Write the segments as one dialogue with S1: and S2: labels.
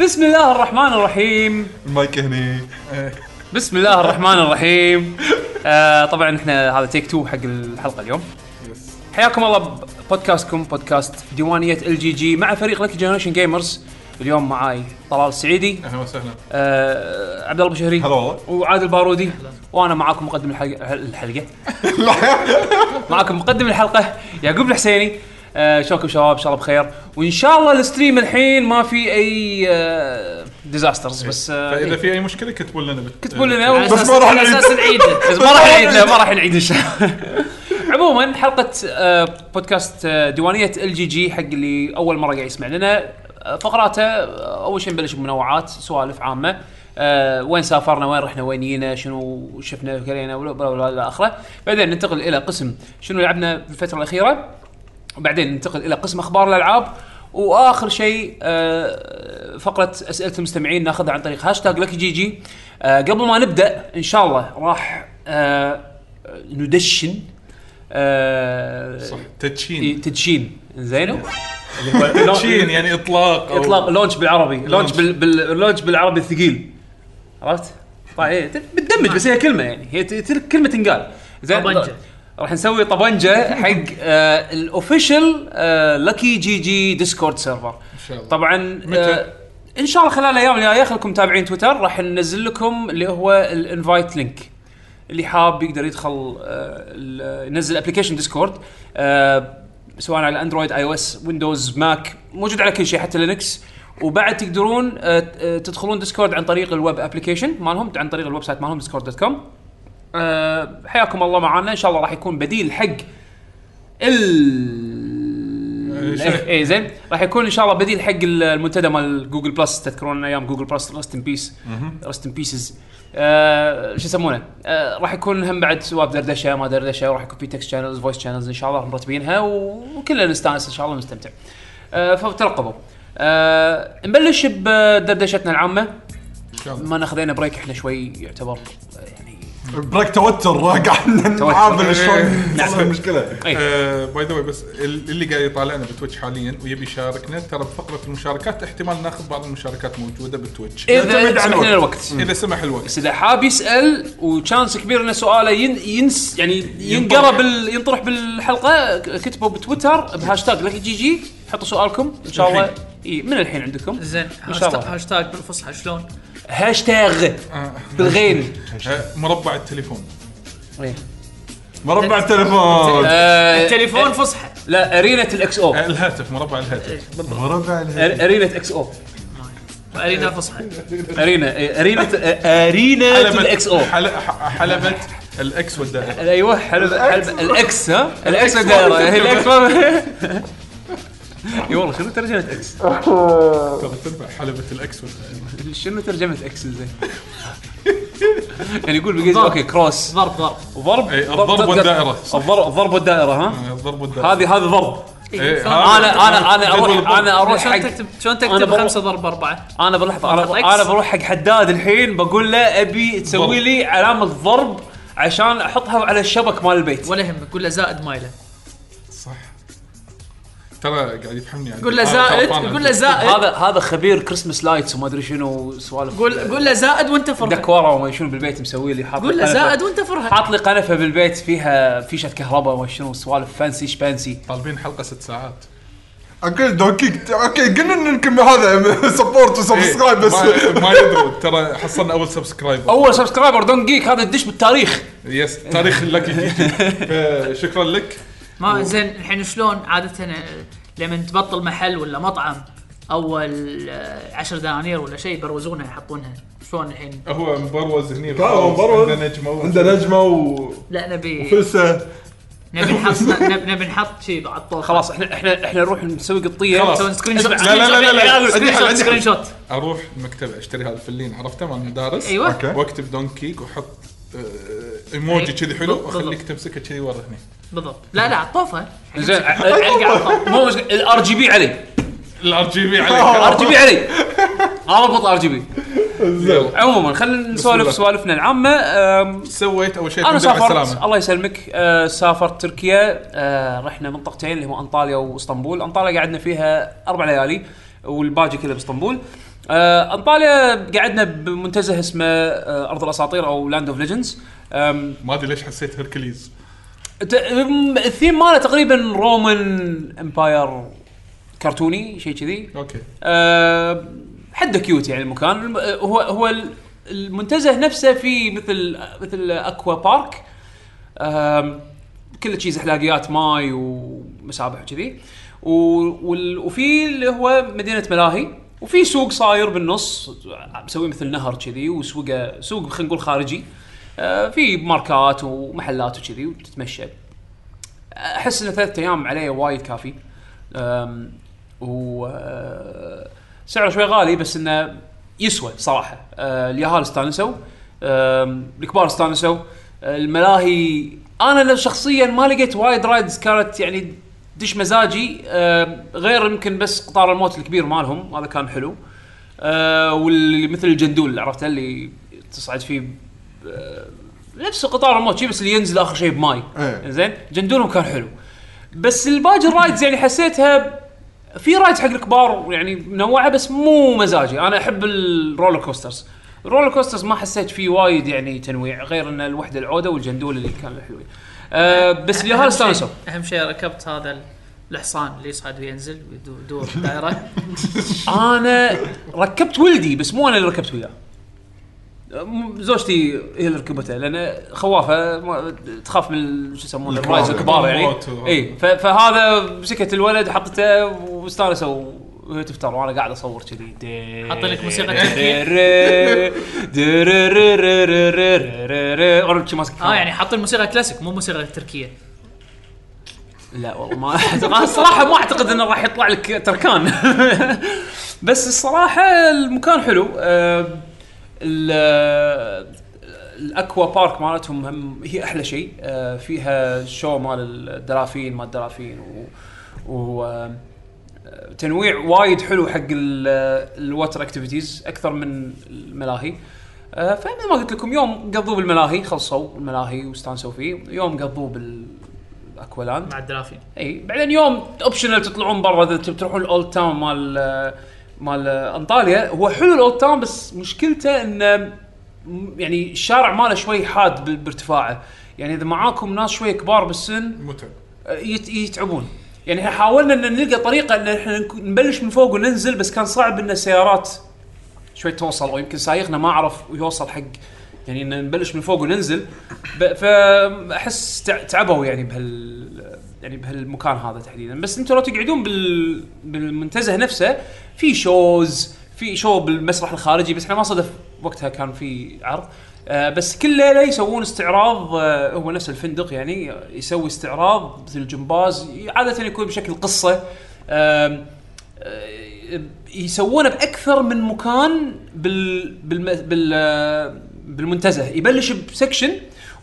S1: بسم الله الرحمن الرحيم
S2: المايك هني
S1: بسم الله الرحمن الرحيم آه طبعا احنا هذا تيك تو حق الحلقه اليوم حياكم الله بودكاستكم بودكاست ديوانيه ال جي جي مع فريق لك جنريشن جيمرز اليوم معاي طلال السعيدي
S2: اهلا وسهلا
S1: آه عبد الله أبو شهري
S2: هلا والله.
S1: وعادل بارودي وانا معاكم مقدم الحلقه الحلقه معاكم مقدم الحلقه يعقوب الحسيني آه شلونكم شباب ان شاء الله بخير وان شاء الله الستريم الحين ما في اي آه ديزاسترز بس آه
S2: فاذا إيه. في اي مشكله كتبوا لنا بت-
S1: كتبوا لنا
S3: على
S1: و-
S2: بس ما راح
S3: على
S2: نعيد.
S3: اساس نعيده
S1: بس ما راح نعيد لا ما راح نعيد ان شاء الله عموما حلقه آه، بودكاست آه، ديوانيه ال جي جي حق اللي اول مره قاعد يسمع لنا آه، فقراته آه، اول شيء نبلش بمنوعات سوالف عامه آه وين سافرنا وين رحنا وين جينا شنو شفنا كلينا ولا ولا- ولا الى اخره بعدين ننتقل الى قسم شنو لعبنا بالفتره الاخيره وبعدين ننتقل الى قسم اخبار الالعاب واخر شيء آه، فقره اسئله المستمعين ناخذها عن طريق هاشتاج لك جي جي آه، قبل ما نبدا ان شاء الله راح آه، ندشن آه،
S2: صح
S1: إي،
S2: تدشين
S1: إيه. تدشين زين
S2: تدشين يعني اطلاق أو-
S1: اطلاق لونش بالعربي لونش
S2: لونش.
S1: بال بال- لونش بالعربي الثقيل عرفت؟ طيب إيه، ت- بتدمج بس هي كلمه يعني هي ت- ت- كلمه تنقال زين
S3: طبنجة.
S1: راح نسوي طبنجه حق آه الاوفيشال آه لكي جي جي ديسكورد سيرفر
S2: شاء الله.
S1: طبعا آه
S2: متى؟
S1: ان شاء الله خلال الايام الجايه خلكم متابعين تويتر راح ننزل لكم اللي هو الانفايت لينك اللي حاب يقدر يدخل آه، ال- ينزل ابلكيشن ديسكورد سواء على اندرويد اي او اس ويندوز ماك موجود على كل شيء حتى لينكس وبعد تقدرون آه، ت- آه، تدخلون ديسكورد عن طريق الويب ابلكيشن مالهم عن طريق الويب سايت مالهم ديسكورد دوت كوم آه، حياكم الله معنا ان شاء الله راح يكون بديل حق ال
S2: شنو؟
S1: إيه، اي زين راح يكون ان شاء الله بديل حق المنتدى مال جوجل بلس تذكرون ايام جوجل بلس رست ان بيس رست ان بيسز شو يسمونه آه راح يكون هم بعد سواب دردشه ما دردشه وراح يكون في تكست شانلز فويس شانلز ان شاء الله مرتبينها وكلنا نستانس ان شاء الله ونستمتع آه فترقبوا آه نبلش بدردشتنا العامه ما ناخذنا بريك احنا شوي يعتبر آه، يعني
S4: بريك توتر قاعد نعامل شلون نحل المشكله
S2: آه، باي ذا واي بس ال- اللي قاعد يطالعنا بتويتش حاليا ويبي يشاركنا ترى بفقره المشاركات احتمال ناخذ بعض المشاركات موجوده بالتويتش
S4: يعتمد
S1: اذا
S4: على
S1: سمح لنا
S4: الوقت.
S1: الوقت
S2: اذا سمح الوقت
S1: بس اذا حاب يسال وشانس كبير ان سؤاله ين ينس يعني ينقرا بال ينطرح بالحلقه كتبوا بتويتر بهاشتاج لك جي جي حطوا سؤالكم ان شاء الله
S2: الحين.
S1: اي من الحين عندكم
S3: زين
S1: إن شاء الله.
S3: هاشتاج- هاشتاج بالفصحى شلون؟
S1: هاشتاج
S2: آه،
S1: بالغين
S2: آه، مربع التليفون
S4: مربع التليفون
S1: آه،
S3: تليفون فصحى
S1: لا ارينه الاكس او
S2: آه، الهاتف مربع الهاتف
S4: مربع الهاتف.
S1: ارينه اكس او
S3: وارينا فصحى
S1: ارينه ارينه ارينه الاكس او
S2: حل- ح- حلبة الاكس والدائرة
S1: ايوه حلو
S4: الأكس.
S1: حلو الاكس ها الاكس دائره هي الاكس ما- اي والله شنو ترجمه اكس؟
S2: ترى تنفع حلبة الاكس والدائرة
S1: شنو ترجمه اكس زين؟ يعني يقول بالانجليزي اوكي كروس
S3: ضرب ضرب
S1: وضرب
S2: إي، الضرب
S1: ضرب-
S2: إيه، والدائرة، صح.
S1: الضرب الضرب والدائره ها
S2: آه، الضرب والدائرة
S1: هذه هذا ضرب
S2: إيه،
S3: آه،
S1: انا انا انا
S2: جدول
S1: اروح
S2: الضرب.
S1: انا اروح
S3: شلون
S1: حق
S3: تكتب شلون
S1: أنا
S3: تكتب
S1: بروح-
S3: خمسه ضرب اربعه؟
S1: انا بروح
S3: ضغط
S1: انا
S3: إكس.
S1: انا بروح حق حداد الحين بقول له ابي تسوي
S2: ضرب.
S1: لي علامه ضرب عشان احطها على الشبك مال البيت
S3: ولا يهمك قول له زائد مايله
S2: صح ترى قاعد يفهمني يعني آه،
S3: قول له زائد قول له زائد
S1: هذا هذا خبير كريسمس لايتس وما ادري شنو سوالف
S3: قول قول له زائد وانت فرحان
S1: دكوره وما شنو بالبيت مسوي لي حاط
S3: قول له
S1: قنفة.
S3: زائد وانت فرحان
S1: حاط لي قنفه بالبيت فيها فيشه كهرباء وما شنو سوالف فانسي شبانسي
S2: طالبين حلقه ست ساعات
S4: اقول دوكيك اوكي قلنا ان الكم هذا سبورت وسبسكرايب بس
S2: إيه، ما- ما يدرون ترى حصلنا اول سبسكرايبر
S1: اول سبسكرايبر دون جيك هذا الدش بالتاريخ
S2: يس تاريخ لك شكرا لك
S3: ما زين الحين شلون عاده آه، لما تبطل محل ولا مطعم اول آه، عشر دنانير ولا شيء يبروزونها يحطونها شلون الحين؟
S2: هو مبروز هني
S4: لا، هو مبروز.
S2: عنده نجمه
S4: عنده نجمه وفلسه
S3: لا نبي نبي نحط نبي- نبي نحط شيء على الطاوله
S1: خلاص احنا احنا احنا نروح نسوي قطيه
S2: خلاص.
S3: تسوون سكرين شوت
S2: لا، لا، لا، لا، لا، عندي
S3: سكرين
S2: حل،
S3: شوت
S2: عندي
S3: سكرين
S2: حل.
S3: شوت
S2: اروح المكتبه اشتري هذا الفلين عرفته مال المدارس
S3: ايوه
S4: أوكي.
S2: واكتب دونكيك واحط آه، ايموجي
S3: أي.
S2: كذي حلو
S3: إيه. بالضبط.
S2: واخليك تمسكه كذي ورا هني
S3: بالضبط لا لا على الطوفه
S1: زين
S3: ألقى على الطاولة.
S1: مو مشكلة، الار جي بي علي
S2: الار جي بي
S4: آه،
S2: عليك
S1: ار جي بي علي اربط ار جي بي
S2: يلا.
S1: عموما خلينا نسولف
S2: الله.
S1: سوالفنا العامه أم،
S2: سويت اول شيء
S1: انا
S2: الحمد لله على
S1: سافرت
S2: السلامة.
S1: الله يسلمك أه، سافرت تركيا أه، رحنا منطقتين اللي هو انطاليا واسطنبول انطاليا قعدنا فيها اربع ليالي والباقي كله باسطنبول آه، انطاليا قعدنا بمنتزه اسمه آه، ارض الاساطير او لاند اوف ليجندز
S2: ما ادري ليش حسيت هركليز
S1: الثيم ماله تقريبا رومان امباير كرتوني شيء كذي
S2: اوكي
S1: أه حده كيوت يعني المكان الم- آه، هو هو ال- المنتزه نفسه في مثل مثل اكوا بارك أم، كل شيء زحلاقيات ماي ومسابح وكذي و- وال- وفي اللي هو مدينه ملاهي وفي سوق صاير بالنص مسوي مثل نهر كذي وسوقه سوق خلينا نقول خارجي أه، في ماركات ومحلات وكذي وتتمشى احس ان ثلاثة ايام عليه وايد كافي أم، و أه، سعره شوي غالي بس انه يسوى صراحه أه، اليهال استانسوا أم، الكبار استانسوا الملاهي انا لو شخصيا ما لقيت وايد رايدز كانت يعني دش مزاجي أم، غير يمكن بس قطار الموت الكبير مالهم هذا كان حلو أه، واللي مثل الجندول عرفته اللي تصعد فيه أه، نفس قطار الموت شي بس اللي ينزل اخر شيء بماي
S4: إيه.
S1: زين جندولهم كان حلو بس الباقي الرايدز يعني حسيتها في رايدز حق الكبار يعني منوعه بس مو مزاجي انا احب الرولر كوسترز الرولر كوسترز ما حسيت فيه وايد يعني تنويع غير ان الوحده العوده والجندول اللي كانوا حلوين أه بس اليهال
S3: أهم
S1: استانسوا
S3: شيء- اهم شيء ركبت هذا ال- الحصان اللي يصعد وينزل ويدور دائره
S1: انا ركبت ولدي بس مو انا اللي ركبت وياه م- زوجتي هي اللي ركبته لان خوافه ما تخاف من شو يسمونه
S4: الكبار.
S1: الرايز الكبار يعني
S2: الكبار موت.
S1: اي ف- فهذا مسكت الولد حطته واستانسوا وهي تفتر وانا قاعد اصور كذي
S3: حاط لك موسيقى
S1: تركيه وانا شي ماسك
S3: اه يعني حاطين موسيقى كلاسيك مو موسيقى تركيه
S1: لا والله ما أعتقد- الصراحه ما اعتقد انه راح يطلع لك تركان بس الصراحه المكان حلو آه، ال- آه، الاكوا بارك مالتهم هم هي احلى شيء آه، فيها شو مال الدلافين مال الدلافين و, و آه، تنويع وايد حلو حق الوتر اكتيفيتيز اكثر من الملاهي آه، فمثل ما قلت لكم يوم قضوه بالملاهي خلصوا الملاهي واستانسوا فيه يوم قضوه بالاكوالاند
S3: مع الدلافين
S1: اي بعدين يوم اوبشنال تطلعون برا اذا تبي تروحون الاولد تاون مال مال انطاليا هو حلو الاولد تاون بس مشكلته انه م- يعني الشارع ماله شوي حاد ب- بارتفاعه يعني اذا معاكم ناس شوي كبار بالسن
S2: متعب
S1: آه، يت- يتعبون يعني احنا حاولنا ان نلقى طريقه ان احنا نك- نبلش من فوق وننزل بس كان صعب ان السيارات شوي توصل او يمكن سايقنا ما عرف يوصل حق يعني ان نبلش من فوق وننزل ب- فاحس تع- تعبوا يعني بهال يعني بهالمكان هذا تحديدا بس انتم لو تقعدون بال بالمنتزه نفسه في شوز في شو بالمسرح الخارجي بس احنا ما صدف وقتها كان في عرض آه بس كل ليله يسوون استعراض آه هو نفس الفندق يعني يسوي استعراض مثل الجمباز عاده يكون بشكل قصه آم، يسوونه باكثر من مكان بال بال بال بالمنتزه يبلش بسكشن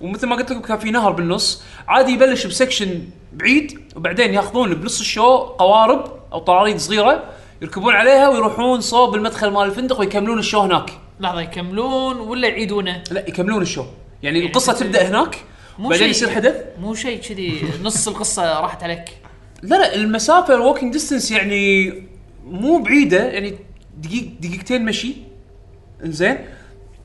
S1: ومثل ما قلت لكم كان في نهر بالنص عادي يبلش بسكشن بعيد وبعدين ياخذون بنص الشو قوارب او طراريد صغيره يركبون عليها ويروحون صوب المدخل مال الفندق ويكملون الشو هناك
S3: لحظه يكملون ولا يعيدونه
S1: لا يكملون الشو يعني
S3: يعني
S1: القصه
S3: مثل-
S1: تبدا هناك
S3: مو
S1: وبعدين
S3: شيء-
S1: يصير حدث
S3: مو شيء كذي نص القصه راحت عليك
S2: يعني
S1: لا لا المسافه الووكينج ديستنس يعني مو بعيده يعني دقيق دقيقتين مشي زين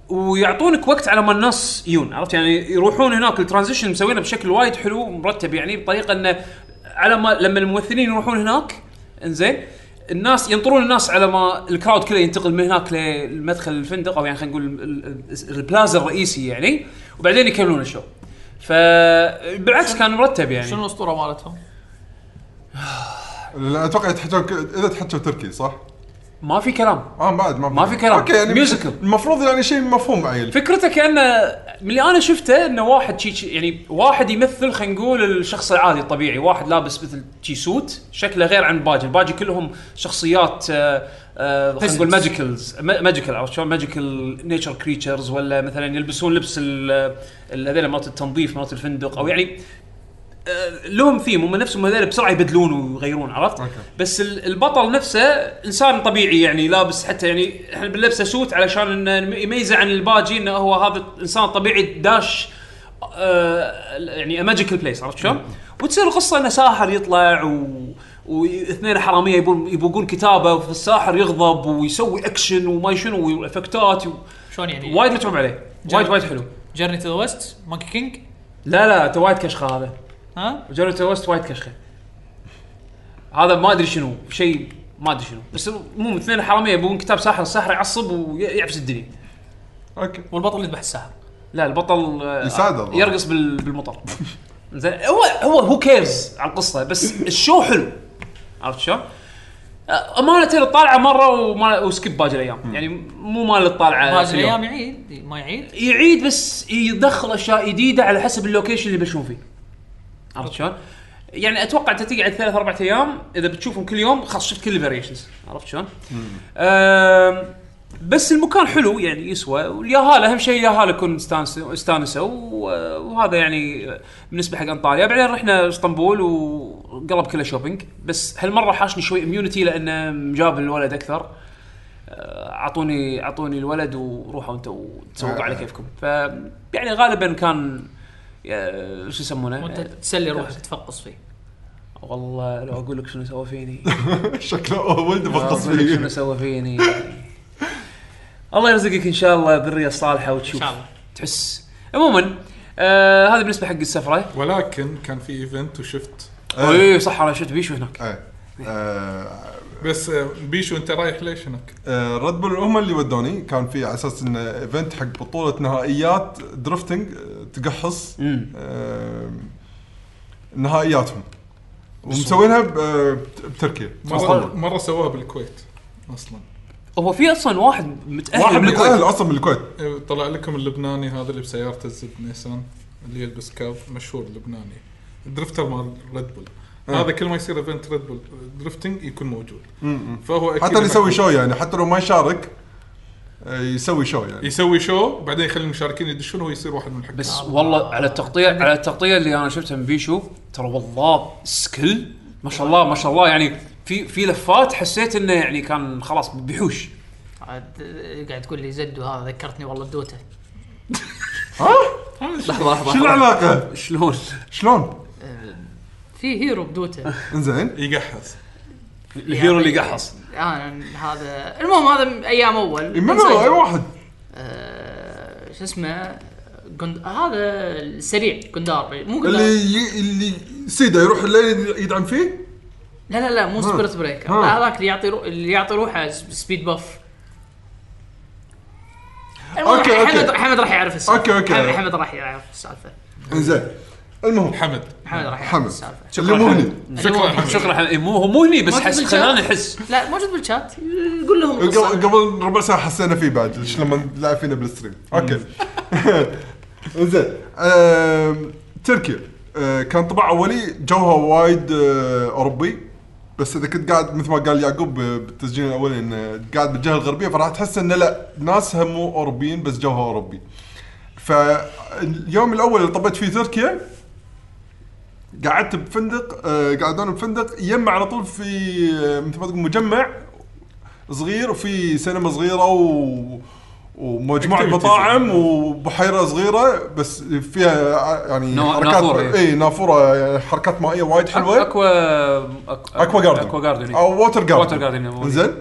S1: ويعطونك وقت على ما الناس يجون عرفت يعني يروحون هناك الترانزيشن مسوينه بشكل وايد حلو مرتب يعني بطريقه انه على ما لما الممثلين يروحون هناك انزين الناس ينطرون الناس على ما الكراود كله ينتقل من هناك لمدخل الفندق او يعني خلينا نقول ال- ال- البلازا الرئيسي يعني وبعدين يكملون الشو فبالعكس كان مرتب يعني
S3: شنو الاسطوره مالتهم؟
S4: لا، اتوقع تحتوا ك- اذا تحتوا تركي صح؟
S1: ما في كلام
S4: اه بعد ما
S1: ما في كلام.
S4: اوكي يعني
S1: ميوزيكال.
S4: المفروض يعني شيء مفهوم عيل
S1: فكرته كانه من اللي انا شفته انه واحد شي- شي يعني واحد يمثل خلينا نقول الشخص العادي الطبيعي، واحد لابس مثل شي سوت شكله غير عن الباجي، الباجي كلهم شخصيات آه، آه، خلينا نقول
S3: Peasants.
S1: ماجيكلز ماجيكال عرفت شلون؟ ماجيكال نيتشر كريتشرز ولا مثلا يلبسون لبس ال- ال- هذيلا مالت التنظيف مالت الفندق او يعني آه، لهم ثيم هم نفسهم هذول بسرعه يبدلون ويغيرون عرفت؟
S4: أوكي.
S1: بس ال- البطل نفسه انسان طبيعي يعني لابس حتى يعني احنا بنلبسه سوت علشان انه يميزه عن الباجي انه هو هذا الانسان الطبيعي داش آه يعني ماجيكال بليس عرفت شلون؟ وتصير القصه انه ساحر يطلع و واثنين حراميه يبون يبوقون كتابه فالساحر يغضب ويسوي اكشن وما شنو وافكتات و...
S3: شلون يعني؟
S1: وايد متعوب عليه وايد
S3: جرب.
S1: وايد حلو
S3: جيرني تو ذا ويست مونكي كينج
S1: لا لا انت وايد كشخه هذا
S3: ها؟
S1: جوناثان ويست وايد كشخه هذا ما ادري شنو شيء ما ادري شنو بس مو اثنين حراميه يبون كتاب ساحر الساحر يعصب ويعفس الدنيا
S4: اوكي
S3: والبطل يذبح الساحر
S1: لا البطل آه،
S4: يساعده الظاهر.
S1: يرقص بال- بالمطر زين هو هو هو كيرز على القصه بس الشو حلو عرفت شلون؟ آه، امانه الطالعه مره وما وسكيب باقي الايام يعني مو مال
S2: آه،
S1: الطالعه
S3: باقي
S1: في اليوم.
S3: الايام يعيد ما يعيد
S1: يعيد بس يدخل اشياء جديده على حسب اللوكيشن اللي بشوف فيه عرفت شلون؟ يعني اتوقع انت تقعد ثلاث اربع ايام اذا بتشوفهم كل يوم خلاص شفت كل الفاريشنز عرفت شلون؟ آم، بس المكان حلو يعني يسوى والياهال اهم شيء الياهال يكون استانسوا استانسوا و- وهذا يعني بالنسبه حق انطاليا بعدين رحنا اسطنبول وقلب كله شوبينج بس هالمره حاشني شوي اميونتي لانه مجاب الولد اكثر اعطوني اعطوني الولد وروحوا انتم وتسوقوا على كيفكم ف يعني غالبا كان آه، شو يسمونه
S3: وانت تسلي روحك تفقص فيه
S1: والله لو اقول لك شنو سوى فيني
S4: شكله ولد
S1: لو أقول لك شنو
S4: بالتصوير
S1: سوى فيني يعني. الله يرزقك ان شاء الله بالرية الصالحه
S3: ان
S1: وتشوف
S3: شاء الله
S1: تحس عموما آه هذا بالنسبه حق السفره
S2: ولكن كان في ايفنت وشفت
S4: إيه.
S1: اي صح انا شفت بيشو هناك
S4: ايه آه،
S2: بس آه، بيشو انت رايح ليش هناك؟
S4: آه، ريد بول هم اللي ودوني كان في على اساس انه ايفنت حق بطوله نهائيات درفتنج آه، تقحص
S1: مم.
S4: آه، نهائياتهم ومسوينها ب- آه، بتركيا
S2: مره مره سووها بالكويت اصلا
S1: هو في اصلا واحد متاهل
S4: واحد
S1: من
S4: من
S1: الكويت
S4: الاهل اصلا يعني من الكويت
S2: آه، طلع لكم اللبناني هذا اللي بسيارته الزد نيسان اللي يلبس كاب مشهور لبناني درفتر مال ريد بول
S4: آه.
S2: هذا كل ما يصير ايفنت ريد بول درفتنج يكون موجود فهو أكيد
S4: حتى اللي يسوي
S2: محبوب.
S4: شو يعني حتى لو ما يشارك آه، يسوي شو يعني
S2: يسوي شو بعدين يخلي المشاركين يدشون هو يصير واحد من الحكام
S1: بس والله على التقطيع على التقطيع اللي انا شفتها من بيشو ترى والله سكيل ما شاء الله ما شاء الله يعني في في لفات حسيت انه يعني كان خلاص بيحوش
S3: عاد قاعد تقول لي زد وهذا ذكرتني والله بدوته
S1: لحظه لحظه
S4: شو العلاقه؟
S1: شلون؟
S4: شلون؟
S3: في هيرو بدوته
S4: انزين
S2: يجهز
S1: الهيرو اللي
S3: يعني
S1: قحص
S3: انا آه، هذا المهم هذا من ايام اول
S4: منو اي واحد
S3: آه، شو اسمه قند... هذا السريع جندار مو
S4: اللي
S3: جندار
S4: ي- اللي سيده يروح الليل يدعم فيه
S3: لا لا لا مو
S4: ها.
S3: سبيرت بريكر
S4: ها.
S3: لا، هذاك اللي يعطي رو... اللي يعطي روحه س- سبيد باف المهم،
S4: أوكي، أوكي.
S3: حمد حمد راح يعرف السالفه
S4: أوكي، أوكي.
S3: حمد, حمد راح يعرف السالفه
S4: انزين المهم
S2: حمد
S3: حمد راح يعرف
S4: حمد
S3: السالفه
S4: اللي مو هني
S2: شكرا حمد
S1: شكرا حبيبي. إيه، مو هو مو هني بس
S3: ما في
S1: حس
S3: بالشات.
S1: خلاني احس
S3: لا موجود بالشات قول لهم القصة.
S4: قبل قبل ربع ساعه حسينا فيه بعد ليش لما لعب فينا بالستريم اوكي زين آم، تركيا آه، كان طبع اولي جوها وايد آه، اوروبي بس اذا كنت قاعد مثل ما قال يعقوب آه، بالتسجيل الاولي انه قاعد بالجهه الغربيه فراح تحس انه لا ناسها مو اوروبيين بس جوها اوروبي فاليوم الاول اللي طبيت فيه تركيا قعدت بفندق آه، قعدونا بفندق يم على طول في آه، مثل ما تقول مجمع صغير وفي سينما صغيره و ومجموعه
S2: Activities.
S4: مطاعم وبحيره صغيره بس فيها آه، يعني
S1: نا-
S4: حركات
S1: نافورة، إيه.
S4: اي نافوره يعني حركات مائيه وايد حلوه
S1: اكوا
S4: اكوا جاردن
S1: اكوا جاردن إيه.
S4: او ووتر جاردن
S1: Water Garden، أو-
S4: انزين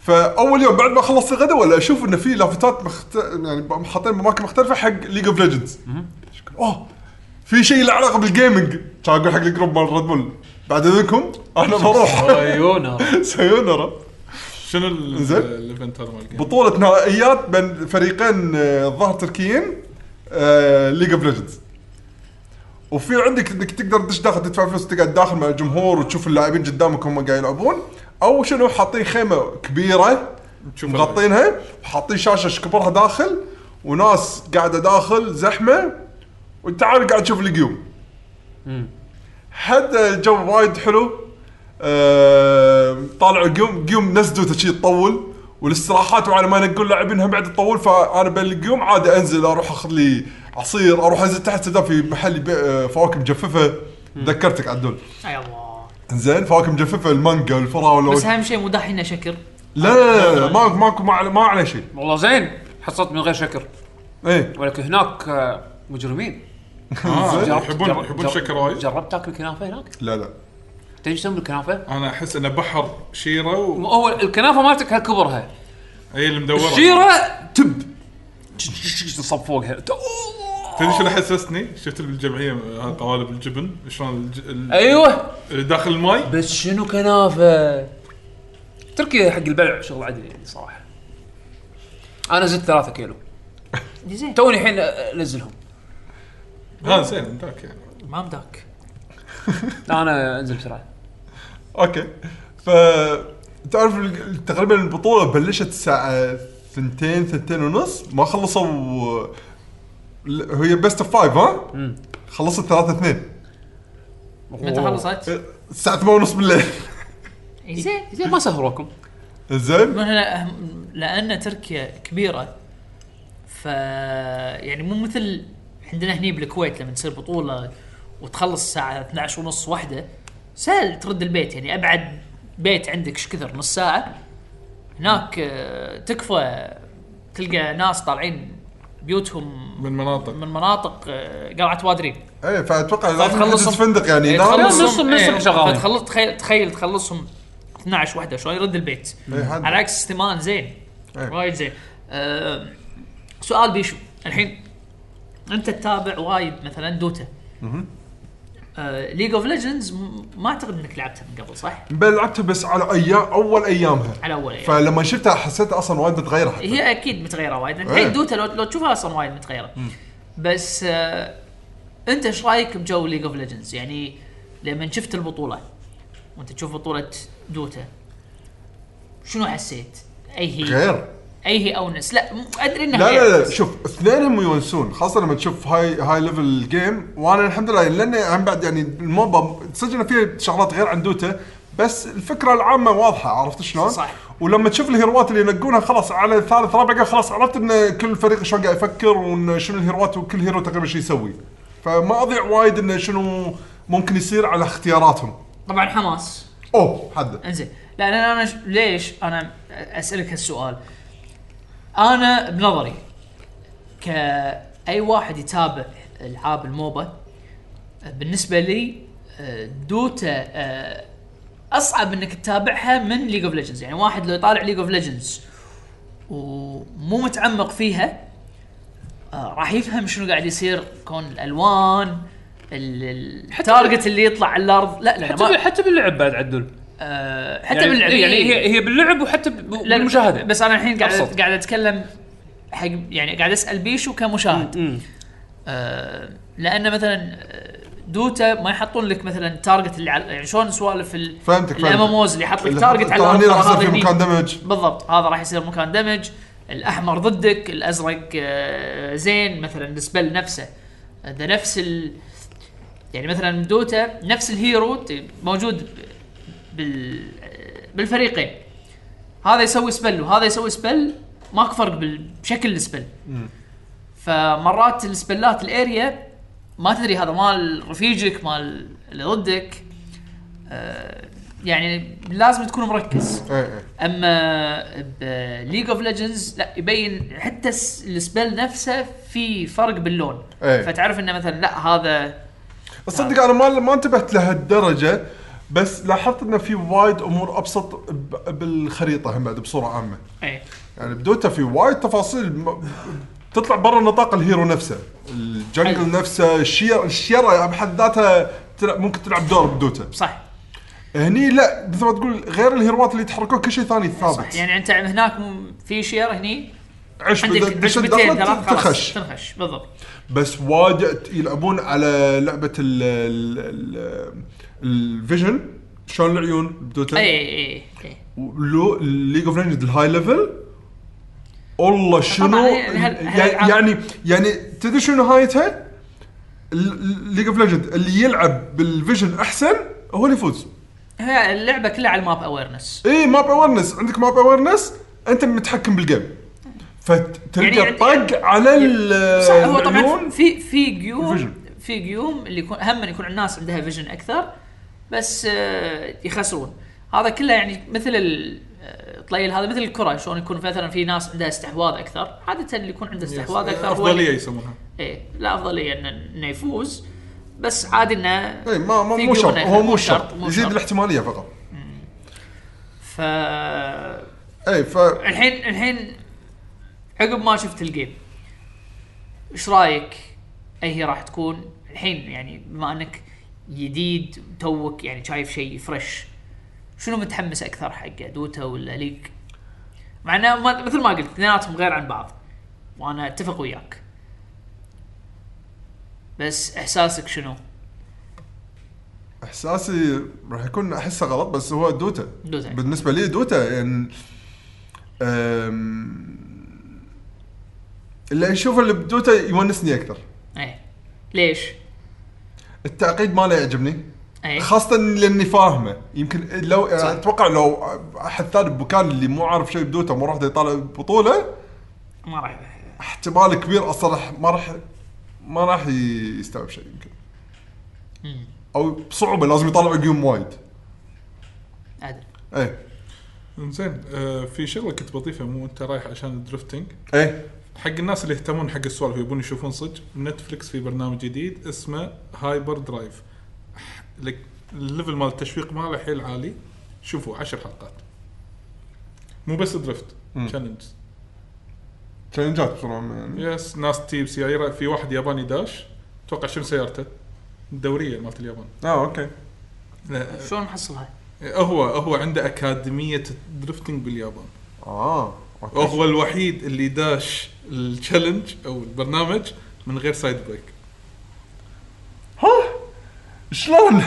S4: فاول يوم بعد ما خلصت الغداء ولا اشوف انه في لافتات مخت... يعني حاطين باماكن مختلفه حق ليج اوف ليجندز اوه في شيء له علاقه بالجيمنج كان اقول حق الجروب مال ريد بول بعد اذنكم انا بروح
S1: عيونا
S4: سيونرا
S2: شنو ال-
S4: إنزين.
S2: الايفنت هذا مال الجيم؟
S4: بطوله نهائيات بين فريقين آه، الظاهر تركيين آه، ليج اوف ليجندز وفي عندك انك تقدر تدش داخل تدفع فلوس تقعد داخل مع الجمهور وتشوف اللاعبين قدامك هم قاعد يلعبون او شنو حاطين خيمه كبيره
S2: تشوف
S4: مغطينها وحاطين شاشه ايش كبرها داخل وناس قاعده داخل زحمه وانت عارف قاعد تشوف القيوم حد الجو وايد حلو آه، طالعوا قيوم قيوم نسدوا تشي تطول والاستراحات وعلى ما نقول لاعبينها بعد تطول فانا بين القيوم عادي انزل اروح اخذ لي عصير اروح انزل تحت سداب في محل يبيع آه، فواكه مجففه ذكرتك عدول
S3: يا الله
S4: زين فواكه مجففه المانجا والفراوله
S3: بس
S4: وال-
S3: اهم شيء مو داحينه شكر
S4: لا لا لا, لا ما ماكو ما عليه ما عليه شيء
S1: والله زين حصلت من غير شكر
S4: ايه
S1: ولكن هناك آه، مجرمين
S2: آه،
S1: جربت-
S2: يحبون
S1: جربت-
S2: يحبون
S1: جربت-
S2: شكر وايد
S1: جربت تاكل كنافه هناك
S4: لا لا
S1: تدري ايش يسمون الكنافه؟
S2: انا احس انه بحر شيره و...
S1: هو الكنافه مالتك هالكبرها
S2: هي المدوره
S1: الشيره تب تصب فوقها أوه.
S2: تدري شو اللي حسسني؟ شفت بالجمعيه آه، قوالب الجبن شلون الج... ال-
S1: ايوه
S2: اللي داخل الماي
S1: بس شنو كنافه؟ تركيا حق البلع شغل عدل يعني صراحه انا زدت 3 كيلو
S3: زين
S1: توني الحين آه، انزلهم
S2: ها زين ذاك يعني
S3: ما مداك
S1: انا انزل بسرعه
S4: اوكي ف تعرف ال- تقريبا البطوله بلشت الساعه ثنتين ثنتين ونص ما خلصوا ل- هي بيست اوف فايف ها؟ خلصت ثلاثة اثنين
S3: متى خلصت؟
S4: الساعة 8 ونص بالليل
S3: زين
S1: زين ما سهروكم
S4: زين
S3: من هنا أهم- لان تركيا كبيره ف يعني مو مثل عندنا هني بالكويت لما تصير بطوله وتخلص الساعه 12 ونص واحده سهل ترد البيت يعني ابعد بيت عندك ايش كثر نص ساعه هناك آه، تكفى تلقى ناس طالعين بيوتهم
S2: من مناطق
S3: من مناطق آه، قلعه وادرين
S4: ايه فاتوقع لازم
S3: فتخلصهم-
S4: تجلس فندق يعني
S3: إيه،
S4: نار
S1: تخلصهم- من الصبح-
S3: تخلصهم
S1: من
S3: إيه،
S1: الصبح شغالين.
S3: فتخلص تخيل تخيل تخلصهم 12 وحده شلون يرد البيت
S4: إيه، حد.
S3: على عكس استمان زين
S4: إيه.
S3: وايد زين أه سؤال بيشو الحين انت تتابع وايد مثلا دوتا آه، ليج اوف ليجندز ما اعتقد انك لعبتها من قبل صح؟
S4: بل لعبتها بس على ايام اول ايامها
S3: على اول أيام.
S4: فلما شفتها حسيت اصلا وايد متغيرة حتى
S3: هي اكيد متغيره وايد لان
S4: إيه.
S3: الحين دوتا لو, لو تشوفها اصلا وايد متغيره بس آه انت ايش رايك بجو ليج اوف ليجندز يعني لما شفت البطوله وانت تشوف بطوله دوتا شنو حسيت؟ اي هي
S4: غير
S3: اي هي اونس لا م- ادري انها
S4: لا
S3: غير،
S4: لا لا
S3: بس
S4: شوف اثنينهم يونسون خاصه لما تشوف هاي هاي ليفل جيم وانا الحمد لله لان عن بعد يعني الموبا سجلنا فيها شغلات غير عن دوتا بس الفكره العامه واضحه عرفت شلون؟
S3: صح.
S4: ولما تشوف الهيروات اللي ينقونها خلاص على ثالث رابع قال خلاص عرفت ان كل فريق شلون قاعد يفكر وان شنو الهيروات وكل هيرو تقريبا شو يسوي. فما اضيع وايد ان شنو ممكن يصير على اختياراتهم.
S3: طبعا حماس
S4: اوه حد
S3: انزين لا انا انا ش- ليش انا اسالك هالسؤال انا بنظري كاي واحد يتابع العاب الموبا بالنسبه لي آه، دوتا آه، اصعب انك تتابعها من ليج اوف ليجندز يعني واحد لو يطالع ليج اوف ليجندز ومو متعمق فيها آه، راح يفهم شنو قاعد يصير كون الالوان ال- ال- التارجت اللي يطلع على الارض لا لا
S1: حتى
S3: ما-
S1: بال- حتى باللعب بعد عدل
S3: آه، حتى
S1: يعني
S3: باللعب
S1: يعني
S3: إيه.
S1: هي هي باللعب وحتى ب-
S3: لا،
S1: بالمشاهده
S3: بس انا الحين قاعد
S1: أبسط.
S3: قاعد اتكلم حق يعني قاعد اسال بيشو كمشاهد
S1: مم.
S3: آه لان مثلا آه، دوتا ما يحطون لك مثلا تارجت اللي على يعني شلون سوالف ال
S4: فهمتك فهمتك.
S3: الاماموز اللي حط لك تارجت على
S4: ترى هني راح يصير
S3: هذا
S4: في
S3: هني.
S4: مكان دمج
S3: بالضبط هذا راح يصير مكان دمج الاحمر ضدك الازرق آه، زين مثلا السبل نفسه اذا نفس ال يعني مثلا دوتا نفس الهيرو ت- موجود بال بالفريقين هذا يسوي سبل وهذا يسوي سبل ماكو فرق بال- بشكل السبل فمرات السبلات الاريا ما تدري هذا مال رفيجك مال اللي ضدك آه، يعني لازم تكون مركز
S4: ايه ايه
S3: اما بليج اوف ليجندز لا يبين حتى الس- السبيل نفسه في فرق باللون
S4: إيه.
S3: فتعرف انه مثلا لا هذا
S4: تصدق انا ما ما انتبهت لهالدرجه بس لاحظت انه في وايد امور ابسط ب- بالخريطه هم بعد بصوره عامه
S3: اي
S4: يعني بدوتا في وايد تفاصيل م- تطلع برا نطاق الهيرو نفسه الجنجل
S3: حلو.
S4: نفسه الشير الشيره بحد ذاتها تلع- ممكن تلعب دور بدوتا
S3: صح
S4: هني لا مثل ما تقول غير الهيروات اللي يتحركون كل شيء ثاني ثابت
S3: صح يعني انت هناك م- في شير هني
S4: عش
S3: عندك
S4: بدت- دشت
S3: عشبتين
S4: دخلت
S3: ثلاث خلاص
S4: تخش
S3: تنخش بالضبط
S4: بس وايد يلعبون على لعبه ال ال- ال- الفيجن شلون العيون بدوتا
S3: اي اي اي, اي.
S4: ولو ليج اوف ليجند الهاي ليفل والله شنو
S3: طبعاً يعني هال-
S4: يعني
S3: هالألعاب-
S4: يعني, يعني تدري شنو نهايتها؟ ليج اوف ليجند اللي يلعب بالفيجن احسن هو اللي يفوز إيه،
S3: هي اللعبه كلها على الماب اويرنس
S4: اي ماب اويرنس عندك ماب اويرنس انت متحكم بالجيم فتلقى
S3: يعني-
S4: يعني طق على ال-
S3: صح هو
S4: العيون.
S3: طبعا في في قيوم
S4: الفيجن.
S3: في قيوم اللي يكون هم من يكون الناس عندها فيجن اكثر بس آه، يخسرون هذا كله يعني مثل ال- آه، طليل هذا مثل الكره شلون يكون مثلا في ناس عندها استحواذ اكثر
S4: إيه،
S3: عاده اللي يكون عنده استحواذ اكثر هو إيه،
S2: افضليه
S3: اللي
S2: يسمونها
S3: ايه لا افضليه انه إنه يفوز بس عادي انه
S4: اي إيه، ما ما
S3: في
S4: مو شرط
S3: قيود
S4: هو مو
S3: مو شرط،
S4: شرط
S3: مو
S4: يزيد
S3: شرط.
S4: الاحتماليه فقط
S3: ف
S4: اي إيه، ف
S3: الحين الحين عقب ما شفت الجيم ايش رايك اي هي راح تكون الحين يعني بما انك جديد توك يعني شايف شيء فريش شنو متحمس اكثر حق دوتا ولا ليج مع انه ما- مثل ما قلت اثنيناتهم غير عن بعض وانا اتفق وياك بس احساسك شنو
S4: احساسي راح يكون احسه غلط بس هو دوتا
S3: دوتا.
S4: بالنسبه لي دوتا يعني أم... اللي اشوفه اللي بدوتا يونسني اكثر
S3: ايه ليش
S4: التعقيد ما لا يعجبني
S3: ايه
S4: خاصة لاني فاهمه يمكن لو اتوقع لو احد ثاني بمكان اللي مو عارف شيء بدوتا مو راح يطالع بطولة
S3: ما راح
S4: احتمال كبير اصلا راح- ما راح ما راح يستوعب شيء يمكن
S3: مم.
S4: او بصعوبة لازم يطالع جيم وايد
S3: عدل
S4: ايه
S2: زين آه في شغله كنت بضيفها مو انت رايح عشان الدرفتنج
S4: ايه
S2: حق الناس اللي يهتمون حق السوالف ويبون يشوفون صدق نتفلكس في برنامج جديد اسمه هايبر درايف لك الليفل مال التشويق ماله حيل عالي شوفوا عشر حلقات مو بس درفت
S4: مم.
S2: تشالنج
S4: تشالنجات بصراحة يعني
S2: يس ناس تجيب سياره في واحد ياباني داش اتوقع شنو سيارته؟ الدوريه مالت اليابان
S4: اه اوكي
S2: لا،
S3: شلون نحصلها؟
S2: هو هو عنده اكاديميه درفتنج باليابان
S4: اه اوكي
S2: وهو الوحيد اللي داش التشالنج او البرنامج من غير سايد بريك
S4: شلون؟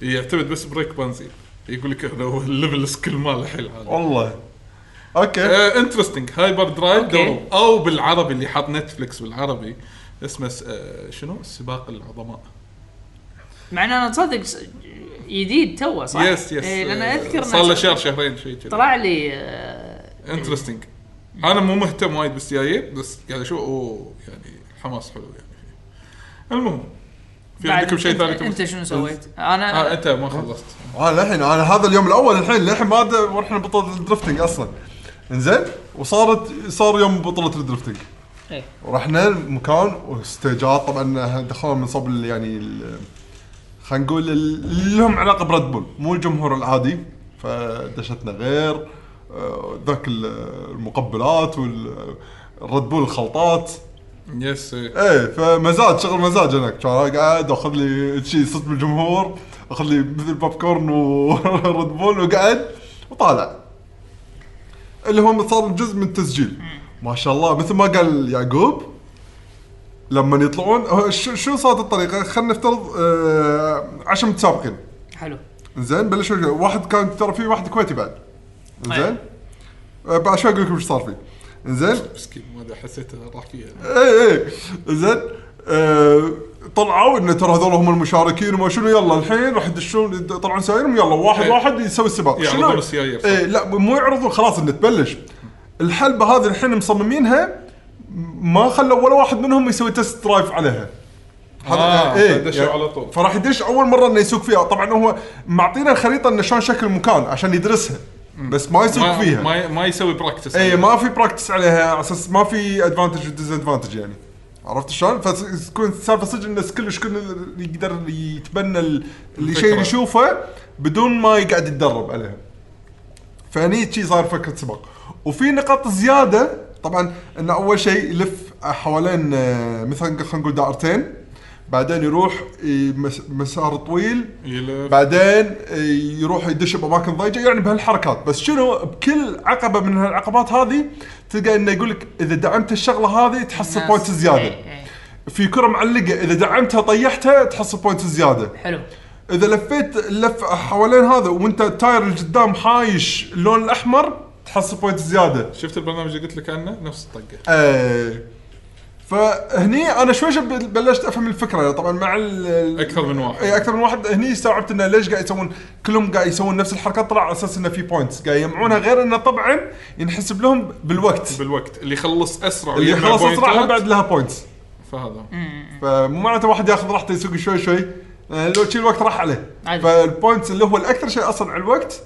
S2: يعتمد بس بريك بنزين يقول لك احنا هو الليفل سكيل ماله حيل Uh, عالي
S4: والله
S2: E,
S4: اوكي
S2: انترستنج هايبر درايف
S3: أوكي.
S2: دورو او بالعربي اللي حاط نتفلكس بالعربي اسمه س- آه، شنو؟ سباق العظماء
S3: مع ان انا تصدق س- جديد توه صح؟
S2: يس يس
S3: إيه لان
S2: آه،
S3: اذكر
S2: صار له
S3: إنه
S2: شهر شهرين شيء كذا
S3: طلع لي آه،
S2: انترستنج انا مو مهتم وايد بالسيايير بس قاعد اشوف اوه يعني حماس حلو يعني فيه. المهم في
S3: بعد
S2: عندكم شيء
S3: أنت-
S2: ثاني تبون-
S3: انت شنو سويت؟
S2: اه
S3: انا
S2: انت ما خلصت
S4: انا الحين انا آه، هذا اليوم الاول الحين للحين ما أدري وين احنا بطولة الدرفتنج اصلا انزين وصارت صار يوم بطولة الدرفتنج
S3: إيه.
S4: ورحنا مكان واستيجات طبعا دخلوا من صب ال- يعني ال- خلينا نقول ال- اللي لهم علاقه بريد بول مو الجمهور العادي فدشتنا غير آه، ذاك ال- المقبلات والريد بول الخلطات
S2: يس إيه.
S4: ايه فمزاج شغل مزاج هناك كان أنا قاعد اخذ لي شيء صوت من الجمهور اخذ لي مثل بوب كورن وريد بول وقعد وطالع اللي هو صار جزء من التسجيل ما شاء الله مثل ما قال يعقوب لما يطلعون هو شو شو صارت الطريقه خلينا نفترض آه 10 متسابقين
S3: حلو
S4: زين بلشوا شوي. واحد كان ترى في واحد كويتي بعد زين
S3: طيب.
S4: آه، بعد شوي اقول لكم ايش صار فيه زين
S2: مسكين ما ادري حسيته راح فيها
S4: اي اي إيه، زين آه، طلعوا ان ترى هذول هم المشاركين وما شنو يلا الحين راح يدشون يطلعون سايرهم يلا واحد
S2: إيه.
S4: واحد يسوي السباق
S2: يعرضون السيايير، صح.
S4: اي لا مو يعرضون خلاص ان تبلش الحلبه هذه الحين مصممينها ما خلوا ولا واحد منهم يسوي تست درايف عليها هذا
S2: آه،
S4: إيه،
S2: فدشوا على طول.
S4: فراح يدش اول مره انه يسوق فيها طبعا هو معطينا الخريطه انه شلون شكل المكان عشان يدرسها بس ما يسوق
S2: ما,
S4: فيها
S2: ما, ما يسوي براكتس
S4: اي إيه، ما في براكتس عليها على اساس ما في ادفانتج وديز ادفانتج يعني عرفت شلون؟ فتكون السالفه صدق انه كلش كل يقدر يتبنى ال- اللي شيء
S2: الفكرة.
S4: اللي يشوفه بدون ما يقعد يتدرب عليها. فهني شي صار فكره سباق. وفي نقاط زياده طبعا انه اول شيء يلف حوالين آه، مثلا خلينا نقول دائرتين بعدين يروح ي- مس- مسار طويل
S2: يلف
S4: بعدين يروح يدش باماكن ضيقه يعني بهالحركات بس شنو بكل عقبه من هالعقبات هذه تلقى انه يقول لك اذا دعمت الشغله هذه تحصل
S3: ناس-
S4: بوينت زياده
S3: إيه، إيه.
S4: في كره معلقه اذا دعمتها طيحتها تحصل بوينت زياده
S3: حلو
S4: اذا لفيت اللف حوالين هذا وانت التاير اللي قدام حايش اللون الاحمر تحصل بوينت زياده
S2: شفت البرنامج اللي قلت لك عنه نفس الطقه
S4: آه فهني انا شوي شوي بلشت افهم الفكره طبعا مع ال- ال-
S2: أكثر من واحد.
S4: اي اكثر إيه، من واحد هني استوعبت انه ليش قاعد يسوون كلهم قاعد يسوون نفس الحركات طلع على اساس انه في بوينتس قاعد يجمعونها غير انه طبعا ينحسب لهم بالوقت
S2: بالوقت اللي يخلص اسرع
S4: اللي
S2: ويجمع
S4: خلاص اسرعها
S2: بوينتات،
S4: بعد لها بوينتس
S2: فهذا
S4: فمو معناته واحد ياخذ راحته يسوق شوي شوي آه، لو تشيل الوقت راح عليه
S3: عادي.
S4: فالبوينتس اللي هو الاكثر شيء اصلا على الوقت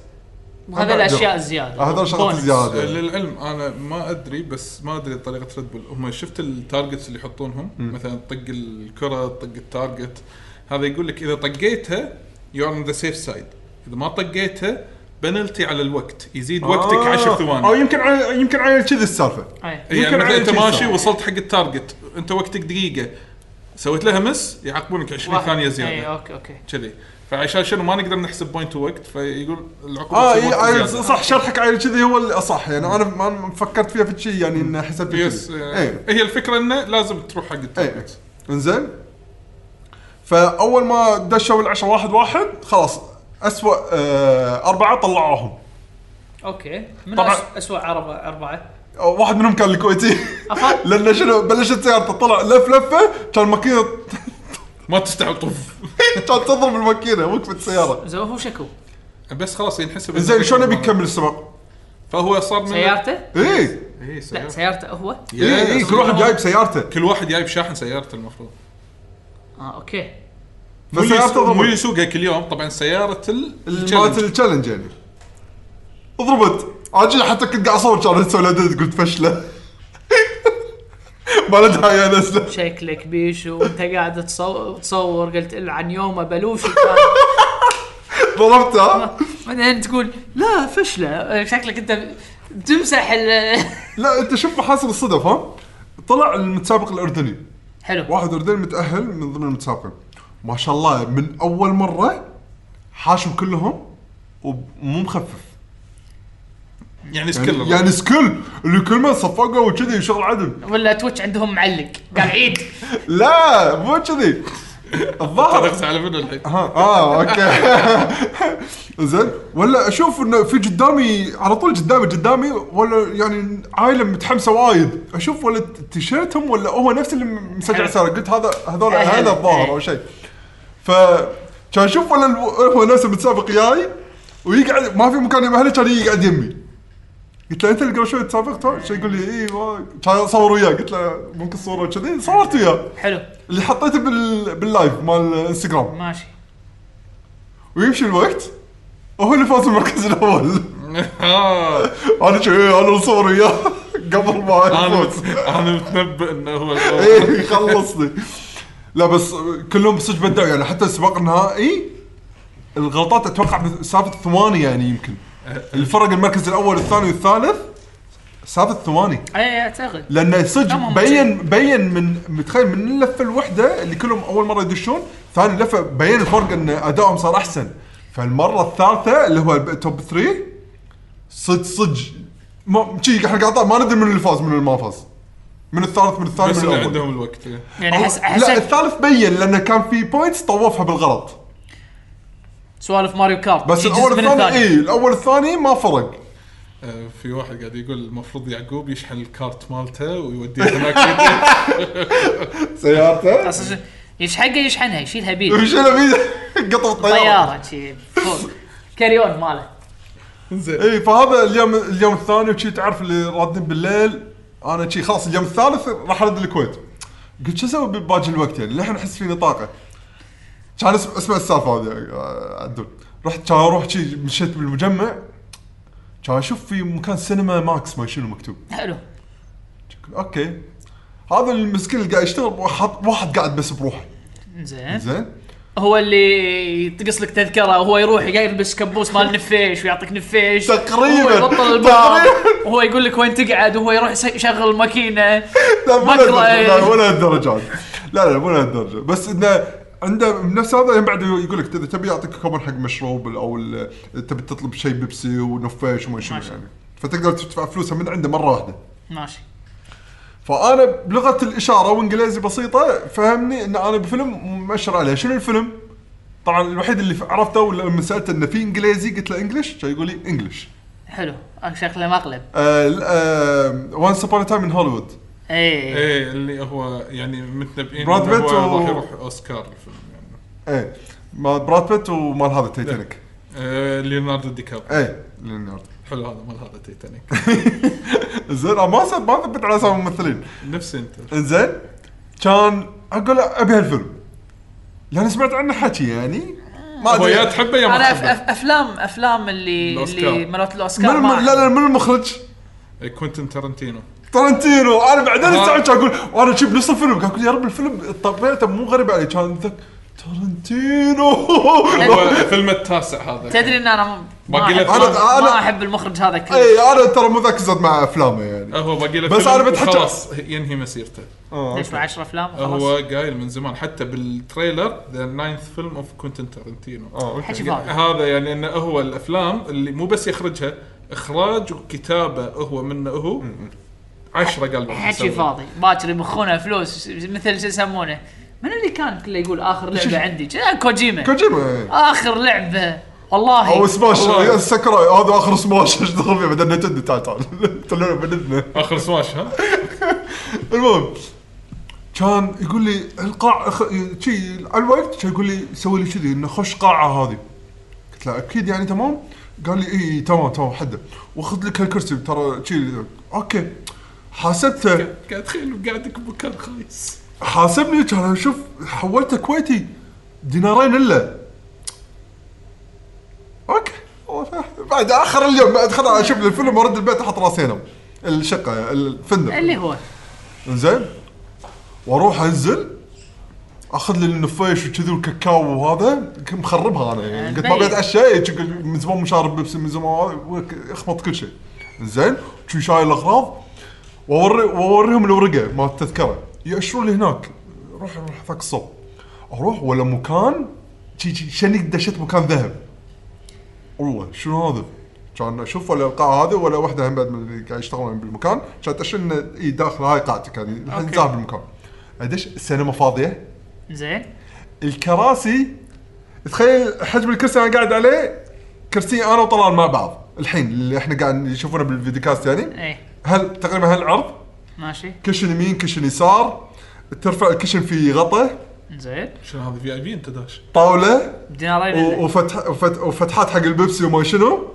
S3: وهذا
S4: أبعد.
S3: الاشياء الزياده
S4: هذول شغلات
S3: Bonus.
S4: زيادة.
S2: آه، للعلم انا ما ادري بس ما ادري طريقه ريد بول هم شفت التارجتس اللي يحطونهم مثلا طق الكره طق التارجت هذا يقول لك اذا طقيتها يو اون ذا سيف سايد اذا ما طقيتها بنلتي على الوقت يزيد وقتك 10 ثواني
S4: او آه، يمكن ع- يمكن على كذي السالفه
S3: أي.
S2: يعني
S4: يمكن
S2: مثلا
S4: على
S2: انت
S4: شي
S2: ماشي
S4: صار.
S2: وصلت حق التارجت انت وقتك دقيقه سويت لها مس يعاقبونك 20
S3: واحد. إيه،
S2: ثانيه
S3: اي
S2: زياده
S3: اوكي اوكي
S2: كذي فعشان شنو ما نقدر نحسب بوينت ووقت فيقول العقوبه
S4: اه
S2: تصير
S4: إي،
S2: وقت
S4: آه،
S2: زيادة.
S4: صح شرحك على كذي هو الاصح يعني انا ما ما فكرت فيها في شيء يعني ان حسبت
S2: يس
S4: كذي. إيه.
S2: آه،
S4: إي.
S2: هي الفكره انه لازم تروح حق
S4: اي
S2: التارجت
S4: انزين فاول ما دشوا العشرة واحد واحد خلاص اسوء آه اربعه طلعوهم
S3: اوكي من
S4: طبعاً.
S3: أس- اسوء عربه اربعه
S4: أو واحد منهم كان الكويتي
S3: أفا.
S4: لان شنو بلشت سيارته طلع لف لفه كان ماكينه
S2: ما تستعب طف
S4: كانت تضرب الماكينه وقفت السياره
S3: زين هو شكو
S2: بس خلاص ينحسب
S4: زين
S2: إنه
S4: شلون
S2: فكرة
S4: ابي اكمل السباق؟
S2: فهو صار من
S3: سيارته
S4: اي
S2: اي
S3: لا
S2: سيارته
S3: سيارته هو
S4: اي إي، إيه، كل واحد جايب سيارته
S2: كل واحد جايب شاحن سيارته المفروض
S3: اه اوكي
S2: مو اللي
S4: فسيارته
S2: يسوق- مو اللي
S4: ضربت
S2: يسوقها كل يوم طبعا سياره ال
S4: مالت التشالنج يعني ضربت عاجل حتى كنت قاعد اصور كان اسوي لها ديد، قلت فشله ما له داعي انا اسلم
S3: شكلك بيشو وانت قاعد تصور تصور قلت له عن يومه بلوشي
S4: ضربتها
S3: بعدين تقول لا فشله شكلك انت تمسح ال
S4: لا انت شوف محاصر الصدف ها طلع المتسابق الاردني
S3: حلو
S4: واحد اردني متاهل من ضمن المتسابقين ما شاء الله من اول مره حاشم كلهم ومو مخفف
S2: يعني سكيل
S4: يعني, يعني سكيل اللي كل ما صفقه وكذي شغل عدل
S3: ولا تويتش عندهم معلق قال عيد
S4: لا مو كذي الظاهر
S2: طرقت على منو الحين
S4: ها اه اوكي زين ولا اشوف انه في قدامي على طول قدامي قدامي ولا يعني عائله متحمسه وايد اشوف ولا تيشيرتهم ولا هو نفس اللي مسجل
S3: حلو.
S4: ساره قلت هذا هذول
S3: أهل.
S4: هذا الظاهر
S3: إيه.
S4: او شيء ف كان اشوف ولا الو- هو نفس المتسابق جاي ويقعد ما في مكان يم اهله كان يقعد يمي قلت له انت اللي قبل شوي تسابقت ها؟ شي يقول لي اي ما- كان اصور وياه قلت له ممكن صوره كذي صورت وياه
S3: حلو
S4: اللي حطيته بال... باللايف مال الانستغرام
S3: ماشي
S4: ويمشي الوقت وهو اللي فاز بالمركز الاول
S2: آه.
S4: انا شو إيه، انا مصور وياه قبل ما
S2: انا
S4: يفوز
S2: مت- انا متنبئ انه هو الأول.
S4: ايه خلصني لا بس كلهم صدق بدعوا يعني حتى السباق النهائي الغلطات اتوقع سالفه ثواني يعني يمكن الفرق المركز الاول والثاني والثالث سالفه ثواني
S3: اي اعتقد
S4: لان صدق
S3: تمام.
S4: بين بين من متخيل من اللفه الوحده اللي كلهم اول مره يدشون ثاني لفه بين الفرق ان ادائهم صار احسن فالمره الثالثه اللي هو التوب 3 صدق صدق ما شي احنا قاعد ما ندري من اللي فاز من اللي ما فاز من الثالث من الثاني
S2: بس
S4: من
S2: اللي
S4: الاول
S2: عندهم الوقت
S3: يعني احس
S4: لا
S3: احس
S4: الثالث بين لانه كان في بوينتس طوفها بالغلط
S3: سوالف ماريو كارت
S4: بس
S3: شي جزء
S4: الاول
S3: من
S4: الثاني إيه. اي الاول الثاني ما فرق
S2: آه، في واحد قاعد يقول المفروض يعقوب يشحن الكارت مالته ويوديه هناك
S4: سيارته
S3: أصلاً شو- يشحقها يشحنها يشيلها بيه
S4: وش اللي بيه؟ قطع الطياره
S3: طياره شي فوق كاريون ماله
S2: زين
S4: اي فهذا اليوم اليوم الثاني وشي تعرف اللي رادين بالليل انا شي خلاص اليوم الثالث راح ارد الكويت قلت شو اسوي بباقي الوقت يعني للحين احس فيني طاقه كان اسمع, اسمع السالفه هذه آه، عدول رحت كان اروح شي مشيت بالمجمع كان اشوف في مكان سينما ماكس ما شنو مكتوب
S3: حلو
S4: اوكي هذا المسكين اللي قاعد يشتغل واحد, واحد قاعد بس بروحه
S3: زين
S4: زين
S3: هو اللي يطقص لك تذكره وهو يروح يلبس كبوس مال نفيش ويعطيك نفيش
S4: تقريباً.
S3: وهو يبطل الباب
S4: تقريباً.
S3: وهو يقول لك وين تقعد وهو يروح يس- يشغل الماكينه
S4: لا مو
S3: بكرة
S4: لهالدرجة، لا
S3: إيه.
S4: مو لهالدرجات لا لا مو لهالدرجه بس انه عنده بنفس هذا يعني بعد يقول لك اذا تبي يعطيك كوبون حق مشروب او ال- تبي تطلب شيء بيبسي ونفيش وما شنو
S3: ماشي.
S4: يعني فتقدر تدفع فلوسها من عنده مره واحده
S3: ماشي
S4: فانا بلغه الاشاره وانجليزي بسيطه فهمني ان انا بفيلم مؤشر عليه شنو الفيلم؟ طبعا الوحيد اللي عرفته لما سالته انه في انجليزي قلت له انجلش كان يقول لي آه، انجلش
S3: حلو آه، شكله مقلب
S4: وانس ابون تايم من هوليوود
S3: اي
S2: ايه اللي هو يعني متنبئين
S4: براد
S2: إنه
S4: بيت
S2: هو
S4: و-
S2: راح يروح اوسكار الفيلم يعني
S4: ايه مال براد بيت ومال هذا تايتانيك
S2: آه، ليوناردو دي كاب
S4: ايه ليوناردو
S2: حلو هذا مال هذا تيتانيك
S4: زين أنا ما صد- ما ثبت على اسامي الممثلين
S2: نفسي انت
S4: انزين كان اقول له ابي هالفيلم لان سمعت عنه حكي يعني ما
S2: هو
S4: ادري
S2: يا تحبه يا
S3: انا
S2: ما
S3: أف
S2: تحبه
S3: أف افلام افلام اللي
S2: الأوسكار.
S3: اللي مالت
S4: من
S3: الاوسكار
S4: الم...
S3: ما
S4: لا لا من المخرج
S2: آه، كوينتن تارنتينو
S4: ترنتينو انا بعدين
S2: آه.
S4: استوعبت اقول وانا شي بنص الفيلم قاعد اقول يا رب الفيلم طبيعته مو غريب علي كان ذك تورنتينو
S2: هو فيلم التاسع هذا
S3: تدري ان انا م- ما
S2: باقي له
S3: أحب ما,
S4: فيلم. أنا- إيه.
S3: ما
S4: أنا-
S3: احب المخرج هذا
S4: اي
S3: كله
S4: انا ترى مو ذاك الزود مع افلامه يعني
S2: هو باقي له
S4: بس
S2: فيلم
S4: أنا بتحكى-
S2: وخلاص ينهي مسيرته
S4: آه،
S3: ليش مع 10 افلام
S2: هو
S3: وخلاص
S2: قايل من زمان حتى بالتريلر ذا ناينث فيلم اوف كوينتن تارنتينو
S4: آه، أوكي.
S3: حكي فاضي
S2: هذا يعني انه هو الافلام اللي مو بس يخرجها اخراج وكتابه هو منه هو عشرة قال بعد
S3: حكي
S2: يسوي.
S3: فاضي باكر يمخونه فلوس مثل شو يسمونه من اللي كان كله يقول اخر لعبه عندي جا- كوجيما
S4: كوجيما
S3: اخر لعبه والله
S4: او سماش
S2: والله.
S4: سكراي هذا اخر سماش ايش دخل فيه بعدين نتندو تعال تعال طلعنا من اذنه
S2: اخر سماش ها
S4: المهم كان يقول لي القاع أخ... شي على الوقت كان يقول لي سوي لي كذي انه خش قاعه هذه قلت له اكيد يعني تمام قال لي اي تمام تمام حده واخذ لك هالكرسي ترى شي اوكي حاسبته
S2: قاعد تخيل قاعدك بمكان خايس
S4: حاسبني كان اشوف حولته كويتي دينارين الا اوكي بعد اخر اليوم بعد خلاص اشوف لي الفيلم وارد البيت احط راسي انام الشقه الفندق
S3: اللي هو
S4: زين واروح انزل اخذ لي النفيش وكذي والكاكاو وهذا كنت مخربها انا يعني قلت ما
S3: بيت.
S4: بتعشى إيه، قلت من زمان مو شارب بيبسي من زمان وك- اخبط كل شيء زين شو شايل الاغراض واوري واوريهم الورقه مال التذكره ياشرون لي هناك روح روح ذاك الصوب اروح ولا مكان شي- شي- شني دشيت مكان ذهب والله شنو هذا؟ كان اشوف ولا القاعه هذه ولا واحده هم بعد من اللي قاعد يشتغلون بالمكان كانت اشوف انه اي داخل هاي قاعتك يعني الحين
S2: أوكي.
S4: زاهر بالمكان ادش السينما فاضيه
S3: زين
S4: الكراسي تخيل حجم الكرسي انا قاعد عليه كرسي انا وطلال مع بعض الحين اللي احنا قاعد نشوفونه بالفيديو كاست يعني
S3: ايه
S4: هل تقريبا هالعرض
S3: ماشي
S4: كشن يمين كشن يسار ترفع الكشن في غطا
S3: زين
S2: شنو هذا في اي بي انت داش
S4: طاوله
S3: دينارين
S4: و-
S3: إلا.
S4: وفتح وفت- وفتحات حق البيبسي وما شنو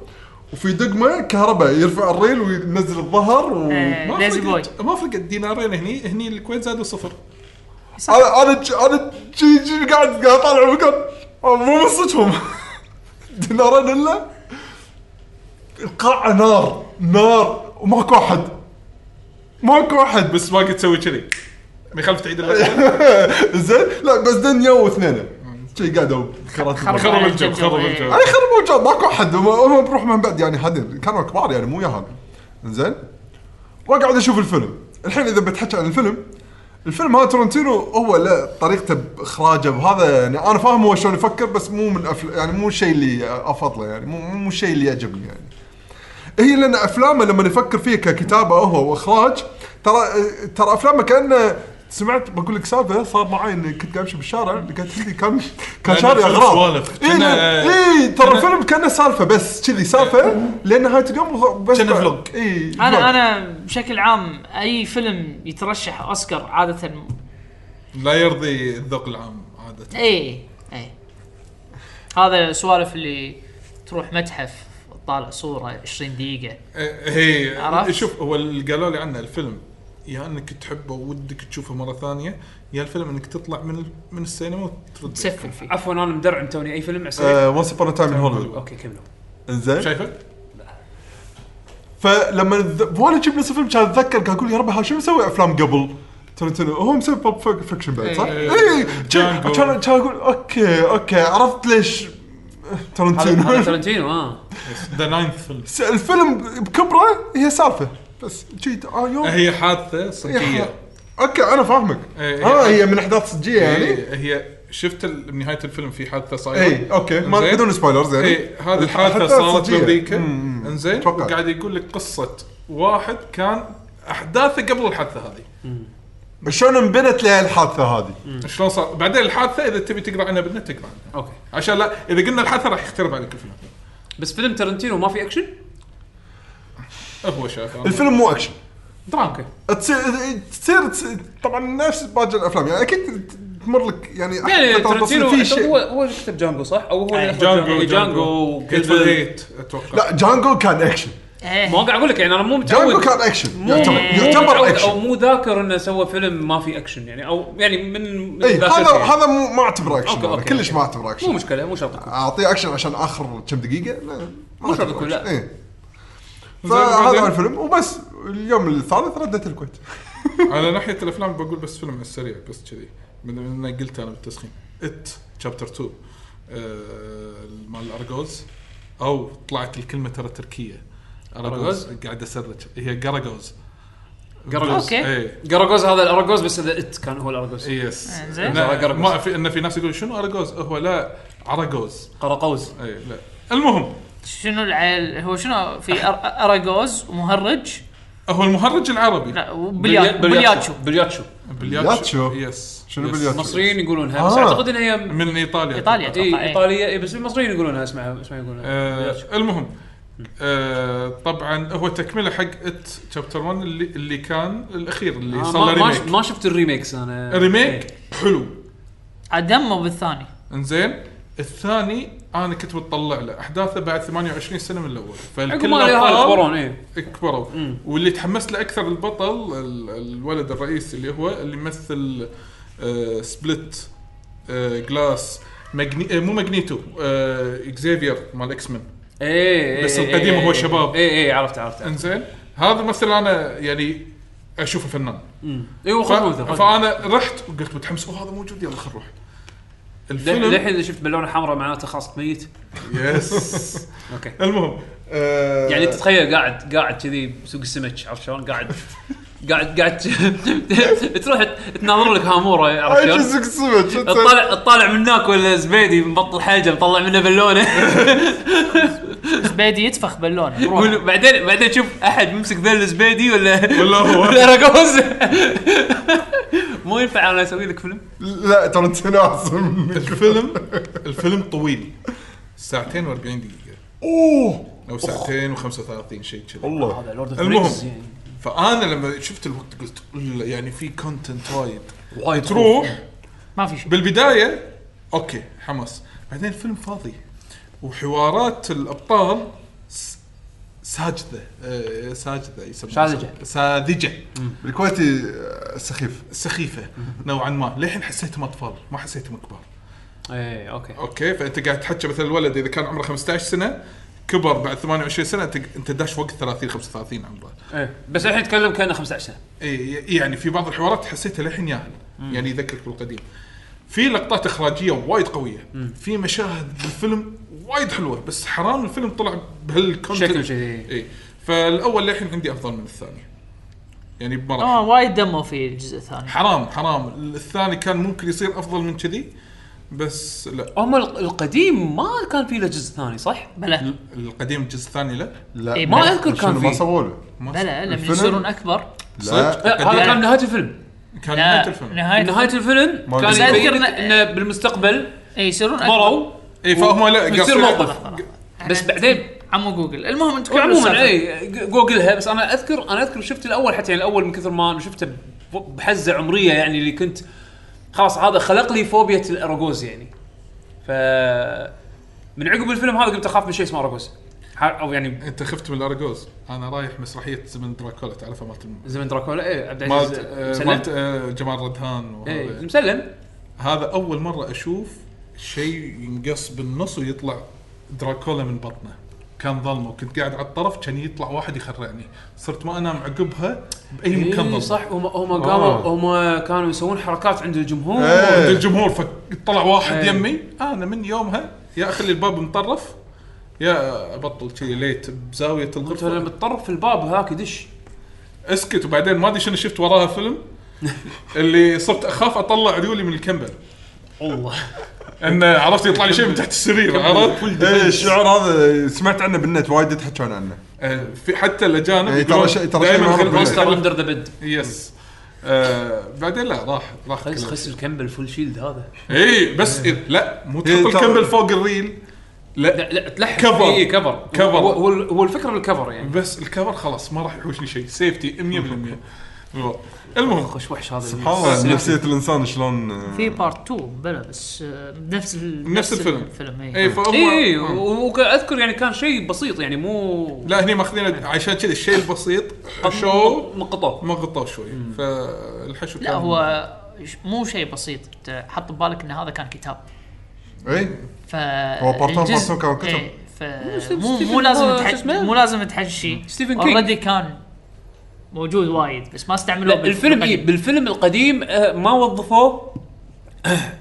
S4: وفي دقمه كهرباء يرفع الريل وينزل الظهر و...
S3: إيه.
S2: ما
S3: ليزي
S2: فرقت ما فرقت دينارين هني هني الكويت زادوا صفر
S3: صح.
S4: انا انا ج- انا جي جي قاعد قاعد اطالع المكان مو من صدفهم دينارين الا القاعه نار نار وماكو احد ماكو احد بس
S2: بس ما قد تسوي كذي ما يخالف تعيد اللعبه
S4: زين لا بس دنيا واثنين شي قاعدوا
S3: خرب
S4: خرب
S2: خرب
S3: الجو،
S2: الجو خرب
S3: إيه.
S2: الجو
S4: انا خرب موجود ماكو احد هم- هم بروح من بعد يعني هادين كانوا كبار يعني مو ياهل زين واقعد اشوف الفيلم الحين اذا بتحكي عن الفيلم الفيلم هذا تورنتينو هو لا طريقته باخراجه بهذا يعني انا فاهم هو شلون يفكر بس مو من أفل... يعني مو الشيء اللي افضله يعني مو مو الشيء اللي يعجبني يعني هي لان افلامه لما نفكر فيها ككتابه هو واخراج ترى ترى افلامه كانه سمعت بقول لك سالفه صار معي إن كنت قاعد امشي بالشارع لقيت عندي كان كان
S2: لأن
S4: شاري
S2: الفيلم
S4: اغراض
S2: سوالف.
S4: اي
S2: كنا-
S4: اي إيه، ترى
S2: كنا-
S4: الفيلم كانه سالفه بس كذي سالفه لان نهايه اليوم وخ- بس إيه،
S2: كأنه فلوج.
S4: اي
S3: انا انا بشكل عام اي فيلم يترشح اوسكار عاده
S2: لا يرضي الذوق العام عاده
S3: اي اي إيه، هذا سوالف اللي تروح متحف طالع صوره 20 دقيقه
S2: إيه، هي
S3: عرفت؟
S2: شوف هو اللي قالوا لي عنه الفيلم يا انك تحبه ودك تشوفه مره ثانيه يا الفيلم انك تطلع من ال- من السينما وترد
S3: تسفل فيه
S1: عفوا انا مدرعم توني اي فيلم عسير
S4: ونس ابون تايم ان هوليوود
S1: اوكي كملوا
S4: زين
S2: شايفه؟
S4: فلما ذ- وانا شفت نفس الفيلم كان اتذكر قاعد اقول يا ربي ها شو مسوي افلام قبل ترنتينو هو مسوي بوب فيك- فيكشن بعد صح؟
S2: إيه.
S4: اي كان
S2: جانجو.
S4: كان اقول اوكي اوكي عرفت ليش
S1: هذا هذا
S4: ترنتينو
S1: ترنتينو اه
S2: ذا ناينث فيلم
S4: س- الفيلم بكبره هي سالفه بس جيت اه يوم
S2: هي حادثه
S4: يا حيا.
S2: صجيه
S4: اوكي انا فاهمك
S2: إيه.
S4: اه هي من احداث صجيه يعني
S2: يعني هي شفت ال- بنهايه الفيلم في حادثه صايره
S4: اي اوكي ما
S2: إنزين.
S4: بدون سبويلرز يعني
S2: اي هذه الحادثه صارت بامريكا انزين
S4: أتوقع.
S2: قاعد يقول لك قصه واحد كان احداثه قبل الحادثه هذه
S4: شلون انبنت لها الحادثه هذه
S2: شلون صار بعدين الحادثه اذا تبي تقرا عنها بالنت تقرا عنها
S1: اوكي
S2: عشان لا اذا قلنا الحادثه راح يختلف عليك الفيلم
S1: بس فيلم ترنتينو ما في اكشن؟
S2: هو شاف
S4: الفيلم مو اكشن
S3: نعم.
S1: اوكي
S4: تصير تصير تصير- طبعا نفس باقي الافلام يعني اكيد تمر لك يعني
S1: يعني
S4: أحداث
S1: ترنتينو
S4: في
S1: هو
S4: شيء
S1: هو اللي كتب جانجو صح؟ او هو اللي أخرج
S2: جانجو
S1: إيه، جانجو إيه.
S2: جيتفول
S1: وكذا.
S2: هيت اتوقع
S4: لا جانجو كان اكشن
S3: إيه.
S1: ما قاعد اقول لك يعني انا مو متعود
S4: جانجو كان اكشن
S1: مو
S4: يعتبر
S1: مو
S4: يعتبر
S1: متعود او
S4: اكشن
S1: مو ذاكر انه سوى فيلم ما في اكشن يعني او يعني من من
S4: اي إيه، هذا
S1: ذاكرتي يعني.
S4: هذا مو ما اعتبره اكشن
S1: أوكي،
S4: أنا
S1: أوكي،
S4: كلش
S1: أوكي.
S4: ما اعتبره
S1: مو
S4: اكشن
S1: مشكله مو شرط أكون.
S4: اعطيه اكشن عشان اخر كم دقيقه لا ما
S1: مو شرط
S4: أعتبره
S1: يكون،
S4: أكشن.
S1: لا.
S4: إيه.
S2: زين،
S4: فهذا
S2: وبعدين؟
S4: هو الفيلم وبس اليوم الثالث ردت الكويت
S2: على ناحيه الافلام بقول بس فيلم على السريع بس كذي من من- من قلت انا بالتسخين ات شابتر 2 آه، مال الارجوز او طلعت الكلمه ترى تركيه
S1: أرجوز؟
S2: ارجوز قاعد اسرج هي إيه. قراجوز
S1: قراجوز.
S3: أوكي.
S2: اي
S1: قرقوز هذا الاراجوز بس هذا ات كان هو إيه. الاراجوز
S2: يس
S3: آه، زين.
S2: لا،
S1: قراجوز.
S2: ما في ان في ناس يقولون شنو ارجوز هو لا عرجوز
S1: قرقوز
S2: اي لا المهم
S3: شنو العيل هو شنو في أر- اراجوز ومهرج
S2: هو المهرج العربي
S3: لا وبليا- بلياتشو
S1: بلياتشو
S4: بلياتشو.
S2: يس
S4: شنو
S2: يس.
S4: بلياتشو؟
S1: المصريين يقولونها
S4: آه.
S1: بس اعتقد ان هي م-
S2: من ايطاليا
S3: ايطاليا
S1: إي،
S3: اتوقع إيه.
S1: ايطاليه إي، بس المصريين يقولونها اسمها اسمها يقولونها بلياتشو.
S2: آه المهم آه طبعا هو تكمله حق ات شابتر 1 اللي, اللي كان الاخير اللي
S1: آه،
S2: صار له
S1: ما- ما ش-
S2: ريميك
S1: ما شفت الريميكس إيه. انا
S2: ريميك حلو
S3: عدموا بالثاني
S2: انزين الثاني انا كنت متطلع له احداثه بعد 28 سنه من الاول
S1: عقب
S2: فالكل
S1: ما إيه.
S2: طار-
S1: يكبرون اي
S2: كبروا واللي تحمست له اكثر البطل ال- الولد الرئيسي اللي هو اللي يمثل آه سبلت آه جلاس مجني... آه مو ماجنيتو آه اكزيفير مال اكس مان
S1: اي
S2: بس القديم
S1: إيه،
S2: هو شباب.
S1: اي اي عرفت عرفت عرفت.
S2: انزين هذا مثل انا يعني اشوفه فنان
S1: اي إيه، هو
S2: ف...
S1: خربوثه خربوثة.
S2: فانا رحت وقلت متحمس اوه هذا موجود يلا خل نروح
S1: للحين
S2: الفيلم
S1: للحين اذا شفت باللون حمراء معناته خلاص ميت
S2: يس
S1: اوكي
S2: المهم آه،
S1: يعني تتخيل قاعد قاعد كذي بسوق السمك عرفت شلون قاعد قاعد قاعد تروح تناظر لك هاموره عرفت
S4: عايش
S1: شلون
S4: زق سمك شو تسوي؟
S1: تطالع تطالع منك ولا زبيدي مبطل حاجه مطلع منه بالونه
S3: زبيدي يتفخ باللون روح.
S1: يقول بعدين بعدين تشوف احد ممسك ذل زبيدي ولا
S2: ولا هو
S1: ولا رقوز مو ينفع انا اسوي لك فيلم
S4: لا ترى انت ناصم
S2: الفيلم الفيلم طويل ساعتين و40 دقيقه
S4: اوه
S2: او ساعتين و35 شيء كذا
S4: والله
S1: لورد
S2: المهم. Rings يعني. فانا لما شفت الوقت قلت "لا، يعني في كونتنت وايد
S1: وايد
S2: تروح
S3: ما في شيء
S2: بالبدايه اوكي حماس بعدين الفيلم فاضي وحوارات الابطال س- ساجده آه، ساجده يسمونها
S1: ساذجة.
S2: ساذجه
S4: بالكويتي آه، سخيف
S2: سخيفه نوعا ما للحين حسيتهم اطفال ما حسيتهم كبار
S1: اي اوكي
S2: اوكي فانت قاعد تحكي مثلا الولد اذا كان عمره 15 سنه كبر بعد 28 سنه انت انت داش وقت 30 35 عمره
S1: إيه. بس الحين يتكلم كانه 15 سنه
S2: اي يعني في بعض الحوارات حسيتها للحين ياهل يعني يذكرك بالقديم في لقطات اخراجيه وايد قويه في مشاهد بالفيلم وايد حلوه بس حرام الفيلم طلع بهالكونتنت
S1: شكله كذي.
S2: اي فالاول للحين عندي افضل من الثاني يعني بمراحل
S3: اه وايد دموا في الجزء الثاني
S2: حرام حرام الثاني كان ممكن يصير افضل من كذي بس لا
S1: هم ال- القديم ما كان فيه له جزء ثاني صح؟
S3: بلا
S2: القديم الجزء الثاني لا
S4: لا
S3: إيه،
S1: ما اذكر
S4: شنو
S1: كان
S4: ما
S1: فيه
S4: سووا له
S2: ما
S3: بلا لما
S4: الفيلم-
S3: يصيرون اكبر
S4: لا
S1: لا، هذا كان نهايه الفيلم
S2: كان
S3: لا
S2: نهايه الفيلم
S3: نهايه
S1: نهايه الفيلم
S4: ما
S1: كان
S4: بس
S1: يبين
S3: أذكر
S1: لك
S3: إن-
S1: انه بالمستقبل
S3: اي إيه، يصيرون اكبر
S1: مروا
S2: اي فهم إيه، لا
S1: يصير
S2: قاصدين-
S1: موقف بس بعدين
S3: عمو جوجل المهم انت
S1: عموما اي جوجلها بس انا اذكر انا اذكر شفت الاول حتى يعني الاول من كثر ما انا شفته ب- بحزه عمريه يعني اللي كنت خلاص هذا خلق لي فوبيا الاراجوز يعني ف من عقب الفيلم هذا قمت اخاف من شيء اسمه اراجوز ح- او يعني
S2: انت خفت من الاراجوز انا رايح مسرحيه زمن دراكولا تعرفها مالت الم-
S1: زمن دراكولا اي عبد
S2: مالت
S1: العزيز
S2: آه،
S1: إيه، مسلم إيه،
S2: مالت آه، جمال ردهان
S1: اي
S2: وهذا.
S1: مسلم
S2: هذا اول مره اشوف شيء ينقص بالنص ويطلع دراكولا من بطنه كان ظلمه وكنت قاعد على الطرف كان يطلع واحد يخرعني صرت ما انام عقبها باي مكان ظلمه
S1: إي إيه، صح هم هم قاموا
S2: آه.
S1: هم كانوا يسوون حركات عند الجمهور
S4: إيه.
S2: عند آه، الجمهور فطلع واحد
S1: إيه.
S2: يمي انا من يومها يا اخلي الباب مطرف يا ابطل كذي ليت بزاويه
S1: قلت لما
S2: الغرفه
S1: تطرف الباب هاك يدش
S2: اسكت وبعدين ما ادري شنو شفت وراها فيلم اللي صرت اخاف اطلع عيوني من الكمبل
S1: الله
S2: انه عرفت يطلع لي شيء من تحت السرير عرفت
S4: إيه، الشعور هذا سمعت عنه بالنت وايد يتحكون عنه
S2: آه، في حتى الاجانب
S4: إيه، ترى شيء- ترى شيء
S2: دائما
S4: معروف
S1: مونستر
S2: خلف
S1: اندر ذا بيد
S2: يس آه بعدين لا راح راح
S1: خس
S2: كله.
S1: خس الكمبل فول شيلد هذا
S2: اي بس إيه، لا مو
S4: إيه،
S2: تحط
S4: ترى-
S2: الكمبل فوق الريل لا
S1: لا لا تلحق
S2: كفر.
S1: اي كفر
S2: كفر.
S1: هو- هو هو الفكره بالكفر يعني
S2: بس الكفر خلاص ما راح يحوشني شيء سيفتي 100% بالضبط. المهم
S1: خش وحش هذا
S4: سبحان الله نفسيه الانسان شلون آه،
S3: في بارت 2 بلا بس آه، بنفس ال-
S2: نفس الفيلم.
S3: الفيلم إيه.
S2: اي
S3: اي
S2: فهم
S1: اي
S2: آه.
S1: واذكر يعني كان شيء بسيط يعني مو
S2: لا هني ماخذين عشان كذا الشيء البسيط شو
S1: نقطه
S2: ما غطوه شوي فالحشو
S3: لا
S2: كان-
S3: هو ش- مو شيء بسيط أنت حط ببالك ان هذا كان كتاب
S4: اي
S3: ف إيه،
S4: هو بارت 1 بارت 2 كانوا كتب.
S3: ف
S1: ستيفن-
S3: مو مو
S1: ستيفن
S3: لازم
S1: هو شو
S3: تح-
S1: اسمه؟
S3: مو لازم تحشي
S1: ستيفن كينج.
S3: اوريدي كان موجود وايد بس ما استعملوه
S1: لا، إيه، الفيلم اي
S3: بالقديم.
S1: بالفيلم القديم آه، ما وظفوه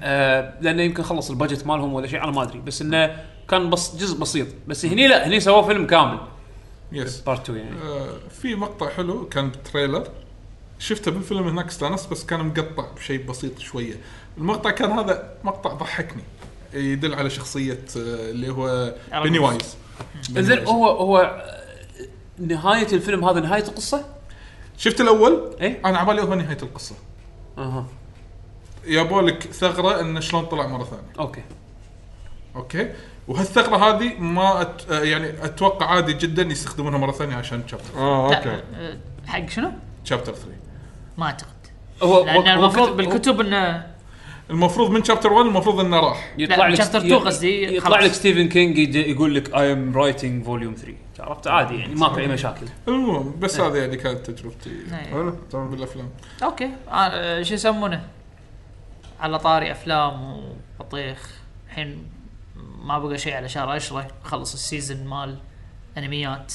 S1: آه، لانه يمكن خلص البادجت مالهم ولا شيء انا ما ادري بس انه كان بس جزء بسيط بس هني لا هني سووه فيلم كامل
S2: يس
S1: بارت 2 يعني
S2: آه، في مقطع حلو كان بتريلر شفته بالفيلم هناك استانست بس كان مقطع بشيء بسيط شويه المقطع كان هذا مقطع ضحكني يدل على شخصيه آه، اللي هو
S3: أرنولد.
S2: بيني وايز
S1: زين هو هو آه، نهايه الفيلم هذا نهايه القصه؟
S2: شفت الاول
S1: ايه
S2: انا عبالي هو نهايه القصه
S1: اها
S2: يابوا لك ثغره انه شلون طلع مره ثانيه
S1: اوكي
S2: اوكي وهالثغره هذه ما أت... آه، يعني اتوقع عادي جدا يستخدمونها مره ثانيه عشان شابتر
S4: اه
S3: لا،
S4: اوكي
S3: آه، حق شنو؟
S2: شابتر 3
S3: ما اعتقد
S1: هو
S3: لان
S1: هو- هو
S3: المفروض
S1: كتب-
S3: بالكتب انه
S2: المفروض من شابتر 1 المفروض انه راح
S1: يطلع
S3: لا،
S1: لك
S3: chapter two قصدي،
S1: يطلع
S3: خلاص.
S1: لك ستيفن كينج يجي- يقول لك اي ام رايتنج فوليوم 3 عرفت عادي يعني ماكو اي مشاكل
S2: المهم بس
S3: نعم.
S2: هذه يعني كانت تجربتي
S3: إيه.
S4: حلو تمام
S2: بالافلام
S3: اوكي آه، شو يسمونه؟ على طاري افلام وبطيخ الحين ما بقى شيء على شهر 10 خلص السيزن مال انميات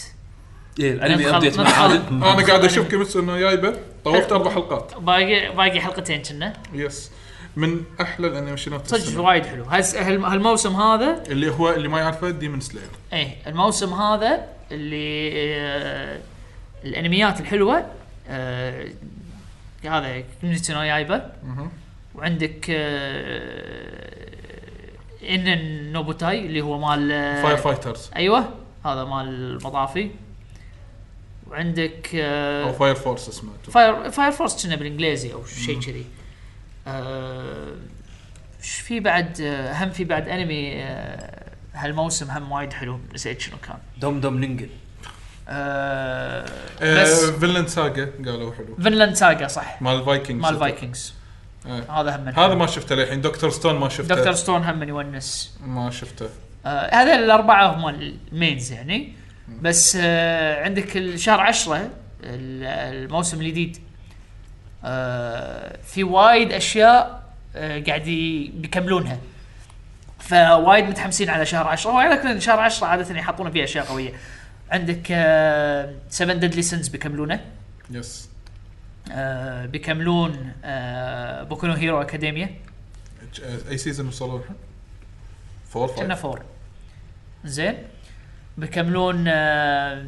S1: ايه الانمي
S3: ندخل-
S1: ابديت مع
S3: ندخل-
S1: عادل
S2: انا
S3: يعني
S2: قاعد اشوف كيميتسو انه جايبه طوفت اربع حلقات
S3: باقي باقي حلقتين كنا
S2: يس من احلى الانيميشنات
S3: صدق
S2: السنة.
S3: وايد حلو هالس- هال- هالموسم هذا
S2: اللي هو اللي ما يعرفه ديمون سلاير
S3: ايه الموسم هذا اللي آه الانميات الحلوه آه هذا كوميونتي نو يايبا وعندك آه ان نوبوتاي اللي هو مال آه،
S2: فاير فايترز
S3: ايوه هذا مال المطافي وعندك
S2: او
S3: آه
S2: فاير فورس اسمه
S3: فاير فاير فورس كنا بالانجليزي او شيء كذي آه، ايش في بعد آه، هم في بعد انمي آه، هالموسم هم وايد حلو نسيت شنو كان
S1: دم دم لينجل
S3: آه، بس
S2: آه فيلن ساجا قالوا حلو
S3: فينلاند ساجا صح
S2: مال الفايكنجز
S3: مال فايكنجز
S2: إيه.
S3: هذا هم
S2: هذا ما شفته للحين دكتور ستون ما شفته
S3: دكتور ستون هم من يونس
S2: ما شفته
S3: آه، هذول الاربعه هم المينز يعني بس آه عندك الشهر 10 الموسم الجديد آه في وايد اشياء آه قاعد ي- يكملونها فوايد متحمسين على شهر 10 ولكن شهر 10 عاده يحطون فيه اشياء قويه عندك آه، 7 ديدلي سنز بيكملونه
S2: يس
S3: آه بيكملون آه بوكونو هيرو اكاديميا
S2: ج- آه، اي سيزون وصلوا الحين؟ فور
S3: كنا
S2: فايف
S3: فور زين بيكملون آه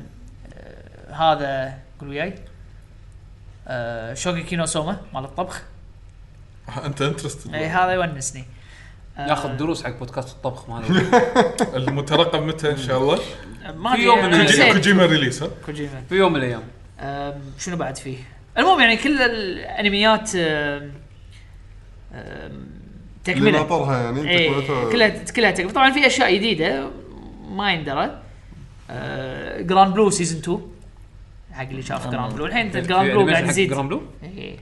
S3: آه هذا قول وياي آه شوكي كينو سوما مال الطبخ
S2: انت انترستد
S3: اي هذا يونسني آه،
S1: ياخذ دروس حق بودكاست الطبخ ماله
S2: المترقب متى ان شاء الله
S3: ما
S1: في
S3: أدري،
S1: يوم
S3: أنا
S1: من الأيام.
S2: كوجي-
S3: نسيت.
S2: كوجيما ريليس ها
S3: كوجيما
S1: في يوم من الايام
S3: آم، شنو بعد فيه المهم يعني كل الانميات آم، آم،
S4: اللي
S3: تكمله
S4: ناطرها يعني
S3: ايه
S1: إيه.
S4: تكملتها-
S3: كلها كلها تكمله طبعا في اشياء جديده ما يندرى آه جراند بلو سيزون 2 حق اللي شاف جراند بلو الحين جراند بلو قاعد يزيد
S1: جرام بلو
S3: ايه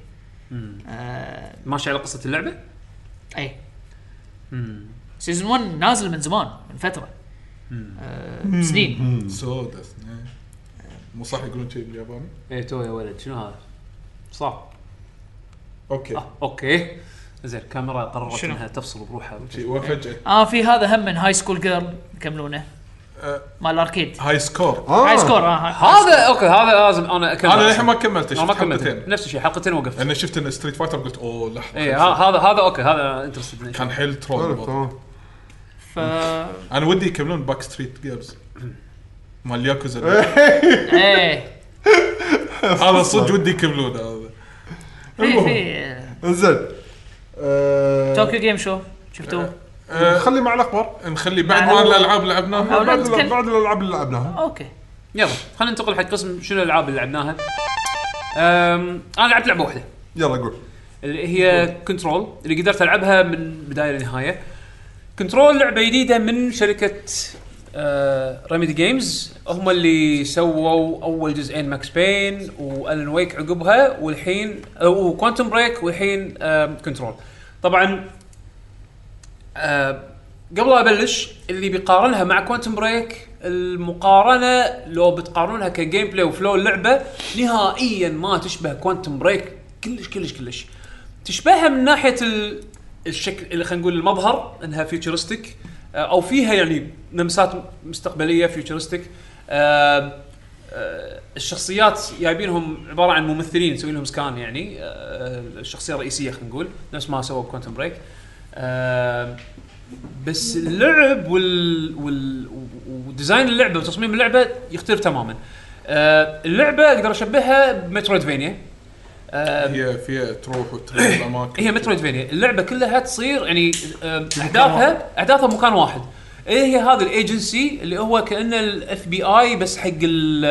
S1: مم.
S3: آه
S1: ماشي على قصه اللعبه
S3: ايه
S1: مم.
S3: سيزون 1 نازل من زمان من فتره آه سنين
S2: سودا اثنين. مو صح يقولون شيء بالياباني
S1: ايه تو يا ولد شنو هذا؟ صعب
S2: اوكي
S1: آه، اوكي زين الكاميرا قررت
S3: شنو؟
S1: انها تفصل بروحها
S2: شيء وفجاه
S3: اه في هذا هم من هاي سكول جيرل يكملونه
S2: آه،
S3: مال الاركيد
S2: هاي سكور
S4: آه.
S3: هاي سكور اه هاي-
S1: هذا اوكي هذا لازم انا اكمل
S2: انا للحين ما كملت
S1: أنا
S2: شفت
S1: ما كملت
S2: حلقتين
S1: نفس الشيء حلقتين وقفت
S2: انا شفت ان ستريت فايتر قلت اوه لحظه
S1: اي هذا هذا اوكي هذا انترستد
S2: كان حيل ترول
S4: حلو،
S2: برضه.
S4: تمام
S3: ف
S2: انا ودي يكملون باك ستريت جيرز مال ياكوزا
S3: ايه
S2: هذا صدق ودي يكملون هذا
S3: في في
S4: انزين آه،
S3: طوكيو جيم شو شفتوه؟
S2: آه،
S4: خلي مع الاخبار
S2: نخلي بعد
S1: يعني
S3: بعد
S2: ما
S3: أول-
S2: الالعاب
S3: أول-
S2: لعبناها
S4: بعد
S3: نتكلم.
S4: الألعاب- بعد الالعاب اللي لعبناها
S3: اوكي
S1: يلا خلينا ننتقل حق قسم شنو الالعاب اللي لعبناها أم، انا لعبت لعبه واحده
S4: يلا قول
S1: اللي هي كنترول اللي قدرت العبها من بدايه لنهايه كنترول لعبه جديده من شركه ريميدي جيمز هم اللي سووا اول جزئين ماكس بين والن ويك عقبها والحين وكوانتم بريك والحين كنترول طبعا آه، قبل لا ابلش اللي بيقارنها مع كوانتم بريك المقارنه لو بتقارنها كجيم بلاي وفلو اللعبه نهائيا ما تشبه كوانتم بريك كلش كلش كلش تشبهها من ناحيه ال- الشكل اللي خلينا نقول المظهر انها فيوتشرستيك او فيها يعني لمسات آه، مستقبليه فيوتشرستيك آه، الشخصيات جايبينهم عباره عن ممثلين مسوي لهم سكان يعني آه، الشخصيه الرئيسيه خلينا نقول نفس ما سووا كوانتم بريك آم، آه، بس اللعب وال وال وديزاين اللعبه وتصميم اللعبه يختلف تماما. آه، اللعبه اقدر اشبهها بمترويدفينيا. آه،
S2: هي فيها تروح وتروح الاماكن
S1: إيه. هي مترويدفينيا اللعبه كلها تصير يعني آم، احداثها احداثها بمكان واحد إيه هي هذه الايجنسي اللي هو كانه الاف بي اي بس حق ال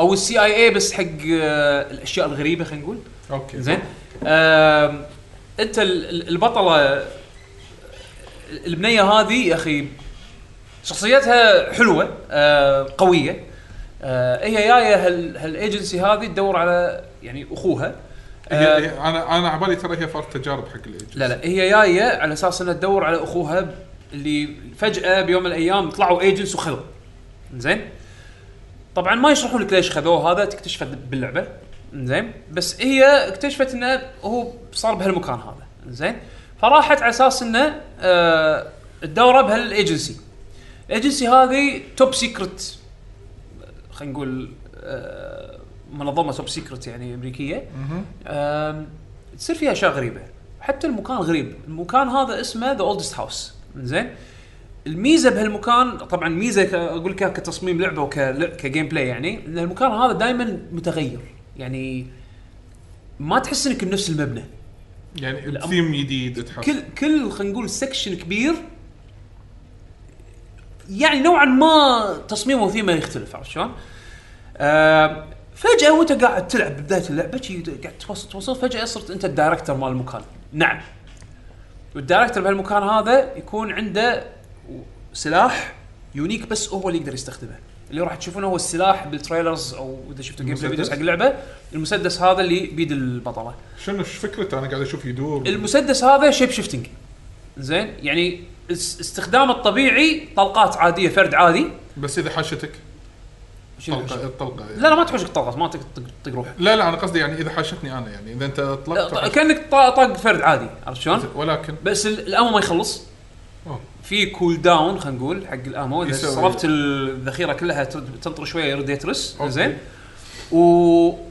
S1: او السي اي اي بس حق آه، الاشياء الغريبه خلينا نقول
S2: اوكي
S1: زين آم، انت ال- ال- البطله البنيه هذه يا اخي شخصيتها حلوه آه، قويه آه، هي جايه هال- هالايجنسي هذه تدور على يعني اخوها آه،
S2: هي هي- انا انا على بالي ترى هي فرق تجارب حق الايجنسي
S1: لا لا هي جايه على اساس انها تدور على اخوها اللي فجاه بيوم من الايام طلعوا ايجنس وخذوا زين طبعا ما يشرحون لك ليش خذوه هذا تكتشفه باللعبه زين بس هي اكتشفت انه هو صار بهالمكان هذا زين فراحت على اساس انه آه، تدوره بهالايجنسي الايجنسي هذه توب سيكرت خلينا نقول آه، منظمه توب سيكرت يعني امريكيه آم، تصير فيها اشياء غريبه حتى المكان غريب المكان هذا اسمه ذا اولدست هاوس زين الميزه بهالمكان طبعا ميزه ك- اقول لك إياها كتصميم لعبه وكجيم بلاي يعني ان المكان هذا دائما متغير يعني ما تحس انك بنفس المبنى
S2: يعني
S1: الأم-
S2: بثيم جديد تحس
S1: كل كل خلينا نقول سكشن كبير يعني نوعا ما تصميمه وثيمه يختلف عرفت شلون؟ آم، فجاه وانت قاعد تلعب بدايه اللعبه شي قاعد توصل توصل فجاه صرت انت الدايركتر مال المكان نعم والدايركتر بهالمكان هذا يكون عنده سلاح يونيك بس هو اللي يقدر يستخدمه اللي راح تشوفونه هو السلاح بالتريلرز او اذا شفتوا جيم بلاي فيديوز
S2: المسدس؟
S1: حق اللعبه المسدس هذا اللي بيد البطله
S2: شنو ايش فكرته انا قاعد اشوف يدور
S1: المسدس هذا شيب شيفتنج زين يعني اس- استخدامه الطبيعي طلقات عاديه فرد عادي
S2: بس اذا حاشتك
S1: شنو
S2: طلقه
S1: الحشو؟
S2: الطلقه يعني.
S1: لا لا ما تحوشك طلقات ما تق- تق- تطق روحك
S2: لا لا انا قصدي يعني اذا حاشتني انا يعني اذا انت
S1: لا، ط-
S2: اطلقت
S1: كانك طا- طاق فرد عادي عرفت شلون؟
S2: ولكن
S1: بس ال- الامو ما يخلص
S2: أوه.
S1: في كول داون خلينا نقول حق الامو اذا
S2: يسوي.
S1: صرفت الذخيره كلها ت- تنطر شويه يرد يترس
S2: أوكي.
S1: زين و...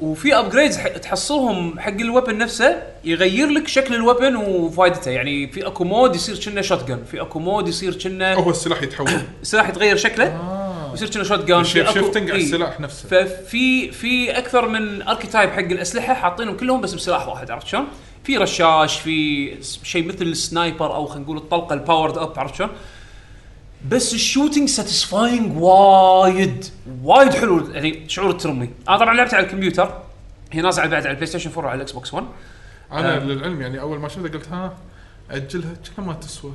S1: وفي ابجريدز ح... تحصلهم حق الوبن نفسه يغير لك شكل الوبن وفائدته يعني في اكو مود يصير كنا شوت جن في اكو مود يصير كنا
S2: هو السلاح يتحول
S1: السلاح يتغير شكله
S2: اه
S1: يصير كنا شوت جان
S2: الشيب شيفتنج على
S1: إي.
S2: السلاح نفسه
S1: ففي في اكثر من اركيتايب حق الاسلحه حاطينهم كلهم بس بسلاح واحد عرفت شلون؟ في رشاش في س- شيء مثل السنايبر او خلينا نقول الطلقه الباورد اب عرفت شلون؟ بس الشوتنج ساتيسفاينج وايد وايد حلو يعني شعور الترمي انا طبعا لعبت على الكمبيوتر هي نازله بعد على البلاي ستيشن 4 وعلى الاكس بوكس 1
S2: انا
S1: آه.
S2: للعلم يعني اول ما شفته قلت ها اجلها كم ما تسوى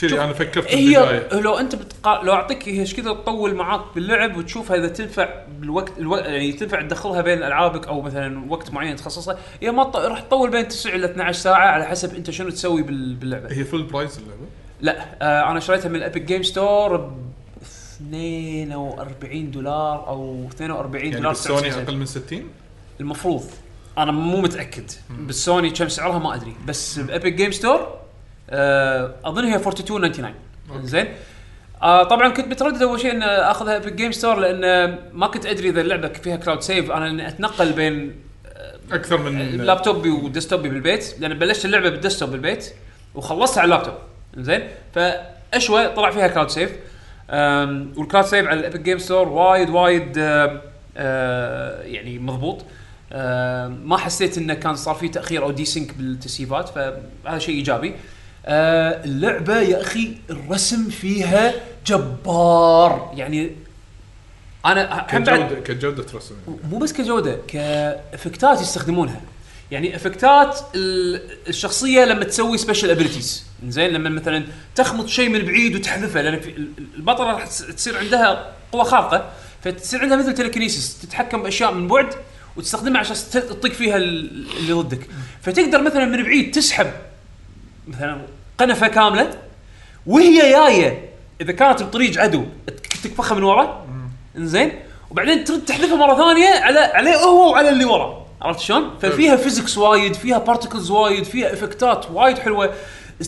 S2: كذي انا فكرت
S1: هي
S2: بالبدايه
S1: لو انت بتقا... لو اعطيك هي ايش كذا تطول معاك باللعب وتشوفها اذا تنفع بالوقت الو... يعني تنفع تدخلها بين العابك او مثلا وقت معين تخصصه هي ما ط... راح تطول بين 9 الى 12 ساعه على حسب انت شنو تسوي بال... باللعبه
S2: هي فول برايز اللعبه
S1: لا آه انا شريتها من الابيك جيم ستور ب 42 دولار او 42
S2: يعني
S1: دولار
S2: بالسوني
S1: 99.
S2: اقل من 60
S1: المفروض انا مو متاكد بالسوني كم سعرها ما ادري بس بابيك جيم ستور آه اظن هي 42.99
S2: أوكي.
S1: زين آه طبعا كنت متردد اول شيء ان اخذها ابيك جيم ستور لان آه، ما كنت ادري اذا اللعبه فيها كلاود سيف انا إني اتنقل بين
S2: اكثر من آه،
S1: لابتوبي وديسكتوبي بالبيت لان بلشت اللعبه بالديسكتوب بالبيت وخلصتها على اللابتوب زين فاشوى طلع فيها كلاود سيف أم، والكلاود سيف على الابيك جيم ستور وايد وايد أم، أه، يعني مضبوط أم، ما حسيت انه كان صار في تاخير او ديسync بالتسييفات فهذا شيء ايجابي أه، اللعبه يا اخي الرسم فيها جبار يعني انا أحب أعد-
S2: كجوده كجوده رسم يعني.
S1: مو بس كجوده كافكتات يستخدمونها يعني افكتات ال- الشخصيه لما تسوي سبيشل ابيلتيز زين لما مثلا تخمط شيء من بعيد وتحذفه لان في- ال- البطله راح تس- تصير عندها قوه خارقه فتصير عندها مثل تلكنيسيس تتحكم باشياء من بعد وتستخدمها عشان ت- تطق فيها ال- اللي ضدك فتقدر مثلا من بعيد تسحب مثلا قنفه كامله وهي جايه اذا كانت بطريق عدو تك- تكفخها من ورا انزين وبعدين ترد تحذفها مره ثانيه على عليه هو وعلى اللي ورا عرفت شلون؟ ففيها فيزكس وايد فيها بارتكلز وايد فيها افكتات وايد حلوه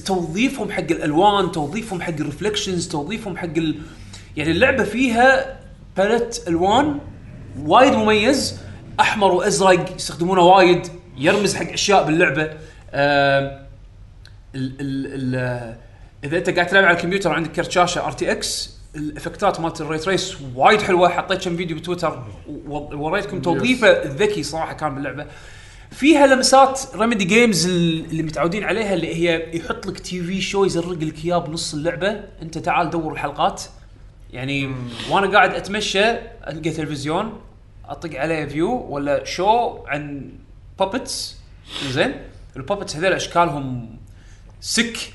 S1: توظيفهم حق الالوان توظيفهم حق الرفلكشنز توظيفهم حق ال... يعني اللعبه فيها باليت الوان وايد مميز احمر وازرق يستخدمونه وايد يرمز حق اشياء باللعبه آم، ال ال ال اذا انت قاعد تلعب على الكمبيوتر وعندك كرت شاشه ار تي اكس الافكتات مالت الري تريس وايد حلوه حطيت كم فيديو بتويتر و- وريتكم توظيفه ذكي صراحه كان باللعبه فيها لمسات ريميدي جيمز اللي متعودين عليها اللي هي يحط لك تي في شو يزرق لك اياه بنص اللعبه انت تعال دور الحلقات يعني وانا قاعد اتمشى القى تلفزيون اطق عليه فيو ولا شو عن بابتس زين البابتس هذول اشكالهم سك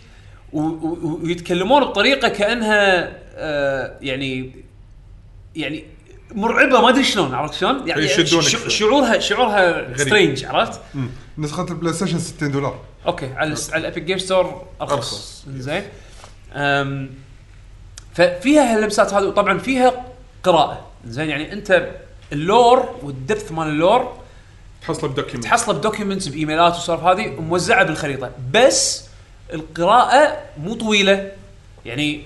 S1: و- و- ويتكلمون بطريقه كانها آه يعني يعني مرعبه ما ادري شلون عرفت شلون؟ يعني
S2: يشدونك
S1: ش-
S2: شوي.
S1: شعورها شعورها
S2: غريب.
S1: سترينج عرفت؟
S4: نسخه البلاي ستيشن 60 دولار
S1: اوكي على الس- على الابيك جيم ستور ارخص
S2: أرخص.
S1: زين أم، ففيها هاللمسات هذه وطبعا فيها قراءه زين يعني انت اللور والدبث مال اللور
S2: تحصله بدوكيمنت
S1: تحصله بدوكيومنتس بايميلات والسوالف هذه موزعه بالخريطه بس القراءه مو طويله يعني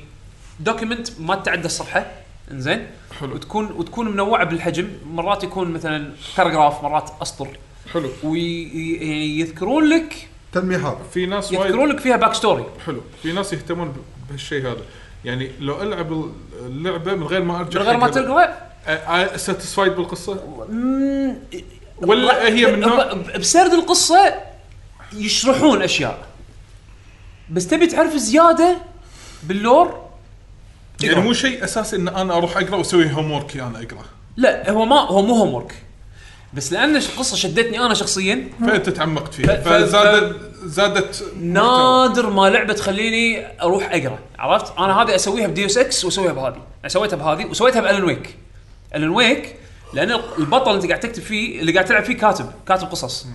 S1: دوكيمنت ما تتعدى الصفحه انزين
S2: حلو.
S1: وتكون وتكون منوعه بالحجم مرات يكون مثلا باراجراف مرات اسطر
S2: حلو
S1: ويذكرون لك
S4: تلميحات
S2: في ناس وايد
S1: يذكرون لك فيها باك ستوري
S2: حلو في ناس يهتمون ب- بهالشيء هذا يعني لو العب ال- اللعبه من غير ما ارجع
S1: من غير ما تقرا
S2: آه، ساتيسفايد بالقصه
S1: مم،
S2: ولا هي من نوع
S1: ب- بسرد القصه يشرحون اشياء بس تبي تعرف زياده باللور
S2: يعني مو شيء اساسي ان انا اروح اقرا واسوي هوم ورك انا اقرا
S1: لا هو ما هو مو هوم ورك بس لان القصه شدتني انا شخصيا
S2: فانت تعمقت فيها
S1: ف- ف-
S2: فزادت زادت محتوى.
S1: نادر ما لعبه تخليني اروح اقرا عرفت انا هذه اسويها بديوس اكس واسويها بهذه سويتها بهذه وسويتها بالن ويك الن ويك لان البطل انت قاعد تكتب فيه اللي قاعد تلعب فيه كاتب كاتب قصص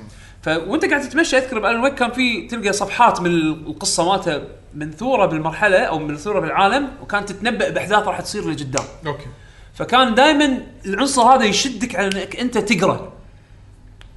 S1: ف وانت قاعد تتمشى اذكر بالن ويك كان في تلقى صفحات من القصه مالته منثوره بالمرحله او منثوره بالعالم وكانت تتنبأ باحداث راح تصير لقدام
S2: اوكي
S1: فكان دائما العنصر هذا يشدك على انك انت تقرا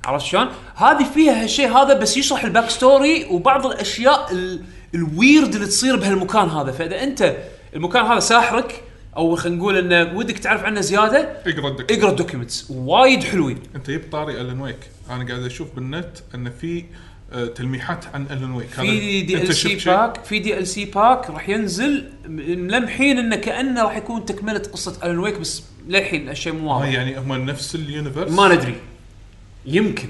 S1: عرفت شلون؟ هذه فيها هالشيء هذا بس يشرح الباك ستوري وبعض الاشياء ال... الويرد اللي تصير بهالمكان هذا، فاذا انت المكان هذا ساحرك او خلينا نقول انه ودك تعرف عنه زياده
S2: اقرا الدك
S1: اقرا الدوكيومنتس وايد حلوين.
S2: انت جبت طاري الن ويك انا قاعد اشوف بالنت ان في آه، تلميحات عن الن ويك
S1: في
S2: طيب،
S1: دي ال سي باك في دي ال سي باك راح ينزل م- ملمحين انه كانه راح يكون تكمله قصه الون ويك بس للحين الشيء مو واضح.
S2: يعني هم نفس اليونيفرس
S1: ما ندري يمكن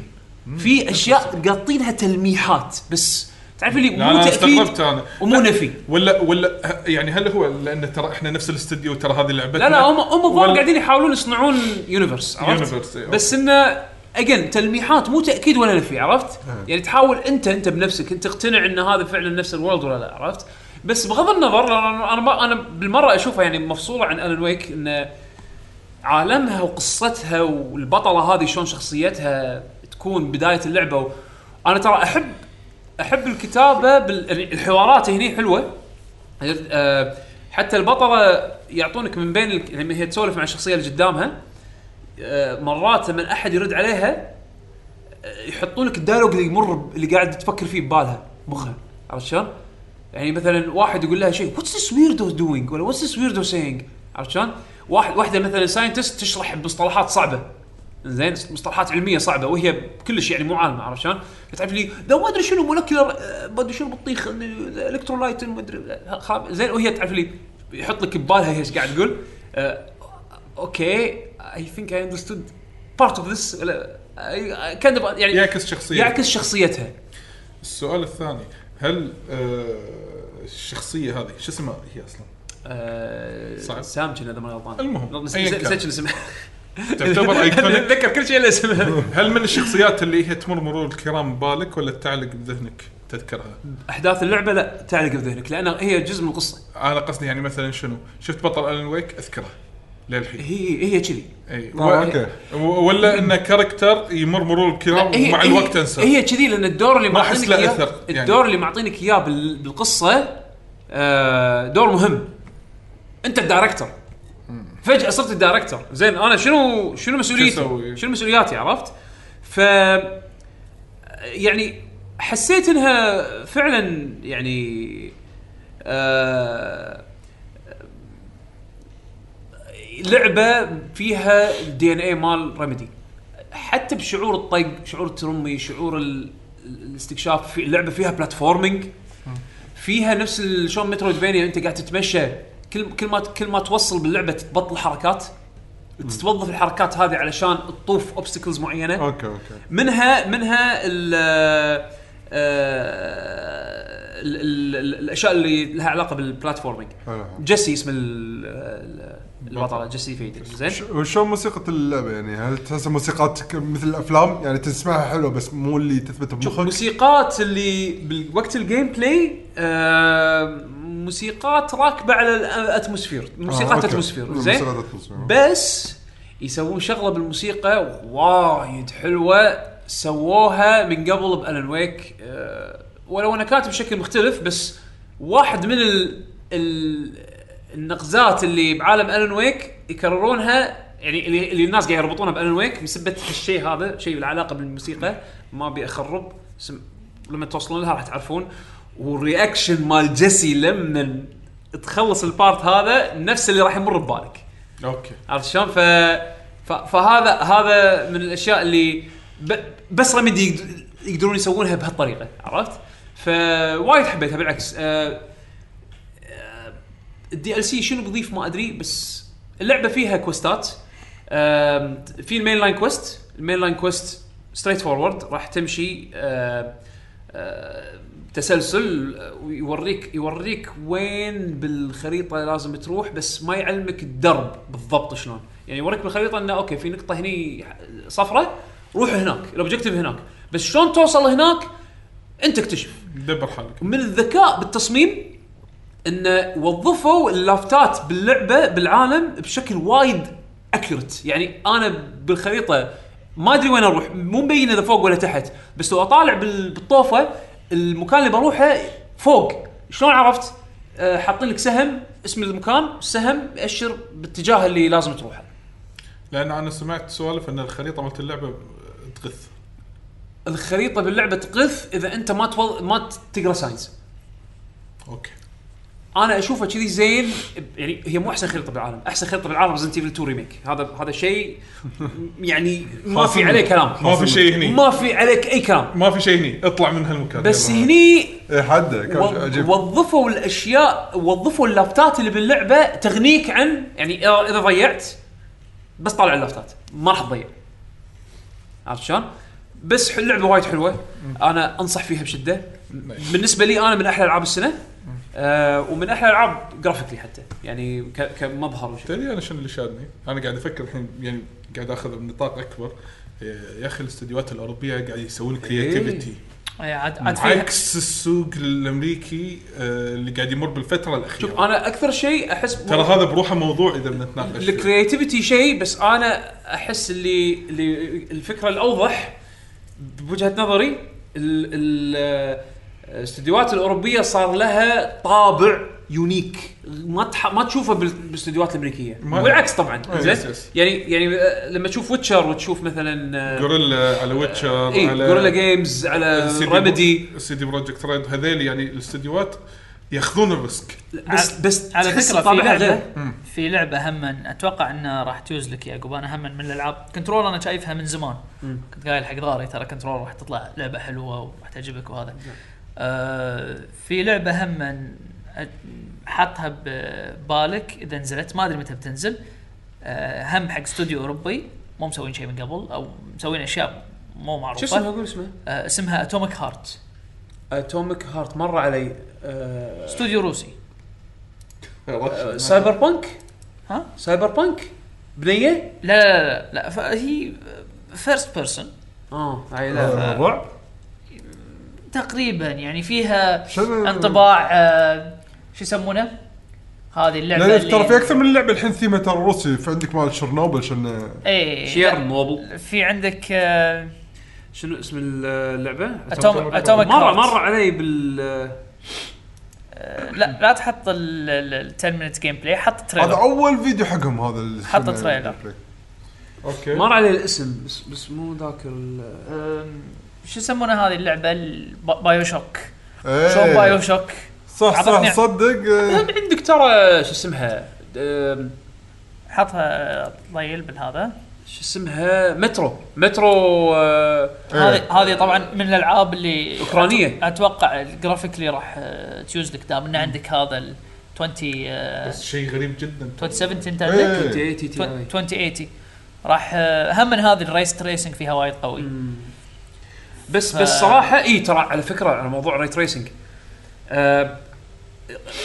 S1: في اشياء قاطينها تلميحات بس تعرف اللي
S2: لا
S1: مو
S2: انا استغربت
S1: تاكيد
S2: انا
S1: ومو
S2: لا،
S1: نفي
S2: ولا ولا ه- يعني هل هو لان ترى احنا نفس الاستديو ترى هذه لعبتنا
S1: لا لا هم هم الظاهر
S2: ولا-
S1: قاعدين يحاولون يصنعون يونيفرس عرفت
S2: يونيفرس، إيه،
S1: بس انه اجين تلميحات مو تاكيد ولا نفي عرفت يعني تحاول انت انت بنفسك انت تقتنع ان هذا فعلا نفس الورلد ولا لا عرفت بس بغض النظر لأن انا انا, ما- أنا بالمره اشوفها يعني مفصوله عن الن ويك انه عالمها وقصتها والبطله هذه شلون شخصيتها تكون بدايه اللعبه و... انا ترى احب احب الكتابه بال... يعني الحوارات هني حلوه آه، حتى البطله يعطونك من بين ال... لما هي تسولف مع الشخصيه اللي قدامها آه، مرات لما احد يرد عليها آه، يحطون لك الدايلوج اللي يمر ب- اللي قاعد تفكر فيه ببالها مخها عرفت شلون؟ يعني مثلا واحد يقول لها شيء واتس ذس ويردو دوينج ولا واتس ذس ويردو سينج عرفت شلون؟ واحد واحده مثلا ساينتست تشرح بمصطلحات صعبه زين مصطلحات علميه صعبه وهي كلش يعني مو عالمه عرفت شلون؟ تعرف لي ده ما ادري شنو مولكيولر ما ادري شنو بطيخ الكترولايت ما ادري آه، خاب- زين وهي تعرف لي يحط لك ببالها هي ايش قاعد تقول آه، اوكي اي ثينك اي اندرستود بارت اوف ذس ولا كان يعني
S2: يعكس شخصيه
S1: يعكس شخصيتها
S2: السؤال الثاني هل آه الشخصيه هذه شو اسمها هي اصلا
S1: آه،
S2: صعب.
S1: سام كنا اذا ما غلطان
S2: المهم، أيا
S1: نسيت
S2: كان.
S1: نسيت شنو اسمه
S2: تعتبر ايكونيك
S1: اتذكر كل شيء الا اسمه
S2: هل من الشخصيات اللي هي تمر مرور الكرام ببالك ولا تعلق بذهنك تذكرها
S1: احداث اللعبه لا تعلق بذهنك لان هي جزء من القصه
S2: انا قصدي يعني مثلا شنو شفت بطل الن ويك اذكره للحين
S1: هي هي كذي
S2: اي و-
S4: آه، اوكي
S2: و- ولا انه كاركتر يمر مرور الكرام
S1: هي-
S2: ومع
S1: هي-
S2: الوقت انسى
S1: هي كذي لان الدور اللي
S2: ما أحس
S1: معطينك
S2: له
S1: اياه
S2: أثر، يعني.
S1: الدور اللي معطينك اياه بال- بالقصه آه، دور مهم انت الدايركتور فجاه صرت الدايركتور زين انا شنو شنو مسؤوليتي
S2: تسوي؟
S1: شنو مسؤولياتي عرفت ف يعني حسيت انها فعلا يعني آه لعبه فيها الدي ان اي مال ريميدي حتى بشعور الطق شعور الترمي شعور ال- الاستكشاف في اللعبه فيها بلاتفورمينج فيها نفس ال- شلون مترويدفينيا انت قاعد تتمشى كل كل ما كل ما توصل باللعبه تبطل حركات تتوظف الحركات هذه علشان تطوف اوبستكلز معينه
S4: اوكي اوكي
S1: منها منها ال آه، ال- ال- ال- الاشياء اللي لها علاقه بالبلاتفورمينج
S4: حلو.
S1: جيسي اسم ال- ال- البطله جيسي فيدل زين
S4: ش- وشلون موسيقى اللعبه يعني هل تحس موسيقات ك- مثل الافلام يعني تسمعها حلوه بس مو اللي تثبت
S1: شوف
S4: بمخك
S1: موسيقات اللي بوقت الجيم بلاي آه، موسيقات راكبه على الاتموسفير موسيقات
S4: أوكي.
S1: اتموسفير
S4: مم،
S1: زين
S4: موسيقات أتموسفير.
S1: بس يسوون شغله بالموسيقى وايد حلوه سووها من قبل بالن ويك آه، ولو انا كاتب بشكل مختلف بس واحد من ال ال النقزات اللي بعالم الن ويك يكررونها يعني اللي, اللي الناس قاعد يربطونها بالن ويك بسبه هالشيء هذا شيء له علاقه بالموسيقى ما ابي اخرب سم- لما توصلون لها راح تعرفون والرياكشن مال جيسي لما تخلص البارت هذا نفس اللي راح يمر ببالك
S2: اوكي
S1: عرفت شلون؟ ف... ف... فهذا هذا من الاشياء اللي ب... بس رمدي يقد... يقدرون يسوونها بهالطريقه عرفت؟ فوايد حبيتها بالعكس آه، الدي ال سي شنو بيضيف ما ادري بس اللعبه فيها كوستات آم، في المين لاين كوست المين لاين كوست ستريت فورورد راح تمشي آه، آم، آم، تسلسل ويوريك يوريك وين بالخريطه لازم تروح بس ما يعلمك الدرب بالضبط شلون يعني يوريك بالخريطه انه اوكي في نقطه هني صفراء روح هناك الاوبجيكتيف هناك بس شلون توصل هناك انت اكتشف
S2: دبر حالك
S1: من الذكاء بالتصميم انه وظفوا اللافتات باللعبه بالعالم بشكل وايد اكيوريت يعني انا بالخريطه ما ادري وين اروح مو مبين اذا فوق ولا تحت بس لو اطالع بال- بالطوفه المكان اللي بروحه فوق شلون عرفت؟ آه، حاطين لك سهم اسم المكان السهم يأشر باتجاه اللي لازم تروحه
S2: لان انا سمعت سوالف ان الخريطه مالت اللعبه تغث
S1: الخريطه باللعبه تقف اذا انت ما توض... ما تقرا ساينز
S2: اوكي
S1: انا اشوفه كذي زين يعني هي مو احسن خريطه بالعالم احسن خريطه بالعالم ريزنت ايفل 2 ريميك هذا هذا شيء يعني ما في عليه كلام
S2: ما في شيء هني
S1: ما في عليك اي كلام
S2: ما في شيء هني اطلع من هالمكان
S1: بس
S2: يلا.
S1: هني
S4: إيه، حده كان
S1: و-
S4: عجيب
S1: وظفوا الاشياء وظفوا اللافتات اللي باللعبه تغنيك عن يعني إذا- اذا ضيعت بس طالع اللافتات ما راح تضيع عرفت شلون؟ بس ح- اللعبه وايد حلوه انا انصح فيها بشده بالنسبه لي انا من احلى العاب السنه آه ومن احلى العاب جرافيكلي حتى يعني ك- كمظهر وشي
S2: تدري انا شنو اللي شادني؟ انا قاعد افكر الحين يعني قاعد اخذ بنطاق اكبر إيه، يا اخي الاستديوهات الاوروبيه قاعد يسوون كرياتيفيتي
S3: إيه، عاد عاد فيها-
S2: عكس السوق الامريكي آه، اللي قاعد يمر بالفتره الاخيره
S1: شوف انا اكثر شيء احس
S2: ترى هذا بروحه موضوع اذا بنتناقش فيه.
S1: الكرياتيفيتي شيء بس انا احس اللي, اللي الفكره الاوضح بوجهه نظري ال- ال- الاستديوهات الاوروبيه صار لها طابع يونيك ما تح... ما تشوفه بال- بالاستديوهات الامريكيه
S2: ما- إيه،
S1: والعكس طبعا
S2: أي،
S1: زين
S2: يس، يس.
S1: يعني يعني آه، لما تشوف ويتشر وتشوف مثلا آه،
S2: غوريلا على ويتشر
S1: اي
S2: على
S1: جوريلا جيمز إيه، على ريمدي
S2: سيدي بروجكت ريد هذيل يعني الاستديوهات ياخذون الريسك
S1: بس بس
S3: على
S1: تحس
S3: فكره في
S1: طابعها
S3: لعبه
S1: غير.
S3: في لعبه هم اتوقع انها راح تجوز لك يا عقب انا هم من الالعاب كنترول انا شايفها من زمان كنت قايل حق ضاري ترى كنترول راح تطلع لعبه حلوه وراح تعجبك وهذا آه في لعبه هم أت- حطها ببالك اذا نزلت ما ادري متى بتنزل آه هم حق استوديو اوروبي مو مسوين شيء من قبل او مسوين اشياء مو
S1: شو اسمها
S3: معروفه
S1: قول اسمها
S3: آه اسمها اتوميك هارت
S1: اتوميك هارت مر علي آه،
S3: استوديو روسي
S1: آه، سايبر بانك
S3: ها
S1: سايبر بانك بنيه
S3: لا لا لا, لا فهي فيرست بيرسون
S1: اه هاي لا
S4: آه، رعب
S3: تقريبا يعني فيها
S4: شنو-
S3: انطباع آه، شو يسمونه؟ هذه اللعبه
S4: لا لا، ترى في اكثر من لعبه الحين ثيمها ترى روسي فعندك مال شرنوبل شن
S3: إيه،
S1: شير
S3: اي
S1: نوبل
S3: في عندك آه،
S1: شنو اسم اللعبه؟
S3: Atom- Atomic
S1: مره
S3: Heart.
S1: مره علي بال
S3: لا لا تحط ال ال- ال 10 minute جيم بلاي حط
S4: هذا
S3: تريلر
S4: اول فيديو حقهم هذا اللي
S3: حط
S4: شنو-
S3: تريلر.
S2: اوكي
S1: مر علي الاسم بس بس مو ذاك ال-
S3: آم، شو يسمونه هذه اللعبه بايو شوك
S4: إيه.
S3: شلون بايو شوك
S4: صح
S3: عطتني-
S4: صح صدق آه،
S1: عندك ترى شو اسمها أم،
S3: حطها طيل بالهذا
S1: شو اسمها مترو مترو آه،
S4: إيه.
S3: هذه هذه طبعا من الالعاب اللي
S1: أوكرانية.
S3: أت- اتوقع جرافيكلي راح آه، تيوز لك دام ان عندك هذا ال 20 آه،
S2: بس شيء غريب جدا
S3: 2070 انت
S4: إيه.
S3: عندك
S1: تي تي تي هاي.
S3: 2080 راح آه، هم من هذه الريس تريسنج فيها وايد قوي
S1: بس
S3: ف-
S1: بس صراحه اي ترى على فكره على موضوع ري تريسنج أه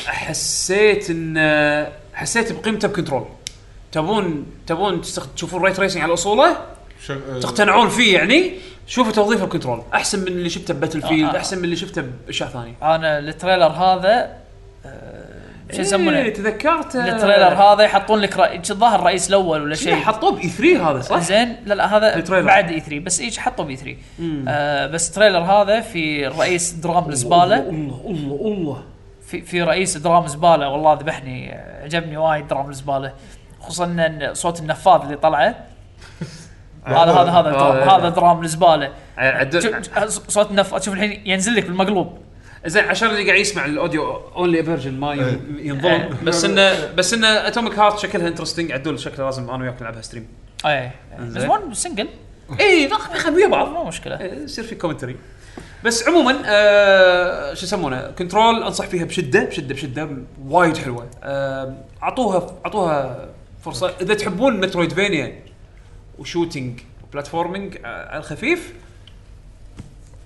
S1: حسيت ان آه، حسيت بقيمته بكنترول تبون تبون تستخ- تشوفون ري تريسنج على اصوله
S2: شغ... آه،
S1: تقتنعون فيه يعني شوفوا توظيفه بكنترول احسن من اللي شفته بباتل فيلد
S3: آه.
S1: احسن من اللي شفته باشياء ثانيه
S3: انا التريلر هذا آه، شو
S1: إيه،
S3: يسمونه؟
S1: تذكرت آه،
S3: التريلر هذا يحطون لك رأي... الظاهر الرئيس الاول ولا
S1: شيء
S3: شيء
S1: حطوه باي 3 هذا صح؟
S3: زين لا لا هذا
S1: التريلر.
S3: بعد اي 3 بس ايش حطوا بي 3 آه بس تريلر هذا في رئيس درام زباله
S1: الله الله الله
S3: في, في رئيس درام زباله والله ذبحني عجبني وايد درام زباله خصوصا ان صوت النفاذ اللي طلعه هذا هذا هذا درام-
S1: هذا-
S3: هذا درام زباله شوف-
S4: نعم.
S1: عدل
S3: شوف- صوت النفاذ شوف الحين ينزل لك بالمقلوب
S1: زين عشان اللي قاعد يسمع الاوديو اونلي فيرجن ما ين-
S4: إيه.
S1: ينظلم بس انه بس انه اتوميك هارت شكلها انترستنج عدول شكله لازم انا وياك نلعبها ستريم
S3: اي آه، بس
S1: إنزين.
S3: وين سنجل
S4: إيه،
S1: اي ضخم يخل ويا بعض
S3: مو مشكله
S1: إيه، يصير في كومنتري بس عموما آه شو يسمونه كنترول انصح فيها بشده بشده بشده وايد حلوه آه، اعطوها اعطوها فرصه اذا تحبون مترويدفينيا وشوتينج بلاتفورمينج آه، على الخفيف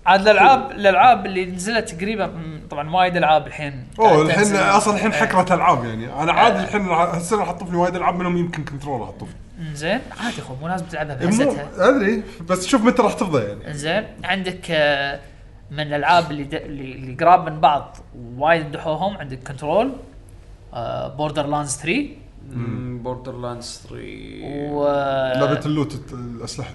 S3: عاد الالعاب الالعاب اللي نزلت قريبه مم، طبعا وايد العاب الحين
S4: اوه
S3: قاعد
S4: الحين
S3: تنزل.
S4: اصلا الحين
S3: إيه.
S4: حكره العاب يعني انا عادي الحين راح- هالسنه راح اطفي وايد العاب منهم يمكن كنترول راح اطفي
S3: انزين عادي خو مو لازم تلعبها
S4: إيه، مو
S3: بهزتها
S4: ادري بس شوف متى راح تفضى يعني
S3: انزين عندك آه، من الالعاب اللي د- اللي اللي قراب من بعض وايد مدحوهم عندك آه، كنترول بوردر لاندز 3
S1: بوردر لاندز 3
S3: و
S4: لعبه اللوت الت- الاسلحه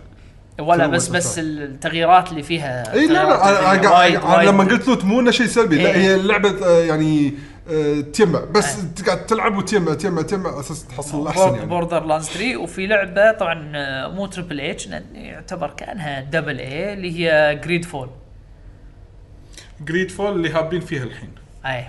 S3: آه، ولا
S4: تنوع
S3: بس بس
S4: الأفكار.
S3: التغييرات اللي فيها
S4: اي إيه، لا لا انا,
S3: التغييرات
S4: أنا,
S3: اللي
S4: قاعد-
S3: وايد-
S4: أنا لما
S3: وايد-
S4: قلت لوت مو انه شيء سلبي لا
S3: إيه.
S4: هي اللعبه آه، يعني آه، تجمع بس أنت قاعد تلعب وتجمع تجمع تجمع اساس
S3: آه،
S4: تحصل الاحسن يعني
S3: بوردر لاندز 3 وفي لعبه طبعا آه، مو تربل اتش يعتبر كانها دبل اي اللي هي جريد فول
S2: جريد فول اللي هابين فيها الحين
S3: اي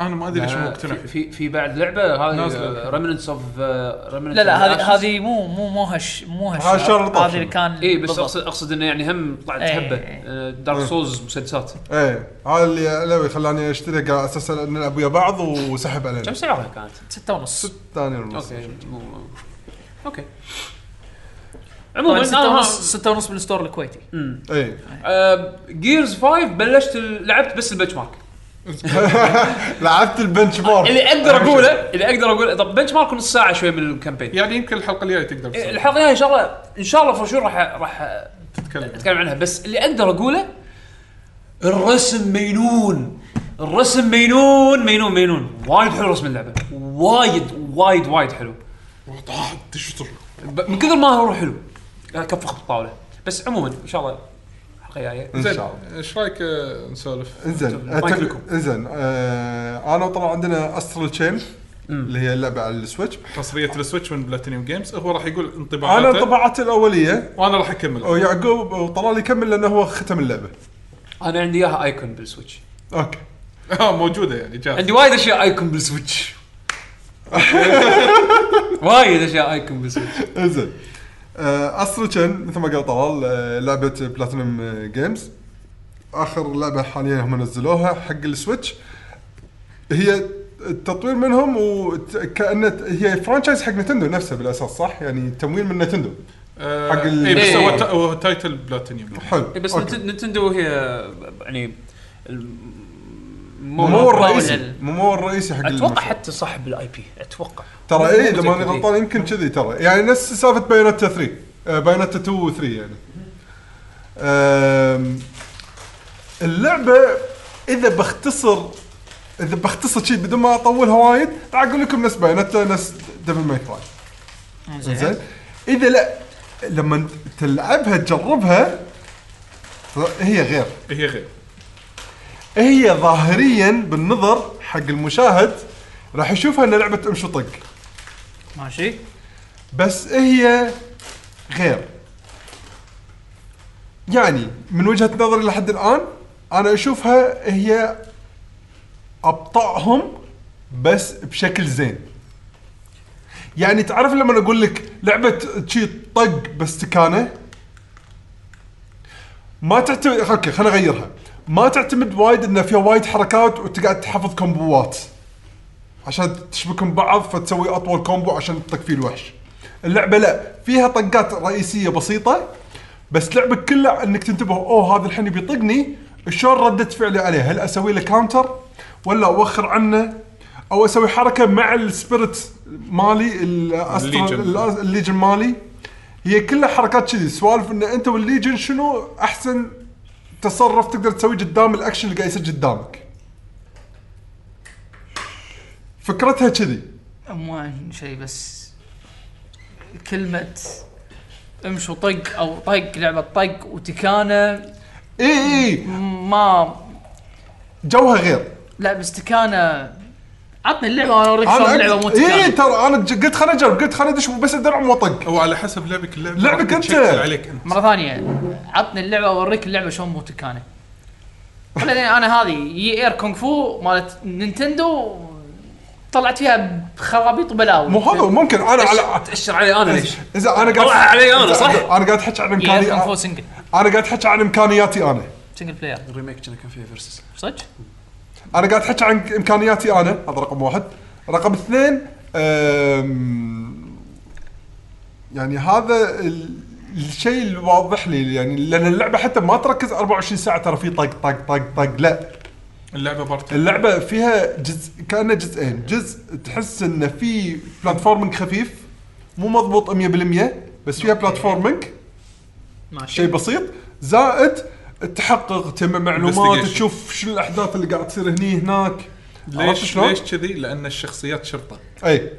S2: انا ما ادري ليش مو مقتنع
S1: في-
S2: فيه
S1: في في بعد لعبه هذه آه،
S2: نازلة.
S1: ريمننتس اوف
S3: لا لا هذه هذه مو مو مو هش مو هش
S4: هاي شارلوت
S3: هذه اللي كان
S1: اي إيه، بس
S3: بالضبط.
S1: اقصد اقصد انه يعني هم آه، طلعت
S3: إيه.
S1: هبه دارك سولز مسدسات
S4: ايه هذا اللي اللي خلاني اشتري على اساس نلعب ويا بعض وسحب
S1: كم
S4: علينا
S1: سعرها كانت؟
S3: ستة ونص
S4: ثاني ونص
S1: اوكي مو- اوكي
S3: طبعاً
S1: عموما
S3: ستة ونص ستة ونص بالستور الكويتي
S4: ايه
S1: جيرز 5 آه، بلشت ال- لعبت بس البنش مارك
S4: لعبت البنش مارك
S1: اللي اقدر اقوله اللي اقدر اقوله طب بنش مارك نص ساعه شوي من الكامبين
S2: يعني يمكن الحلقه الجايه تقدر تسوي-
S1: الحلقه الجايه ان شاء الله ان شاء الله فرشور راح راح
S2: تتكلم
S1: اتكلم عنها بس اللي اقدر اقوله الرسم مينون الرسم مينون مينون مينون وايد حلو رسم اللعبه وايد وايد وايد حلو
S2: وضاح تشتر
S1: ب- من كثر ما هو حلو كفخ بالطاوله بس عموما ان شاء الله الحلقه الجايه
S4: ان
S2: زين
S4: شاء الله
S2: ايش رايك آه، نسولف؟
S4: انزين
S1: مايك
S4: أتف-
S1: لكم.
S4: انزين آه، انا وطلع عندنا استرال تشين اللي هي اللعبه على السويتش
S2: حصريه السويتش من بلاتينيوم جيمز هو راح يقول انطباعاته
S4: انا انطباعاتي الاوليه
S2: وانا راح اكمل
S4: ويعقوب وطلال يكمل لانه هو ختم اللعبه
S1: انا عندي اياها ايكون بالسويتش
S4: اوكي
S2: اه موجوده يعني جاهزه
S1: عندي وايد اشياء ايكون بالسويتش وايد اشياء ايكون بالسويتش
S4: انزين آه، استرال تشين مثل ما قال طلال آه، لعبه بلاتينوم آه، جيمز اخر لعبه حاليا هم نزلوها حق السويتش هي التطوير منهم وكانه هي فرانشايز حق نتندو نفسها بالاساس صح؟ يعني تمويل من نتندو
S2: آه،
S4: حق ال-
S2: إيه، بس
S1: إيه.
S2: هو تا- هو تايتل بلاتينيوم
S4: حلو
S1: بس
S4: أوكي.
S1: نت- نتندو هي يعني الم-
S4: مو الرئيسي
S3: لل-
S4: مو الرئيسي حق
S1: اتوقع
S4: المشروع.
S1: حتى صاحب الاي بي اتوقع
S4: ترى
S1: مو-
S4: اي
S1: مو
S4: اذا ماني
S1: متأكد، إيه.
S4: غلطان يمكن كذي ترى يعني نفس سالفه بايونتا 3 آه، بايونتا 2 و 3 يعني آم، اللعبه اذا بختصر اذا بختصر شيء بدون ما اطولها وايد راح اقول لكم نفس بايونتا نفس دبل ماي كراي زين اذا لا لما تلعبها تجربها هي غير
S2: هي غير
S4: هي ظاهريا بالنظر حق المشاهد راح يشوفها ان لعبه امشي طق
S3: ماشي
S4: بس إيه هي غير يعني من وجهه نظري لحد الان انا اشوفها هي ابطاهم بس بشكل زين يعني تعرف لما اقول لك لعبه شي طق باستكانه ما تعتمد اوكي خليني اغيرها ما تعتمد وايد انه فيها وايد حركات وتقعد تحفظ كومبوات عشان تشبكهم ببعض فتسوي اطول كومبو عشان تطق فيه الوحش اللعبه لا فيها طقات رئيسيه بسيطه بس لعبك كله انك تنتبه اوه هذا الحين بيطقني شلون رده فعلي عليه هل اسوي له كاونتر ولا اوخر عنه او اسوي حركه مع السبيرت مالي
S2: الليجن.
S4: الاسترال الليجن مالي هي كلها حركات كذي سوالف ان انت والليجن شنو احسن تصرف تقدر تسويه قدام الاكشن اللي قاعد يصير قدامك فكرتها كذي
S3: مو شيء بس كلمة امش وطق او طق لعبة طق وتكانة
S4: اي اي
S3: ما
S4: جوها غير
S3: لا بس تكانة عطني اللعبة وانا اوريك شلون اللعبة مو
S4: اي
S3: تكانة
S4: إيه، ترى انا ج- قلت خليني اجرب قلت خليني ادش بس الدرع واطق
S2: او على حسب لعبك اللعبه
S4: لعبك
S2: راح
S4: أنت.
S2: تشكل عليك انت
S3: مرة ثانية عطني اللعبة واوريك اللعبة شلون مو تكانة بعدين انا هذه يي اير كونغ فو مالت نينتندو طلعت فيها بخرابيط وبلاوي
S4: مو
S1: إيه.
S4: هذا ممكن انا على
S1: تاشر علي انا ليش؟
S4: اذا انا قاعد
S1: طلع علي أنا، صح؟
S4: انا قاعد احكي عن
S3: يي اير
S4: امكانياتي
S3: كونغ فو
S4: انا
S3: سنجل
S4: قاعد احكي عن امكانياتي انا
S3: سنجل بلاير
S1: الريميك كان كان فيه فيرسس
S3: صدق؟
S4: انا قاعد احكي عن امكانياتي انا هذا رقم واحد رقم اثنين أم، يعني هذا ال- الشيء الواضح لي يعني لان اللعبه حتى ما تركز 24 ساعه ترى في طق طق طق طق لا
S2: اللعبه بارت
S4: اللعبه فيها جزء كانها جزئين جزء تحس انه في بلاتفورمينج خفيف مو مضبوط 100% بس فيها بلاتفورمينج
S3: ماشي
S4: شيء بسيط زائد التحقق تجمع معلومات
S2: Investigation.
S4: تشوف شو الاحداث اللي قاعد تصير هني هناك عرفت
S2: ليش
S4: شلون؟
S2: ليش كذي؟ لان الشخصيات شرطه
S4: اي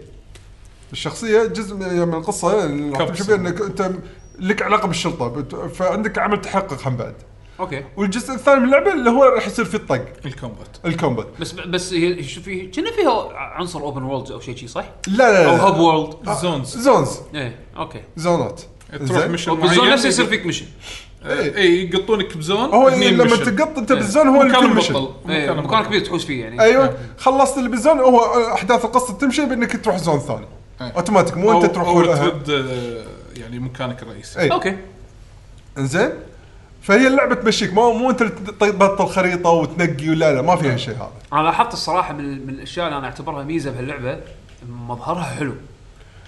S4: الشخصيه جزء من يعني من القصه اللي راح
S2: كبس.
S4: تشوفها انك انت لك علاقه بالشرطه بت- فعندك عمل تحقق هم بعد
S1: اوكي
S4: والجزء الثاني من اللعبه اللي هو راح يصير فيه الطق
S2: الكومبات
S4: الكومبات
S1: بس بس هي شو في كنا فيها عنصر اوبن وورلد او شيء شي صح؟
S4: لا لا
S1: او
S4: لا,
S1: هاب
S4: لا.
S1: وورلد
S2: زونز
S4: زونز
S1: ايه اوكي
S4: زونات
S2: تروح
S4: زين.
S2: مشن
S1: بالزون
S2: معين
S1: نفسه يصير فيك مشن
S2: آه، اي يقطونك بزون
S4: إيه. هو
S2: اثنين
S4: لما
S2: مشن.
S4: تقط انت بالزون هو اللي
S2: مكان
S4: كل مشن.
S2: مبطل
S1: إيه، مكان كبير تحوس فيه يعني
S4: ايوه خلصت اللي بالزون هو احداث القصه تمشي بانك تروح زون ثاني
S2: أي.
S4: اوتوماتيك مو انت تروح
S2: او
S4: ولا-
S2: ترد آه، يعني مكانك الرئيسي
S4: اي
S1: اوكي
S4: انزين فهي اللعبه تمشيك مو مو انت اللي تط- تبطل خريطه وتنقي ولا لا ما فيها شيء هذا
S1: انا لاحظت الصراحه من, من الاشياء اللي انا اعتبرها ميزه بهاللعبه مظهرها حلو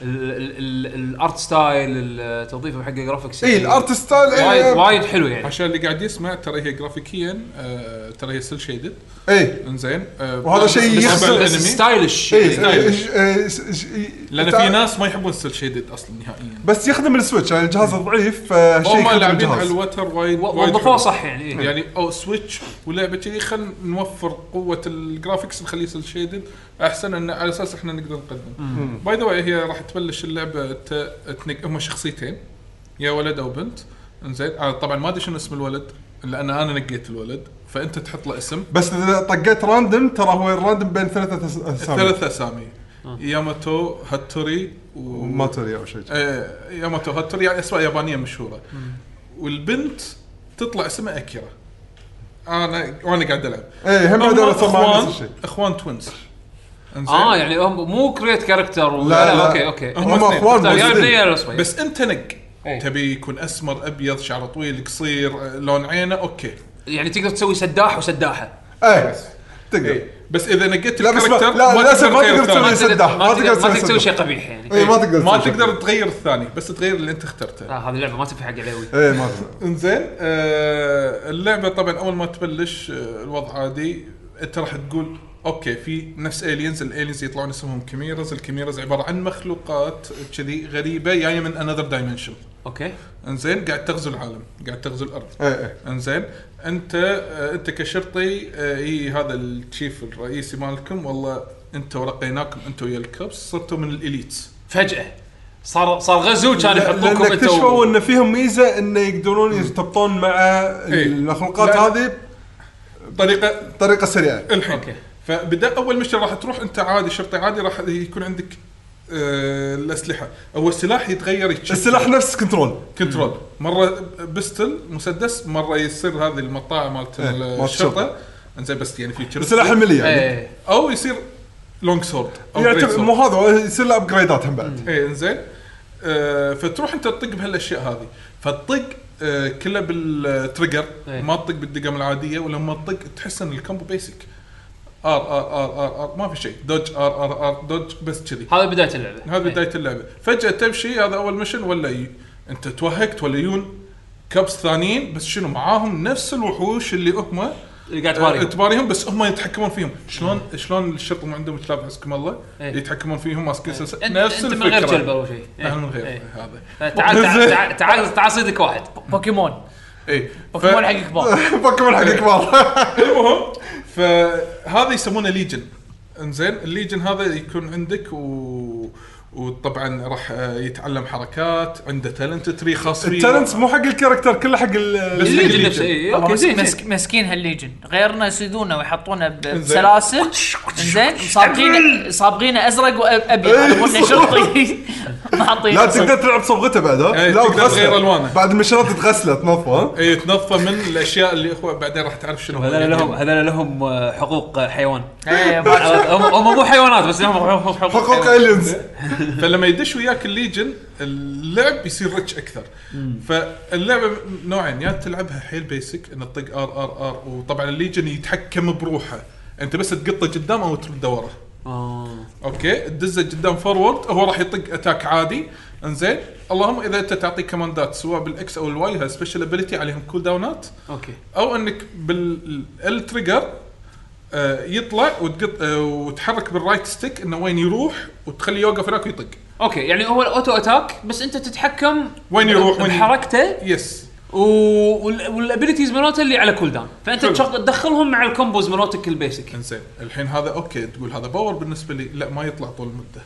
S1: ال- ال- ال- الارت ستايل التوظيف حق الجرافكس
S4: اي
S1: يعني
S4: الارت إيه، ستايل إيه،
S1: وايد
S4: اي
S1: وايد حلو يعني
S2: عشان اللي قاعد يسمع ترى هي جرافيكيا آه، ترى هي سيل شيدد
S4: اي
S2: انزين آه،
S4: وهذا شيء
S2: بس-
S4: يخسر-
S2: بالنسبة
S1: بس
S2: للأنمي،
S1: ستايلش
S2: إيه.
S4: اي
S1: يعني.
S2: ستايلش.
S4: إي- إي- إي-
S2: لان
S4: تع-
S2: في ناس ما يحبون سيل شيدد اصلا نهائيا
S4: بس يخدم السويتش يعني الجهاز ضعيف فشيء
S2: هم
S4: يخدم
S2: لاعبين
S4: الجهاز.
S2: على الوتر وايد
S1: و-
S2: وايد
S1: وظفوه
S2: حلو.
S1: صح يعني إيه.
S2: يعني او سويتش ولعبه كذي خل نوفر قوه الجرافكس نخليه سيل شيدد احسن ان على اساس احنا نقدر نقدم باي ذا هي راح تبلش اللعبه ت- تنق هم شخصيتين يا ولد او بنت انزين آه، طبعا ما ادري شنو اسم الولد لان انا نقيت الولد فانت تحط له اسم
S4: بس اذا طقيت راندم ترى هو الراندم بين ثلاثة أس- اسامي
S2: ثلاث اسامي
S4: آه.
S2: ياماتو هاتوري و...
S4: ما تدري او شيء
S2: آه، ياماتو هاتوري يعني اسماء يابانيه مشهوره والبنت تطلع اسمها اكيرا انا وانا قاعد العب
S4: اي إيه، هم
S2: هم
S4: بعد اسامي نفس
S2: اخوان
S4: الشيء
S2: اخوان توينز انزين
S4: آه،
S1: اه يعني هم مو كريت كاركتر ولا
S4: لا، لا.
S1: اوكي اوكي
S2: هم
S4: هم
S2: اثنين.
S4: اخوان
S1: طيب، يعني
S4: موجودين.
S1: بلاير أسود.
S2: بس انت نق
S1: إيه.
S2: تبي يكون اسمر ابيض شعره طويل قصير آه، لون عينه اوكي
S1: يعني تقدر تسوي سداح وسداحه
S4: ايه تقدر
S2: إيه. بس اذا نقيت
S4: لا، بس ما-
S2: الكاركتر
S4: لا، للأسف ما
S2: تغير
S4: تقدر
S2: الثاني.
S4: تسوي
S1: ما تقدر
S4: سداح،
S1: ما تقدر ما تقدر تسوي
S4: سداح. إيه.
S1: شيء قبيح يعني
S4: اي ما تقدر
S2: ما
S4: تسوي
S2: تقدر
S4: شيء.
S2: تغير الثاني بس تغير اللي انت اخترته
S1: آه، هذه اللعبه ما تنفع حق العلوي
S4: ايه ما تقدر
S2: انزين آه اللعبه طبعا اول ما تبلش آه الوضع عادي انت راح تقول اوكي في نفس الينز الالينز يطلعون اسمهم كيميرز الكيميرز عباره عن مخلوقات كذي غريبه جايه من انذر دايمنشن
S1: اوكي
S2: انزين قاعد تغزو العالم قاعد تغزو الارض
S4: ايه ايه
S2: انزين انت آه، انت كشرطي آه، اي هذا الشيف الرئيسي مالكم والله انت ورقيناكم انت ويا الكبس صرتوا من الاليتس
S1: فجاه صار صار غزو كان يحطوكم
S4: لان
S1: انتوا
S4: اكتشفوا ان فيهم ميزه انه يقدرون يرتبطون مع المخلوقات
S2: إيه. لا.
S4: هذه
S2: طريقه
S4: بطريقه سريعه
S2: الحين
S1: اوكي
S2: فبدا اول مشكله راح تروح انت عادي شرطي عادي راح يكون عندك آه، الاسلحه او السلاح يتغير يتشكل.
S4: السلاح نفس كنترول
S2: كنترول مره بستل مسدس مره يصير هذه المطاعم مالت
S4: إيه، مالت
S2: الشرطه انزين بس يعني في
S3: إيه.
S4: السلاح الملي يعني
S1: ايه
S2: او يصير لونج سورد
S4: يعتبر يعني مو هذا هو يصير له ابجريدات هم بعد
S2: اي انزين إيه، آه، فتروح انت تطق بهالاشياء هذه فتطق آه، كله بالتريجر
S1: إيه.
S2: ما تطق بالدقم العاديه ولما تطق تحس ان الكومبو بيسك ار ار ار ار ار ما في شيء دوج ار ار ار دوج بس كذي
S1: هذا بدايه اللعبه
S2: هذه بدايه اللعبه فجاه تمشي هذا اول مشن ولا ي... انت توهقت ولا يون كبس ثانيين بس شنو معاهم نفس الوحوش اللي هم
S1: اللي قاعد تباري
S2: آه، تباريهم بس هم يتحكمون فيهم شلون شلون الشرطه ما عندهم كلاب حسكم الله
S1: إيه.
S2: يتحكمون فيهم ماسكين سلسلة.
S1: انت
S2: نفس
S1: انت من غير
S2: الفكرة.
S1: كلب اول شيء
S2: انا من
S1: إيه.
S2: غير هذا
S1: تعال تعال تعال- تعال تعال صيدك واحد
S3: بوكيمون
S2: اي
S3: بوكيمون حق كبار
S2: إيه.
S4: بوكيمون حق كبار
S2: المهم فهذا يسمونه ليجن انزين الليجن هذا يكون عندك و وطبعا راح آه، يتعلم حركات عنده تالنت تري خاص فيه
S4: التالنتس مو حق الكاركتر كله حق
S2: بس-
S4: ال
S1: الليجن
S2: الليجن.
S1: نفسه إيه،
S3: طبعاً
S1: اوكي زين زين.
S3: مسك مسكين هالليجن غيرنا يسيدونا ويحطونا ب-
S2: إنزين.
S3: بسلاسل زين صابغين صابغين ازرق وابيض يقولنا شرطي معطين
S4: لا تقدر تلعب صبغته بعد ها
S2: إيه،
S4: لا
S2: تقدر
S4: وتغسله.
S2: تغير ألوانه. إيه.
S4: بعد المشرات تغسله تنظفه ها
S2: اي تنظفه من الاشياء اللي هو بعدين راح تعرف شنو هو
S1: هذول
S2: يعني.
S1: لهم هذول لهم آه، حقوق آه، حيوان
S3: إيه، ما-
S1: هم هم مو حيوانات بس لهم حقوق
S4: حقوق
S2: إيه.
S1: حيوان.
S4: الينز
S2: فلما يدش وياك الليجن اللعب يصير ريتش اكثر فاللعبه نوعين يا تلعبها حيل بيسك ان تطق ار ار ار وطبعا الليجن يتحكم بروحه انت بس تقطه قدام او ترده ورا
S1: آه.
S2: اوكي تدزه قدام فورورد هو راح يطق اتاك عادي انزين اللهم اذا انت تعطيه كماندات سواء بالاكس او الواي ها سبيشل ابيلتي عليهم كول داونات
S1: اوكي
S2: او انك بالتريجر يطلع وتقط آه، وتحرك بالرايت ستيك انه وين يروح وتخليه يوقف هناك ويطق
S1: اوكي يعني هو الاوتو اتاك بس انت تتحكم
S2: وين يروح، وين-
S1: بحركته
S2: يس
S1: و- وال- والابيلتيز مالته اللي على كول داون فانت
S2: حلو.
S1: تشغل- تدخلهم مع الكومبوز مالتك البيسك
S2: انزين الحين هذا اوكي تقول هذا باور بالنسبه لي لا ما يطلع طول المده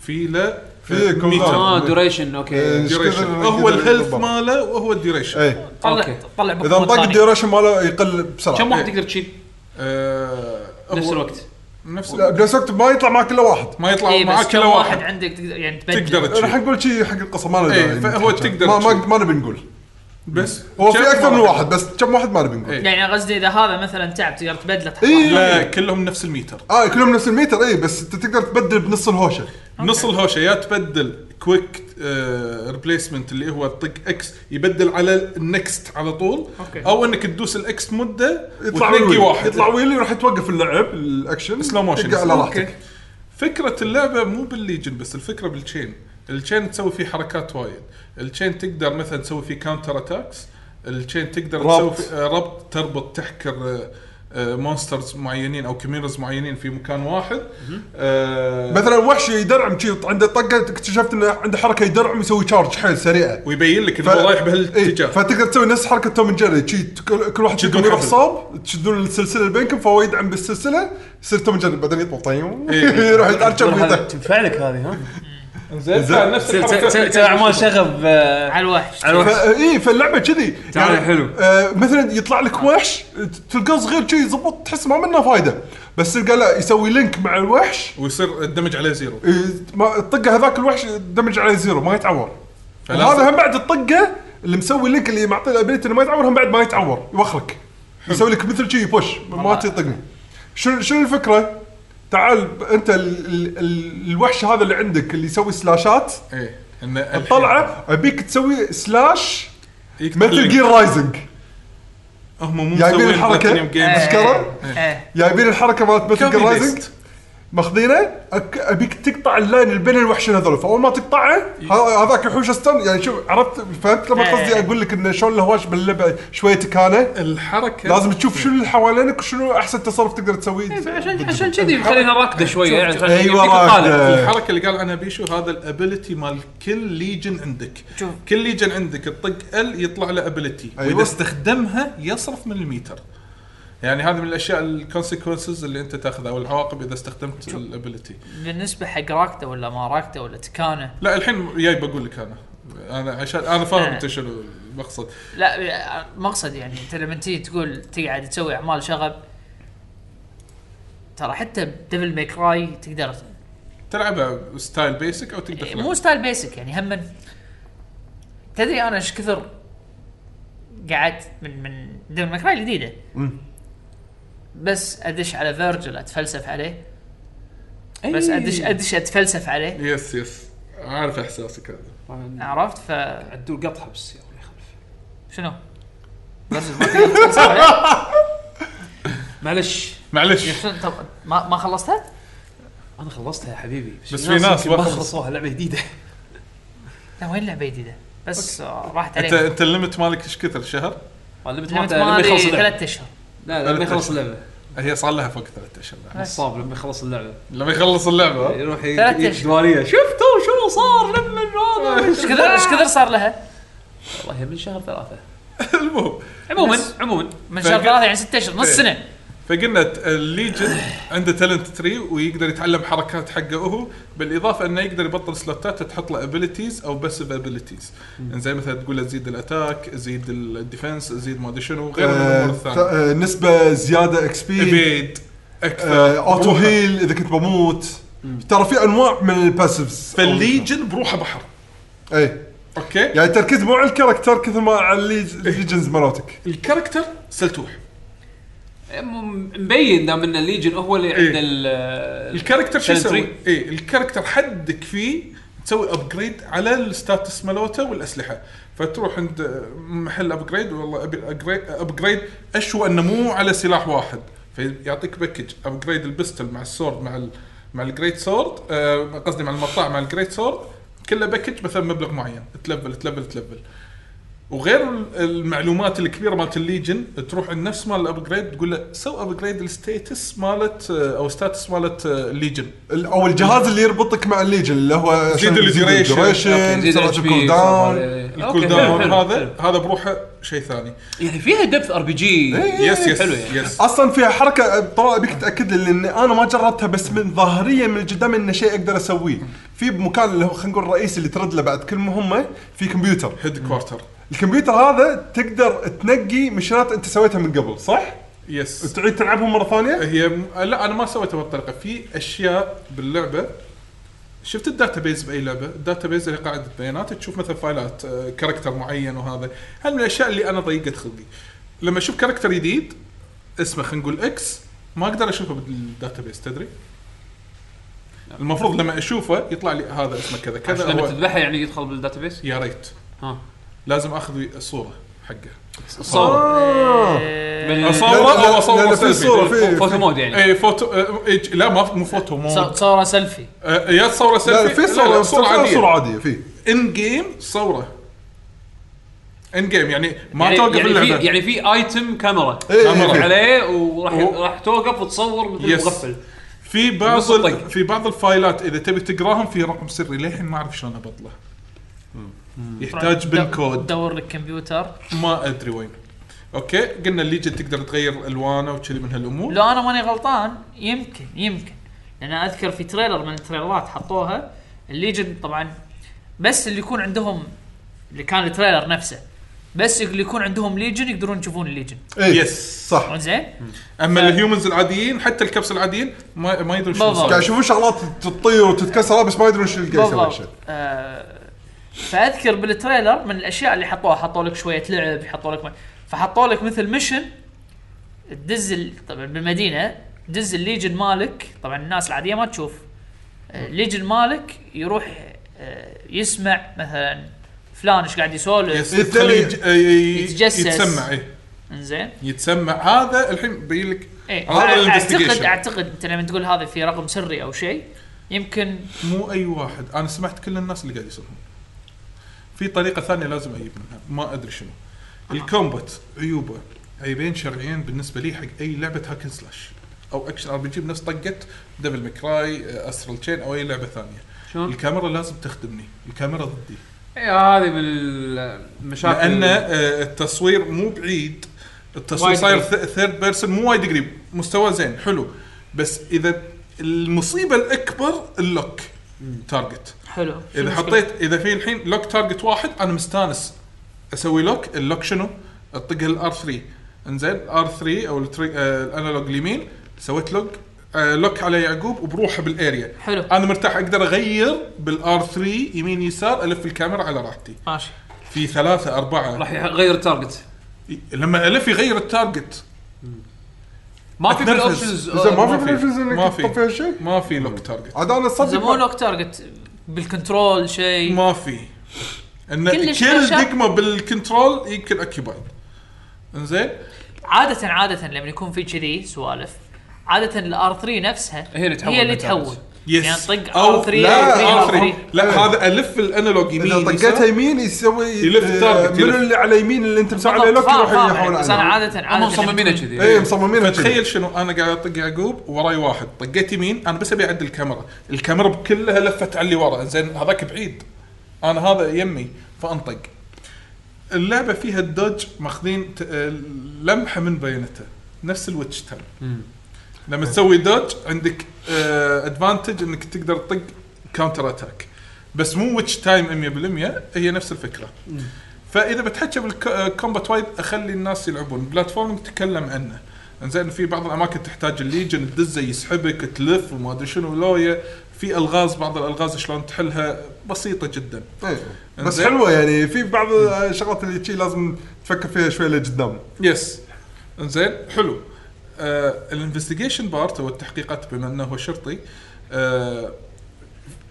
S2: في آه، له
S4: في كومباوند.
S1: اه دوريشن اوكي
S4: إيه. إيش
S2: ديوريشن
S4: كثر-
S2: هو
S4: كثر
S2: الهيلث
S4: بالضبط.
S2: ماله وهو الديوريشن
S4: اي
S1: أوكي.
S3: طلع طلع
S4: اذا
S3: بوكيمون
S4: انطق
S3: ثاني
S4: إيه. الديوريشن ماله يقل بسرعه
S1: كم واحد
S2: إيه.
S1: تقدر تشيل
S2: آه هو-
S1: نفس الوقت
S2: نفس
S4: لا
S2: الوقت
S4: بنفس الوقت ما يطلع معك الا واحد
S2: ما يطلع
S3: إيه، بس
S2: معك
S3: كم
S2: الا
S3: واحد
S2: واحد
S3: عندك تقدر يعني
S2: تقدر
S3: تبدل
S4: راح
S2: تشيل
S4: نقول شيء حق القصه ما له
S2: إيه،
S4: داعي.
S2: فهو تقدر
S4: ما ما
S2: تشيل.
S4: ما نبي نقول
S2: بس
S4: هو في
S2: شاف
S4: اكثر من واحد بس كم واحد ما نبي نقول
S2: إيه.
S3: يعني قصدي اذا هذا مثلا تعب تقدر تبدله تحط
S4: إيه.
S3: واحد.
S2: لا كلهم نفس الميتر
S4: اه كلهم نفس الميتر اي بس انت تقدر تبدل بنص الهوشه
S2: نص الهوشه يا تبدل كويك ريبليسمنت اللي هو طق اكس يبدل على النكست على طول
S3: أوكي.
S2: او انك تدوس الاكس مده
S4: يطلع
S2: وتنقي
S4: ويلي
S2: واحد
S4: يطلع ويلي وراح يتوقف اللعب الاكشن
S2: سلو موشن
S4: يبقى على راحتك
S2: فكره اللعبه مو بالليجن بس الفكره بالتشين التشين تسوي فيه حركات وايد التشين تقدر مثلا تسوي فيه كاونتر اتاكس التشين تقدر
S4: ربط.
S2: تسوي فيه- آه، ربط تربط تحكر مونسترز معينين او كميرز معينين في مكان واحد آه،
S4: مثلا وحش يدرعم شي عنده طقه اكتشفت انه عنده حركه يدرعم يسوي تشارج حيل سريعه
S2: ويبين لك انه هو رايح بهالاتجاه
S4: إيه، فتقدر تسوي نفس حركه توم إند جيري شي كل كل واحد
S2: تشدون
S4: يكون يروح
S2: حبل.
S4: صوب تشدون السلسله اللي بينكم فهو يدعم بالسلسله يصير توم إند جيري بعدين يطلع طيب
S2: إيه.
S4: يروح يتعشم ويطيح
S1: تنفع لك هذه ها؟
S2: زين
S4: زين.
S2: نفس الحركة
S1: تسوي اعمال شغب آه،
S3: على الوحش
S1: على الوحش.
S4: فا- اي فاللعبه إيه، كذي
S1: تعال حلو.
S4: آه مثلا يطلع لك وحش تلقاه صغير كذي يضبط تحس ما منه فايده بس تلقى لا يسوي لينك مع الوحش
S2: ويصير الدمج عليه زيرو
S4: إيه، ما- الطقه هذاك الوحش دمج عليه زيرو ما يتعور
S2: فلازم-
S4: هذا هم بعد الطقه اللي مسوي لينك اللي معطي الابيلتي انه ما يتعور هم بعد ما يتعور يوخرك يسوي لك مثل شي بوش ما تطقني شنو شنو الفكره؟ تعال ب- انت ال ال ال الوحش هذا اللي عندك اللي يسوي سلاشات
S2: ايه إن الحين
S4: طلعه ابيك تسوي سلاش
S2: يكتب
S4: مثل
S2: لك.
S4: جير رايزنج
S2: هم مو
S4: جايبين
S2: مسوين
S4: الحركة.
S2: Platinum Games.
S4: إيه. أشكره؟
S3: ايه
S4: جايبين الحركه مالت مثل
S2: كوبي
S4: جير رايزنج
S2: بيست.
S4: ماخذينه أك- ابيك تقطع اللاين اللي بين الوحشين هذول فاول ما تقطعه
S2: إيه.
S4: ه- هذاك يحوش ستان يعني شوف عرفت فهمت لما
S3: إيه.
S4: قصدي اقول لك انه شلون الهواش باللعبه شويه تكانه
S2: الحركه
S4: لازم تشوف شنو اللي حوالينك وشنو احسن تصرف تقدر تسويه
S1: عشان عشان كذي مخلينا راكده شويه يعني عشان
S4: أيوة،
S1: يعطيك الطالع.
S4: راكدة.
S3: آه.
S2: الحركه اللي قال عنها بيشو هذا الابيلتي مال كل ليجن عندك
S3: شوف.
S2: كل ليجن عندك تطق ال يطلع له ابيلتي
S4: أيوة.
S2: واذا استخدمها يصرف من الميتر يعني هذه من الاشياء الكونسيكونسز اللي انت تاخذها او العواقب اذا استخدمت الابيلتي
S3: بالنسبه حق راكته ولا ما راكته ولا تكانه
S2: لا الحين جاي بقول لك انا انا عشان انا فاهم
S3: آه.
S2: انت شنو المقصد
S3: لا مقصد يعني انت لما تيجي تقول تقعد تسوي اعمال شغب ترى حتى بديفل ميك راي تقدر
S2: تلعبها ستايل بيسك او تقدر
S3: إيه،
S2: تلعبها.
S3: مو ستايل بيسك يعني هم تدري انا ايش كثر قعدت من من ديفل ميك راي الجديده بس ادش على فيرجل اتفلسف عليه بس
S2: إيه.
S3: ادش ادش اتفلسف عليه
S2: يس يس عارف احساسك هذا
S3: عرفت ف
S1: عدول قط حبس يا ولي خلف
S3: شنو؟ بس ما تقدر تتفلسف عليه؟
S1: معلش
S2: معلش
S3: يعني شنو طب ما ما خلصتها؟
S1: انا خلصتها يا حبيبي
S2: بس في ناس
S1: يمكن
S2: ما
S1: ما
S2: خلصوا.
S1: خلصوها لعبه جديده
S3: لا وين لعبه جديده؟ بس آه، راحت
S2: انت
S3: علي
S2: انت الليمت مالك ايش كثر شهر؟
S1: الليمت
S3: لعبت
S1: مالته لما
S3: ماري
S1: يخلص اللعبه
S3: ثلاث اشهر
S1: لا لا لما يخلص اللعبه
S2: هي صار لها فوق ثلاث اشهر بعد.
S1: نصاب لما يخلص اللعبه
S2: لما يخلص اللعبه
S1: يروح
S3: ثلاث
S1: يجيب
S3: أشهر.
S1: دواريه شفتوا شنو صار لما هذا
S3: ايش كثر ايش كثر صار لها؟
S1: والله من شهر ثلاثه
S2: المهم
S1: عموما
S3: بس.
S1: عموما
S3: من شهر
S2: فك-
S3: ثلاثه يعني ست اشهر نص
S2: إيه.
S3: سنه
S2: فقلنا ت- الليجن عنده تالنت تري ويقدر يتعلم حركات حقه هو بالاضافه انه يقدر يبطل سلوتات تحط له ابيلتيز او باسيف ابيلتيز زي مثلا تقول له زيد الاتاك زيد الديفنس زيد ما ادري شنو غير من الامور
S4: آه، ت-
S2: الثانيه
S4: آه، نسبه زياده اكس بي
S2: ابيد اكثر
S4: اوتو
S2: بروحه.
S4: هيل اذا كنت بموت ترى في انواع من الباسفز
S2: فالليجن بروحه بحر
S4: اي
S2: اوكي
S4: يعني تركيز مو على الكاركتر كثر ما على الليج- الليجنز مالتك
S2: الكاركتر سلتوح
S1: م- مبين دام ان الليجن هو اللي
S2: إيه.
S1: عنده ال-
S2: الكاركتر شو
S1: تالنت
S2: يسوي؟
S1: تري.
S2: اي الكاركتر حدك فيه تسوي ابجريد على الستاتس مالوته والاسلحه فتروح عند محل ابجريد والله ابي أجري- ابجريد اشوى انه مو على سلاح واحد فيعطيك باكج ابجريد البستل مع السورد مع ال مع الجريت سورد آه، قصدي مع المطاع مع الجريت سورد كله باكج مثلا مبلغ معين تلفل تلفل تلفل وغير ال- المعلومات الكبيره مالت الليجن تروح عند نفس مال الابجريد تقول له سو ابجريد الستيتس مالت آه، او ستاتس مالت آه، الليجن
S4: ال- او الجهاز اللي يربطك مع الليجن اللي هو عشان
S2: ال
S4: يزيد
S2: duration.
S1: أوكي،
S4: الديوريشن
S1: زيد
S4: سرعه
S1: HP صار
S4: الكول داون
S1: عليه. أوكي،
S2: الكول
S1: حلو،
S2: داون
S1: حلو،
S2: هذا
S1: حلو.
S2: هذا بروحه شيء ثاني
S1: يعني فيها دبث ار بي جي
S2: يس يس
S1: حلو يعني.
S2: يس
S4: اصلا فيها حركه طلع ابيك تاكد لي لان انا ما جربتها بس من ظاهريا من قدام انه شيء اقدر اسويه في مكان اللي هو خلينا نقول الرئيسي اللي ترد له بعد كل مهمه في كمبيوتر
S2: هيد كوارتر
S4: الكمبيوتر هذا تقدر تنقي مشينات انت سويتها من قبل صح؟
S2: يس
S4: تعيد تلعبهم مره ثانيه؟
S2: هي م- لا انا ما سويتها بهالطريقه في اشياء باللعبه شفت الداتابيز باي لعبه الداتابيز اللي قاعده بيانات تشوف مثلا فايلات آه، كاركتر معين وهذا هل من الاشياء اللي انا ضيقت خلقي لما اشوف كاركتر جديد اسمه خلينا نقول اكس ما اقدر اشوفه بالداتابيز تدري المفروض لما اشوفه يطلع لي هذا اسمه كذا
S1: نعم. عشان
S2: كذا
S1: لما
S2: هو
S1: تذبحها يعني يدخل بالداتابيس
S2: يا ريت
S1: ها
S2: لازم اخذ صوره حقه
S4: آه.
S1: الصور
S3: إيه،
S1: بال-
S2: صور
S4: لا، لا،
S2: او
S4: لا، لا،
S2: صور
S4: في صوره آه، في
S1: فوتو
S4: في-
S1: مود يعني
S2: اي فوتو آه، إيه، لا ما مو فوتو
S3: ص-
S2: مود
S3: صوره سيلفي
S2: آه، يا صوره
S4: لا
S2: سيلفي
S4: في
S2: صوره
S4: صوره صوره
S2: عاديه
S4: عاديه في
S2: ان جيم صوره ان جيم يعني ما
S1: يعني-
S2: توقف
S1: يعني في
S2: اللعبه
S1: يعني في ايتم كاميرا
S4: إيه،
S2: كاميرا.
S4: إيه، إيه.
S1: عليه وراح
S2: و-
S1: راح توقف وتصور مثل
S2: يس.
S1: مغفل
S2: في بعض
S1: نص الطق.
S2: ال- في بعض الفايلات اذا تبي تقراهم في رقم سري للحين ما اعرف شلون ابطله يحتاج
S3: دو-
S2: بالكود
S3: دور لك كمبيوتر
S2: ما ادري وين اوكي قلنا الليجن تقدر تغير الوانه وكذي من هالامور
S3: لو انا ماني غلطان يمكن يمكن لان اذكر في تريلر من التريلرات حطوها الليجن طبعا بس اللي يكون عندهم اللي كان التريلر نفسه بس اللي يكون عندهم ليجن يقدرون يشوفون الليجن
S4: إيه،
S2: يس.
S4: صح
S3: مو زين
S2: اما
S3: ف-
S2: الهيومنز العاديين حتى الكبس العاديين ما, ما يدرون شنو
S3: بالضبط.
S2: صار
S4: قاعد يشوفون شغلات تطير وتتكسر بس ما يدرون شو اللي قاعد يسوي
S3: بالضبط
S4: شيء
S3: آه، فاذكر بالتريلر من الاشياء اللي حطوها حطوا لك شويه لعب حطوا لك ما- فحطوا لك مثل ميشن تدز ال- طبعا بالمدينه تدز الليجن مالك طبعا الناس العاديه ما تشوف آه، الليجن مالك يروح آه، يسمع مثلا فلان ايش قاعد يسولف
S2: يس تخليه يج- ي-
S3: يتجسس.
S2: يتسمع ايه
S3: انزين
S2: يتسمع هذا الحين بين لك
S3: ايه
S1: إيه.
S2: هذا
S3: أع- اعتقد
S2: الانفستيجيشن.
S3: اعتقد انت لما تقول هذا في رقم سري او شيء يمكن
S2: مو اي واحد انا سمعت كل الناس اللي قاعد يصيرون في طريقه ثانيه لازم اجيب منها ما ادري شنو الكومبات عيوبه عيبين شرعيين بالنسبه لي حق اي لعبه هاكن سلاش او اكشن ار بي جي بنفس طقه دبل مكراي استرال تشين او اي لعبه ثانيه
S1: شلون؟
S2: الكاميرا لازم تخدمني الكاميرا ضدي
S1: إيه، هذه من المشاكل
S2: لان آه، التصوير مو بعيد التصوير
S1: وايد
S2: صاير
S1: قريب.
S2: ثيرد بيرسون مو وايد قريب مستوى زين حلو بس اذا المصيبه الاكبر اللوك تارجت
S3: حلو شو
S2: اذا
S3: المشكلة؟
S2: حطيت اذا في الحين لوك تارجت واحد انا مستانس اسوي لوك اللوك شنو؟ اطق الار 3 انزين ار 3 او التري- آه، الانالوج اليمين سويت لوك آه، لوك على يعقوب وبروحه بالاريا
S3: حلو.
S2: انا مرتاح اقدر اغير بالار 3 يمين يسار الف الكاميرا على راحتي
S3: ماشي
S2: في ثلاثة أربعة
S1: راح يغير التارجت
S2: لما ألف يغير التارجت
S1: ما في آه،
S2: أتنرفز.
S1: بالاوبشنز
S4: زين ما في
S2: ما في.
S4: بنفس
S2: ما
S4: انك
S2: في.
S4: تحط فيها شيء؟
S2: ما في لوك تارجت
S4: عاد انا
S3: إذا مو
S4: صدق
S3: لوك تارجت بالكنترول شيء
S2: ما في ان
S3: كلش
S2: كل
S3: بشر.
S2: دقمه بالكنترول يمكن اوكيبايد انزين
S3: عادة عادة لما يكون في كذي سوالف عادة الار 3 نفسها
S1: هي اللي تحول
S3: هي اللي
S1: بالتعرض.
S3: تحول
S2: يس
S3: يعني طق
S2: أو-
S3: ار 3
S2: لا
S4: R3
S2: ار
S3: ار
S2: 3
S3: 3
S2: لا هذا الف الانالوج يمين
S4: اذا
S2: يسار.
S4: طقيتها يمين يسوي
S2: يلف
S4: آه،
S2: تارجت،
S4: منو
S2: يلف.
S4: اللي على يمين اللي انت مسوي عليه لوك يروح يحول
S3: بس انا
S4: عليه. إيه،
S3: عادة عادة
S1: هم مصممينها كذي
S4: اي مصممين
S2: تخيل شنو انا قاعد اطق يعقوب وراي واحد طقيت يمين انا بس ابي اعدل الكاميرا الكاميرا كلها لفت علي ورا زين هذاك بعيد انا هذا يمي فانطق اللعبه فيها الدوج ماخذين ت- آه، لمحه من بيانته نفس الويتش تايم لما تسوي دوج عندك ادفانتج انك تقدر تطق كاونتر اتاك بس مو ويتش تايم 100% هي نفس الفكره فاذا بتحكي بالكومبات وايد اخلي الناس يلعبون بلاتفورم تتكلم عنه انزين في بعض الاماكن تحتاج الليجن تدزه يسحبك تلف وما ادري شنو لويا في الغاز بعض الالغاز شلون تحلها بسيطه جدا
S4: إيه. بس
S2: إنزين.
S4: حلوه يعني في بعض الشغلات اللي شي لازم تفكر فيها شوي لقدام
S2: يس انزين حلو آه الانفستيجيشن بارت او التحقيقات بما انه هو شرطي آه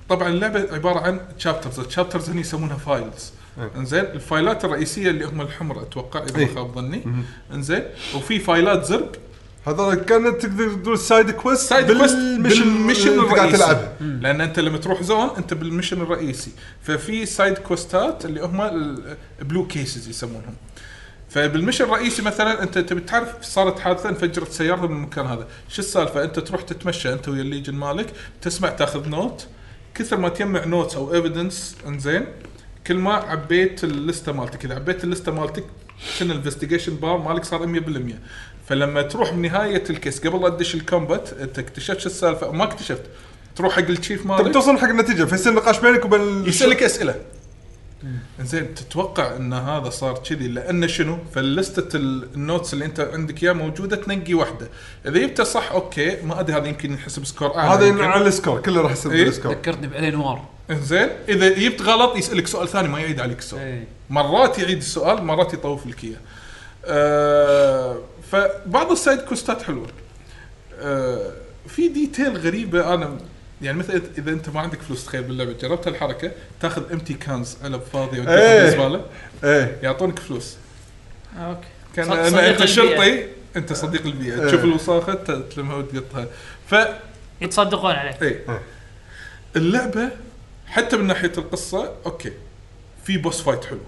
S2: طبعا اللعبه عباره عن تشابترز، التشابترز هني يسمونها فايلز
S4: إيه.
S2: انزين الفايلات الرئيسيه اللي هم الحمر اتوقع اذا
S4: إيه.
S2: ما خاب ظني انزين وفي فايلات زرق
S4: هذا كانت تقدر تقول سايد كويست
S2: سايد كويست بالمشن
S4: اللي انت قاعد
S2: الرئيسي
S4: تلعبه
S2: لان انت لما تروح زون انت بالمشن الرئيسي ففي سايد كوستات اللي هم البلو كيسز يسمونهم فبالمشن الرئيسي مثلا انت تبي تعرف صارت حادثه انفجرت سياره من المكان هذا شو السالفه انت تروح تتمشى انت ويا الليجن مالك تسمع تاخذ نوت كثر ما تجمع نوتس او ايفيدنس انزين كل ما عبيت اللسته مالتك اذا عبيت اللسته مالتك شنو الانفستيجيشن بار مالك صار 100% فلما تروح من نهايه الكيس قبل لا تدش الكومبات انت اكتشفت شو السالفه ما اكتشفت تروح حق التشيف
S4: تبي
S2: مالك
S4: توصل حق النتيجه فيصير نقاش بينك وبين
S2: يسالك اسئله زين تتوقع ان هذا صار كذي لان شنو؟ فلستة ال- النوتس اللي انت عندك اياها موجوده تنقي واحده، اذا جبتها صح اوكي ما ادري هذا يمكن ينحسب سكور اعلى
S4: هذا
S2: يمكن.
S4: على السكور كله راح يصير
S2: إيه.
S4: بالسكور
S1: ذكرتني بالي نوار
S2: انزين اذا جبت غلط يسالك سؤال ثاني ما يعيد عليك السؤال.
S1: إيه.
S2: مرات يعيد السؤال مرات يطوف لك اياه. آه، فبعض السايد كوستات حلوه. آه، في ديتيل غريبه انا يعني مثلا اذا انت ما عندك فلوس تخيل باللعبه جربت الحركه تاخذ امتي كانز علب فاضيه وتدخل
S4: إيه.
S2: بالزباله
S4: ايه
S2: يعطونك فلوس.
S3: اوكي
S2: كان
S3: صد-
S2: لما
S3: صديق
S2: انت شرطي انت صديق البيئه
S4: إيه.
S2: تشوف الوساخه ت- تلمها وتقطها. ف
S3: يتصدقون عليه
S2: اي
S4: إيه.
S2: اللعبه حتى من ناحيه القصه اوكي في بوس فايت حلو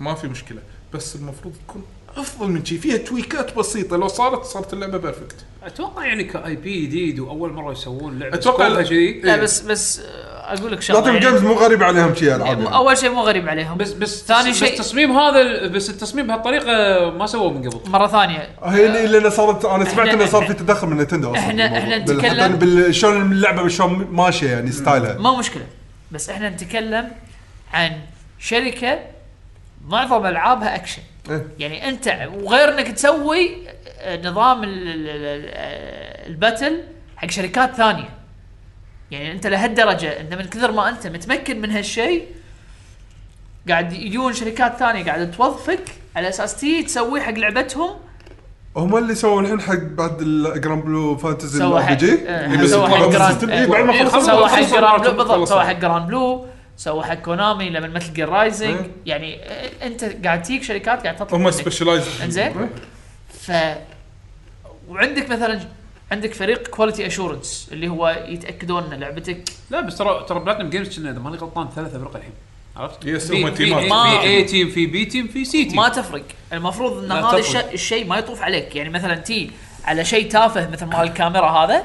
S2: ما في مشكله بس المفروض تكون افضل من شي فيها تويكات بسيطه لو صارت صارت اللعبه بيرفكت
S1: اتوقع يعني كاي بي جديد واول مره يسوون لعبه
S2: أتوقع
S1: سكوبها
S2: لا.
S1: كذي
S3: لا
S2: إيه.
S3: بس بس آه، اقول لك شغله
S4: لاتم
S3: يعني
S4: جيمز مو غريب عليهم شي العاب
S3: يعني
S4: يعني.
S3: اول شيء مو غريب عليهم
S1: بس بس
S3: ثاني
S1: بس
S3: شيء-
S1: التصميم هذا ال- بس التصميم بهالطريقه ما سووه من قبل
S3: مره ثانيه
S4: هي اللي اللي أنا صارت انا سمعت
S3: إحنا-
S4: انه صار في
S3: إحنا-
S4: تدخل من نتندو أصلاً
S3: إحنا-
S4: بالموضوع.
S3: إحنا
S4: بال-
S3: نتكلم-
S4: حتى بال- شلون اللعبه شلون ماشيه يعني ستايلها
S3: ما مشكله بس احنا نتكلم عن شركه معظم العابها اكشن
S4: إيه.
S3: يعني انت وغير انك تسوي آه، نظام ال- ال- ال- آه، الباتل حق شركات ثانيه يعني انت لهالدرجه انت من كثر ما انت متمكن من هالشيء قاعد يجون شركات ثانيه قاعده توظفك على اساس تي تسوي حق لعبتهم
S4: هم اللي سووا الحين حق بعد الجراند بلو فانتزي
S3: سوى
S4: الار
S3: حق
S4: بي جي
S3: آه،
S2: اللي بس
S3: سوى حق
S2: القرار
S3: جراند
S2: بالسيستم.
S3: آه،
S4: إيه، بعد ما
S3: إيه،
S4: خلصوا-
S3: سوى حق
S2: خلصوا
S3: جراند بلو
S2: الأرقام،
S3: بالضبط سوى
S2: خلصوا.
S3: حق جراند بلو سوى حق كونامي لما مثل جير رايزنج
S2: إيه.
S3: يعني آه، انت قاعد تجيك شركات قاعد تطلب
S2: هم
S3: منك.
S2: سبيشلايزد
S3: انزين ف وعندك مثلا عندك فريق كواليتي اشورنس اللي هو يتاكدون ان لعبتك
S1: لا بس ترى ترى بلاتنم جيمز كنا اذا ماني غلطان ثلاثة فرق الحين عرفت؟
S2: يس،
S1: في-
S2: هم
S1: في-
S2: تيمات.
S1: في
S3: ما-
S1: اي تيم في بي تيم في سي تيم
S3: ما تفرق المفروض ان
S1: إيه. لا
S3: هذا
S1: تفرق.
S3: الشيء الشيء ما يطوف عليك يعني مثلا تي على شيء تافه مثل مال الكاميرا هذا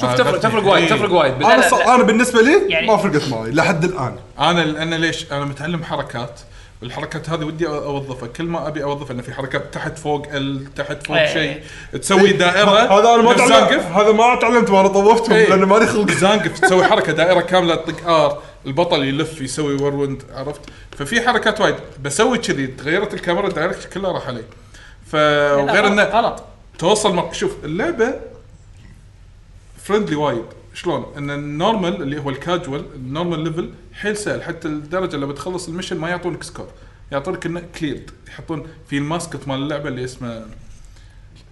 S1: شوف
S2: آه،
S1: تفرق
S2: definitely.
S1: تفرق وايد
S2: إيه.
S1: تفرق وايد بس-
S3: لا،
S4: انا
S3: لا،
S4: ص-
S3: لا.
S4: انا بالنسبه لي
S3: يعني-
S4: ما فرقت معي لحد الان
S2: انا انا ليش انا متعلم حركات الحركات هذه ودي أ- اوظفها كل ما ابي اوظفها لان في حركات تحت فوق ال تحت فوق
S3: إيه.
S2: شيء تسوي دائره
S4: إيه. هذا انا ما تعلمت
S2: زانقف
S4: هذا ما تعلمت وانا طوفتهم
S2: إيه.
S4: لان مالي خلق
S2: زانقف تسوي حركه دائره كامله تطق ار البطل يلف يسوي وروند عرفت ففي حركات وايد بسوي كذي تغيرت الكاميرا الدايركت كلها راح علي ف وغير انه
S3: غلط
S2: توصل مر... شوف اللعبه فرندلي وايد شلون ان النورمال اللي هو الكاجوال النورمال ليفل حيل سهل حتى الدرجه لما تخلص المشن ما يعطونك سكور يعطونك انه كليرد يحطون في الماسكت مال اللعبه اللي اسمه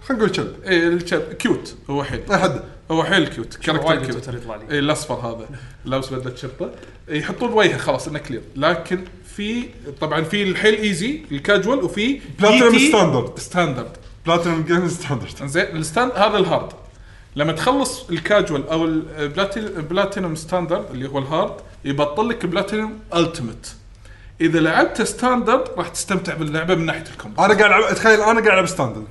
S4: خلينا نقول كلب
S2: اي الكلب إيه، كيوت هو حيل أه،
S4: ما حد
S2: هو حيل كيوت
S1: وايد
S2: كاركتر
S1: تويتر
S2: كيوت
S1: يطلع لي
S2: اي الاصفر هذا لابس بدله شرطه يحطون وجهه خلاص انه كلير لكن في طبعا في الحيل ايزي الكاجوال وفي E
S4: Platinum
S2: GT
S4: standard.
S2: ستاندرد
S4: بلاتينم جيم ستاندرد
S2: زين الستاند هذا الهارد لما تخلص الكاجوال او البلاتينوم ستاندرد اللي هو الهارد يبطل لك بلاتينوم التيمت اذا لعبت ستاندرد راح تستمتع باللعبه من ناحيه الكومبو
S4: انا قاعد العب تخيل انا قاعد العب ستاندرد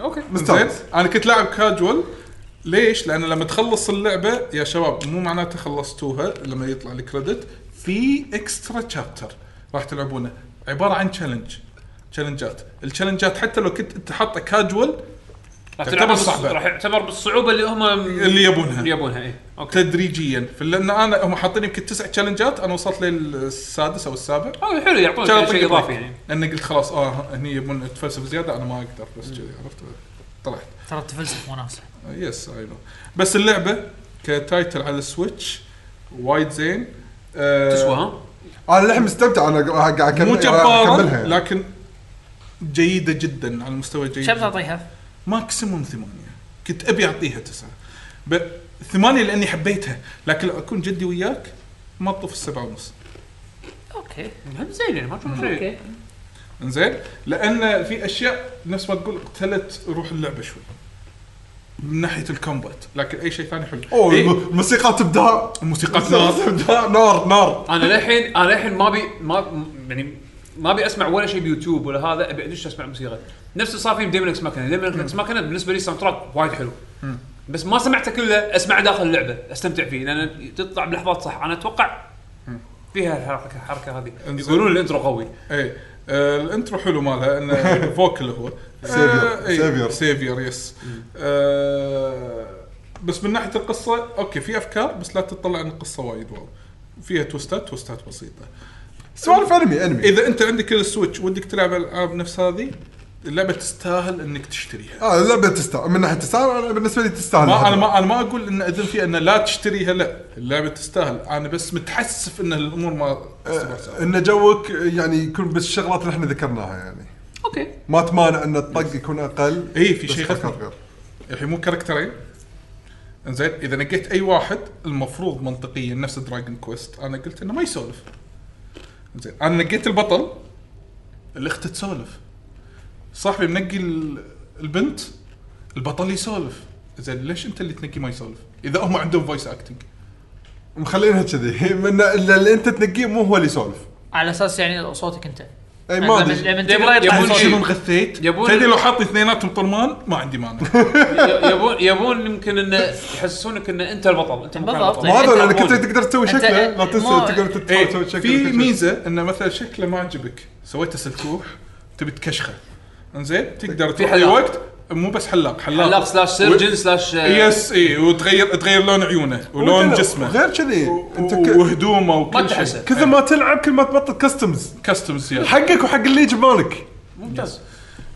S2: اوكي
S4: مستانس.
S2: زين انا كنت لاعب كاجوال ليش؟ لان لما تخلص اللعبه يا شباب مو معناته خلصتوها لما يطلع الكريدت في اكسترا تشابتر راح تلعبونه عباره عن تشالنج تشالنجات التشالنجات حتى لو كنت انت حاطه كاجوال
S1: راح
S2: تعتبر
S1: تلعب بالص-
S2: صعبة.
S1: راح يعتبر بالصعوبه اللي هم
S2: اللي يبونها
S1: اللي يبونها إيه. اي اوكي
S2: تدريجيا في- لان انا هم حاطين يمكن تسع تشالنجات انا وصلت للسادس او السابع
S1: هذا حلو يعطونك
S2: كان
S1: شيء
S2: أطق
S1: اضافي
S2: بريك.
S1: يعني
S2: لان قلت خلاص اه هني يبون تفلسف زياده انا ما اقدر بس كذي عرفت طلعت
S3: ترى تفلسف وناسه
S2: يس اي نو بس اللعبه كتايتل على السويتش وايد زين آه،
S1: تسوى ها
S4: انا للحين مستمتع انا قاعد قاعد أكمل-
S2: مو
S4: اكملها
S2: جباره
S4: يعني.
S2: لكن جيده جدا على المستوى الجيد
S3: شو بتعطيها؟
S2: ماكسيموم ثمانية كنت ابي اعطيها تسعة ب... ثمانية لاني حبيتها لكن لو اكون جدي وياك ما تطوف السبعة ونص
S3: اوكي
S1: هم زين يعني ما تشوف شيء
S3: اوكي
S2: انزين لان في اشياء نفس ما تقول قتلت روح اللعبه شوي من ناحيه الكومبات لكن اي شيء ثاني حلو
S4: اوه
S2: إيه،
S4: الموسيقى تبدا
S2: الموسيقى
S4: الموسيقى
S2: نار
S4: تبدا نار نار
S1: انا للحين انا للحين ما بي ما م- يعني ما ابي اسمع ولا شيء بيوتيوب ولا هذا ابي ادش اسمع موسيقى نفس اللي صار في ديمون اكس ماكينه ديمون اكس ماكينه بالنسبه لي ساوند تراك وايد حلو بس ما سمعته كله اسمع داخل اللعبه استمتع فيه لان تطلع بلحظات صح انا اتوقع فيها الحركه الحركه هذه
S2: إنزين.
S1: يقولون الانترو قوي
S2: اي آه الانترو حلو مالها انه فوكل هو آه،
S4: Savior.
S2: سيفير
S4: Savior.
S2: سيفير يس آه بس من ناحيه القصه اوكي في افكار بس لا تطلع عن القصه وايد واو فيها توستات توستات بسيطه
S4: سوالف انمي انمي
S2: اذا انت عندك السويتش ودك تلعب العاب نفس هذه اللعبه تستاهل انك تشتريها
S4: اه اللعبه تستاهل من ناحيه تستاهل انا بالنسبه لي تستاهل
S2: ما انا
S4: هذا.
S2: ما انا ما اقول ان اذن فيها ان لا تشتريها لا اللعبه تستاهل انا بس متحسف ان الامور ما
S4: آه، ان جوك يعني يكون بس الشغلات اللي احنا ذكرناها يعني
S1: اوكي
S4: ما تمانع ان الطق يكون اقل
S2: إيه، في
S4: بس
S2: شيء
S4: فكر
S2: غثني.
S4: غير.
S2: الحين مو كاركترين انزين اذا نقيت اي واحد المفروض منطقيا نفس دراجون كويست انا قلت انه ما يسولف انزين انا نقيت البطل الاخت تسولف صاحبي منقي ال- البنت البطل يسولف زين ليش انت اللي تنقي ما يسولف؟ اذا هم عندهم فويس اكتنج
S4: مخلينها كذي من اللي اللي انت تنقيه مو هو اللي يسولف
S3: على اساس يعني صوتك انت
S4: اي
S2: طيب،
S4: ما
S3: لما-
S4: ادري
S3: لما
S1: يبون-
S3: تقرا يطلع
S1: طيب، يبون
S3: صوتك.
S1: شيء.
S2: شنو انغثيت؟
S1: يبون-
S2: تدري لو حاط اثنيناتهم طرمان ما عندي مانع
S1: ي- يبون يبون يمكن انه يحسسونك ان انت البطل انت مكان
S3: بالضبط.
S1: البطل
S4: ما ادري لانك
S1: يتعبون.
S4: انت تقدر تسوي
S3: أنت-
S4: شكله لا تنسى
S3: ما-
S4: تقدر تتحرك
S2: ايه
S4: تسوي شكله
S2: في
S4: وكل شيء.
S2: ميزه انه مثلا شكله ما عجبك سويته سلكوح تبي تكشخه انزين تقدر تروح اي
S1: حلاق.
S2: وقت مو بس حلاق حلاق
S1: حلاق سلاش سيرجن سلاش آه،
S2: يس اي وتغير تغير لون عيونه ولون
S4: وغير-
S2: جسمه
S4: غير كذي
S2: و-
S4: انت
S2: و-
S4: ك-
S2: وهدومه وكل
S1: تحسه.
S2: شيء
S4: كثر ما تلعب كل ما تبطل كاستمز
S2: كاستمز يا
S4: حقك وحق اللي يجي مالك
S1: ممتاز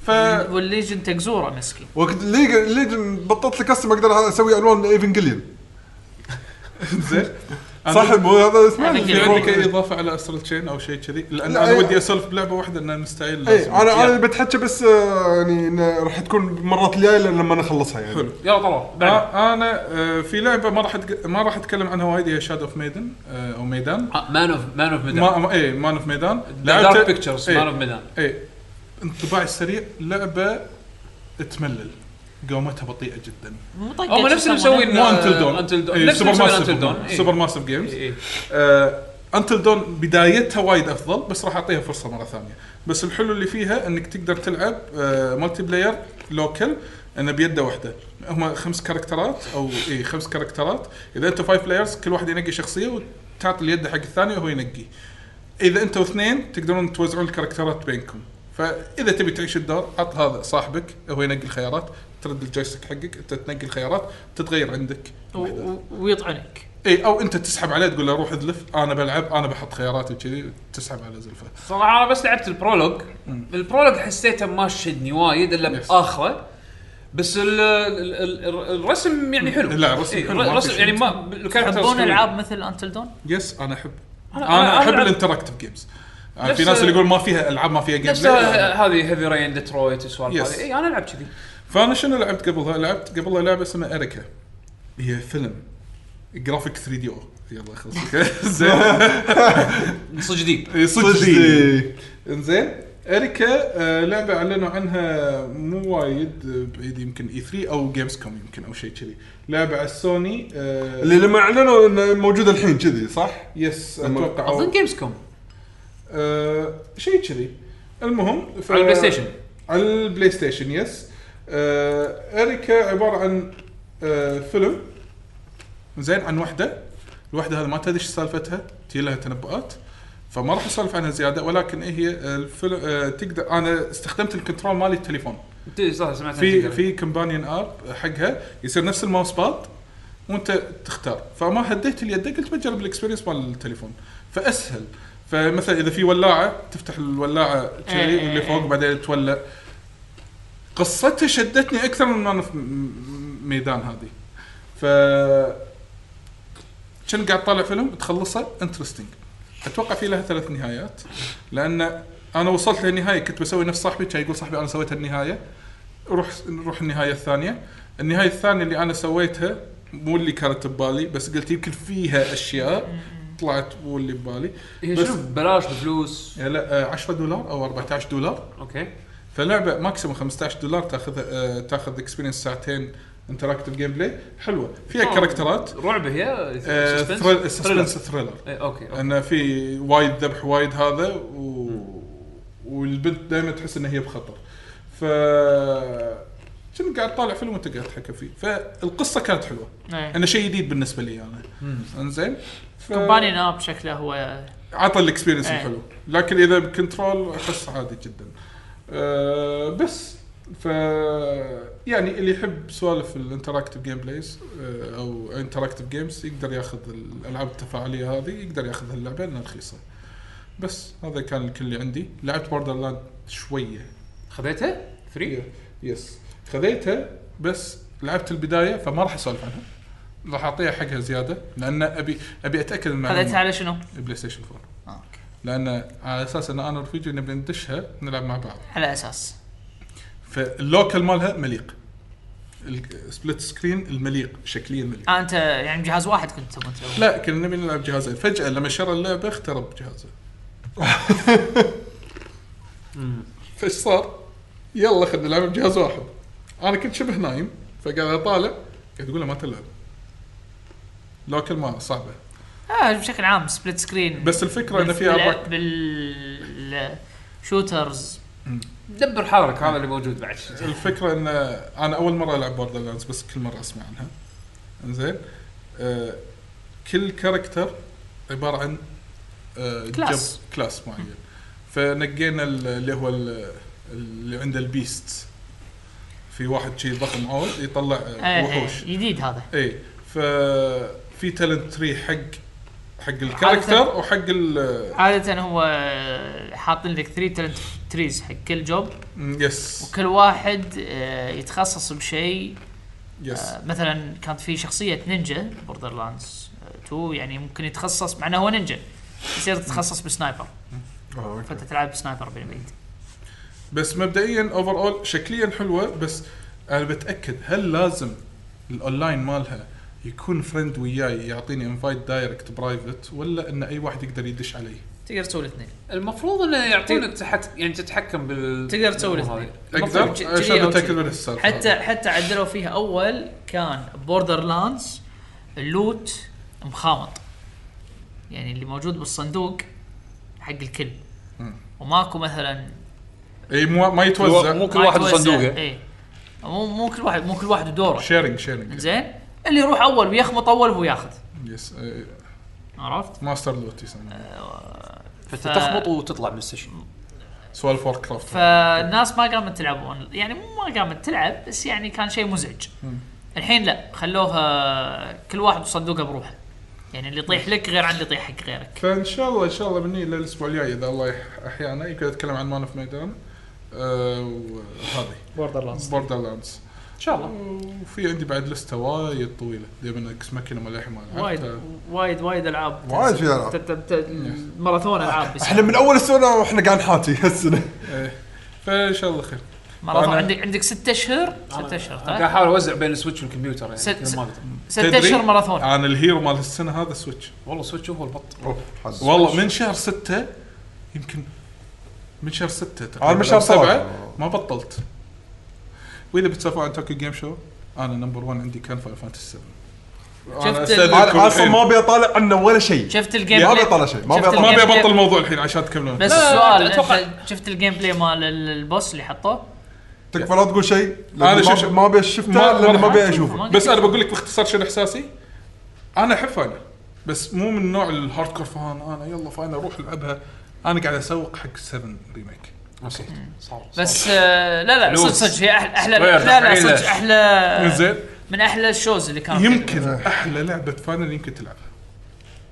S2: ف
S3: والليجن تقزوره مسكين
S4: وقت ليج ليج بطلت لي كاستم اقدر اسوي الوان ايفنجليون
S2: زين
S4: صاحب هذا اسمه
S3: Evangelion.
S1: يعني
S2: في عندك اي اضافه على استرال تشين او شيء كذي لان
S4: لا،
S2: انا
S4: أي- إيه،
S2: ودي اسولف بلعبه واحده انها مستحيل لازم.
S4: اي انا انا
S2: يلا.
S4: بتحكى بس آه، يعني إنه راح تكون المرات الجايه لأن لما نخلصها يعني
S2: حلو.
S1: يلا طلع بعد
S2: آه، انا آه، في لعبه ما راح أتق- ما راح اتكلم عنها وايد هي شاد اوف ميدن او ميدان
S1: مان اوف مان اوف ميدان
S2: ما إيه، اي مان اوف ميدان
S1: دارك بيكتشرز مان اوف
S2: اي
S1: ميدان
S2: اي انطباعي السريع لعبه تملل قومتها بطيئه جدا
S3: مو طقت
S1: هم نفس اللي مسوي
S3: يسمونه.
S2: مو انتل دون
S1: Until Dawn.
S2: اي
S1: نفس
S2: سوبر
S1: اللي مسوي Until
S2: ماسف
S1: Dawn. إيه. إي.
S2: سوبر ماسف جيمز
S1: إي.
S2: انتل دون آه، بدايتها وايد افضل بس راح اعطيها فرصه مره ثانيه بس الحلو اللي فيها انك تقدر تلعب آه، مالتي بلاير لوكل انه بيده واحده هم خمس كاركترات او اي خمس كاركترات اذا انتم فايف بلايرز كل واحد ينقي شخصيه وتعطي اليد حق الثاني وهو ينقي اذا انتم اثنين تقدرون توزعون الكاركترات بينكم فاذا تبي تعيش الدور عط هذا صاحبك هو ينقي الخيارات ترد الجويستيك حقك انت تنقي الخيارات تتغير عندك
S3: و- و- ويطعنك
S2: اي او انت إيه، تسحب عليه تقول له روح اذلف انا بلعب انا بحط خياراتي وكذي تسحب على زلفه
S1: صراحه انا بس لعبت البرولوج البرولوج حسيته ما شدني وايد الا
S2: Yes.
S1: باخره بس ال ال ال الرسم يعني حلو
S2: لا، الرسم
S1: إيه،
S2: حلو، ما في
S1: الرسم
S2: شيء.
S1: يعني ما الكاركترز
S3: تحبون
S1: حلوين.
S3: العاب مثل انتل دون؟
S2: يس انا احب انا,
S1: أنا- أنا
S2: احب
S1: ألعب-
S2: الانتراكتيف آه، جيمز
S1: نفس-
S2: في ناس اللي يقول ما فيها العاب ما فيها جيم
S1: نفس
S2: بلاي
S1: ه- هذه هيفي رين ديترويت السوالف
S2: Yes.
S1: هذه اي انا العب إيه، كذي
S2: فانا شنو لعبت قبلها؟ لعبت قبلها لعبه اسمها اريكا هي فيلم جرافيك 3 دي او يلا خلص زين
S1: صدق جديد
S2: إي، صدق
S4: صدق.
S2: جديد. انزين اريكا آه، لعبه اعلنوا عنها مو وايد آه، بعيد يمكن اي 3 او جيمز كوم يمكن او شيء كذي لعبه على السوني آه،
S4: اللي لما اعلنوا انه موجود الحين كذي صح؟
S2: يس
S4: لما-
S2: اتوقع أو-
S1: اظن جيمز كوم
S2: آه، شيء كذي المهم ف-
S1: على البلاي ستيشن.
S2: على البلاي ستيشن يس آه، اريكا عباره عن آه، فيلم زين عن وحده الوحده هذه ما تدري ايش سالفتها تجي لها تنبؤات فما راح اسولف عنها زياده ولكن إيه هي الفيلم آه، تقدر انا استخدمت الكنترول مالي التليفون
S1: انت صح سمعت
S2: في في كومبانيون اب حقها يصير نفس الماوس باد وانت تختار فما هديت اليد قلت بجرب الاكسبيرينس مال التليفون فاسهل فمثلا اذا في ولاعه تفتح الولاعه
S3: إيه
S2: شيء
S3: إيه
S2: واللي فوق
S3: إيه.
S2: بعدين تولع قصتها شدتني اكثر من ما أنا في م- ميدان هذه ف كان قاعد طالع فيلم تخلصه انترستنج اتوقع في لها ثلاث نهايات لان انا وصلت للنهايه كنت بسوي نفس صاحبي كان يقول صاحبي انا سويت النهايه روح نروح النهايه الثانيه النهايه الثانيه اللي انا سويتها مو اللي كانت ببالي بس قلت يمكن فيها اشياء طلعت مو اللي ببالي
S1: هي
S2: بس-
S1: شنو ببلاش بفلوس
S2: يعني لا آه، 10 دولار او 14 دولار
S1: اوكي
S2: فلعبه ماكسيموم 15 دولار تاخذ آه، تاخذ اكسبيرينس ساعتين انتراكتيف جيم بلاي حلوه فيها
S1: آه.
S2: كاركترات
S1: رعب هي
S2: آه،
S1: Suspense؟
S2: ثريل-
S1: Thriller.
S2: سسبنس ثريلر
S1: إيه، اوكي أوكي.
S2: انه في وايد ذبح وايد هذا و... والبنت دائما تحس ان هي بخطر ف كنت قاعد طالع فيلم وانت قاعد تحكي فيه فالقصه كانت حلوه
S3: إيه.
S2: انا شيء جديد بالنسبه لي انا انزين ف...
S3: كومبانيون اب شكله هو
S2: عطى الاكسبيرينس
S3: إيه.
S2: الحلو لكن اذا بكنترول احس عادي جدا أه بس ف يعني اللي يحب سوالف الانتراكتيف جيم بلايز أه، او انتراكتيف جيمز يقدر ياخذ الالعاب التفاعليه هذه يقدر ياخذ اللعبه لانها رخيصه بس هذا كان الكل اللي عندي لعبت بوردر لاند شويه
S1: خذيتها؟ فري؟
S2: يس خذيتها بس لعبت البدايه فما راح اسولف عنها راح اعطيها حقها زياده لان ابي ابي اتاكد من المعلومة.
S3: خذيتها على شنو؟
S2: بلاي ستيشن 4 لان على اساس ان انا ورفيجي نبي ندشها نلعب مع بعض
S3: على اساس
S2: فاللوكل مالها مليق السبلت سكرين المليق شكليا مليق
S3: آه انت يعني جهاز واحد كنت تبون تسوي
S2: لا كنا نبي نلعب جهازين فجاه لما شرى اللعبه اخترب جهازه فايش صار؟ يلا خلينا نلعب بجهاز واحد انا كنت شبه نايم فقاعد اطالع قاعد اقول له ما تلعب لوكل ما صعبه
S3: آه بشكل عام سبليت سكرين
S2: بس الفكره ان فيها
S3: بال-
S2: اربع
S3: بال شوترز
S1: دبر حالك هذا اللي موجود بعد
S2: الفكره ان انا اول مره العب بوردر لاندز بس كل مره اسمع عنها انزين آه كل كاركتر عباره عن آه
S3: كلاس.
S2: جب- كلاس معين فنقينا ال- اللي هو ال- اللي عنده البيست في واحد شي ضخم عود يطلع آه، وحوش
S3: إيه،
S2: إيه.
S3: جديد هذا
S2: اي ففي تالنت تري حق حق الكاركتر وحق ال
S3: عادة هو آه، حاطين لك 3 تالنت تريز حق كل جوب
S2: آه، يس
S3: وكل واحد آه، يتخصص بشيء
S2: يس
S3: آه، مثلا كانت في شخصية نينجا بوردر لاندز 2 يعني ممكن يتخصص مع انه هو نينجا يصير تتخصص بسنايبر
S4: آه،
S3: فانت
S4: أوكي.
S3: تلعب بسنايبر من بعيد
S2: بس مبدئيا اوفر اول شكليا حلوه بس انا بتاكد هل لازم الاونلاين مالها يكون فريند وياي يعطيني انفايت دايركت برايفت ولا ان اي واحد يقدر يدش علي؟
S3: تقدر تسوي الاثنين
S1: المفروض انه يعطونك تحت يعني تتحكم بال
S3: تقدر تسوي
S1: بالأمور
S3: الاثنين
S2: اقدر
S3: مفروض ج- طيب، جي
S2: عشان
S3: أو
S2: بتاكد
S3: جي.
S2: من السالفه
S3: حتى
S2: هذه.
S3: حتى عدلوا فيها اول كان بوردر لاندز اللوت مخامط يعني اللي موجود بالصندوق حق الكل
S2: مم.
S3: وماكو مثلا
S2: اي مو ما
S1: مو
S2: يتوزع
S1: كل واحد
S3: ما يتوزع.
S1: وصندوقه
S3: اي إيه. مو مو كل واحد مو كل واحد دوره
S2: شيرنج شيرنج
S3: زين اللي يروح اول ويخمط اول هو ياخذ
S2: يس
S4: إيه.
S3: عرفت؟
S2: ماستر لوت يسمونه
S1: فانت تخبط وتطلع من السيشن
S2: سوالف وور كرافت
S3: فالناس ما قامت تلعب أون- يعني مو ما قامت تلعب بس يعني كان شيء مزعج الحين لا خلوها كل واحد وصندوقه بروحه يعني اللي يطيح لك غير عن اللي يطيح حق غيرك
S2: فان شاء الله ان شاء الله مني للاسبوع الجاي اذا الله يح- احيانا يمكن اتكلم عن مان اوف ميدان آه، وهذه
S3: بوردر
S2: بوردر لاندز
S1: ان شاء الله
S2: وفي عندي بعد لسته وايد طويله دائما اكس ماكينه ما للحين ما
S3: وايد
S2: لعبتها.
S3: وايد وايد العاب
S4: وايد في ألعاب.
S3: العاب ماراثون العاب بس
S4: احنا من اول السنه واحنا قاعد نحاتي هالسنه
S2: إيه. فان شاء الله خير
S3: ماراثون
S2: أنا-
S3: عندك عندك ست اشهر ست اشهر
S1: قاعد
S3: تمام؟
S1: احاول اوزع بين السويتش والكمبيوتر يعني
S3: ست-
S1: كل ما اقدر
S3: ست
S2: تدري؟
S3: اشهر ماراثون
S2: انا الهيرو مال السنه هذا سويتش
S1: والله السويتش هو البط
S4: أوه، حز.
S2: والله من شهر ستة يمكن من شهر ستة تقريبا
S4: أنا من شهر
S2: أو سبعة
S4: ثلاثة.
S2: ما بطلت واذا بتسولفون عن توكيو جيم شو انا نمبر 1 عندي كان فاينل فانتسي 7
S3: شفت
S2: أنا
S3: ال-
S2: أستأذنكم
S4: انا اصلا
S2: الحين.
S4: ما ابي اطالع عنه ولا شيء
S3: شفت الجيم
S4: ما
S3: بلاي؟
S4: بيطلع شيء، ما
S3: شفت
S4: بيطلع.
S2: ما
S3: الجيم
S2: ابي
S3: بلاي؟
S2: ابطل الموضوع الحين عشان تكملون
S3: يعني بس
S1: لا، لا،
S3: السؤال
S1: لا، أتوقع.
S3: أنت شفت الجيم بلاي مال ال- البوس اللي حطوه؟
S4: تكفى لا تقول شيء لأن
S2: أنا
S4: ما-
S2: شوف-
S4: ما ابي اشوفه
S2: ما-
S4: لان ما
S2: ما-
S4: ابي اشوفه
S3: ما-
S2: بس انا بقول لك باختصار شنو احساسي انا احب فاينل بس مو من نوع الهارد كور فان انا يلا فاينل روح العبها انا قاعد اسوق حق 7 ريميك
S1: صار صار
S3: بس آه لا لا صدق
S1: فلوس.
S3: صدق هي أح- احلى
S1: غير
S3: لا لا
S1: تحفيلة.
S3: صدق احلى
S2: زين
S3: من احلى الشوز اللي كانت
S2: يمكن احلى لعبه فاينل يمكن تلعبها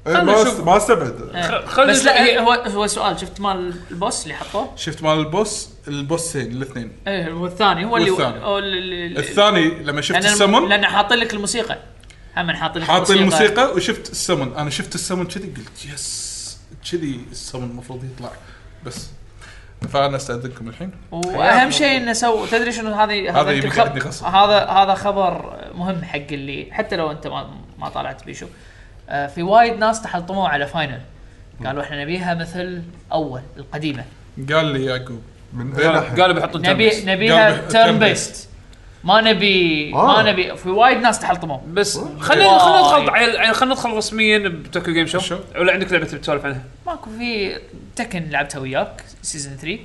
S4: إيه،
S1: خلنا
S4: ما
S1: نشوف.
S4: أست- ما استبعد
S3: آه.
S1: خ- خلنا
S3: بس لا
S1: نشوف.
S3: هي- هو هو سؤال شفت مال البوس اللي حطوه؟
S2: شفت مال البوس البوسين الاثنين
S3: ايه والثاني هو اللي
S2: والثاني.
S3: هو اللي- اللي-
S2: الثاني لما شفت
S3: لأن الم-
S2: السمن
S3: لان حاطين لك الموسيقى هم حاطين لك
S2: حاط الموسيقى وشفت السمن انا شفت السمن كذي قلت يس كذي السمن المفروض يطلع بس فانا استاذنكم الحين
S3: واهم شيء انه سو تدري شنو هذه
S2: هذا
S3: يمكن
S2: يبي
S3: خب-
S2: يقعدني غصب.
S3: هذا هذا خبر مهم حق اللي حتى لو انت ما ما طالعت بيشو آه، في وايد ناس تحطموا على فاينل قالوا احنا نبيها مثل اول القديمه
S2: قال لي يعقوب
S4: من اي ناحيه
S1: قالوا بيحطون
S3: نبي
S1: تمبس.
S3: نبيها
S2: قالوا
S3: تيرن
S2: turn
S3: بيست ما نبي
S4: آه.
S3: ما نبي في وايد ناس تحطموا
S1: بس خلينا
S3: واي.
S1: خلينا ندخل عيل- عيل- خلينا ندخل رسميا بتوكيو جيم شو
S2: شو؟
S1: ولا عندك لعبه تبي تسولف عنها؟
S3: ماكو في تكن لعبتها وياك سيزون 3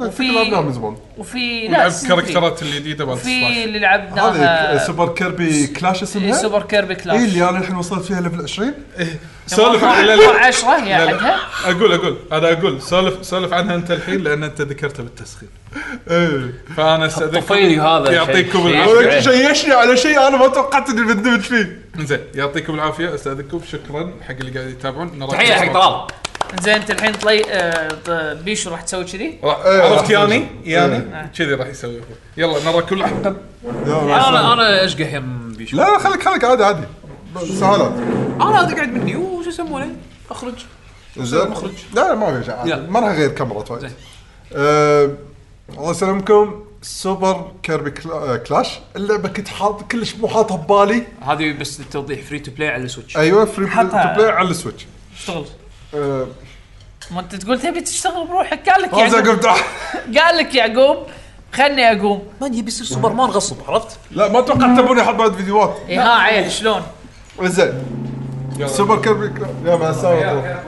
S3: وفي-
S4: لعبناه من زمان
S3: وفي لا
S2: لعب
S3: season 3.
S2: كاركترات الجديده مال
S3: في
S2: سبلاش.
S3: اللي
S4: هذه
S3: لعبناها
S4: سوبر كيربي كلاش اسمها
S3: نعم، آه، إيه، سوبر كيربي كلاش
S4: اي اللي انا الحين وصلت فيها ليفل 20
S2: سولف لا لا لا.
S3: 10 هي
S2: لا، لا.
S3: حقها
S2: اقول اقول انا اقول سولف سولف عنها انت الحين لان انت ذكرتها بالتسخين
S4: ايه
S2: فانا استاذنكم
S1: طفيلي هذا شيء-
S2: يعطيكم
S1: شيء-
S2: العافيه
S4: ولكن شيشني على شيء انا ما توقعت اني بندمج فيه
S2: زين يعطيكم العافيه استاذنكم شكرا حق اللي قاعد يتابعون نراكم
S1: تحيه حق طلال
S3: زين انت الحين طلي آه، ط- بيشو راح تسوي كذي
S2: راح-
S4: إيه، راح إيه.
S2: عرفت
S4: أسوي
S2: ياني ياني كذي راح يسوي هو يلا نراكم لاحقا
S4: لا مع
S1: انا
S4: السلامة.
S1: انا اشقى يم بيشو
S4: لا لا خليك خليك عادي عادي سهالات
S1: انا اقعد مني وش يسمونه؟ اخرج
S4: زين لا لا ما في شيء عادي
S1: يلا.
S4: ما راح اغير كاميرا وايد
S1: زين.
S4: أه، الله يسلمكم سوبر كيربي كلا- آه، كلاش اللعبه كنت حاط كلش مو حاطها ببالي
S1: هذه بس للتوضيح فري تو بلاي على السويتش
S4: ايوه فري
S3: حاطها. يعني
S4: تو بلاي على السويتش
S3: اشتغل
S4: أه،
S3: ما انت تقول تبي تشتغل بروحك قال لك
S4: رمزي
S3: يعقوب
S4: أقول تعال.
S3: قال لك يعقوب خلني اقوم
S1: مان يبي يصير سوبرمان غصب عرفت؟
S4: لا ما توقعت تبوني احط بعد فيديوهات
S3: اي إيه، ها عيل شلون
S4: زين سوبر كيربي كلا- يا مع السلامه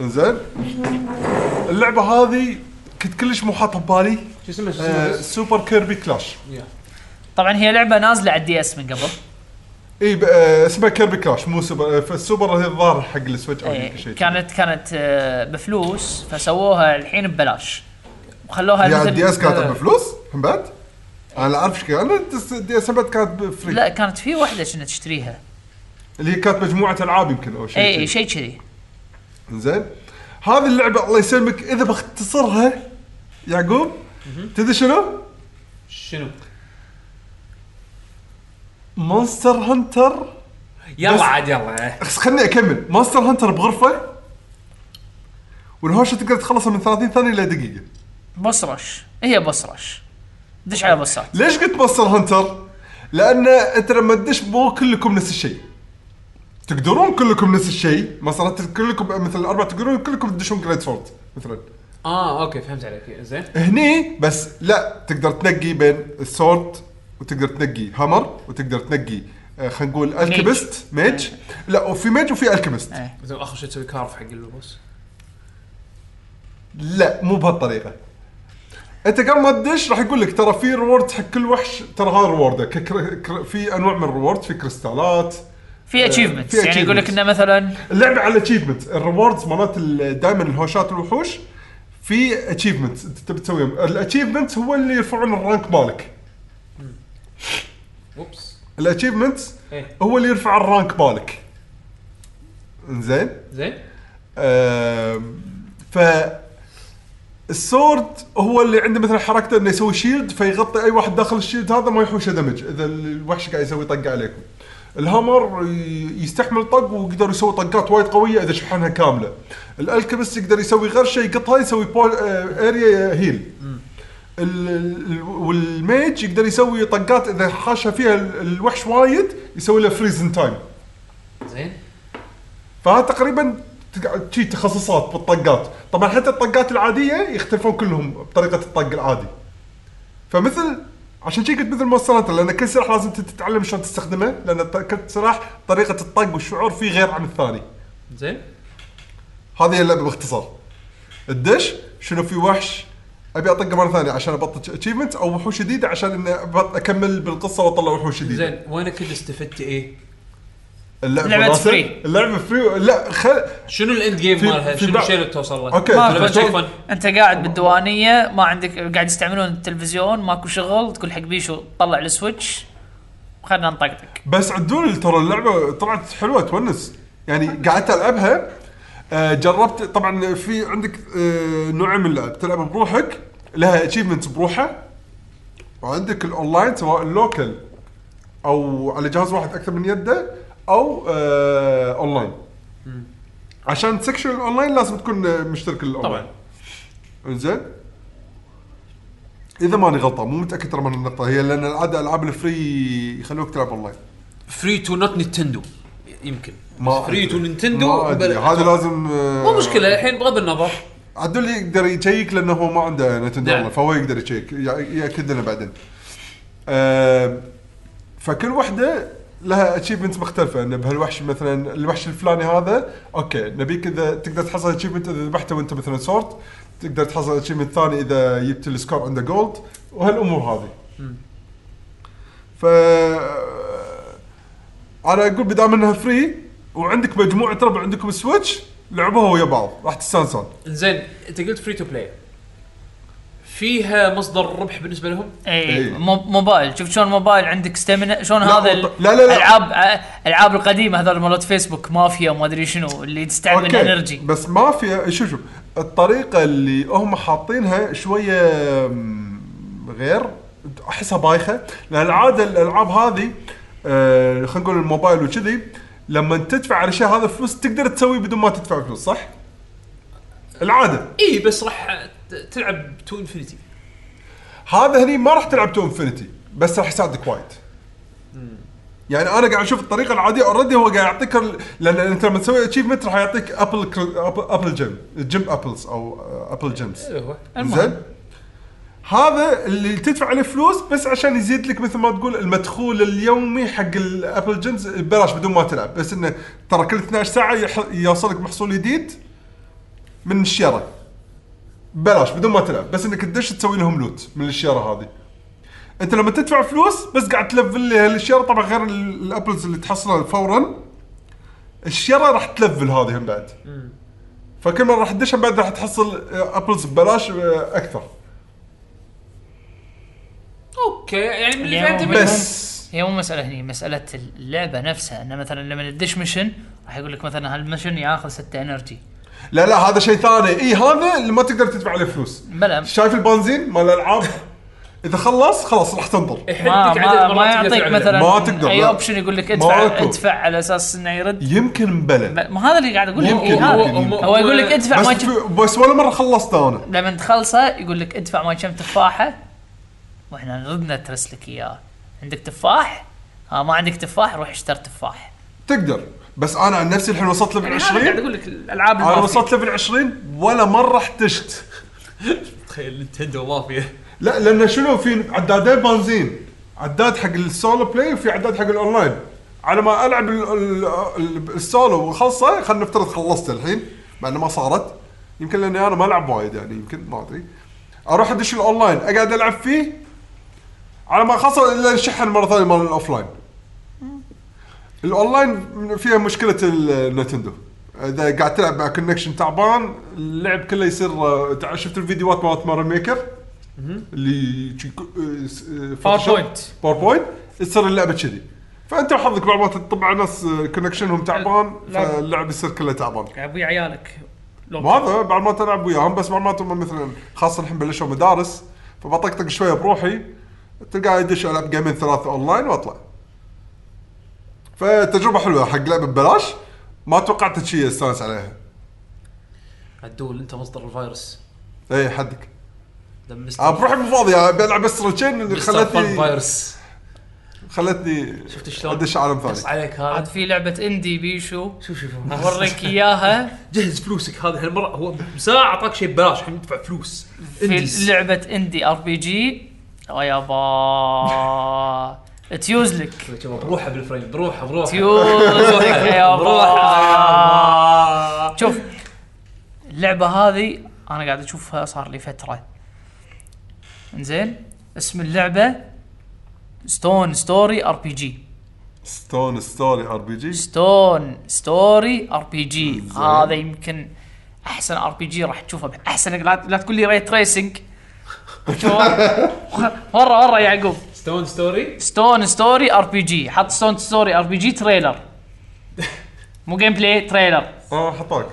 S4: زين اللعبه هذه كنت كلش مو حاطها ببالي
S1: شو اسمه شو
S4: أه،
S1: اسمه؟
S4: سوبر كيربي كلاش
S3: طبعا هي لعبه نازله على الدي اس من قبل
S4: اي ب- آه، اسمها كيربي كلاش مو سوبر آه، فالسوبر هي الظاهر حق السويتش او
S3: إيه،
S4: يمكن طيب، شيء
S3: كانت كانت آه، بفلوس فسووها الحين ببلاش وخلوها
S4: يا
S3: مثل-
S4: الدي اس
S3: آه.
S4: كانت بفلوس من بعد؟ انا لا اعرف ايش كان انا الدي اس من بعد كانت
S3: لا
S4: بفري
S3: كانت في واحده كنا تشتريها
S4: اللي هي كانت مجموعه العاب يمكن او شيء
S3: اي
S4: كذي.
S3: اي شيء كذي
S4: زين هذه اللعبه الله يسلمك اذا بختصرها يعقوب تدري شنو؟
S1: شنو؟
S4: مونستر هانتر بس-
S1: يلا عاد يلا إيه.
S4: بس خليني اكمل مونستر هانتر بغرفه والهوشه تقدر تخلصها من 30 ثانيه الى دقيقه
S3: بوس رش هي بوس رش دش
S4: إيه،
S3: على بوسات
S4: ليش قلت مونستر هانتر؟ لان انت لما تدش مو كلكم نفس الشيء. تقدرون كلكم نفس الشيء، مثلا كلكم مثلا اربع تقدرون كلكم تدشون جريد سورد مثلا.
S1: اه اوكي فهمت عليك زين
S4: هني بس لا تقدر تنقي بين السورد وتقدر تنقي هامر وتقدر تنقي آه، خلينا نقول الكيمست ميج لا وفي ميج وفي الكيمست
S3: إيه.
S1: زين اخر شيء تسوي كارف حق البوس
S4: لا مو بهالطريقه انت قبل ما تدش راح يقول لك ترى في ريورد حق كل وحش ترى هذا ريورده ككر- كر- في انواع من الريورد في كريستالات
S3: في اتشيفمنت
S4: في
S3: يعني يقول لك
S4: achievements.
S3: انه مثلا
S4: اللعبه على اتشيفمنت الريوردز مالت ال- دائما الهوشات والوحوش في اتشيفمنت انت تبي تسويهم الاتشيفمنت هو اللي يرفعون الرانك مالك
S1: اوبس
S4: الاتشيفمنت
S1: ايه
S4: هو اللي يرفع الرانك مالك زين
S1: زين
S4: أم، ف السورد هو اللي عنده مثلا حركته انه يسوي شيلد فيغطي اي واحد داخل الشيلد هذا ما يحوشه دمج اذا الوحش قاعد يسوي طق عليكم. الهامر ي- يستحمل طق ويقدر يسوي طقات وايد قويه اذا شحنها كامله. الالكيمست يقدر يسوي غير شيء يقطها يسوي بول اريا هيل. آه، ال- ال- والميج يقدر يسوي طقات اذا حاشى فيها ال- الوحش وايد يسوي له فريزن تايم
S3: زين
S4: فهذا تقريبا تق- شي تخصصات بالطقات طبعا حتى الطقات العاديه يختلفون كلهم بطريقه الطق العادي فمثل عشان شي قلت مثل مونستر لان كل سلاح لازم ت- تتعلم شلون تستخدمه لان الط- كل سلاح طريقه الطق والشعور فيه غير عن الثاني
S1: زين
S4: هذه هي اللعبه باختصار الدش شنو في وحش ابي اطقه مره ثانيه عشان ابطل اتشيفمنت او وحوش جديده عشان اني أبط- اكمل بالقصه واطلع وحوش جديده
S1: زين وينك كنت استفدت ايه؟
S3: لعبة
S4: مراسل.
S3: فري.
S4: اللعبه فري لا خل
S1: شنو الاند جيم
S4: في-
S1: مالها؟
S4: في
S1: شنو
S4: بعض-
S1: الشيء اللي بتوصل له؟
S4: أوكي،
S1: ما
S4: في
S1: في شيء
S4: بعض-
S1: fun.
S3: انت قاعد بالديوانيه ما عندك قاعد يستعملون التلفزيون ماكو شغل تقول حق بيشو طلع السويتش خلينا نطقطق
S4: بس عدول ترى اللعبه طلعت حلوه تونس يعني قعدت العبها آه، جربت طبعا في عندك آه، نوعين من اللعب تلعب بروحك لها اتشيفمنت بروحها وعندك الاونلاين سواء اللوكل او على جهاز واحد اكثر من يده او آه، اونلاين عشان سكشن الاونلاين لازم تكون آه، مشترك الاونلاين انزين اذا ماني غلطان مو متاكد ترى من النقطه هي لان العاده العاب الفري يخلوك تلعب اونلاين
S1: فري تو نوت نينتندو يمكن
S4: ما
S1: فري تو
S4: أدري.
S1: نينتندو
S4: ما أدري.
S1: بل-
S4: هذا لازم آه،
S1: مو مشكله الحين بغض النظر
S4: عدول يقدر يشيك لانه هو ما عنده نتندو
S1: نعم.
S4: نعم. فهو يقدر يشيك يع- ياكد لنا بعدين. آه، فكل وحده لها اتشيفمنت مختلفه ان بهالوحش مثلا الوحش الفلاني هذا اوكي نبيك اذا تقدر تحصل اتشيفمنت اذا ذبحته وانت مثلا سورت تقدر تحصل اتشيفمنت ثاني اذا جبت السكور عنده جولد وهالامور هذه. ف انا اقول بدام انها فري وعندك مجموعه ربع عندكم سويتش لعبوها ويا بعض راح تستانسون.
S1: زين انت قلت فري تو بلاي فيها مصدر ربح بالنسبه لهم؟
S3: اي
S4: إي.
S3: مو- موبايل شوف شلون موبايل عندك ستامنا شلون
S4: لا،
S3: هذا
S4: لا، لا، لا.
S3: الالعاب الالعاب القديمه هذول مالت فيسبوك مافيا وما ادري شنو اللي تستعمل انرجي
S4: بس ما في شوف شوف الطريقه اللي هم حاطينها شويه أم، غير احسها بايخه لان العاده الالعاب هذه آه خلينا نقول الموبايل وكذي لما تدفع على شيء هذا فلوس تقدر تسوي بدون ما تدفع فلوس صح؟ العاده
S1: اي إيه، بس راح ت- تلعب تو انفنتي
S4: هذا هني ما راح تلعب تو انفنتي بس راح يساعدك وايد يعني انا قاعد اشوف الطريقه العاديه اوريدي هو قاعد يعطيك ال- لان انت لما تسوي اتشيفمنت راح يعطيك ابل كر- أب- ابل جيم جيم ابلز او آه، ابل جيمز
S1: اللي هو
S4: زين هذا اللي تدفع عليه فلوس بس عشان يزيد لك مثل ما تقول المدخول اليومي حق الابل جيمز ببلاش بدون ما تلعب بس انه ترى كل 12 ساعه يح- يوصلك محصول جديد من الشيره ببلاش بدون ما تلعب بس انك تدش تسوي لهم لوت من الشيره هذه انت لما تدفع فلوس بس قاعد تلفل لي هالشيره طبعا غير ال- الابلز اللي تحصلها فورا الشيره راح تلفل هذه هم بعد فكل مره راح تدش بعد راح تحصل آه، ابلز ببلاش آه، اكثر
S1: اوكي يعني من اللي
S3: يعني
S1: فهمته
S3: هو-
S1: منهم-
S4: بس
S3: هي مو مساله هني مساله اللعبه نفسها انه مثلا لما تدش ميشن راح يقول لك مثلا هالميشن ياخذ ستة انرجي
S4: لا لا هذا شيء ثاني اي هذا اللي ما تقدر تدفع عليه فلوس
S3: بلا
S4: شايف البنزين مال الالعاب اذا خلص خلاص راح تنطر
S1: يحدك
S3: ما,
S1: عدد
S3: ما,
S1: المرات تقدر
S3: ما يعطيك
S1: تلعب لعبة.
S3: مثلا
S4: ما تقدر،
S3: اي
S4: لا.
S3: اوبشن يقول لك ادفع
S4: ماكو.
S3: ادفع على اساس انه يرد
S4: يمكن مبلى
S3: ب- ما هذا اللي قاعد اقول لك
S4: ممكن،
S3: إيه، هذا.
S4: ممكن، ممكن.
S3: هو يقول لك ادفع
S4: بس,
S3: ما يجيب-
S4: في- بس ولا مره خلصت انا
S3: لما تخلصه يقول لك ادفع ما كم تفاحه واحنا نردنا ترس لك اياه عندك تفاح؟ ها ما عندك تفاح روح اشتر تفاح
S4: تقدر بس انا عن نفسي الحين وصلت ليفل
S3: يعني هذا قاعد
S4: 20
S3: اقول لك الالعاب
S4: انا
S3: المافيا.
S4: وصلت ليفل 20 ولا مره احتجت
S1: تخيل نينتندو مافيا
S4: لا لان شنو في عدادين بنزين عداد حق السولو بلاي وفي عداد حق الاونلاين على ما العب ال- ال- ال- السولو وخلصه خلينا نفترض خلصت الحين مع انه ما صارت يمكن لاني انا ما العب وايد يعني يمكن ما ادري اروح ادش الاونلاين اقعد العب فيه على ما خلص الا الشحن مره ثانيه مال الاوفلاين الاونلاين فيها مشكله النتندو اذا قاعد تلعب مع كونكشن تعبان اللعب كله يصير تع- شفت الفيديوهات مالت ماري ميكر اللي آه،
S3: PowerPoint.
S4: باوربوينت تصير اللعبه كذي فانت وحظك بعض الوقت تطبع ناس كونكشنهم تعبان
S3: لا.
S4: فاللعب يصير كله تعبان
S3: قاعد ابوي عيالك لو-
S4: ما هذا بعد ما تلعب وياهم بس بعد ما تم مثلا خاصه الحين بلشوا مدارس فبطقطق شويه بروحي تلقى ادش العب جيمين ثلاثه اونلاين واطلع. فتجربه حلوه حق لعبه ببلاش ما توقعت شيء استانس عليها.
S1: عدول انت مصدر الفيروس
S4: اي إيه، حدك.
S1: دمست
S4: آه، بروحي مو فاضي آه، بلعب بس روتشين اللي
S1: مستر فان
S4: خلتني
S1: فايرس
S4: خلتني
S1: شفت شلون؟
S4: ادش عالم
S1: قص
S4: ثاني
S1: عليك
S3: عاد
S1: هذا
S3: في لعبه اندي بيشو
S1: شوف شوف
S3: اوريك اياها
S1: جهز فلوسك هذه هالمره هو ساعه اعطاك شيء ببلاش الحين تدفع فلوس
S3: في لعبه اندي ار بي جي يابا تيوز لك
S1: بروحه بالفريم بروحه بروحه
S3: تيوز لك يابا
S1: بروحه
S3: شوف اللعبه هذه انا قاعد اشوفها صار لي فتره انزين اسم اللعبه ستون ستوري ار بي جي
S4: ستون ستوري ار بي جي
S3: ستون ستوري ار بي جي هذا يمكن احسن ار بي جي راح تشوفه احسن لا, لا تقول لي ري تريسنج مره مره يعقوب
S1: ستون ستوري
S3: ستون ستوري ار بي جي حط ستون ستوري ار بي جي تريلر مو جيم بلاي تريلر
S4: اه حطاك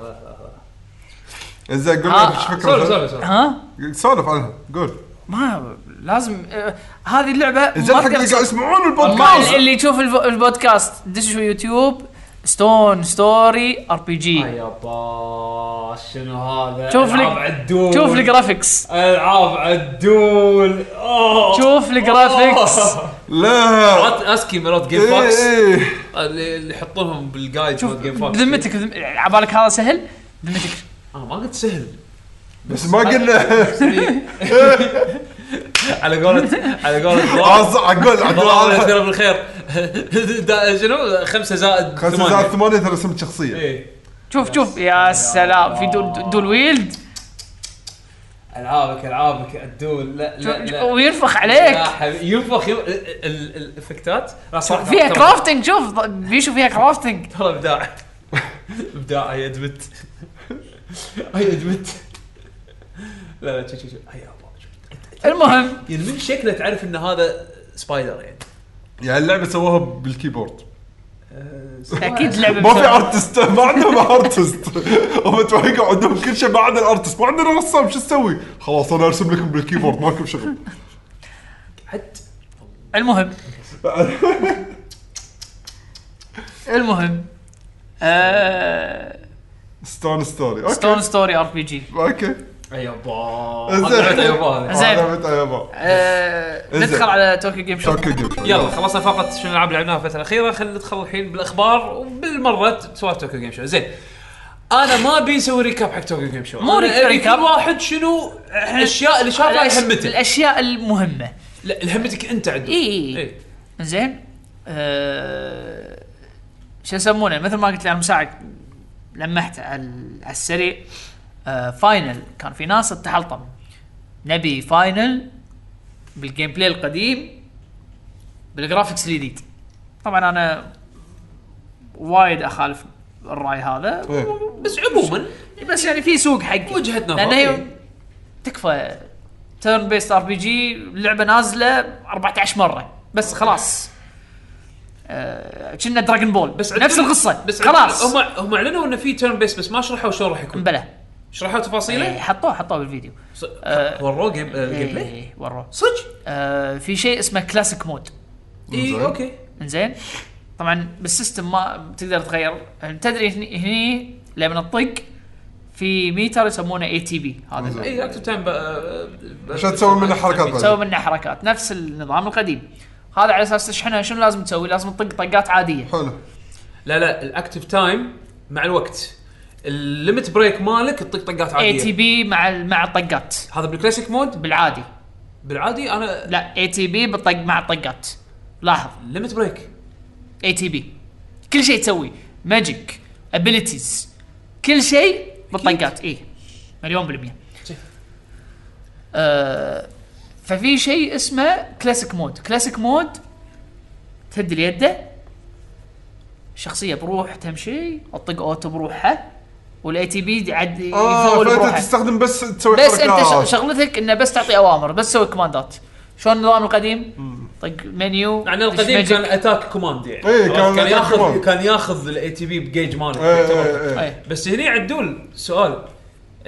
S4: زين قول
S3: آه،
S4: لي
S1: سولف
S4: ايش فكرة
S1: سولف سولف
S3: ها
S4: سولف عنها قول
S3: ما لازم آه، هذه اللعبه ما
S4: زين حق اللي
S3: أقدر-
S4: قاعد يسمعون
S3: ما
S4: البودكاست
S3: اللي يشوف الب- البودكاست دشوا يوتيوب ستون ستوري ار بي
S1: Ah,
S3: جي
S1: يابا شنو هذا
S3: آه. شوف لك-
S1: ألعاب عدول
S3: شوف الجرافكس
S1: العاب عدول اوه
S3: شوف الجرافكس
S4: لا
S1: مرات اسكي مرات جيم
S4: إيه،
S1: بوكس
S4: إيه.
S1: اللي اللي يحطونهم بالجايد
S3: شوف
S1: مال جيم بوكس
S3: بذمتك بذم- عبالك هذا سهل بذمتك
S1: انا آه، ما قلت سهل
S4: بس ما قلنا
S1: على قولة على قولة
S4: عز- عقول عقول
S1: الله
S4: عارف.
S1: يذكره بالخير دا- شنو خمسة زائد
S4: خمسة
S1: ثمانية.
S4: زائد ثمانية ترى اسم شخصية
S1: إيه.
S3: شوف شوف يا سلام في دول دول ويلد
S1: العابك العابك الدول لا لا لا
S3: وينفخ
S1: لا
S3: عليك
S1: حبيبي، ينفخ يم- ال- ال- الافكتات لا صراحة
S3: فيها
S1: ترى-
S3: كرافتنج شوف ض- بيشو فيها كرافتنج
S1: ترى ابداع ابداع هي ادمت هي ادمت لا لا شوف شوف شوف. هي الله
S3: المهم
S1: يعني من شكله تعرف ان هذا سبايدر يعني
S4: يعني اللعبة سووها بالكيبورد
S3: اكيد لعبه
S4: ما في
S3: بسرعة.
S4: ارتست ما عندهم ارتست هم توقعوا عندهم كل شيء ما عدا الارتست ما عندنا رسام شو نسوي؟ خلاص انا ارسم لكم بالكيبورد ما لكم شغل
S1: حتى
S3: المهم المهم آه،
S4: ستون ستوري اوكي
S3: ستون ستوري ار بي جي
S4: اوكي
S1: اي أيوة.
S4: زين.
S1: يابا
S3: زين.
S4: هذا متى يابا
S3: آه، ندخل على توكيو جيم شوب
S4: شوكي جيم
S1: يلا خلصنا فقط شنو الالعاب اللي لعبناها الفتره الاخيره خلينا ندخل الحين بالاخبار وبالمره سوالف توكيو جيم شو زين انا ما ابي اسوي ريكاب حق توكيو جيم شو
S3: مو
S1: أنا
S3: ريك-
S1: أبي
S3: ريكاب.
S1: كل واحد شنو الاشياء اللي شافها
S3: الأش-
S1: يهمته
S3: الاشياء المهمه
S1: لا اللي همتك انت عدو
S3: إي.
S1: إي.
S3: زين أه... شو يسمونه مثل ما قلت لي انا من ساعه لمحت على على السريع أه... فاينل كان في ناس تحلطم نبي فاينل بالجيم بلاي القديم بالجرافكس الجديد طبعا انا وايد اخالف الراي هذا
S1: بس عموما
S3: بس يعني في سوق حقي
S1: وجهة نظر،
S3: لان هي
S1: إيه.
S3: تكفى تيرن بيست ار بي جي لعبه نازله 14 مره بس خلاص آه، كنا دراجون بول بس
S1: عندنا-
S3: نفس القصه
S1: بس
S3: بس
S1: عندنا-
S3: خلاص
S1: هم هم اعلنوا انه في تيرن بيس بس ما شرحوا شلون راح يكون
S3: بلا
S1: شرحوا
S3: إيه،
S1: تفاصيله
S3: حطوه حطوه بالفيديو
S1: ص-
S3: آه.
S1: وروه جيم آه، جيم بلاي
S3: إيه، وروه
S1: صدق
S3: آه، في شيء اسمه كلاسيك مود
S1: اي اوكي
S3: انزين طبعا بالسيستم ما تقدر تغير تدري هني, هني لما تطق في ميتر يسمونه اي تي بي هذا
S1: اي اكتب تايم
S4: عشان تسوي منه حركات بعد.
S3: تسوي منه حركات نفس النظام القديم هذا على اساس تشحنها شنو لازم تسوي؟ لازم تطق طقات عاديه
S4: حلو
S1: لا لا الاكتف تايم مع الوقت الليمت بريك مالك تطق طقات
S3: اي تي
S1: عاديه
S3: بي مع ال- مع الطقات
S1: هذا بالكلاسيك مود
S3: بالعادي
S1: بالعادي انا
S3: لا اي تي بي بالطق مع الطقات لاحظ
S1: ليمت بريك
S3: اي تي بي كل شيء تسوي ماجيك ابيلتيز كل شيء بالطقات اي مليون بالمية
S1: شوف.
S3: آه ففي شيء اسمه كلاسيك مود كلاسيك مود تهد اليده شخصية بروح تمشي تطق اوتو بروحها والاي تي بي عاد
S4: اه
S3: يفول
S4: فانت
S3: بروحه
S4: تستخدم بس تسوي
S3: بس انت ش-
S4: حركات
S3: شغلتك انه بس تعطي اوامر بس تسوي كوماندات شلون النظام القديم؟ طق منيو
S1: يعني
S3: دش
S1: القديم
S3: ماجيك.
S1: كان اتاك كوماند يعني
S4: إيه، كان
S1: كان
S4: attack
S1: ياخذ
S4: command.
S1: كان ياخذ الاي تي بي بجيج مالك
S4: إيه، إيه،
S1: يعتبر.
S4: إيه.
S3: أي.
S1: بس هني عدول سؤال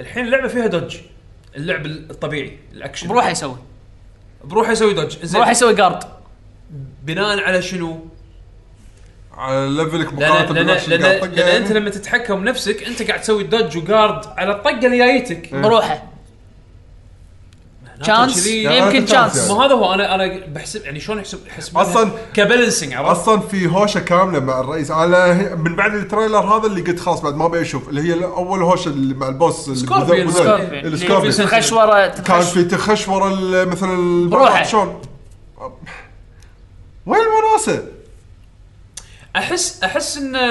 S1: الحين اللعبه فيها دوج اللعب الطبيعي الاكشن
S3: بروحه يسوي
S1: بروح يسوي دوج زين
S3: بروحه يسوي جارد
S4: إيه.
S1: بناء على شنو؟
S4: على ليفلك
S1: لان
S4: مقارنه
S1: لان
S4: بالوحش اللي قاعد
S1: لان,
S4: طقه
S1: لأن انت
S4: يعني.
S1: لما تتحكم نفسك
S4: إيه.
S1: انت قاعد تسوي دوج وجارد على الطقه اللي جايتك
S3: بروحه تشانس
S1: كذي.
S3: يمكن
S4: يعني
S3: تشانس
S4: يعني.
S1: مو هذا هو انا انا بحسب يعني شلون احسب احسب
S4: أصلاً-
S1: كبالانسنج عرفت؟
S4: اصلا في هوشه كامله مع الرئيس انا من بعد التريلر هذا اللي قلت خلاص بعد ما ابي اشوف اللي هي اول هوشه اللي مع البوس اللي
S1: سكوربيون،
S4: بذ- بذ-
S1: سكوربيون. اللي
S4: السكوربيون
S1: في
S3: خشوره
S4: كان
S3: إيه. تخش
S4: في تخش ورا ال- مثل ال-
S3: بروحه.
S4: شلون وين الوناسه؟
S1: احس احس انه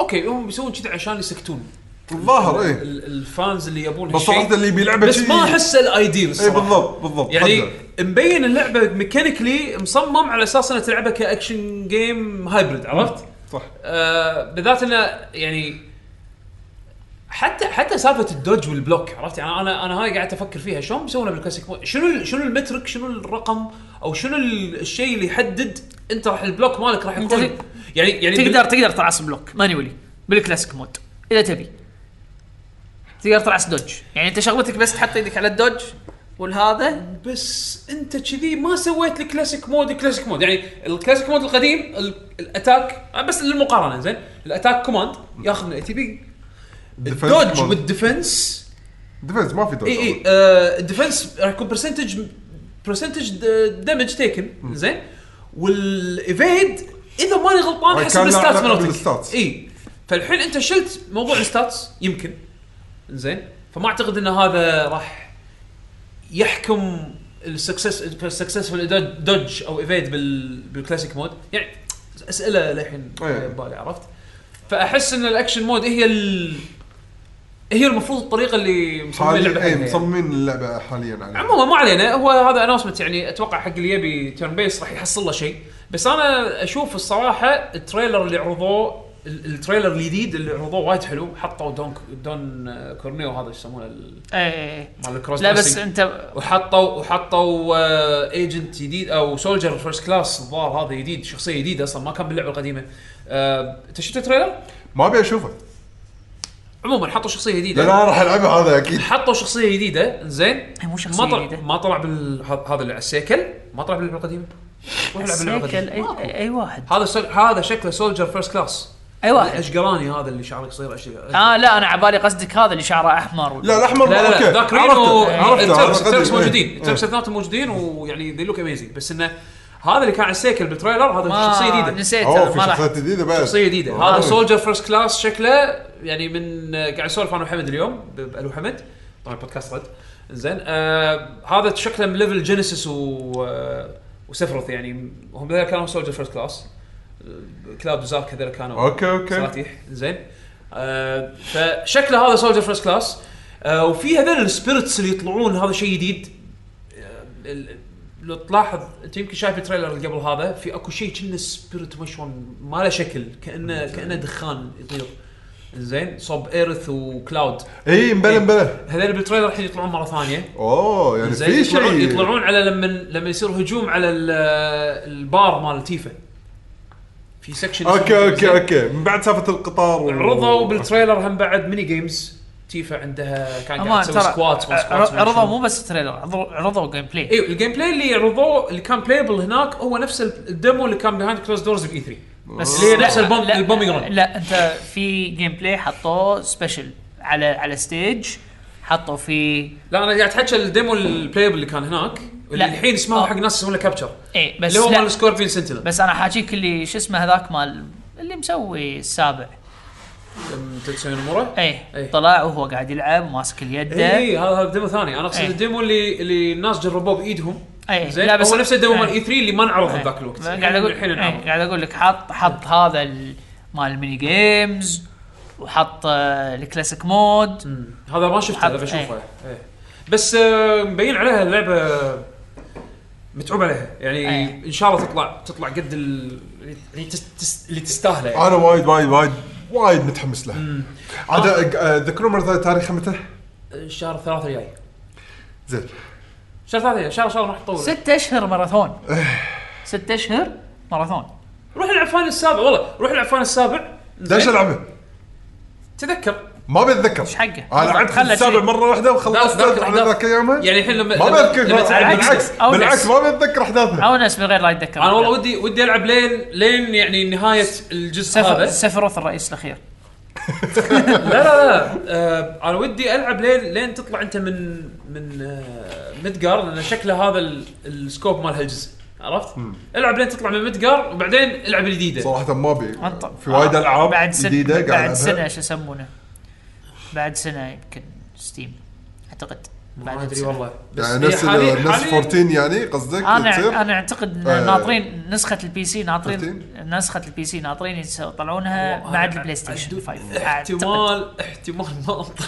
S1: اوكي هم بيسوون كذا عشان يسكتون
S4: الظاهر
S1: ال-
S4: ايه
S1: الفانز اللي يبون
S4: بس
S1: هالشيء.
S4: واحد اللي بيلعبه
S1: بس
S4: شي-
S1: ما احس الايديل
S4: ايه
S1: الصراحه
S4: بالضبط بالضبط
S1: يعني
S4: حقه.
S1: مبين اللعبه ميكانيكلي مصمم على اساس انها تلعبها كاكشن جيم هايبرد عرفت؟
S4: صح
S1: آه بالذات انه يعني حتى حتى سالفه الدوج والبلوك عرفت يعني انا انا هاي قاعد افكر فيها شلون بيسوونها بالكلاسيك مود؟ شنو ال- شنو المترك شنو الرقم او شنو ال- الشيء اللي يحدد انت راح البلوك مالك راح
S3: أنت
S1: يكون
S3: في-
S1: يعني يعني بال-
S3: تقدر تقدر ترعس بلوك مانيولي بالكلاسيك مود اذا تبي تقدر ترعس دوج يعني انت شغلتك بس تحط ايدك على الدوج والهذا
S1: بس انت كذي ما سويت الكلاسيك مود كلاسيك مود يعني الكلاسيك مود القديم ال- الاتاك بس للمقارنه زين الاتاك كوماند ياخذ من الاي تي بي الدوج
S4: مود.
S1: والديفنس
S4: ديفنس ما في دوج
S1: اي اي آه، الديفنس راح يكون برسنتج برسنتج دمج تيكن زين والايفيد اذا ماني غلطان
S4: وكان
S1: حسب
S4: له
S1: الستاتس
S4: علاقة
S1: مالتك
S4: بالستاتس.
S1: اي فالحين انت شلت موضوع الستاتس يمكن زين فما اعتقد ان هذا راح يحكم السكسس السكسسفل دوج او ايفيد بال بالكلاسيك مود يعني اسئله للحين
S4: إيه.
S1: ببالي عرفت فاحس ان الاكشن مود هي ال... هي المفروض الطريقه اللي مصممين اللعبه
S4: حاليا
S1: عليها
S4: ايه
S1: يعني.
S4: مصممين يعني. اللعبه حاليا عليها
S1: عموما ما علينا هو هذا اناونسمنت يعني اتوقع حق اللي يبي تيرن بيس راح يحصل له شيء بس انا اشوف الصراحه التريلر اللي عرضوه ال- التريلر الجديد اللي عرضوه وايد حلو حطوا دون دون كورنيو هذا ايش يسمونه ال-
S3: ايه
S1: مال الكروس
S3: لا بس
S1: دريسنج.
S3: انت
S1: وحطوا وحطوا آه، ايجنت جديد او سولجر فيرست كلاس الظاهر هذا جديد شخصيه جديده اصلا ما كان باللعبه القديمه آه، انت شفت التريلر؟
S4: ما ابي اشوفه
S1: عموما حطوا شخصيه جديده
S4: لان انا راح العبه هذا اكيد
S1: حطوا شخصيه جديده زين
S3: هي إيه، مو شخصية
S1: ما طلع
S3: جديدة.
S1: ما طلع بال ه- هذا اللي على السيكل ما طلع باللعبه القديمه روح العب اللعبه
S3: سيكل اي,
S1: القديمه
S3: أي, أي واحد
S1: هذا سل... هذا شكله سولجر فيرست كلاس
S3: اي واحد
S1: الاشقراني هذا اللي شعره قصير أشقر-
S3: اه لا انا على بالي قصدك هذا اللي شعره احمر
S4: لا الاحمر
S1: لا لا
S4: اوكي
S1: لا ذاك رينو
S4: عرفته عرفته
S1: التركس
S4: عرفته.
S1: التركس
S4: إيه.
S1: موجودين
S4: إيه.
S1: التركس اثنيناتهم موجودين ويعني ذي لوك اميزنج بس انه هذا اللي كان على السيكل بالتريلر هذا
S3: ما
S1: شخصيه جديده
S3: نسيت
S4: اوه
S3: أنا،
S4: في
S3: ما راح
S4: شخصيات جديده بعد
S1: شخصيه جديده
S4: آه.
S1: هذا سولجر فيرست كلاس شكله يعني من آه، قاعد اسولف انا وحمد اليوم ب- بالو حمد طبعا البودكاست رد زين آه هذا شكله من ليفل جينيسيس و آه وسفرث يعني هم ذول كانوا سولجر فيرست كلاس كلاود وزارك هذول كانوا
S4: أوكي، أوكي.
S1: صلاتيح زين آه فشكله هذا سولجر فيرست كلاس آه وفي هذول السبيرتس اللي يطلعون هذا شيء جديد آه، ال- لو تلاحظ انت يمكن شايف التريلر اللي قبل هذا في اكو شيء كأنه سبيرت مشون ما له شكل كانه كانه دخان يطير زين صوب ايرث وكلاود
S4: اي مبلى
S1: إيه.
S4: مبلى
S1: هذول بالتريلر الحين يطلعون مره ثانيه
S4: اوه يعني
S1: زين
S4: في
S1: يطلعون,
S4: شيء
S1: يطلعون على لما لما يصير هجوم على ال- البار مال تيفا في سكشن
S4: اوكي اوكي اوكي من بعد سالفه القطار و-
S1: عرضوا بالتريلر هم بعد ميني جيمز تيفا عندها كان
S3: امان
S1: قاعد تسوي
S3: ترى
S1: سكوات
S3: عر- عرضوا مو بس تريلر عرضوا- عرضوا جيم بلاي
S1: ايوه الجيم بلاي اللي عرضوه اللي كان بلايبل هناك هو نفس الديمو اللي كان بيهايند كلوز دورز باي 3
S3: بس
S1: اللي هي
S3: لا-
S1: نفس البوم-
S3: لا-
S1: البومينج رون.
S3: لا انت في جيم بلاي حطوه سبيشل على على ستيج حطوا في
S1: لا انا قاعد احكي الديمو البلايبل اللي كان هناك اللي
S3: لا.
S1: الحين اسمه
S3: آه.
S1: حق ناس يسوون له كابتشر
S3: اي إيه، بس
S1: اللي هو
S3: لا
S1: مال سكوربين سنتينل
S3: بس انا حاجيك اللي شو اسمه هذاك مال اللي مسوي السابع
S1: أم تسوين اموره
S3: اي
S1: إيه.
S3: طلع وهو قاعد يلعب ماسك اليد
S1: اي إيه، هذا هذا ديمو ثاني انا اقصد
S3: إيه.
S1: الديمو اللي اللي الناس جربوه بايدهم
S3: اي
S1: زين هو نفس الديمو مال E اي 3 اللي ما انعرض
S3: إيه.
S1: بذاك الوقت يعني إيه.
S3: قاعد اقول
S1: الحين
S3: إيه،
S1: انعرض
S3: قاعد اقول لك حط حط هذا ال- مال الميني جيمز وحط آه، الكلاسيك مود
S1: مم. هذا ما شفته
S3: حط-
S1: هذا بشوفه إيه. بس آه، مبين عليها اللعبه متعوب عليها يعني
S3: إيه.
S1: ان شاء الله تطلع تطلع قد ال- اللي تس- تس- اللي تستاهله يعني
S4: انا وايد وايد وايد وايد متحمس له عاد
S1: أه.
S4: آه، ذكرون مره ثانيه تاريخ متى؟
S1: شهر ثلاثة الجاي
S4: زين
S1: شهر ثلاثة الجاي شهر شهر راح تطول
S3: ست اشهر ماراثون
S1: إيه.
S3: ست اشهر ماراثون
S1: روح العب فاينل السابع والله روح العب فاينل السابع زين.
S4: ليش العبه؟
S1: تذكر
S4: ما بتذكر
S3: ايش حقه؟
S4: انا لعبت
S3: خلت
S4: السابع
S3: شيء.
S4: مره واحده
S1: لا،
S4: وخلصت
S1: ذاك-
S4: على
S1: ذاك-
S4: ذاك ايامها
S1: يعني الحين لما
S4: ما
S1: لما-
S4: بذكر
S1: لما تلعب
S4: بالعكس
S3: أو
S4: بالعكس
S3: نفس.
S4: ما بتذكر احداثها
S3: اونس من غير لا يتذكر
S1: انا والله ودي ودي العب لين لين يعني نهايه الجزء
S3: سفر
S1: هذا
S3: سفروث الرئيس الاخير
S1: لا لا لا آه انا ودي العب لين لين تطلع انت من من آه مدقر لان شكله هذا ال- السكوب مال هالجزء عرفت؟ العب لين تطلع من مدقر وبعدين العب الجديده
S4: صراحه ما ابي
S3: أنت-
S4: في وايد
S3: آه،
S4: العاب
S3: بعد سنة
S4: جديده قاعد
S3: بعد
S4: ألعبها.
S3: سنه شو يسمونه بعد سنه يمكن ستيم اعتقد بعد
S1: ما ادري
S3: سنة.
S1: والله بس
S4: يعني نفس
S1: هي حاليا-
S4: ال- نفس
S1: حالياً-
S4: 14 يعني قصدك
S3: انا
S4: تصير؟
S3: انا اعتقد إن
S4: آه.
S3: ناطرين نسخه البي سي ناطرين
S4: 13.
S3: نسخه البي سي ناطرين يس- يطلعونها
S1: والله
S3: بعد
S1: أنا
S3: البلاي
S1: أعتقد-
S3: ستيشن 5 أعتقد.
S1: احتمال احتمال ما انطر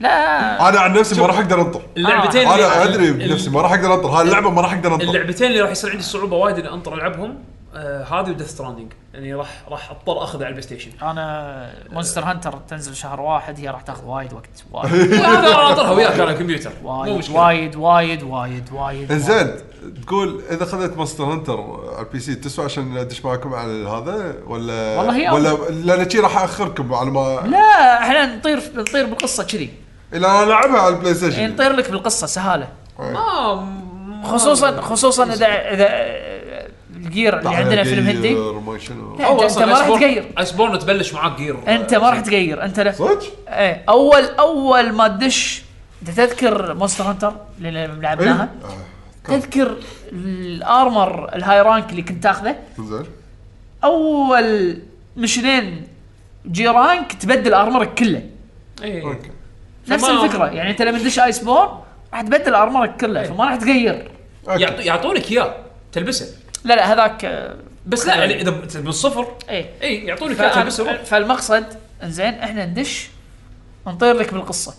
S3: لا
S4: انا عن نفسي ما راح اقدر انطر
S1: اللعبتين اللي-
S4: انا ادري
S1: ال-
S4: بنفسي ما راح اقدر انطر هاي اللعبه ما راح اقدر انطر
S1: اللعبتين اللي راح يصير عندي صعوبه وايد اني انطر العبهم آه، هذه وديث ستراندنج يعني راح راح اضطر اخذها على البلاي ستيشن
S3: انا مونستر هانتر تنزل شهر واحد هي راح تاخذ وايد وقت
S1: لا،
S3: وايد
S1: هذا راح انطرها وياك على الكمبيوتر مو
S3: وايد
S1: مشكله
S3: وايد وايد وايد وايد
S4: انزين تقول اذا اخذت ماستر هنتر على البي سي تسوى عشان ادش معكم على هذا ولا
S3: والله هي
S4: ولا لان شي راح اخركم على ما
S3: لا احنا نطير نطير بالقصه كذي
S4: الى انا العبها على البلاي
S3: يعني
S4: ستيشن
S3: نطير لك بالقصه سهاله
S1: آه، م- آه.
S3: خصوصا خصوصا اذا اذا الجير اللي يعني عندنا فيلم هندي طيب.
S4: ما شنو
S3: أنت- أنت ما راح
S1: أيسبورن-
S3: تغير.
S1: ايسبورن تبلش معاك جير
S3: انت ما راح تغير انت لا
S4: صدق؟
S3: ايه اول اول ما تدش انت تذكر مونستر هانتر اللي لعبناها
S4: إيه؟ آه،
S3: تذكر الارمر الهاي رانك اللي كنت تاخذه
S4: زين
S3: اول مشنين جي رانك تبدل ارمرك كله
S1: إيه.
S4: اوكي
S3: نفس
S1: فما-
S3: الفكره يعني انت لما تدش ايس بورن راح تبدل ارمرك كله
S1: إيه.
S3: فما راح تغير
S4: اوكي
S1: يعطو- يعطونك اياه تلبسه
S3: لا لا هذاك آه،
S1: بس لا يعني اذا ب- من الصفر
S3: ايه
S1: اي إيه، يعطونك اياه تلبسه
S3: فأنا- فالمقصد انزين احنا ندش نطير لك بالقصه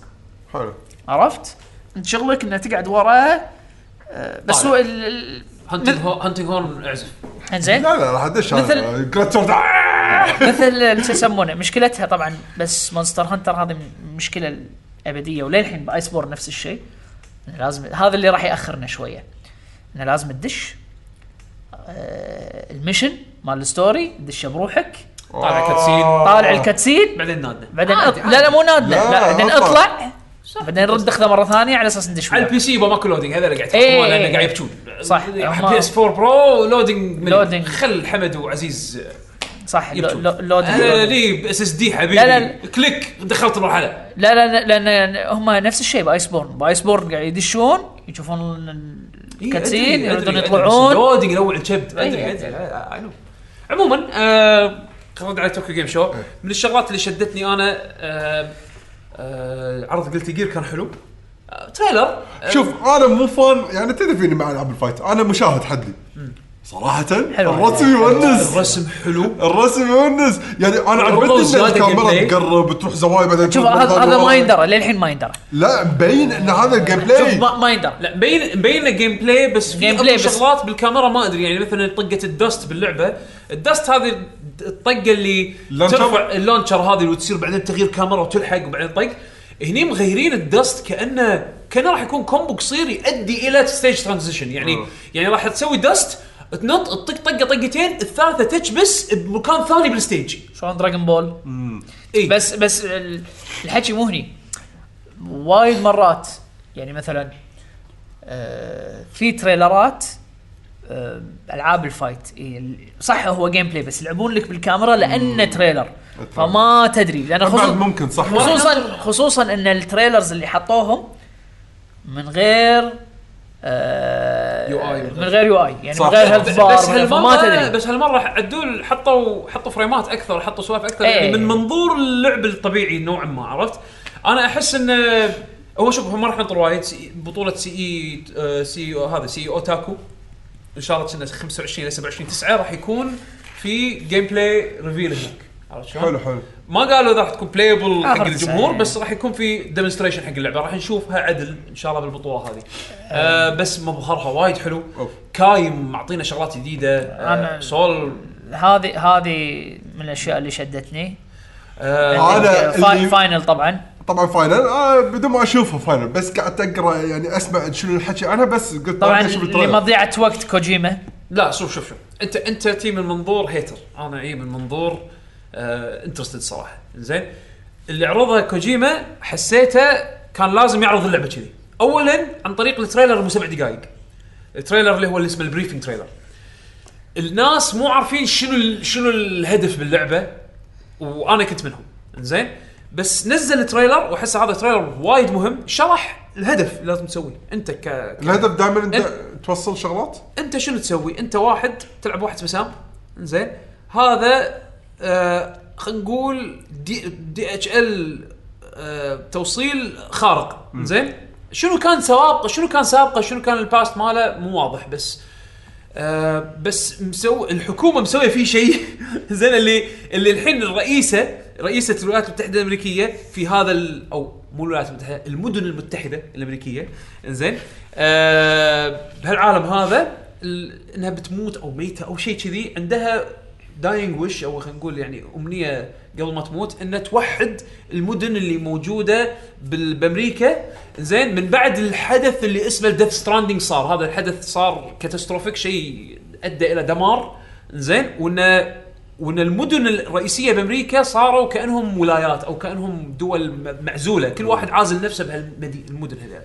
S4: حلو
S3: عرفت؟ انت شغلك انه تقعد وراه آه، بس
S1: طالع.
S3: هو ال- ال-
S1: هانتنج هو- هانتنج هورن اعزف
S3: انزين
S4: لا لا راح ادش انا
S3: إيه؟ مثل-
S4: كلاتشر
S3: مثل شو يسمونه مشكلتها طبعا بس مونستر هانتر هذه م- مشكله الابديه وللحين بايس بور نفس الشيء إنه لازم هذا اللي راح ياخرنا شويه انه لازم تدش آه، المشن مال الستوري تدشه بروحك
S1: طالع آه، كاتسين
S3: طالع الكاتسين
S1: بعدين نادنا
S3: بعدين
S1: عادي،
S3: أط... لا لا مو نادله
S4: لا،
S3: لا, بعدين
S4: اطلع.
S3: اطلع بعدين رد اخذه مره ثانيه على اساس ندش
S1: على
S3: وياه.
S1: البي سي يبا ماكو لودنج هذا اللي قاعد
S3: إيه.
S1: يحكمون لانه قاعد يبكون
S3: صح.
S1: بي اس 4 برو لودنج
S3: لودنج.
S1: لودنج خل حمد وعزيز
S3: صح لو-
S1: يبكون.
S3: لو- لودنج
S1: انا
S3: لودنج.
S1: لي اس اس دي حبيبي
S3: لا، لا.
S1: كليك دخلت المرحله
S3: لا لا لا، لان هم نفس الشيء بايس بورن بايس بورن قاعد يدشون يشوفون الكاتسين
S1: إيه، أدري، أدري،
S3: يردون
S1: أدري،
S3: يطلعون
S1: بس لودنج يروع الكبد ادري
S3: إيه.
S1: ادري آه، آه، عموما آه، خلينا نرد على طوكيو جيم شو من الشغلات اللي شدتني انا آه، آه، عرض قلت جير كان حلو آه، تريلر آه،
S4: شوف انا مو فان يعني تدري فيني مع العاب الفايت انا مشاهد حدي صراحه
S3: حلو.
S4: الرسم يونس
S1: الرسم حلو
S4: الرسم يونس يعني انا
S1: الرضا
S4: عجبتني ان
S1: وزيادة
S4: الكاميرا
S1: gameplay.
S4: تقرب تروح زوايا بعدين
S3: شوف
S4: تروح
S3: هذا
S4: مرة
S3: هذا ما
S4: ورا.
S3: يندرى للحين ما يندرى
S4: لا مبين ان هذا الجيم
S3: شوف
S4: بلاي
S3: ما, ما يندرى
S1: لا مبين مبين جيم بلاي بس في
S3: Gameplay
S1: اكو
S3: بس.
S1: شغلات بالكاميرا ما ادري يعني مثلا طقه الدست باللعبه الدست هذه الطقه اللي
S4: اللونشر؟
S1: ترفع اللونشر هذه اللي وتصير بعدين تغيير كاميرا وتلحق وبعدين طق هني مغيرين الدست كانه كانه راح يكون كومبو قصير يؤدي الى ستيج ترانزيشن يعني يعني راح تسوي دست تنط تطق طقه طقتين الثالثه تكبس بمكان ثاني بالستيج
S3: شلون دراجون بول
S1: اي
S3: بس بس ال- الحكي مو هني وايد مرات يعني مثلا آه، في تريلرات آه، العاب الفايت إيه، ال- صح هو جيم بلاي بس يلعبون لك بالكاميرا لانه تريلر فما تدري لان
S4: بعد
S3: خصوصا
S4: ممكن صح
S3: خصوصا خصوصا ان التريلرز اللي حطوهم من غير آه
S1: UI.
S3: من غير يو اي يعني
S4: صح.
S3: من غير هيلث بار
S1: بس
S3: من غير- ما
S1: هالمره
S3: تدري
S1: بس هالمره عدول حطوا حطوا فريمات اكثر حطوا سوالف اكثر
S3: إيه.
S1: يعني من منظور اللعب الطبيعي نوعا ما عرفت؟ انا احس انه هو شوف هو ما راح نطر وايد سي- بطوله سي اي آه، سي او هذا سي او تاكو ان شاء الله كنا 25 الى 27 9 راح يكون في جيم بلاي ريفيل هناك عرفت شلون؟
S4: حلو حلو
S1: ما قالوا اذا راح تكون بلايبل
S3: آخر
S1: حق الجمهور
S3: تسعة. إيه.
S1: بس راح يكون في ديمونستريشن حق اللعبه راح نشوفها عدل ان شاء الله بالبطوله هذه
S3: إيه.
S1: آه بس مظهرها وايد حلو
S4: أوف.
S1: كايم معطينا شغلات جديده آه
S3: أنا-
S1: سول
S3: هذه هذه من الاشياء اللي شدتني يعني
S1: آه
S4: أنا
S3: عندك فا-
S4: اللي-
S3: فاينل طبعا
S4: طبعا فاينل آه بدون ما اشوفه فاينل بس قعدت اقرا يعني اسمع شنو الحكي عنها بس قلت
S3: طبعا
S4: راح أشوف التريلر.
S3: لمضيعه وقت كوجيما
S1: لا شوف شوف شوف انت انت تي من منظور هيتر انا اي من منظور آه انترستد صراحه زين اللي عرضها كوجيما حسيته كان لازم يعرض اللعبه كذي اولا عن طريق التريلر مو سبع دقائق التريلر اللي هو اللي اسمه البريفنج تريلر الناس مو عارفين شنو ال- شنو الهدف باللعبه وانا كنت منهم زين بس نزل تريلر واحس هذا تريلر وايد مهم شرح الهدف اللي لازم تسويه انت ك... ك...
S4: الهدف دائما انت توصل شغلات
S1: انت شنو تسوي؟ انت واحد تلعب واحد بسام زين هذا آه خلينا نقول دي, دي اتش ال آه توصيل خارق زين شنو كان سوابقه شنو كان سابقه شنو كان الباست ماله مو واضح بس آه بس مسو الحكومه مسويه فيه شيء زين اللي اللي الحين الرئيسه رئيسه الولايات المتحده الامريكيه في هذا ال او مو الولايات المتحده المدن المتحده الامريكيه زين آه بهالعالم هذا ال- انها بتموت او ميته او شيء كذي عندها داينج وش او خلينا نقول يعني امنيه قبل ما تموت انها توحد المدن اللي موجوده بال- بامريكا زين من بعد الحدث اللي اسمه ديث ستراندنج صار هذا الحدث صار كاتاستروفيك شيء ادى الى دمار زين وانه وان المدن الرئيسيه بامريكا صاروا كانهم ولايات او كانهم دول م- معزوله كل واحد عازل نفسه بهالمدن هذول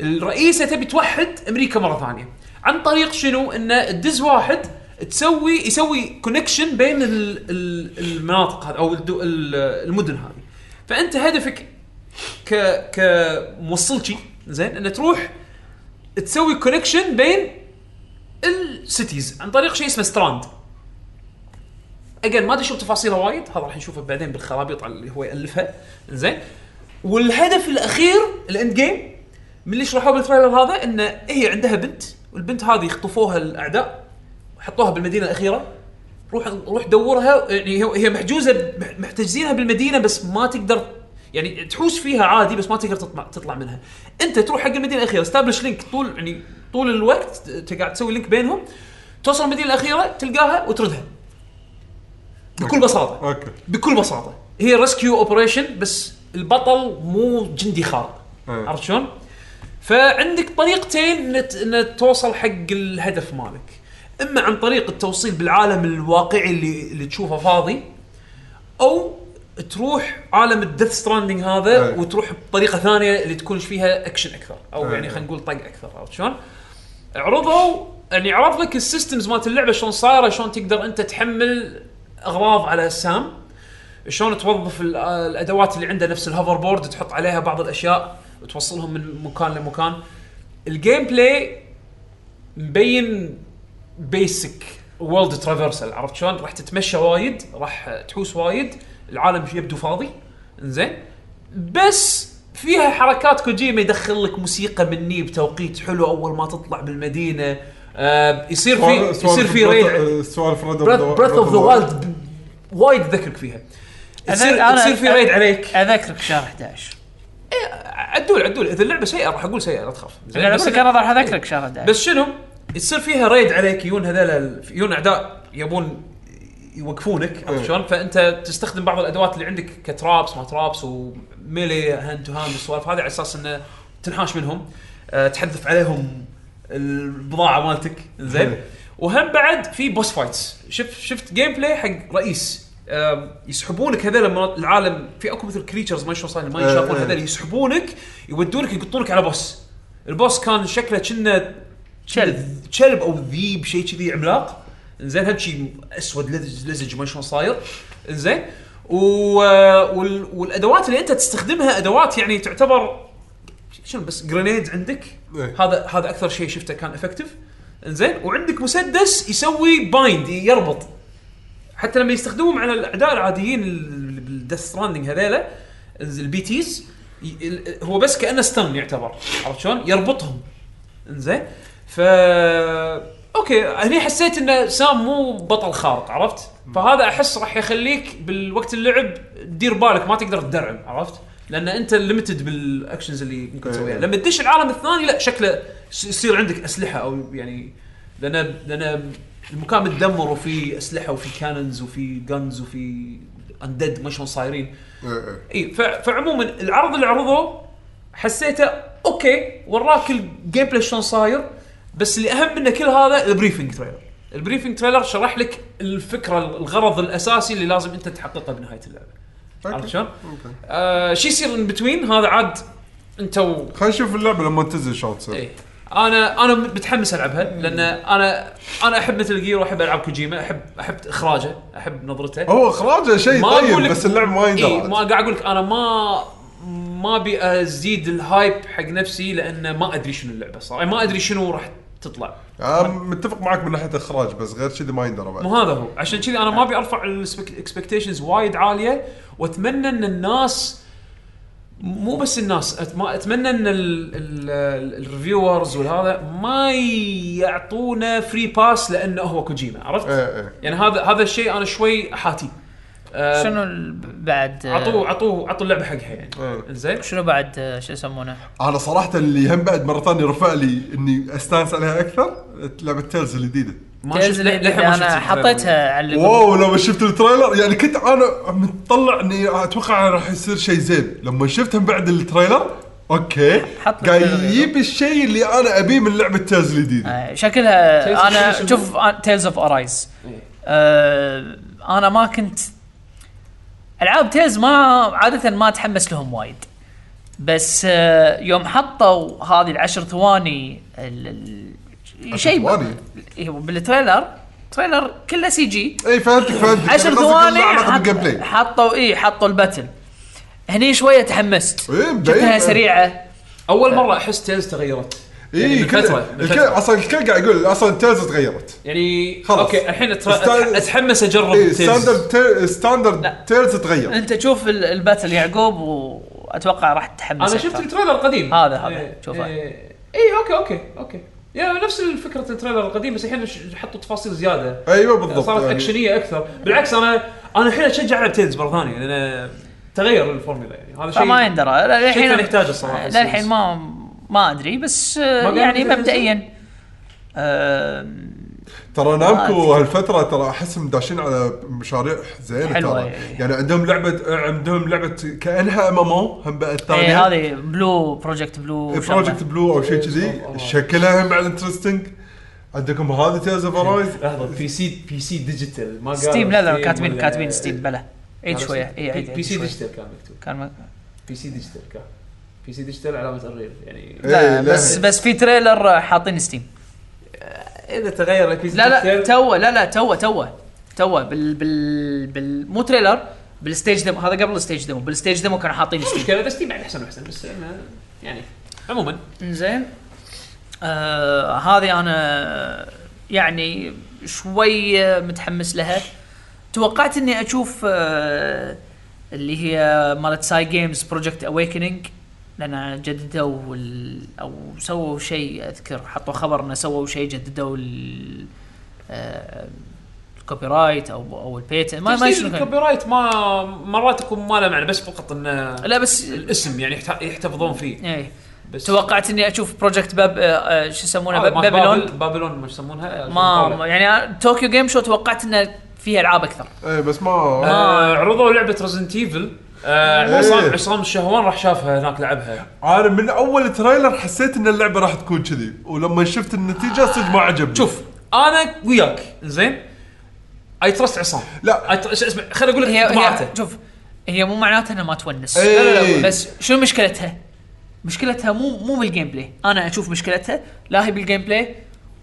S1: الرئيسه تبي توحد امريكا مره ثانيه عن طريق شنو انه تدز واحد تسوي يسوي كونكشن بين ال- ال- المناطق هذه او الدو- ال- المدن هذه فانت هدفك ك كموصلتي زين انه تروح تسوي كونكشن بين السيتيز عن طريق شيء اسمه ستراند اجين ما ادري شو تفاصيلها وايد هذا راح نشوفه بعدين بالخرابيط اللي هو يالفها زين والهدف الاخير الاند جيم من اللي شرحوه بالتريلر هذا ان هي عندها بنت والبنت هذه خطفوها الاعداء وحطوها بالمدينه الاخيره روح روح دورها يعني هي- هي محجوزه ب- محتجزينها بالمدينه بس ما تقدر يعني تحوس فيها عادي بس ما تقدر تطلع, تطلع منها انت تروح حق المدينه الاخيره استابلش لينك طول يعني طول الوقت ت- قاعد تسوي لينك بينهم توصل المدينه الاخيره تلقاها وتردها بكل بساطه
S4: اوكي
S1: بكل بساطه هي ريسكيو اوبريشن بس البطل مو جندي خارق
S4: أي.
S1: عرفت شلون؟ فعندك طريقتين إن ت- ان توصل حق الهدف مالك اما عن طريق التوصيل بالعالم الواقعي اللي اللي تشوفه فاضي او تروح عالم الديث ستراندنج هذا
S4: أي.
S1: وتروح بطريقه ثانيه اللي تكون فيها اكشن اكثر او
S4: أي.
S1: يعني خلينا نقول طق اكثر عرفت شلون؟ عرضوا يعني عرض لك السيستمز مالت اللعبه شلون صايره شلون تقدر انت تحمل اغراض على سام شلون توظف ال- آه، الادوات اللي عنده نفس الهوفر بورد تحط عليها بعض الاشياء وتوصلهم من مكان لمكان الجيم بلاي مبين بيسك وورلد ترافرسل عرفت شلون راح تتمشى وايد راح تحوس وايد العالم يبدو فاضي زين بس فيها حركات كوجيما يدخل لك موسيقى مني بتوقيت حلو اول ما تطلع بالمدينه آه يصير في يصير في ريد
S4: سوالف
S1: بريث اوف ذا وايلد وايد ذكرك فيها يصير يصير في ريد عليك إيه،
S3: اذكرك شهر 11
S1: عدول عدول اذا اللعبه سيئه راح اقول سيئه لا تخاف زين،
S3: لا
S1: إيه، بس
S3: بس انا راح اذكرك شهر 11
S1: بس شنو؟ يصير فيها ريد عليك يجون هذول ال- يجون اعداء يبون يوقفونك عرفت
S4: أي.
S1: شلون؟ فانت تستخدم بعض الادوات اللي عندك كترابس ما ترابس وميلي هاند تو هاند والسوالف هذه على اساس انه تنحاش منهم أه تحذف عليهم البضاعه مالتك زين
S4: أي.
S1: وهم بعد في بوس فايتس شفت شفت جيم بلاي حق رئيس أم، يسحبونك هذول المناط- العالم في اكو مثل كريتشرز ما شلون صاير ما
S4: أي،
S1: يشافون
S4: أي.
S1: هذول يسحبونك يودونك يقطونك على بوس البوس كان شكله كنا
S3: كلب.
S1: كلب او ذيب شيء كذي عملاق زين هم شيء اسود لزج لزج ما شلون صاير زين و... وال... والادوات اللي انت تستخدمها ادوات يعني تعتبر شنو بس جرينيد عندك
S4: إيه.
S1: هذا هذا اكثر شيء شفته كان افكتيف زين وعندك مسدس يسوي بايند يربط حتى لما يستخدمهم على الاعداء العاديين بالديث ستراندنج هذيلا البي تيز هو بس كانه ستان يعتبر عرفت شلون؟ يربطهم انزين ف اوكي هني حسيت ان سام مو بطل خارق عرفت؟ فهذا احس راح يخليك بالوقت اللعب تدير بالك ما تقدر تدرعم عرفت؟ لان انت ليمتد بالاكشنز اللي ممكن تسويها، لما تدش العالم الثاني لا شكله س- يصير عندك اسلحه او يعني لان لان المكان متدمر وفي اسلحه وفي كانونز وفي جنز وفي اندد ما شلون صايرين
S4: إيه،
S1: اي ف- فعموما العرض اللي عرضوه حسيته اوكي وراك الجيم بلاي شلون صاير بس اللي اهم منه كل هذا البريفنج تريلر البريفنج تريلر شرح لك الفكره الغرض الاساسي اللي لازم انت تحققه بنهايه اللعبه عرفت شلون؟ آه شو يصير ان بتوين هذا عاد انت و...
S3: إيه.
S4: خلينا نشوف اللعبه لما تنزل شلون تصير
S1: ايه انا انا متحمس العبها لان انا انا احب مثل جير واحب العاب كوجيما احب احب اخراجه احب نظرته
S4: هو اخراجه شيء
S1: ما أقول
S4: طيب
S1: لك-
S4: بس اللعب ما
S3: إيه،
S1: اي
S4: يندرى
S1: ما قاعد اقول لك انا ما ما ابي ازيد الهايب حق نفسي لان ما ادري شنو اللعبه صراحه ما ادري شنو راح تطلع
S4: أنا متفق معك من ناحيه اخراج بس غير كذي ما يندرى بعد
S1: مو هذا هو عشان كذي انا ما ابي ارفع الاكسبكتيشنز وايد عاليه واتمنى ان الناس مو بس الناس أت- ما اتمنى ان الريفيورز والهذا ما يعطونا فري باس لانه هو كوجيما عرفت؟
S4: ايه ايه
S1: يعني هذا هذا الشيء انا شوي حاتي أه،
S3: شنو ال- بعد آه،
S1: عطوه عطوه عطوا اللعبه حقها يعني
S4: إيه.
S1: زين
S3: شنو بعد آه، شو يسمونه؟
S4: انا صراحه اللي هم بعد مره ثانيه رفع لي اني استانس عليها اكثر لعبه تيلز الجديده
S1: ما
S3: تيلز
S1: شفت
S3: اللي
S1: للحين ما شفت
S3: انا
S1: التريلر.
S3: حطيتها على
S4: واو لما شفت التريلر يعني كنت انا متطلع اني اتوقع راح يصير شيء زين لما شفتهم بعد التريلر اوكي
S3: حط
S4: قاعد
S3: التريلر.
S4: يجيب الشيء اللي انا ابيه من لعبه تيلز الجديده
S3: آه، شكلها
S1: Tales of-
S3: انا
S1: شنو- شنو؟
S3: شوف آه، تيلز اوف ارايز
S1: إيه.
S3: انا آه، ما كنت العاب تيلز ما عاده ما اتحمس لهم وايد بس آه، يوم حطوا هذه العشر ثواني ال- ال- شيء
S4: ثواني.
S3: إيه، بالتريلر تريلر كله سي جي
S4: اي إيه، فهمتك فهمتك
S3: عشر
S4: قصدك
S3: ثواني
S4: إنه علاقة
S3: حط-
S4: بالجيم بلاي
S3: حطوا اي حطوا الباتل هني شويه تحمست
S4: إيه، مبين.
S3: شفتها سريعه
S1: اول مره احس تيلز تغيرت
S4: اي
S1: يعني
S4: كل
S1: بالفترة-
S4: إيه، الكل
S1: بالفترة.
S4: اصلا الكل قاعد يقول اصلا تيلز تغيرت
S1: يعني
S4: خلاص. إيه،
S1: اوكي الحين أتر-
S4: ستايل-
S1: اتحمس اجرب
S4: اي
S1: تيلز
S4: ستاندرد
S3: لا.
S4: ستاندرد تيلز تغير
S3: انت شوف ال- الباتل يعقوب واتوقع راح تتحمس
S1: انا شفت
S3: أكثر.
S1: التريلر القديم
S3: هذا- هذا.
S1: إيه،
S3: شوفه.
S1: إيه. اي اوكي اوكي اوكي يا نفس فكره التريلر القديم بس الحين ش- حطوا تفاصيل زياده
S4: ايوه بالضبط
S1: صارت
S4: يعني.
S1: اكشنيه اكثر بالعكس انا انا الحين اشجع على تيلز مره ثانيه لان تغير الفورمولا يعني هذا شيء
S3: فما يندرى لا-
S1: شيء
S3: للحين
S1: كان يحتاجه الصراحه
S3: للحين ما ما ادري بس آه،
S1: ما قالوا
S3: يعني آه،
S1: متى
S3: مبدئيا آم،
S4: ترى نامكو
S3: ما أدري.
S4: هالفترة ترى احسهم داشين على مشاريع زينة
S3: حلوة
S4: ترى
S1: إيه.
S3: يعني.
S4: يعني عندهم لعبة عندهم لعبة كانها ام ام او هم بعد
S1: طيب،
S3: إيه،
S1: يعني
S4: ثانية إيه،
S3: هذه بلو بروجكت بلو
S1: إيه،
S4: بروجكت بلو او شيء كذي شكلها هم بعد انترستنج عندكم هذا تيلز اوف ارايز
S1: لحظه بي سي بي سي ديجيتال ما قالوا
S3: ستيم لا لا
S1: ستيم
S3: كاتبين
S1: ولا- إيه.
S3: كاتبين ستيم بلا عيد
S1: قالوا
S3: شويه
S1: ستيم.
S3: اي عيد
S1: بي
S3: عيد
S1: سي
S3: شوية.
S1: ديجيتال كان مكتوب
S3: كان م-
S1: بي سي ديجيتال كان بي سي ديجيتال علامه تغيير يعني
S4: إيه،
S3: لا
S4: لا.
S3: بس بس في تريلر آه، حاطين ستيم
S1: اذا تغير البي سي
S3: لا لا
S1: ديجيتال-
S3: توه لا لا توه توه توه بال بال بال مو تريلر بالستيج ديمو هذا قبل الستيج ديمو بالستيج ديمو كانوا حاطين ستيج
S1: مشكله بس تي بعد احسن واحسن بس إنه يعني عموما
S3: زين آه هذه انا يعني شوي متحمس لها توقعت اني اشوف آه اللي هي مالت ساي جيمز بروجكت اويكننج لان جددوا ال- او سووا شيء اذكر حطوا خبر انه سووا شيء جددوا ال- آه، الكوبي رايت او او البيتن ما ما
S1: تسجيل
S3: شنو كان.
S1: الكوبي رايت ما مرات يكون ما له معنى بس فقط انه
S3: لا بس
S1: الاسم يعني يحت- يحتفظون فيه
S3: ايه
S1: بس
S3: توقعت اني اشوف بروجكت باب آه، آه، شو يسمونه
S1: آه،
S3: باب-
S1: مال
S3: بابلون
S1: بابل- بابلون ما يسمونها
S3: ما ما- يعني طوكيو جيم شو توقعت انه فيها العاب اكثر
S4: اي إيه، بس ما
S1: آه عرضوا لعبه ريزنت ايفل
S4: إيه.
S1: آه، عصام عصام الشهوان راح شافها هناك لعبها
S4: انا من اول تريلر حسيت ان اللعبة راح تكون كذي ولما شفت النتيجة صدق ما عجبني
S1: شوف انا وياك زين اي ترست عصام
S4: لا.
S1: I tr- اسمع خليني اقول
S3: هي,
S1: لك طباعته
S3: هي شوف هي مو معناتها انها ما تونس
S4: إيه.
S3: لا لا لا بس شنو مشكلتها؟ مشكلتها مو مو بالجيم بلاي انا اشوف مشكلتها لا هي بالجيم بلاي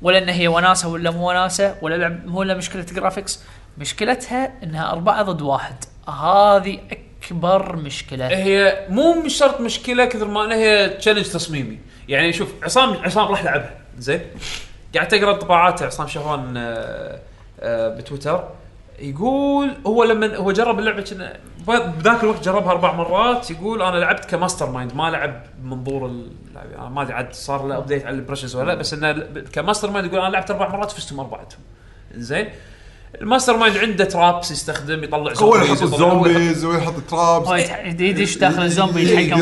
S3: ولا ان هي وناسه ولا مو وناسه ولا لعب ولا مشكله جرافيكس مشكلتها انها اربعه ضد واحد هذه اكبر مشكله
S1: هي مو مش شرط مشكله كثر ما انها هي تشالنج تصميمي يعني شوف عصام عصام راح لعبها زين قاعد تقرا انطباعات عصام شهوان آه، آه، بتويتر يقول هو لما هو جرب اللعبه كنا ب- بذاك الوقت جربها اربع مرات يقول انا لعبت كماستر مايند ما لعب بمنظور اللاعب أنا ما ادري عاد صار له ابديت على البريشز ولا لا بس انه ل- كماستر مايند يقول انا لعبت اربع مرات فزتهم اربعتهم زين الماستر مايند عنده ترابس يستخدم يطلع
S4: هو
S1: زومبيز،
S4: اللي يحط
S1: يطلع-
S4: الزومبيز ويحط
S3: هو
S1: طيب.
S4: ترابس
S3: يتح- يدش داخل الزومبي يتحكم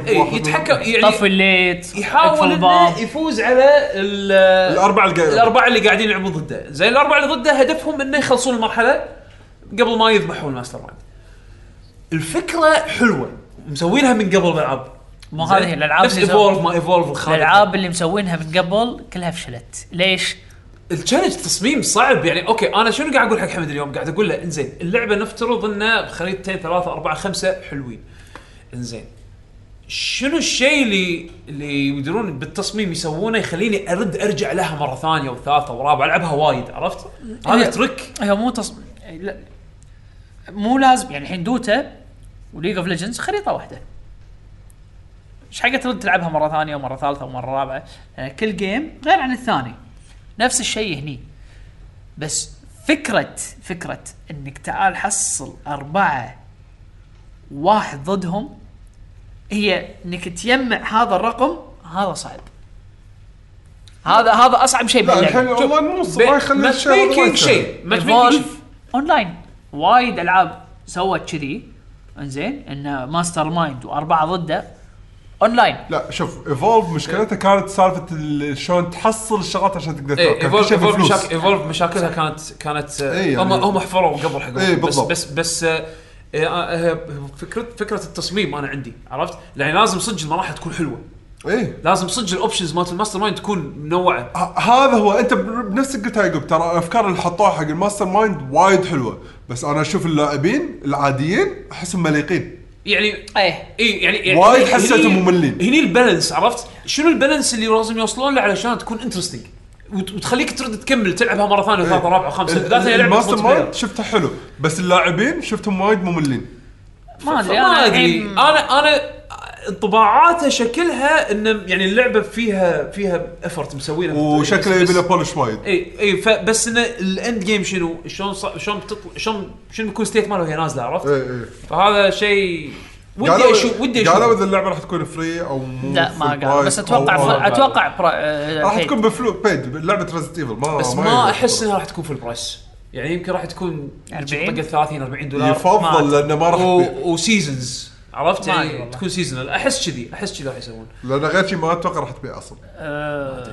S3: فيه
S1: إيه، يتحكم يعني
S3: طفي الليت
S1: يحاول
S3: الباب.
S1: انه يفوز على ال-
S4: الاربعة القاعدة
S1: الاربعه اللي قاعدين يلعبون ضده، زين الاربعه اللي ضده هدفهم انه يخلصون المرحله قبل ما يذبحون الماستر مايند. الفكره حلوه مسوينها من قبل بالعاب
S3: مو
S1: زين؟
S3: هذه الألعاب
S1: نفس
S3: اللي سو-
S1: ايفولف ما ايفولف الخالد
S3: الالعاب اللي مسوينها من قبل كلها فشلت ليش
S1: التشالنج تصميم صعب يعني اوكي انا شنو قاعد اقول حق حمد اليوم؟ قاعد اقول له انزين اللعبه نفترض انه خريطتين ثلاثه اربعه خمسه حلوين. انزين شنو الشيء اللي اللي يقدرون بالتصميم يسوونه يخليني ارد ارجع لها مره ثانيه وثالثه ورابعه العبها وايد عرفت؟ هذا
S4: يعني
S3: هي-
S1: ترك
S3: هي مو تص... لا مو لازم يعني الحين دوتا وليج اوف ليجندز خريطه واحده ايش حاجه ترد تلعبها مره ثانيه ومره ثالثه ومره رابعه لان آه، كل جيم غير عن الثاني نفس الشيء هني بس فكره فكره انك تعال حصل اربعه واحد ضدهم هي انك تجمع هذا الرقم هذا صعب هذا هذا اصعب شيء
S1: طيب.
S4: لا
S3: باللعبة.
S4: الحين اونلاين مو ما يخلي
S1: ماتش
S4: الشيء
S1: ميكينج
S4: هذا
S1: شيء ماتش ميكينج
S3: ايفولف اونلاين وايد العاب سوت كذي انزين انه ماستر مايند واربعه ضده اونلاين
S4: لا شوف ايفولف مشكلتها كانت سالفه ال- شلون تحصل الشغلات عشان تقدر
S1: ايه
S4: تاكل
S1: ايفولف
S4: شيء
S1: ايفولف
S4: بفلوس
S1: مشاك... ايفولف مشاكلها كانت كانت
S4: إيه
S1: هم
S4: يعني-
S1: هم حفروا قبل حقهم
S4: إيه
S1: بس
S4: بالضبط.
S1: بس بس آه، آه، آه، فكره فكره التصميم انا عندي عرفت؟ يعني لازم صدق المراحل تكون حلوه،
S4: ايه
S1: لازم صدق الاوبشنز مالت الماستر مايند تكون منوعه.
S4: ه- هذا هو انت ب- بنفسك قلتها يعقوب ترى الافكار اللي حطوها حق الماستر مايند وايد حلوه بس انا اشوف اللاعبين العاديين احسهم مليقين
S1: يعني
S3: ايه
S1: اي يعني, يعني
S4: وايد
S1: هني-
S4: حسيتهم مملين.
S1: هني البالانس عرفت؟ شنو البالانس اللي لازم يوصلون له علشان تكون انترستنج وتخليك ترد تكمل تلعبها مره ثانيه وثالثه رابعه وخامسه
S4: إيه. ال-
S1: ثلاثه هي لعبة
S4: الماستر
S1: multiplayer.
S4: مايند شفته حلو بس اللاعبين شفتهم وايد مملين
S3: ما
S1: ما
S3: ادري انا
S1: ادري
S3: الحين
S1: انا انا انطباعاته شكلها ان يعني اللعبه فيها فيها افورت مسوينها
S4: وشكله
S1: إيه، بس- إيه.
S4: يبي له
S1: بس-
S4: بولش وايد
S1: اي اي فبس ان الاند جيم شنو شلون ص- شلون بتطل... شلون شنو بيكون ستيت ماله وهي نازله عرفت؟
S4: ايه ايه
S1: فهذا شيء ودي
S4: قالوا-
S1: اشوف ودي
S4: قالوا
S1: اشوف
S4: اذا اللعبه راح تكون فري او مو
S3: لا
S4: full
S3: ما قال بس
S4: price
S3: اتوقع
S4: أو- أو-
S1: بعد.
S3: اتوقع برا- آه،
S4: راح
S3: paid.
S4: تكون بفلو بيد لعبه ريزنت ايفل ما
S1: بس ما
S4: يبي.
S1: احس انها راح تكون في البرايس يعني يمكن راح تكون
S3: 40
S1: طقت 30 40 دولار
S4: يفضل
S1: ما-
S4: لانه ما راح
S1: و...
S4: يبيع.
S1: وسيزونز عرفت
S3: ما
S1: يعني
S3: أدري والله.
S1: تكون سيزونال احس كذي احس كذي راح يسوون
S4: لان غير شيء ما اتوقع راح تبيع اصلا
S3: آه،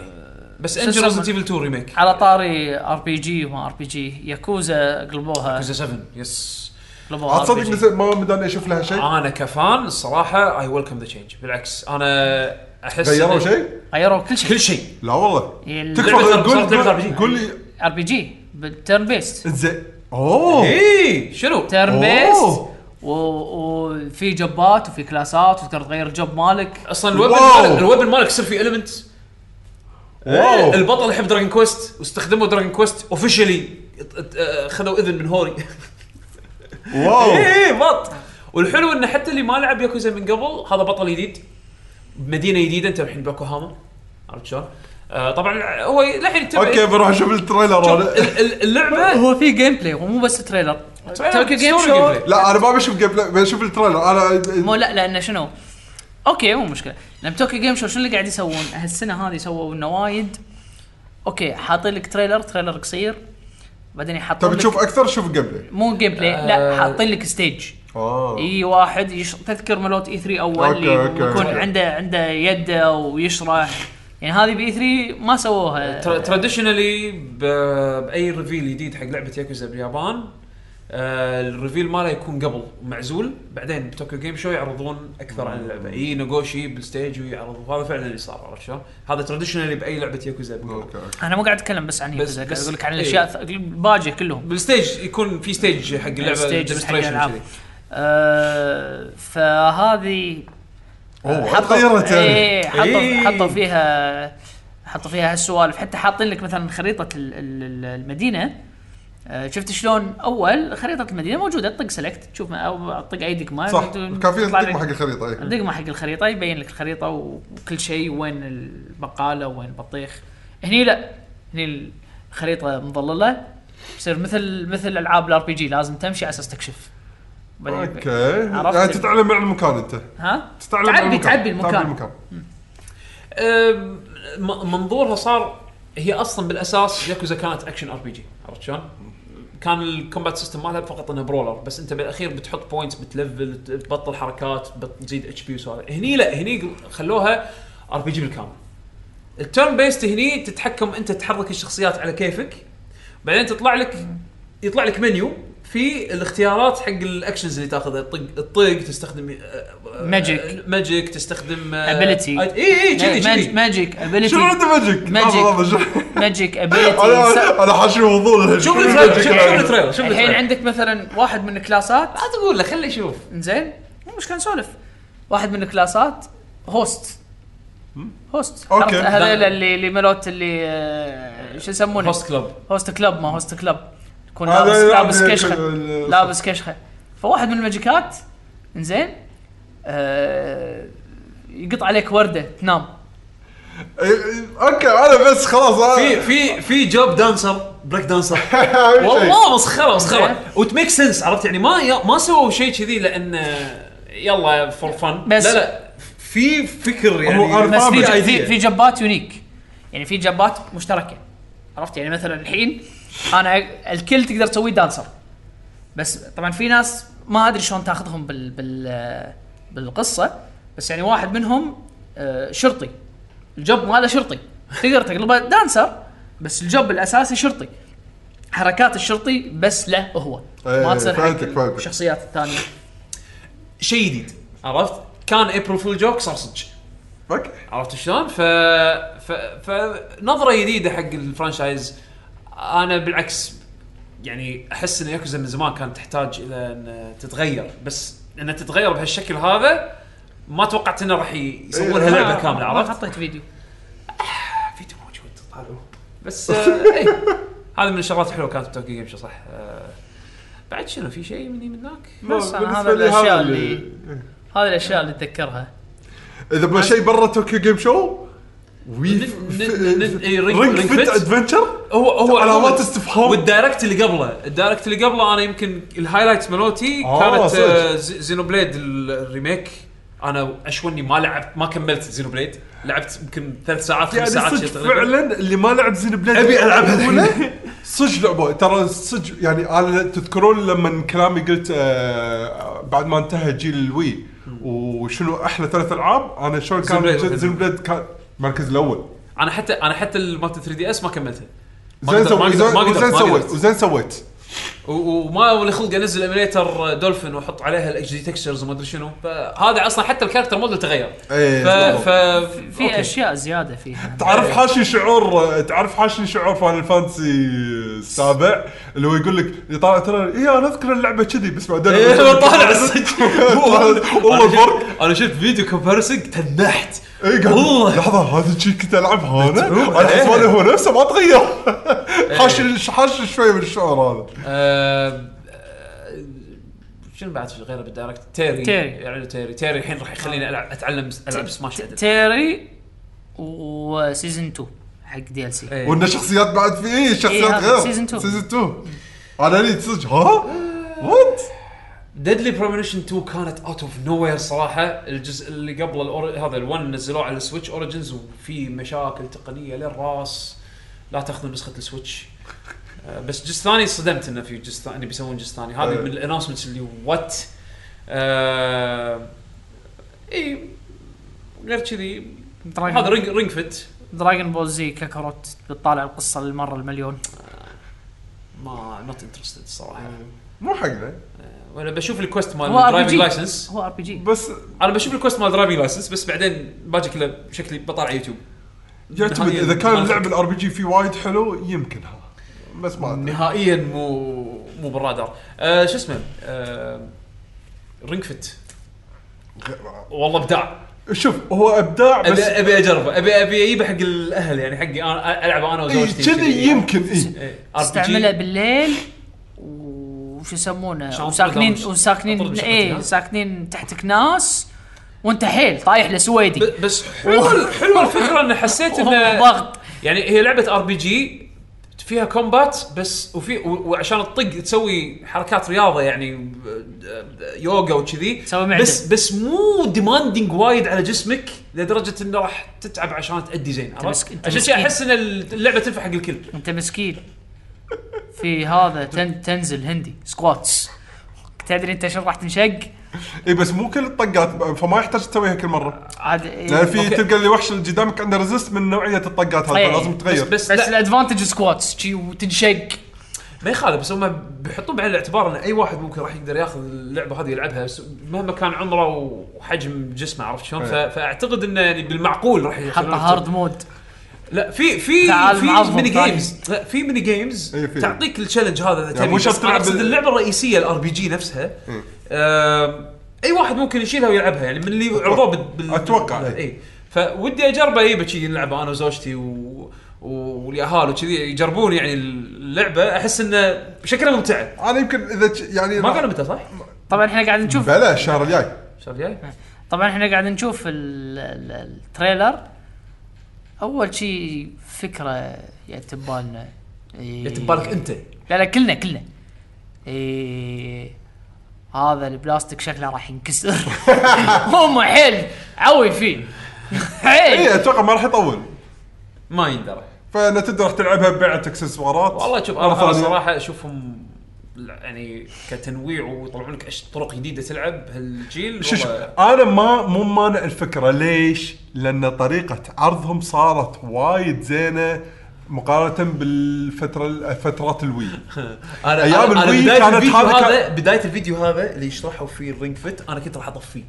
S1: بس
S3: شو
S1: انجل
S3: يسمون؟
S1: ريزنت ايفل 2 ريميك
S3: على طاري ار بي جي وما ار بي جي ياكوزا قلبوها
S1: كوزا 7 يس
S3: قلبوها
S4: عاد
S3: ار بي
S4: تصدق
S3: جي
S4: نزل- ما مداني اشوف لها
S3: آه،
S4: شيء
S1: انا كفان الصراحه اي ويلكم ذا تشينج بالعكس انا احس
S4: غيروا
S1: إن-
S4: شيء؟
S3: غيروا كل شيء
S1: كل شيء
S4: لا والله
S3: ال-
S4: تكفى
S1: لعبة
S4: قول-
S1: ضرب- صارت لعبة
S4: قول
S1: ضرب.
S4: قول لي
S3: ار بي جي بالتيرن بيست
S4: انزين
S3: إيه؟
S4: اوه
S1: اي إيه، شنو؟
S3: تيرن بيست
S4: أوه.
S3: وفي جبات وفي كلاسات وتقدر تغير الجب مالك
S1: اصلا الويب
S4: واو.
S1: مالك الويب مالك يصير فيه المنت
S3: إيه،
S4: واو
S1: البطل يحب دراجون كويست واستخدموا دراجون كويست اوفشلي خذوا اذن من هوري
S3: إيه،
S4: واو
S1: اي بط والحلو انه حتى اللي ما لعب ياكوزا من قبل هذا بطل جديد بمدينه جديده انت الحين باكوهاما عرفت شلون؟ آه طبعا هو للحين يتبع-
S4: اوكي بروح اشوف التريلر
S1: شوف،
S4: انا
S1: ال- ال- اللعبه
S3: هو في جيم بلاي ومو بس تريلر توكيو جيم
S1: ستوري
S3: شو
S1: gameplay.
S4: لا انا ما بشوف جيم بلاي بشوف التريلر انا
S3: مو لا لانه شنو؟ اوكي مو مشكله لان بتوكيو جيم شو شنو اللي قاعد يسوون؟ هالسنه هذه سووا انه وايد اوكي حاطين لك تريلر تريلر قصير بعدين يحطون
S4: تبي
S3: لك
S4: طيب، تشوف اكثر شوف الجيم بلاي
S3: مو جيم بلاي
S1: آه.
S3: لا حاطين لك ستيج
S4: اه
S3: اي واحد يش... تذكر ملوت اي 3 اول
S4: أوكي،
S3: اللي
S4: أوكي،
S3: يكون
S4: أوكي.
S3: عنده عنده يده ويشرح يعني هذه باي 3 ما سووها
S1: تراديشنالي باي ريفيل جديد حق لعبه ياكوزا باليابان آه، الريفيل ماله يكون قبل معزول بعدين بتوكيو جيم شو يعرضون اكثر عن اللعبه اي نقوشي بالستيج ويعرض وهذا فعلا اللي صار عرفت شلون؟ هذا تراديشنالي باي لعبه ياكوزا من قبل
S4: اوكي اوكي
S3: انا مو قاعد اتكلم بس عن يوكوزا
S1: بس-
S3: قاعد اقول لك عن
S1: إيه.
S3: الاشياء الث- الباجيه كلهم
S1: بالستيج يكون في ستيج حق اللعبه
S3: ستيجز حق الألعاب.
S1: ديمونستريشن
S3: آه، فهذه
S4: اوه
S3: حطوا
S4: تغيرت آه. يعني
S3: ايه حطوا
S1: إيه.
S3: حطوا فيها حطوا فيها هالسوالف حتى حاطين لك مثلا خريطه ال- ال- ال- المدينه آه، شفت شلون اول خريطه المدينه موجوده تطق سلكت تشوف ما- او تطق اي دقمه
S4: صح
S3: تطلع
S4: كان في
S3: لك-
S4: دقمه حق الخريطه إيه.
S3: الدقمه حق الخريطه يبين لك الخريطه وكل شيء وين البقاله وين البطيخ هني لا هني الخريطه مضلله يصير مثل مثل العاب الار بي جي لازم تمشي على اساس تكشف بعدين يبين.
S4: اوكي
S3: عرفت
S4: يعني
S3: ال-
S4: تتعلم عن المكان انت
S3: ها
S4: تتعلم عن
S3: تعبي
S4: المكان.
S3: تعبي المكان
S4: المكان
S1: أم، م- منظورها صار هي اصلا بالاساس ياكوزا كانت اكشن ار بي جي عرفت شلون؟ كان الكومبات سيستم مالها فقط انه برولر بس انت بالاخير بتحط بوينتس بتلفل ت- تبطل حركات بتزيد اتش بي وسوالف هني لا هني قل- خلوها ار بي جي بالكامل التيرن بيست هني تتحكم انت تحرك الشخصيات على كيفك بعدين تطلع لك يطلع لك منيو في الاختيارات حق الاكشنز اللي تاخذها الطق الطق تستخدم أه،
S3: Magic.
S1: ماجيك تستخدم آه،
S3: Ability.
S1: اي اي كذي
S3: ماج-
S1: كذي
S3: ماجيك
S4: شنو
S3: ابيلتي
S4: عنده ماجيك؟
S3: ماجيك.
S4: لحظة، لحظة، شوف.
S3: ماجيك
S4: انا
S3: ابيلتي
S4: انا حاشي فضول
S1: شوف التريلر شوف شوف التريلر شوف
S3: الحين
S1: التريلر
S3: عندك مثلا واحد من الكلاسات
S1: لا تقول له خليه يشوف
S3: زين مو مشكله نسولف واحد من الكلاسات هوست هوست
S4: أوكي.
S3: عرفت هذول
S5: لا.
S3: اللي اللي ملوت اللي آه، شو يسمونه
S5: هوست كلوب
S3: هوست كلب ما هوست كلب يكون
S4: هذا يلعب
S3: لابس لابس
S4: ال-
S3: كشخه
S4: ال-
S3: لابس كشخه فواحد من الماجيكات زين آه يقطع عليك ورده تنام
S4: إيه، إيه، اوكي انا بس خلاص
S1: في
S4: أنا-
S1: في في جوب دانسر بريك دانسر
S4: أهم شيء.
S1: والله مسخره مسخره وتميك سنس عرفت يعني ما يا- ما سووا شيء كذي لان يلا فور فن
S3: بس-
S1: لا لا في فكر
S4: هو
S1: يعني
S4: أربعة
S3: بس في
S4: بس
S3: في,
S1: idea.
S3: في جبات يونيك يعني في جبات مشتركه عرفت يعني مثلا الحين انا الكل تقدر تسويه دانسر بس طبعا في ناس ما ادري شلون تاخذهم بال بال بالقصه بس يعني واحد منهم آه، شرطي الجوب ماله شرطي تقدر تقلبه دانسر بس الجوب الاساسي شرطي حركات الشرطي بس له هو
S4: إيه،
S3: ما تصير
S4: فهمتك،
S3: حق
S4: فهمتك.
S3: الشخصيات الثانيه
S1: شيء جديد عرفت كان ابريل فول جوك صار صدق
S4: اوكي
S1: عرفت شلون؟ ف... ف... فنظره جديده حق الفرانشايز انا بالعكس يعني احس ان ياكوزا من زمان كانت تحتاج الى ان تتغير بس ان تتغير بهالشكل هذا ما توقعت انه راح ي- يسوون لها لعبه كامله
S3: آه، ما
S1: طيب، عرفت؟
S3: حطيت فيديو
S1: فيديو موجود طالعوه بس آه اي هذه من الشغلات الحلوه كانت بتوكي جيم شو صح آه بعد شنو في شيء مني من هناك؟
S3: بس
S4: ما- بالنسبة
S3: أنا هذا
S4: لي
S3: الاشياء
S4: هذا
S3: اللي هذه الاشياء اللي اتذكرها
S4: اذا بقى شيء برا طوكيو جيم شو وي
S1: ن- ن- ن- إيه، رينج-
S4: رينج
S1: رينج
S4: فيت
S1: فيت.
S4: ادفنشر
S1: هو هو
S4: علامات استفهام.
S1: والدايركت اللي قبله الدايركت اللي قبله انا يمكن الهايلايت مالوتي
S4: آه،
S1: كانت
S4: صدق.
S1: آه، ز- زينو بليد ال- الريميك انا اشوني ما لعبت ما كملت زينو بليد لعبت يمكن ثلاث ساعات خمس
S4: يعني
S1: ساعات
S4: صدق
S1: شيء تقريبا
S4: فعلا اللي ما لعب زين بلاد
S1: أبي ألعبها
S4: الأولى، صدق لعبه ترى صدق يعني انا تذكرون لما كلامي قلت آه بعد ما انتهى جيل الوي وشنو احلى ثلاث العاب انا شلون كان
S1: Xenoblade.
S4: زين بلاد كان المركز الاول
S1: انا حتى انا حتى مالت 3 دي اس ما كملتها ما
S4: زين
S1: قدرت- ما
S4: سويت
S1: قدرت- ما قدرت-
S4: وزين
S1: ما
S4: سويت
S1: قدرت.
S4: وزين سويت
S1: و- وما ولي خلق انزل ايميليتر دولفين واحط عليها الاتش دي تكستشرز وما ادري شنو فهذا اصلا حتى الكاركتر موديل تغير
S4: إيه،
S1: ف ف
S3: في
S1: أوكي.
S3: اشياء زياده فيها
S1: إيه.
S4: تعرف حاشي شعور تعرف حاشي شعور فاينل فانتسي السابع اللي هو يقول لك يطالع ترى إيه، اي انا اذكر اللعبه كذي بس بعدين إيه.
S1: ايه طالع صدق
S4: والله
S1: أنا شفت-
S4: الفرق
S1: انا شفت فيديو كومبارسنج تنحت
S4: اي إيه، قاعد
S1: والله.
S4: لحظه هذا الشيء كنت العبها انا
S1: متعوب
S4: انا
S1: عليها.
S4: حسبانه هو نفسه إيه، ما تغير حاشي حاشي شوي من الشعور هذا
S1: آه، آه، شنو بعد في غيره بالدايركت تيري
S3: تيري.
S1: اعلنوا تيري تيري الحين راح يخليني العب اتعلم العب سماش عدل.
S3: تيري وسيزون 2 حق دي ال سي
S1: إيه.
S4: وان شخصيات بعد في ايه
S3: إيه،
S4: شخصيات
S3: هذا
S4: غير
S3: سيزن تو.
S4: سيزون 2 انا لي صدق ها وات
S1: ديدلي برومنيشن 2 كانت اوت اوف نو وير صراحه الجزء اللي قبل الأور... هذا ال1 نزلوه على السويتش اوريجنز وفي مشاكل تقنيه للراس لا تاخذوا نسخه السويتش آه، بس جزء ثاني انصدمت انه في جزء ثاني انه بيسوون جزء ثاني هذه
S4: إيه.
S1: من الانونسمنتس اللي وات آه... اي غير كذي هذا رينج رينج فت
S3: دراجون بول زي كاكاروت بتطالع القصه للمره المليون
S1: ما نوت انترستد الصراحه
S4: مو حقنا
S1: ولا بشوف الكوست مال
S3: هو RPG.
S1: درايفنج لايسنس
S3: هو ار بي جي
S4: بس
S1: انا بشوف الكوست مال درايفنج لايسنس بس بعدين باجي كله بشكلي بطالع يوتيوب
S4: يعتمد
S1: نهائياً
S4: اذا
S1: ما
S4: كان
S1: أدري.
S4: لعب الار بي جي فيه وايد حلو يمكن ها بس ما ادري
S1: نهائيا مو مو بالرادار آه شو اسمه آه رينج فت والله ابداع
S4: شوف هو ابداع
S1: ابي
S4: بس
S1: ابي اجربه ابي ابي اجيبه حق الاهل يعني حقي انا العبه انا
S4: إيه،
S1: وزوجتي إيه.
S4: كذي يمكن إيه. اي
S3: استعمله
S1: استعمله
S3: بالليل وش يسمونه
S1: شلون
S3: وساكنين
S1: تطلع مش- تطلع
S3: وساكنين
S1: مش
S3: ايه
S1: شقتها.
S3: ساكنين تحتك ناس وانت حيل طايح لسويدي
S1: بس حلوه حلوه الفكره ان حسيت انه
S3: ضغط
S1: يعني هي لعبه ار بي جي فيها كومبات بس وفي و- وعشان تطق تسوي حركات رياضه يعني آه، آه، يوغا وكذي
S3: تسوي معدل.
S1: بس بس مو ديماندنج وايد على جسمك لدرجه انه راح تتعب عشان تادي زين عرفت؟
S3: مسك- أنت
S1: عشان كذا
S3: مسكين.
S1: احس ان اللعبه تنفع حق الكل
S3: انت مسكين في هذا تن تنزل هندي سكواتس تدري انت شنو راح تنشق
S4: اي إيه، بس مو كل الطقات فما يحتاج تسويها كل مره
S3: عاد إيه.
S4: لان في
S1: أوكي.
S4: تلقى اللي وحش اللي قدامك عنده ريزست من نوعيه الطقات هذه
S3: إيه.
S4: لازم
S1: بس,
S4: تغير
S1: بس,
S3: بس
S1: لا
S3: الادفانتج سكواتس شي وتنشق
S1: ما يخالف بس هم بيحطون بعين الاعتبار ان اي واحد ممكن راح يقدر ياخذ اللعبه هذه يلعبها س- مهما كان عمره وحجم جسمه عرفت شلون؟ ف-
S4: إيه.
S1: فاعتقد انه يعني بالمعقول راح
S3: حط
S1: يخلونه-
S3: هارد مود
S1: لا في في
S3: تعال
S1: في
S3: معظم
S1: ميني
S3: ثاني.
S1: جيمز لا في ميني جيمز
S4: إيه، في.
S1: تعطيك التشالنج هذا اذا
S4: يعني مو
S1: تبي
S4: شرط
S1: بس
S4: تلعب إيه.
S1: أقصد
S4: بال-
S1: اللعبه الرئيسيه الار بي جي نفسها آم، اي واحد ممكن يشيلها ويلعبها يعني من اللي عرضوه بال... بال-
S4: أتوقع. إيه.
S1: اي فودي اجربه اي بشي نلعبه انا وزوجتي و... والاهال وكذي يجربون يعني اللعبه احس انه شكلها ممتعه
S4: انا يمكن اذا ج- يعني
S1: ما قالوا متى صح؟
S3: طبعا احنا قاعد نشوف
S4: بلا الشهر الجاي
S1: الشهر الجاي؟
S3: إيه. طبعا احنا قاعد نشوف ال- ال- التريلر اول شيء فكره يتبالنا ببالنا إيه.
S1: جت ببالك انت
S3: لا لا كلنا كلنا إيه هذا البلاستيك شكله راح ينكسر هم حيل عوي فيه
S4: اي
S1: إيه.
S3: حيل
S4: اتوقع إيه، ما راح يطول
S1: ما يندرى
S4: فنتندو راح تلعبها ببيعة اكسسوارات
S1: والله شوف انا أنا
S4: يعني
S1: صراحه اشوفهم لا، يعني كتنويع ويطلعون لك أش- طرق جديده تلعب هالجيل
S4: شو شو
S1: والله
S4: انا ما مو مانع الفكره ليش؟ لان طريقه عرضهم صارت وايد زينه مقارنه بالفتره الفترات الوي
S1: انا
S4: أيام
S1: انا, أنا
S4: الوي
S1: بدايه
S4: كانت
S1: الفيديو
S4: هذا كان-
S1: هذا بدايه الفيديو هذا اللي يشرحوا فيه الرينج فيت انا كنت راح اطفيه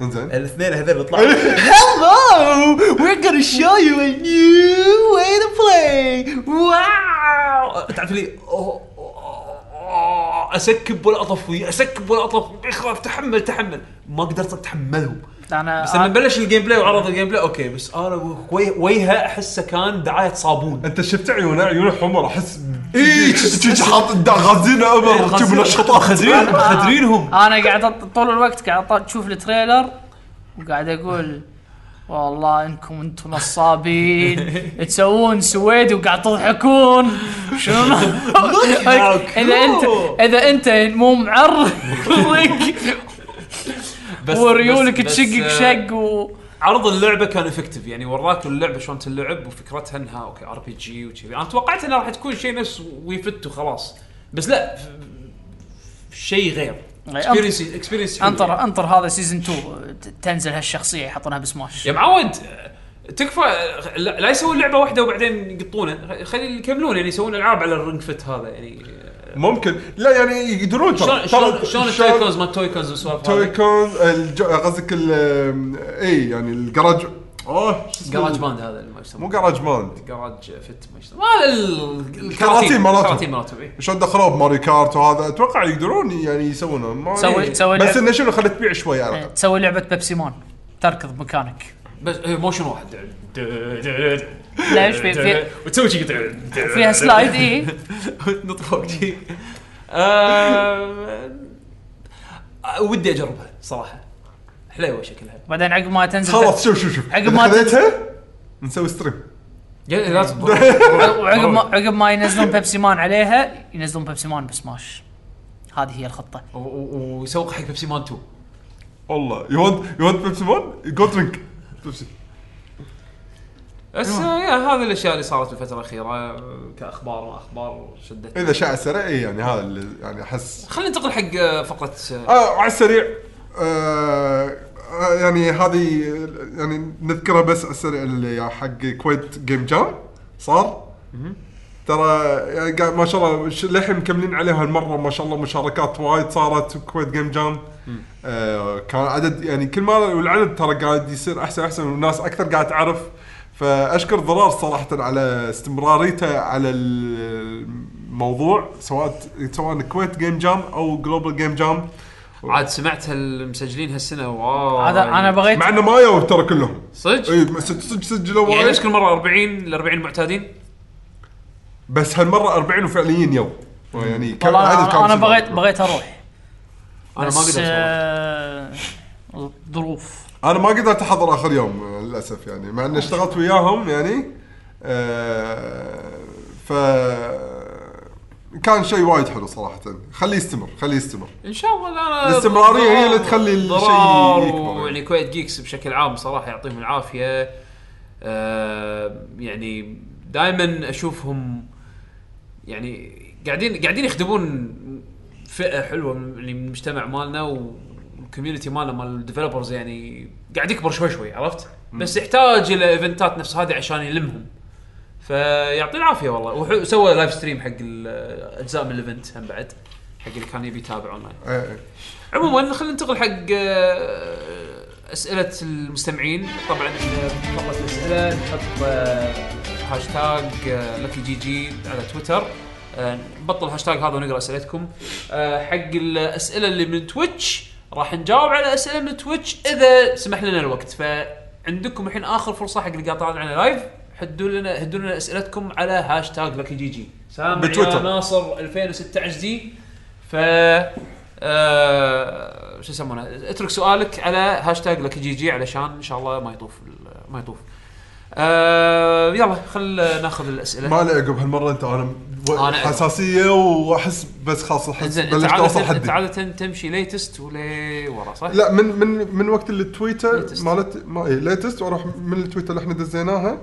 S4: انزين
S1: الاثنين هذول اللي طلعوا
S3: Hello! We're gonna show you a new way to play! واو!
S1: آه، تعرف لي أوه، أوه، أوه، اسكب ولا اطفي اسكب ولا اطفي اخاف تحمل تحمل ما قدرت اتحملهم
S3: انا
S1: بس لما بلش الجيم بلاي وعرض الجيم بلاي اوكي بس انا وي- وجهه احسه كان دعايه صابون
S4: انت شفت عيونه عيونه حمر احس
S1: إيه،
S4: تشيك حاط دا- غازينه امر تجيب نشاطات
S1: خدرين خدرينهم
S3: انا قاعد أط- طول الوقت قاعد أط- اشوف التريلر وقاعد اقول والله انكم انتم نصابين تسوون سويد وقاعد تضحكون شنو اذا انت اذا انت مو معرق
S1: بس
S3: وريولك
S1: بس- بس،
S3: تشقك
S1: آه،
S3: شق و
S1: عرض اللعبه كان افكتيف يعني وراك اللعبه شلون تلعب وفكرتها انها اوكي ار بي جي وكذي انا توقعت انها راح تكون شيء نفس ويفت وخلاص بس لا ف- ف- شيء غير اكسبيرينس اكسبيرينس
S3: انطر انطر هذا سيزون 2 ت- تنزل هالشخصيه يحطونها بسماش
S1: يا معود تكفى لا لا يسوون لعبه واحده وبعدين يقطونه خلي يكملون يعني يسوون العاب على الرنج فت هذا يعني
S4: ممكن لا يعني يقدرون
S1: شلون
S4: ترى-
S1: شلون
S4: ترى-
S1: شلون التويكونز ما التويكونز والسوالف هذه؟
S4: تويكون آه، الج- قصدك ال- اي يعني الجراج اوه شو اسمه؟
S1: جراج باند هذا اللي ما
S4: مو
S1: يسمونه
S4: جراج مان
S1: جراج فت ما يسمونه هذا ال- الكراتين
S4: مالتهم.
S1: الكراتين مالتهم إي.
S4: شلون دخلوه بماري كارت وهذا اتوقع يقدرون يعني يسوونه ما
S3: تسوي-
S4: يعني-
S3: تسوي
S4: بس
S3: لعب-
S4: انه شنو خليه تبيع شوي على
S3: إيه،
S4: الاقل
S3: تسوي لعبه بيبسي مان تركض مكانك
S1: بس إيه، موشن واحد
S3: ليش في في
S1: وتسوي شي
S3: فيها إيه. سلايد اي
S1: نط فوق شي Uh, آه، uh, ودي اجربها صراحه حليوه شكلها
S3: بعدين عقب ما تنزل
S4: خلاص شوف شوف شوف
S3: إيه. عقب
S4: إذا
S3: ما تت-
S4: خذيتها نسوي ستريم
S1: يعني لازم
S3: وعقب ما عقب ما ينزلون بيبسي مان عليها ينزلون بيبسي مان بسماش هذه هي الخطه
S1: و- و- ويسوق حق بيبسي مان 2
S4: والله يو ونت يو ونت بيبسي مان جو درينك بيبسي
S1: بس آه، يا هذه الاشياء اللي صارت الفتره الاخيره آه، كاخبار ما اخبار شدت
S4: اذا شاع سريع اي يعني هذا اللي يعني احس
S1: خلينا ننتقل حق آه، فقره آه،
S4: آه على السريع آه آه، يعني هذه يعني نذكرها بس على السريع اللي حق كويت جيم جام صار ترى يعني قاعد- ما شاء الله ش- للحين مكملين عليها المره ما شاء الله مشاركات وايد صارت كويت جيم جام آه كان عدد يعني كل ما والعدد ترى قاعد يصير احسن احسن والناس اكثر قاعد تعرف فاشكر ضرار صراحه على استمراريته على الموضوع سواء سواء كويت جيم جام او جلوبال جيم جام
S1: عاد سمعت المسجلين هالسنه واو
S3: هذا انا بغيت
S4: آه، إيه. مع انه ما يو ترى كلهم
S1: صدق
S4: اي بس صدق سجلوا
S1: يعني
S4: وايد
S1: نفس كل مره 40 ل 40 معتادين
S4: بس هالمره 40 وفعليين يو يعني كان
S3: والله
S4: العدد
S3: انا,
S4: كان
S3: أنا
S4: صفر.
S3: بغيت بغيت اروح
S1: انا ما
S3: بس،
S1: قدرت والله.
S3: آه، ظروف
S4: انا ما قدرت احضر اخر يوم آه، للاسف يعني مع اني اشتغلت وياهم يعني آه ف كان شيء وايد حلو صراحه خليه يستمر خليه يستمر
S1: ان شاء الله انا
S4: الاستمرارية هي اللي تخلي الشيء
S1: ضرار
S4: يكبر.
S1: ويعني كويت جيكس بشكل عام صراحه يعطيهم العافيه آه يعني دائما اشوفهم يعني قاعدين قاعدين يخدمون فئه حلوه من يعني من المجتمع مالنا والكوميونتي مالنا مال الديفلوبرز يعني قاعد يكبر شوي شوي عرفت؟ بس يحتاج الى ايفنتات نفس هذه عشان يلمهم. فيعطيه العافيه والله وحلو- سوى لايف ستريم حق ال- اجزاء من الايفنت هم بعد حق اللي كان يبي يتابع اونلاين.
S4: آه آه.
S1: عموما خلينا ننتقل حق آه، اسئله المستمعين طبعا آه، فقط الاسئله نحط آه، هاشتاج آه، لكي جي جي على تويتر آه، نبطل الهاشتاج هذا ونقرا اسئلتكم آه، حق الاسئله اللي من تويتش راح نجاوب على اسئله من تويتش اذا سمح لنا الوقت فعندكم الحين اخر فرصه حق اللي قاعد طالعنا لايف حدوا لنا هدوا لنا اسئلتكم على هاشتاج لكي جي جي سامع يا
S4: بتويتر.
S1: ناصر 2016 دي ف آه، شو يسمونه اترك سؤالك على هاشتاج لكي جي جي علشان ان شاء الله ما يطوف ال- ما يطوف آه يلا خل ناخذ الاسئله
S4: ما لي عقب هالمره انت انا و-
S1: أنا-
S4: حساسيه واحس بس خلاص احس
S1: زين انت
S4: بلشت اوصل
S1: عادة انت
S4: حدي
S1: عادة تمشي ليتست ولا ورا صح؟
S4: لا من من من وقت التويتر
S1: Latest.
S4: مالت ما اي ليتست واروح من التويتر اللي احنا دزيناها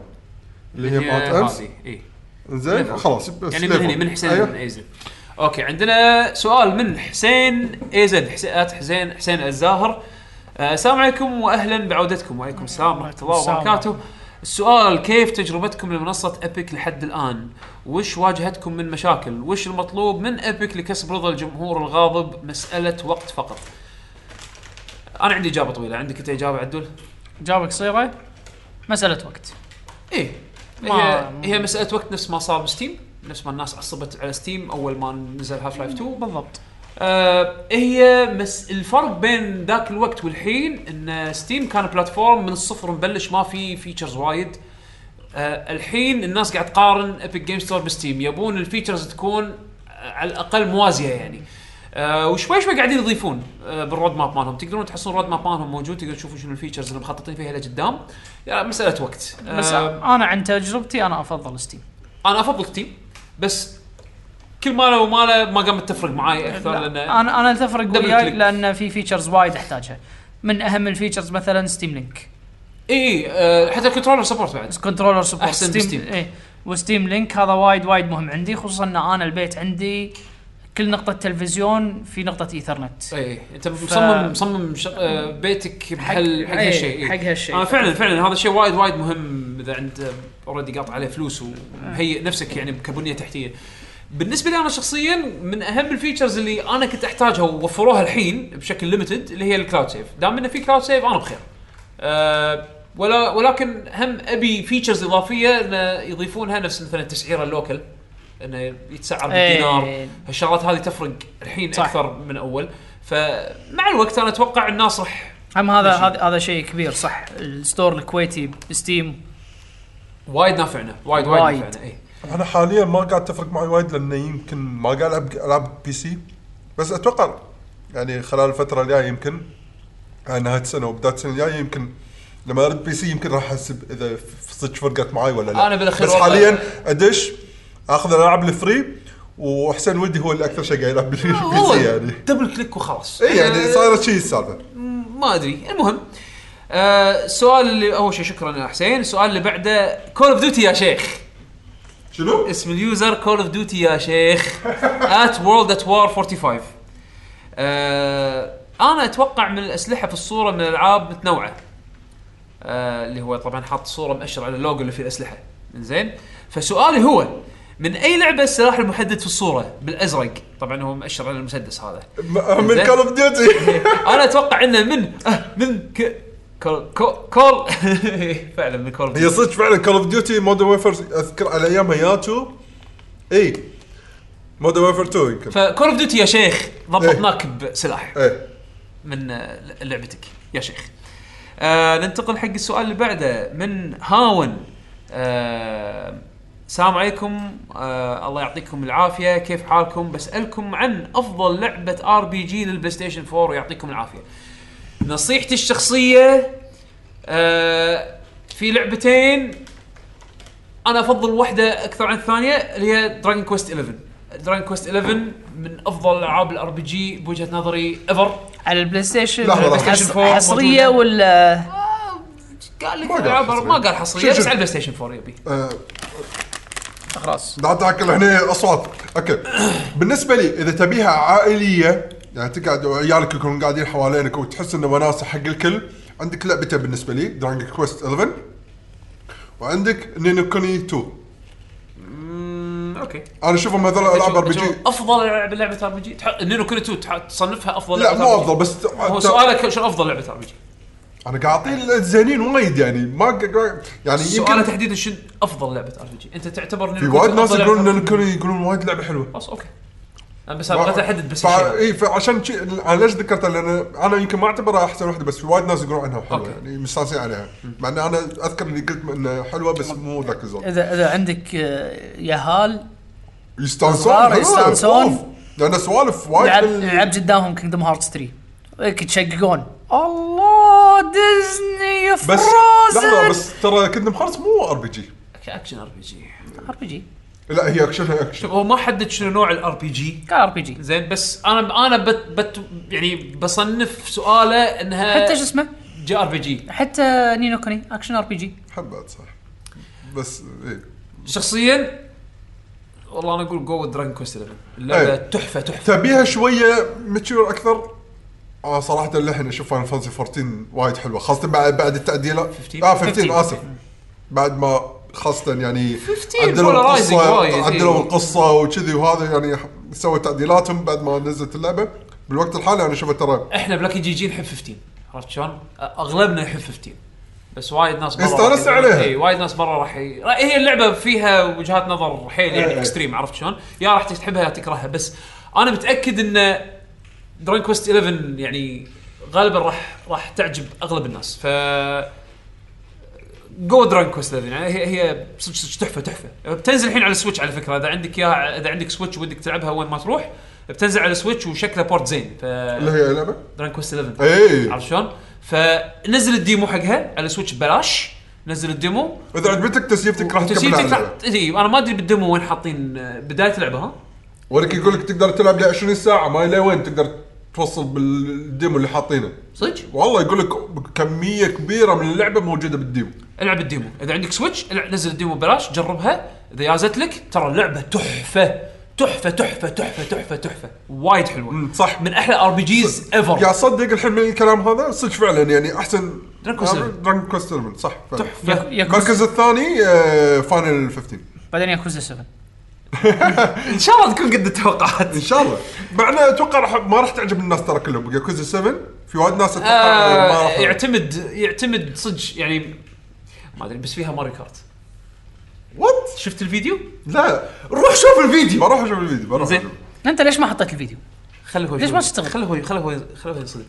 S4: اللي هي مالت امس
S1: هذه إيه. اي
S4: زين خلاص بس
S1: يعني من هني
S4: ليفل.
S1: من حسين
S4: أيوة.
S1: أيوه. ايزد اوكي عندنا سؤال من حسين ايزد حسين حسين حسين الزاهر آه، السلام عليكم واهلا بعودتكم وعليكم السلام ورحمه الله
S6: السلام.
S1: وبركاته السؤال كيف تجربتكم لمنصه ايبك لحد الان؟ وش واجهتكم من مشاكل؟ وش المطلوب من ايبك لكسب رضا الجمهور الغاضب؟ مساله وقت فقط. انا عندي اجابه طويله، عندك انت اجابه عدول؟
S6: جابك صيغه مساله وقت
S1: ايه هي
S6: ما-
S1: هي مساله وقت نفس ما صار بستيم نفس ما الناس عصبت على ستيم اول ما نزل هاف لايف 2
S6: بالضبط
S1: آه هي مس الفرق بين ذاك الوقت والحين ان ستيم كان بلاتفورم من الصفر مبلش ما في فيتشرز وايد آه الحين الناس قاعد تقارن ايبك جيم ستور بستيم يبون الفيتشرز تكون آه، على الاقل موازيه يعني آه وشوي شوي قاعدين يضيفون آه بالرود ماب مالهم تقدرون تحصلون رود ماب مالهم موجود تقدرون تشوفون شنو الفيتشرز اللي مخططين فيها لقدام يعني مساله وقت آه
S6: بس انا عن تجربتي انا افضل ستيم
S1: انا افضل ستيم بس كل ما له وما له ما قامت تفرق معاي اكثر لان
S6: لا، انا انا تفرق
S1: دبل
S6: وياي
S1: كليك.
S6: لان في فيتشرز وايد احتاجها من اهم الفيتشرز مثلا ستيم لينك
S1: اي آه، حتى الكنترولر سبورت بعد
S6: كنترولر سبورت
S1: أحسن بستيم.
S6: اي وستيم لينك إيه. هذا وايد وايد مهم عندي خصوصا ان انا البيت عندي كل نقطة تلفزيون في نقطة ايثرنت
S1: اي انت مصمم مصمم ش... آه، بيتك بحل حق
S3: إيه،
S1: هالشيء إي.
S3: حق هالشيء
S1: آه فعلا فعلا هذا الشيء وايد وايد مهم اذا انت اوريدي قاطع عليه فلوس
S6: آه.
S1: ومهيئ نفسك يعني كبنيه تحتيه. بالنسبه لي انا شخصيا من اهم الفيتشرز اللي انا كنت احتاجها ووفروها الحين بشكل ليمتد اللي هي الكلاود سيف، دام انه في كلاود سيف انا بخير. أه ولا ولكن هم ابي فيتشرز اضافيه انه يضيفونها نفس مثلا التسعيره اللوكل انه يتسعر بالدينار
S6: إيه.
S1: هالشغلات هذه تفرق الحين
S6: صح.
S1: اكثر من اول فمع الوقت انا اتوقع الناس راح
S6: هم هذا
S1: ماشي.
S6: هذا هذا شيء كبير صح الستور الكويتي بستيم
S1: وايد نافعنا وايد وايد,
S6: وايد.
S1: نافعنا إيه. اي
S4: انا حاليا ما قاعد تفرق معي وايد لان يمكن ما قاعد العب العاب بي سي بس اتوقع يعني خلال الفتره الجايه يمكن آه، على نهايه السنه وبدايه السنه الجايه يمكن لما ارد بي سي يمكن راح احسب اذا ف- صدق فرقت معي ولا لا
S1: أنا بالأخير
S4: بس
S1: والله-
S4: حاليا ادش اخذ الالعاب الفري وحسين ودي هو اللي اكثر شيء قاعد يلعب بالبي سي يعني
S1: دبل كليك وخلاص
S4: اي يعني
S1: أنا
S4: صايره شيء السالفه
S1: ما ادري المهم آه السؤال اللي اول شيء شكرا يا حسين السؤال اللي بعده كول اوف ديوتي يا شيخ
S4: شنو؟
S1: اسم اليوزر كول اوف ديوتي يا شيخ ات وورلد ات وار 45 آه انا اتوقع من الاسلحه في الصوره من الالعاب متنوعه آه اللي هو طبعا حاط صوره مأشر على اللوجو اللي فيه الاسلحه زين فسؤالي هو من اي لعبه السلاح المحدد في الصوره بالازرق طبعا هو مأشر على المسدس هذا
S4: م- من
S1: زين.
S4: كول اوف ديوتي
S1: انا اتوقع انه من آه، من ك... كول كول- كول فعلا من كول
S4: هي صدق فعلا كول اوف ديوتي مودرن ويفر اذكر على إيه. ايامها ياتو اي مودرن ويفر 2 يمكن
S1: فكول اوف ديوتي يا شيخ ضبطناك بسلاح
S4: ايه
S1: من آه، لعبتك يا شيخ آه ننتقل حق السؤال اللي بعده من هاون آه السلام عليكم آه الله يعطيكم العافيه كيف حالكم بسالكم عن افضل لعبه ار بي جي للبلاي ستيشن 4 ويعطيكم العافيه نصيحتي الشخصيه آه في لعبتين انا افضل واحده اكثر عن الثانيه اللي هي دراجون كويست 11 دراجون كويست 11 من افضل العاب الار بي جي بوجهه نظري ايفر
S6: على البلاي ستيشن
S4: لحظة، لحظة.
S6: حص-
S1: فور
S6: حصرية
S1: موجودة.
S6: ولا
S1: قال لك
S4: ما قال
S1: العاب
S4: حصرية.
S1: ما قال حصريه
S4: شوف
S1: بس
S4: شوف.
S1: على البلاي ستيشن 4 يبي
S4: آه،
S6: خلاص
S4: لا تاكل هنا اصوات اوكي بالنسبه لي اذا تبيها عائليه يعني تقعد وعيالك يكونون قاعدين حوالينك وتحس انه وناسه حق الكل عندك لعبتين بالنسبه لي دراجون كويست 11 وعندك نينو كوني 2
S1: اوكي
S4: انا اشوفهم هذول العاب ار بي جي
S1: افضل لعبه لعبه ار بي جي نينو كوني 2 تح- تصنفها افضل
S4: لا
S1: لعبة
S4: مو
S1: RPG.
S4: افضل بس
S1: هو سؤالك شنو افضل لعبه ار بي جي؟
S4: انا قاعد اعطيه الزينين وايد يعني ما قا- يعني
S1: سؤاله
S4: يمكن
S1: تحديدا شنو افضل لعبه ار بي جي؟ انت تعتبر
S4: في
S1: نينو
S4: وايد
S1: كوني
S4: ناس
S1: أفضل
S4: يقولون
S1: لعبة
S4: نينو كوني يقولون وايد لعبه حلوه
S1: خلاص اوكي انا بس ابغى احدد بس الشيء.
S4: اي فعشان شي... انا ليش ذكرتها لان انا يمكن ما اعتبرها احسن واحده بس وايد ناس يقولون عنها حلوه
S1: أوكي.
S4: يعني مستانسين عليها مع ان انا اذكر اني قلت انها حلوه بس مو ذاك الزود
S3: اذا اذا عندك آه، يهال
S4: يستانسون
S3: صغار
S4: لا،
S3: يستانسون.
S4: أوف. لان سوالف وايد
S3: لعب
S4: بال-
S3: لعب قدامهم كينجدم هارتس 3 هيك يتشققون الله ديزني
S4: بس لحظه
S3: فروزن
S4: بس ترى كندم خالص مو ار بي جي
S1: اكشن ار بي جي
S3: ار بي جي
S4: لا هي اكشن هي اكشن
S1: هو ما حدد شنو نوع الار بي جي
S3: كان ار بي جي
S1: زين بس انا انا بت بت يعني بصنف سؤاله انها
S3: حتى شو اسمه
S1: جي ار بي جي
S3: حتى نينو كوني اكشن ار بي جي
S4: حبات صح بس اي
S1: شخصيا والله انا اقول جو دراجون كويست 11 اللعبه تحفه تحفه
S4: تبيها شويه ماتشور اكثر آه صراحة اللحن اشوف فاينل فانسي 14 وايد حلوة خاصة بعد بعد التعديلات
S1: 15.
S4: اه 15
S3: 15.
S4: اسف بعد ما خاصة يعني
S1: 15
S4: عدلوا
S1: polarizing وايد، إيه.
S4: القصة عدلوا القصة وكذي وهذا يعني ح- سووا تعديلاتهم بعد ما نزلت اللعبة بالوقت الحالي انا اشوفها ترى
S1: احنا بلاكي جي جي نحب 15 عرفت شلون؟ أ- اغلبنا يحب 15 بس وايد ناس برا
S4: يستانس
S1: راح-
S4: عليها.
S1: اي وايد ناس برا راح ي... راح- هي اللعبه فيها وجهات نظر حيل
S4: إيه.
S1: يعني اكستريم عرفت شلون؟ يا راح تحبها يا تكرهها بس انا متاكد ان دراجون كويست 11 يعني غالبا راح راح تعجب اغلب الناس ف جو دراجون كويست 11 يعني هي هي صدق صدق تحفه تحفه بتنزل الحين على السويتش على فكره اذا عندك اياها اذا عندك سويتش ودك تلعبها وين ما تروح بتنزل على السويتش وشكلها بورت زين ف
S4: اللي هي لعبة إيه.
S1: دراجون كويست 11
S4: اي
S1: عرفت شلون؟ فنزل الديمو حقها على سويتش ببلاش نزل الديمو
S4: اذا عجبتك تسيفتك راح تكمل على
S1: تسيبتك
S4: اللعبة
S1: تحت- إي، انا ما ادري بالديمو وين حاطين آه، بدايه اللعبه ها
S4: ولك يقول لك تقدر تلعب ل 20 ساعة ما إلى وين تقدر توصل بالديمو اللي حاطينه
S1: صدق
S4: والله يقول لك كمية كبيرة من اللعبة موجودة بالديمو
S1: العب الديمو اذا عندك سويتش العب نزل الديمو ببلاش جربها اذا يازت لك ترى اللعبه تحفه تحفه تحفه تحفه تحفه تحفه وايد حلوه
S4: مم، صح.
S1: من احلى ار بي جيز
S4: يا
S1: ايفر
S4: صدق الحين من الكلام هذا صدق فعلا يعني احسن
S1: Dragon Quest VII.
S4: دراجون كويست صح فعلا.
S1: تحفه
S4: المركز الثاني آه، فاينل 15
S3: بعدين ياكوزا 7
S1: ان شاء الله تكون قد التوقعات
S4: ان شاء الله معنا اتوقع راح ما راح تعجب الناس ترى كلهم ياكوزا 7 في وايد ناس اتوقع ما
S1: آه
S4: راح
S1: يعتمد يعتمد صدق يعني ما ادري بس فيها ماري كارت
S4: وات
S1: شفت الفيديو؟
S4: لا روح شوف الفيديو بروح اشوف الفيديو بروح
S1: زين.
S4: أشوف.
S3: انت ليش ما حطيت الفيديو؟
S1: خله هو
S3: ليش ما تشتغل؟
S1: خله هو خله هو خله هو ينصدم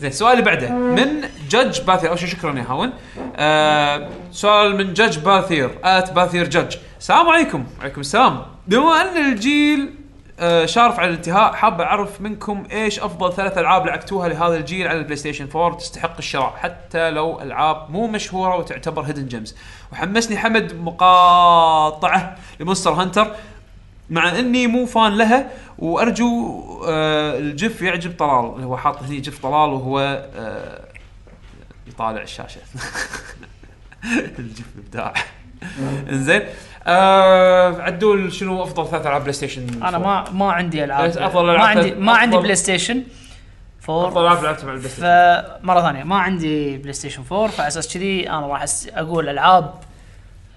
S1: زين السؤال اللي بعده من جاج باثير اول شيء شكرا يا هاون آه سؤال من جاج باثير ات باثير جاج السلام عليكم وعليكم السلام بما ان الجيل آه شارف على الانتهاء حاب اعرف منكم ايش افضل ثلاث العاب لعبتوها لهذا الجيل على البلاي ستيشن 4 تستحق الشراء حتى لو العاب مو مشهوره وتعتبر هيدن جيمز وحمسني حمد مقاطعه لمونستر هانتر مع اني مو فان لها وارجو آه الجف يعجب طلال اللي هو حاط هني جف طلال وهو آه يطالع الشاشه الجف ابداع انزين آه عدول شنو افضل ثلاث العاب بلاي ستيشن
S3: انا ما ما عندي العاب
S1: أفضل ألعاب
S3: ما عندي ما
S1: أفضل-
S3: عندي بلاي ستيشن 4
S1: افضل العاب لعبتها على البلاي ستيشن
S3: فمره ثانيه ما عندي بلاي ستيشن 4 فعلى اساس كذي انا راح أس- اقول العاب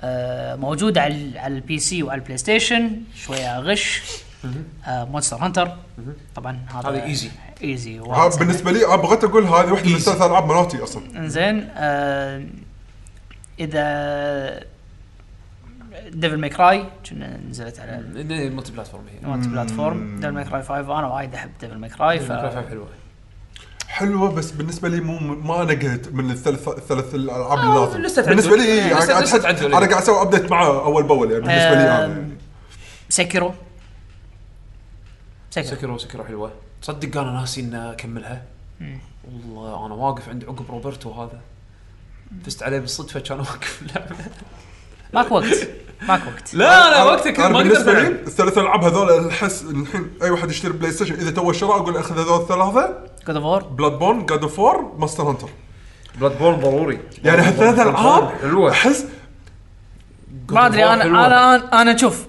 S3: آه، موجوده على ال- على البي سي وعلى البلاي ستيشن شويه غش آه، مونستر هانتر طبعا هذا
S1: هذا easy.
S3: ايزي
S4: ها، بالنسبه لي آه، بغيت اقول هذه واحده من
S1: Easy.
S4: ثلاث العاب مناطي اصلا
S3: انزين آه، اذا ديفل ماي كراي كنا نزلت على
S1: إنه ملتي بلاتفورم هي
S3: المالتي بلاتفورم ديفل ماي كراي 5 انا وايد احب ديفل ماي كراي ف
S1: الجرافيك حلوه
S4: حلوه بس بالنسبه لي مو ما انا قلت من الثلاث الثلاث الالعاب اللازم
S1: آه، لسه تعدل.
S4: بالنسبه لي إيه،
S1: لسه-
S4: أنا قاعد
S1: لسه
S4: أحس-
S1: تعدل. آه،
S4: انا قاعد اسوي ابديت معاه اول باول يعني بالنسبه لي انا يعني.
S3: سكرو سكرو
S1: سكرو سكرو حلوه تصدق انا ناسي ان اكملها والله انا واقف عند عقب روبرتو هذا فزت عليه بالصدفه كان واقف اللعبه
S3: ماك وقت ماك وقت
S1: لا لا وقتها كنت
S4: أنا
S1: ما قدرت
S4: بالنسبه
S1: ألعب.
S4: لي الثلاث العاب هذول الحس الحين اي واحد يشتري بلاي ستيشن اذا تو شراء اقول اخذ هذول الثلاثه
S3: جود اوف وور
S4: بلاد بون جاد اوف وور ماستر هانتر
S1: بلاد بورن ضروري
S4: يعني هالثلاث
S1: Bloodborne
S4: العاب
S1: حلوه
S4: احس
S3: ما ادري انا
S1: حلوة.
S3: انا انا انا شوف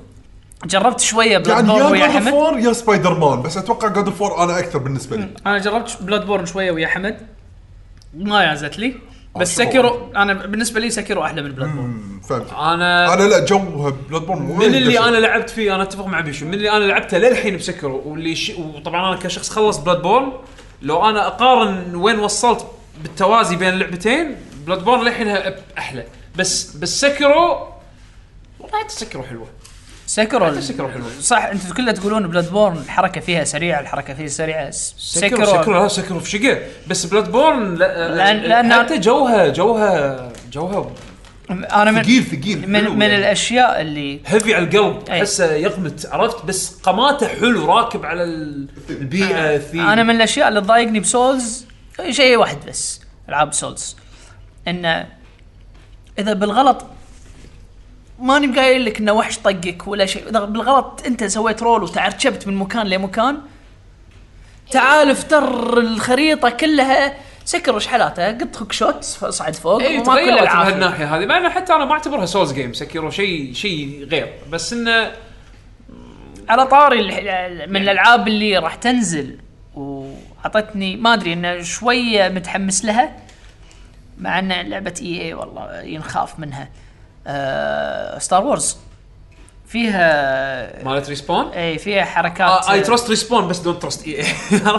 S3: جربت شويه بلاد
S4: يعني يا
S3: بورن ويا
S4: جاد اوف
S3: حمد
S4: وور يا سبايدر مان بس اتوقع جاد اوف وور انا اكثر بالنسبه لي
S7: انا جربت بلاد بورن شويه ويا حمد ما يازت لي بس
S4: آه،
S7: سكرو انا بالنسبه لي سكرو احلى من بلاد بورن
S4: أمم، فهمت
S1: انا
S4: انا لا جوها بلاد بون
S1: آه. من اللي انا لعبت فيه انا اتفق مع بيشو من اللي انا لعبته للحين بسكره واللي ش... وطبعا انا كشخص خلص بلاد بورن لو انا اقارن وين وصلت بالتوازي بين اللعبتين بلاد بورن للحين احلى بس بس سكرو والله سكرو حلوه
S3: سكرو
S1: سكرو حلو
S3: صح انتم كلها تقولون بلاد بورن الحركه فيها سريعه الحركه فيها سريعه
S1: سكرو سكرو لا سكرو في شقه بس بلاد بورن
S3: لأن- لأن-
S1: لان حتى جوها جوها جوها
S3: انا من
S4: ثقيل ثقيل
S3: من,
S1: حلو
S3: من
S1: يعني.
S3: الاشياء اللي
S1: هيفي على القلب
S3: أي.
S1: احسه يقمت عرفت بس قماته حلو راكب على ال- البيئه ثيم
S3: انا من الاشياء اللي تضايقني بسولز شيء واحد بس العاب سولز انه اذا بالغلط ماني قايل لك انه وحش طقك ولا شيء اذا بالغلط انت سويت رول وتعرشبت من مكان لمكان تعال افتر الخريطه كلها سكر وشحالاته قط هوك شوت اصعد فوق
S1: اي
S3: وما كل
S1: إيه، تغيرت
S3: العافية.
S1: بهالناحيه هذه مع انه حتى انا ما اعتبرها سولز جيم سكيرو شيء شيء غير بس انه
S3: على طاري ال- ال-
S1: يعني.
S3: من الالعاب اللي راح تنزل وعطتني ما ادري انه شويه متحمس لها مع ان لعبه اي اي والله ينخاف منها آه ستار وورز فيها
S1: مالت ريسبون
S3: اي فيها حركات
S1: اي تراست ريسبون بس E دونت تراست اي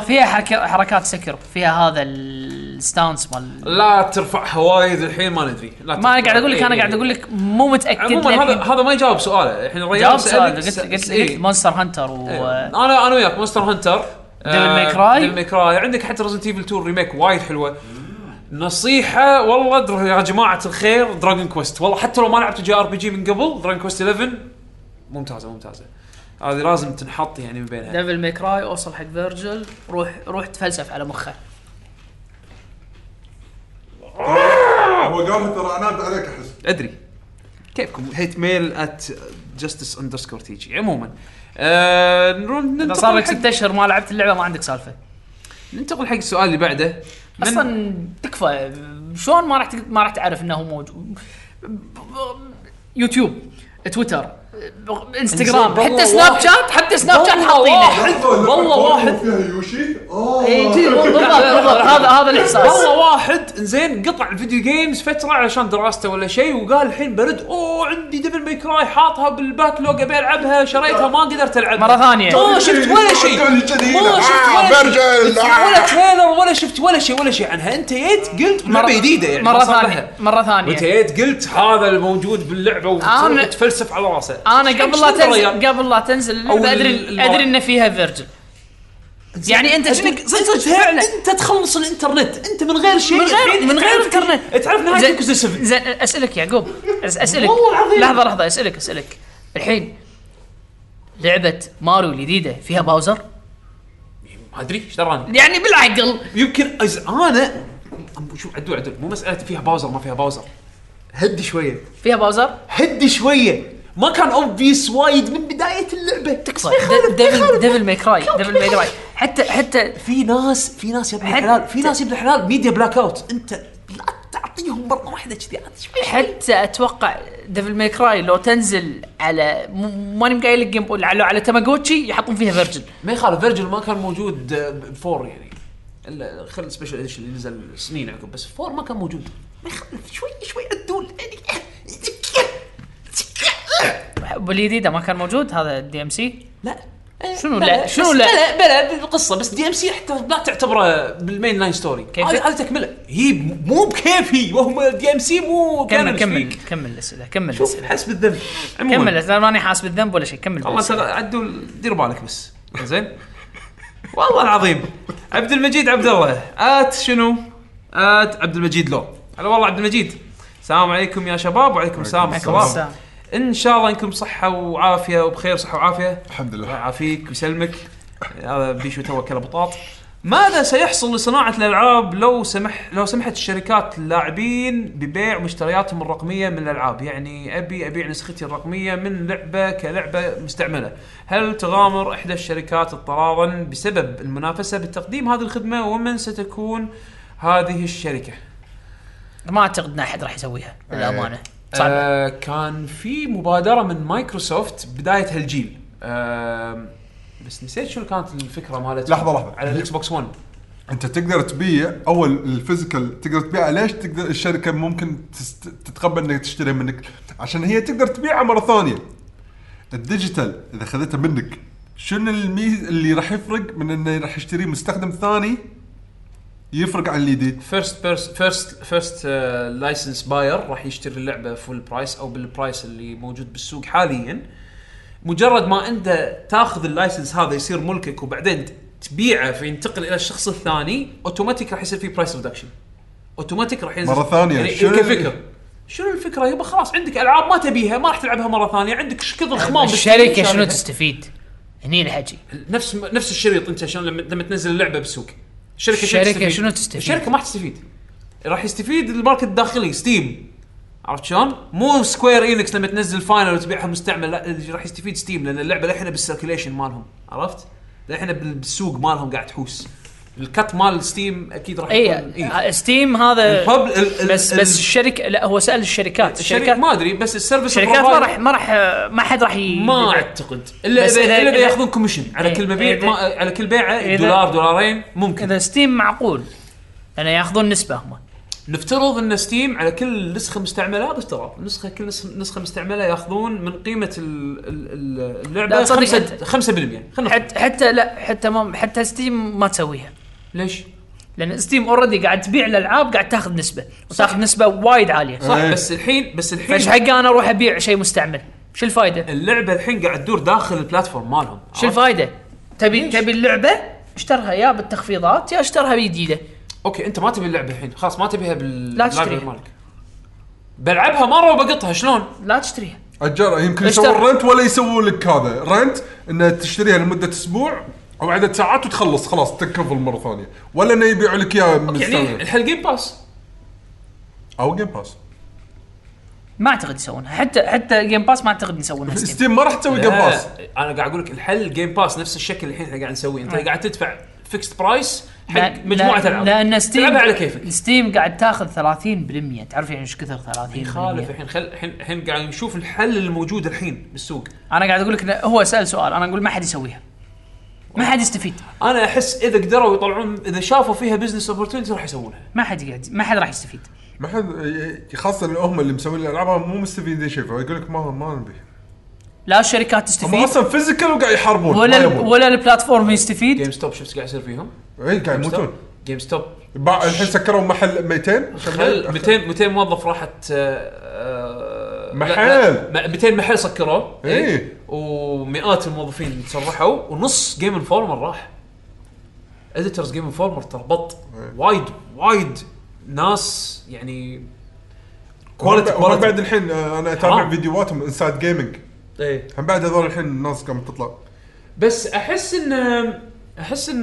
S3: فيها حركة حركات سكر فيها هذا الستانس مال
S1: لا ترفعها وايد الحين ما ندري لا
S3: ما انا قاعد اقول لك انا قاعد اقول لك مو متاكد
S1: عموما
S3: للحين.
S1: هذا هذا ما يجاوب سؤاله الحين الرجال
S3: جاوب
S1: سألك-
S3: سؤال قلت
S1: س-
S3: قلت
S1: إيه.
S3: قلت مونستر هانتر و
S1: إيه. انا انا وياك مونستر هانتر
S3: Devil May Cry.
S1: ديفل ماي كراي عندك حتى ريزنت ايفل 2 ريميك وايد حلوه نصيحة والله در- يا جماعة الخير دراجون كويست والله حتى لو ما لعبت جي ار بي جي من قبل دراجون كويست 11 ممتازة ممتازة هذه لازم تنحط يعني من بينها
S3: ديفل ميك راي اوصل حق فيرجل روح روح تفلسف على مخه
S4: هو قالها ترى انا أبدأ عليك احس
S1: ادري كيفكم هيت ميل ات جاستس اندرسكور تي جي عموما آه نروح
S3: اذا صار
S1: ننتقل
S3: لك
S1: حق
S3: ست اشهر ما لعبت اللعبه ما عندك سالفه
S1: ننتقل حق السؤال اللي بعده من-
S3: اصلا تكفى شلون ما راح تق- ما راح تعرف انه هو موجود يوتيوب تويتر انستغرام
S1: والله
S3: حتى سناب
S1: واحد-
S3: شات حتى سناب شات
S1: والله
S3: حاطينه إيه،
S1: واحد- والله واحد إيه،
S4: فيها يوشي اوه
S3: إي، بالضبط بالضبط هذا هذا الاحساس
S1: والله واحد زين قطع الفيديو جيمز فتره علشان دراسته ولا شيء وقال الحين برد اوه عندي دبل ماي كراي حاطها بالباكلوج ابي العبها شريتها ما قدرت العبها
S3: مرة ثانية.
S1: ما شفت ولا شيء
S4: قال لي كذي
S1: ما
S4: هنا.
S1: شفت
S4: آه،
S1: ولا
S4: برجل،
S1: شيء
S4: آه.
S1: ولا تريلر ولا شفت ولا شيء ولا شيء عنها انت جيت قلت
S3: مرة-
S1: لعبه جديده يعني
S3: مره
S1: ما صار لها.
S3: ثانيه مره ثانيه
S1: وانت جيت قلت هذا الموجود باللعبه
S3: أنا-
S1: وتفلسف على راسه
S3: انا قبل لا
S1: شنو الريال؟
S3: تنزل قبل لا تنزل اللعبة
S1: أو
S3: ادري
S1: يعني؟ ال-
S3: ادري ان فيها فيرجن يعني انت شنو صدق فعلا
S1: انت تخلص الانترنت انت من غير شيء
S3: من غير
S1: الحين
S3: من غير
S1: تعرف-
S3: انترنت
S1: تعرف نهايه
S3: زين
S1: يوكوزا 7
S3: زين اسالك يعقوب أس- اسالك
S1: والله العظيم.
S3: لحظه لحظه اسالك اسالك الحين لعبة ماريو الجديدة فيها باوزر؟
S1: ما ادري ايش دراني
S3: يعني بالعقل
S1: يمكن أز... انا أم- شوف عدول عدول مو مساله فيها باوزر ما فيها باوزر هدي شويه
S3: فيها باوزر؟
S1: هدي شويه ما كان اوبفيس وايد من بدايه اللعبه
S3: صح د- طيب، ديفل ديفل ماي كراي ديفل ماي كراي حتى حتى
S1: في ناس في ناس يا ابن
S3: حتى-
S1: الحلال في ناس يا ابن الحلال ميديا بلاك اوت انت لا تعطيهم مره واحده كذي عاد شوي
S3: حتى اتوقع ديفل ماي كراي لو تنزل على م- ماني مقايل لك جيم بوي على على تامagotchi يحطون فيها فيرجن
S1: ما يخالف فيرجن ما كان موجود آه، بفور يعني الا خل السبيشل اديشن اللي نزل سنين عقب بس فور ما كان موجود ما يخالف شوي شوي عدول يعني
S3: بالجديدة ما كان موجود هذا الدي ام سي
S1: لا
S3: شنو لا؟ شنو
S1: بس
S3: لا؟
S1: بلا بلا بالقصه بس دي ام سي حتى لا تعتبره بالمين لاين ستوري
S3: كيف؟
S1: هذه هذه تكمله هي م- مو بكيفي وهم دي ام سي مو
S3: كمل
S1: canon
S3: كمل
S1: speak.
S3: كمل الاسئله كمل
S1: شوف
S3: الاسئله
S1: حس بالذنب عموماً،
S3: كمل الاسئله ماني حاسس بالذنب ولا شيء كمل
S1: والله
S3: بالأسئلة.
S1: ترى عدوا دير بالك بس زين والله العظيم عبد المجيد عبد الله ات شنو؟ ات عبد المجيد لو هلا والله عبد المجيد السلام عليكم يا شباب وعليكم السلام ورحمه
S3: السلام.
S1: الله ان شاء الله انكم صحه وعافيه وبخير صحه وعافيه
S4: الحمد
S1: الله
S4: لله
S1: يعافيك ويسلمك هذا بيشو تو كله بطاط ماذا سيحصل لصناعة الألعاب لو سمح لو سمحت الشركات اللاعبين ببيع مشترياتهم الرقمية من الألعاب يعني أبي أبيع نسختي الرقمية من لعبة كلعبة مستعملة هل تغامر إحدى الشركات اضطرارا بسبب المنافسة بتقديم هذه الخدمة ومن ستكون هذه الشركة
S3: ما اعتقد ان احد راح يسويها للامانه صعب
S1: آه كان في مبادرة من مايكروسوفت بداية هالجيل آه بس نسيت شنو كانت الفكرة مالت
S4: لحظة، لحظة.
S1: على الاكس بوكس 1
S4: انت تقدر تبيع اول الفيزيكال تقدر تبيعه ليش تقدر الشركه ممكن تست... تتقبل انك تشتري منك عشان هي تقدر تبيعه مره ثانيه الديجيتال اذا خذته منك شنو الميز اللي راح يفرق من انه راح يشتري مستخدم ثاني يفرق عن الجديد
S1: فيرست فيرست فيرست لايسنس باير راح يشتري اللعبه فول برايس او بالبرايس اللي موجود بالسوق حاليا مجرد ما انت تاخذ اللايسنس هذا يصير ملكك وبعدين تبيعه فينتقل الى الشخص الثاني اوتوماتيك راح يصير في برايس ريدكشن اوتوماتيك راح ينزل
S4: مرة ثانية،
S1: يعني
S4: شنو-
S1: كفكره شنو الفكره يبا خلاص عندك العاب ما تبيها ما راح تلعبها مره ثانيه عندك ايش كثر خمام
S3: الشركه
S1: بالسوق
S3: شنو
S1: شاريها.
S3: تستفيد؟ هني الحكي
S1: نفس نفس الشريط انت عشان لما, لما تنزل اللعبه بالسوق الشركه
S3: الشركة
S1: تستفيد؟
S3: شنو تستفيد؟
S1: الشركه ما راح تستفيد راح يستفيد الماركت الداخلي ستيم عرفت شلون؟ مو سكوير انكس لما تنزل فاينل وتبيعها مستعمل لا اللي راح يستفيد ستيم لان اللعبه للحين بالسيركيليشن مالهم عرفت؟ للحين بال- بالسوق مالهم قاعد تحوس الكت مال ستيم اكيد راح يكون- إيه.
S3: اي ستيم آه، هذا
S1: البب- ال- ال-
S3: بس
S1: ال-
S3: بس الشركه لا هو سال
S1: الشركات
S3: الشركات الشركات
S1: ما ادري بس السيرفيس
S3: الشركات ما
S1: provider-
S3: راح ما راح ما حد راح ي...
S1: ما اعتقد الا
S3: بس
S1: اذا
S3: إذا-
S1: الا إذا
S3: إذا-
S1: ياخذون كوميشن على
S3: إيه،
S1: كل مبيع
S3: إذا-
S1: ما على كل بيعه
S3: إذا-
S1: دولار دولارين ممكن
S3: اذا ستيم معقول لان ياخذون نسبه هم
S1: نفترض ان ستيم على كل نسخه مستعمله هذا افتراض نسخه كل نسخ- نسخه مستعمله ياخذون من قيمه ال- ال- ال- اللعبه
S3: لا، تصدق
S1: 5 5% خلينا نفترض.
S3: حتى حتى لا حتى ما حتى ستيم ما تسويها
S1: ليش؟
S3: لان ستيم اوريدي قاعد تبيع الالعاب قاعد تاخذ نسبه وتاخذ نسبه وايد عاليه
S1: صح
S4: إيه.
S1: بس الحين بس
S3: فايش
S1: الحين
S3: حقه انا اروح ابيع شيء مستعمل شو الفائده؟
S1: اللعبه الحين قاعد تدور داخل البلاتفورم مالهم
S3: شو
S1: عرفت؟
S3: الفائده؟ تبي تبي اللعبه اشترها يا بالتخفيضات يا اشترها جديده
S1: اوكي انت ما تبي اللعبه الحين خلاص ما تبيها بال
S3: لا تشتريها.
S1: library مالك بلعبها مره وبقطها شلون؟
S3: لا تشتريها
S4: اجار يمكن
S3: اشتر-
S4: يسوون رنت ولا يسوون لك هذا رنت انه تشتريها لمده اسبوع او عدد ساعات وتخلص خلاص تكفل مره ثانيه ولا انه يبيعوا لك اياه
S1: يعني
S4: مستعمل
S1: الحين الجيم باس
S4: او جيم باس
S3: ما اعتقد يسوونها حتى حتى جيم باس ما اعتقد يسوونها ستيم.
S4: ستيم ما راح تسوي جيم
S1: لا،
S4: باس
S1: انا قاعد اقول لك الحل جيم باس نفس الشكل الحين احنا قاعد نسويه انت قاعد تدفع فيكس برايس حق
S3: لا-
S1: مجموعه
S3: لا-
S1: العاب
S3: لان ستيم
S1: تلعبها على كيفك
S3: ستيم قاعد تاخذ 30% تعرف يعني ايش كثر 30%
S1: يخالف الحين خل الحين الحين قاعد نشوف الحل الموجود الحين بالسوق
S3: انا قاعد اقول لك إنه هو سال سؤال انا اقول ما حد يسويها ما حد يستفيد
S1: انا احس اذا قدروا يطلعون اذا شافوا فيها بزنس اوبورتونيتي راح يسوونها
S3: ما حد يقعد ما حد راح يستفيد
S4: ما حد خاصه إن هم اللي مسوين الالعاب مو مستفيدين شيء فيقول لك ما ما نبي
S3: لا الشركات
S4: هم
S3: تستفيد
S4: اصلا فيزيكال وقاعد يحاربون
S3: ولا
S4: ما
S3: ال-
S4: يبون.
S3: ولا البلاتفورم يستفيد
S1: جيم ستوب شفت قاعد يصير فيهم
S4: اي قاعد يموتون
S1: جيم ستوب
S4: بع- الحين سكروا محل 200
S1: خل 200 200 موظف راحت آه، آه،
S4: محل.
S1: لا- لا، 200 محل سكروه
S4: إيه.
S1: ومئات الموظفين تسرحوا ونص جيم انفورمر راح اديترز جيم انفورمر تربط
S4: إيه.
S1: وايد وايد ناس يعني كواليتي
S4: وأنا بعد
S1: كواليتي
S4: الحين آه، انا اتابع
S1: حرام.
S4: فيديوهاتهم انسايد جيمنج
S1: ايه
S4: هم بعد هذول الحين الناس قامت تطلع
S1: بس احس ان احس ان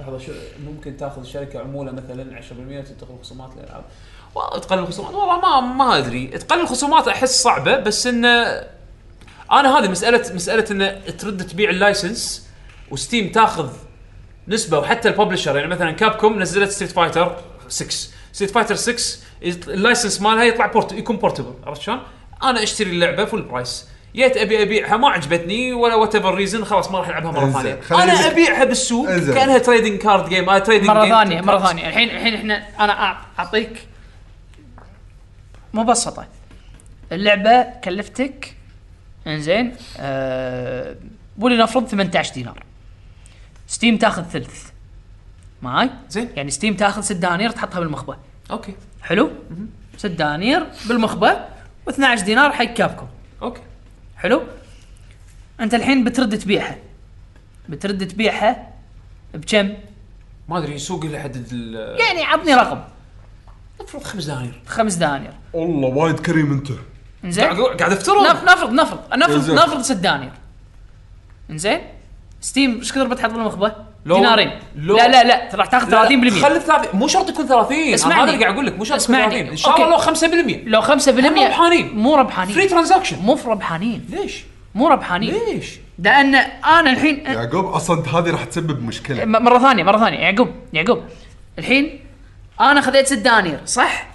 S1: لحظه شو ممكن تاخذ الشركه عموله مثلا 10% وتنتقل خصومات الالعاب والله تقلل الخصومات والله ما ما ادري تقلل الخصومات احس صعبه بس ان انا هذه مساله مساله ان ترد تبيع اللايسنس وستيم تاخذ نسبه وحتى الببلشر يعني مثلا كابكوم نزلت ستريت فايتر 6 ستريت فايتر 6 يط- اللايسنس مالها يطلع بورت يكون بورتبل عرفت شلون؟ انا اشتري اللعبه فول برايس جيت ابي ابيعها ما عجبتني ولا وات ايفر ريزن خلاص ما راح العبها مره
S4: انزين،
S1: ثانيه
S4: خلينا
S1: انا
S4: نك-
S1: ابيعها بالسوق
S4: انزين.
S1: كانها تريدنج كارد جيم آه تريدنج
S3: مره ثانيه مره ثانيه الحين الحين احنا انا أع- اعطيك مبسطه اللعبه كلفتك انزين أه ولنفرض 18 دينار ستيم تاخذ ثلث معاي؟
S1: زين.
S3: يعني ستيم تاخذ 6 دنانير تحطها بالمخبه
S1: اوكي
S3: حلو؟ 6 دنانير بالمخبه و12 دينار حق كابكم
S1: اوكي
S3: حلو؟ انت الحين بترد تبيعها بترد تبيعها بكم؟
S1: ما ادري سوق اللي حدد ال-
S3: يعني عطني رقم
S1: المفروض خمس دنانير
S3: خمس دنانير
S4: والله وايد كريم انت
S3: انزين
S1: قاعد قاعد افترض
S3: نف- نفرض نفرض نفرض
S4: إنزين.
S3: نفرض ست دنانير انزين ستيم ايش كثر بتحط بالمخبه؟
S1: لو-
S3: دينارين
S1: لو-
S3: لا لا لا راح تاخذ 30%
S1: خلي 30 مو شرط يكون 30 اسمعني
S3: اسمعني.
S1: هذا اللي قاعد اقول لك مو شرط يكون
S3: اسمعني.
S1: 30 ان شاء الله لو 5%
S3: لو 5%
S1: هم ربحانين.
S3: مو
S1: فري
S3: ربحانين
S1: ترانزاكشن
S3: مو ربحانين
S1: ليش؟
S3: مو ربحانين
S1: ليش؟
S3: لان انا الحين
S4: يعقوب اصلا هذه راح تسبب مشكله
S3: م- مره ثانيه مره ثانيه يعقوب يعقوب الحين انا خذيت ست دنانير صح؟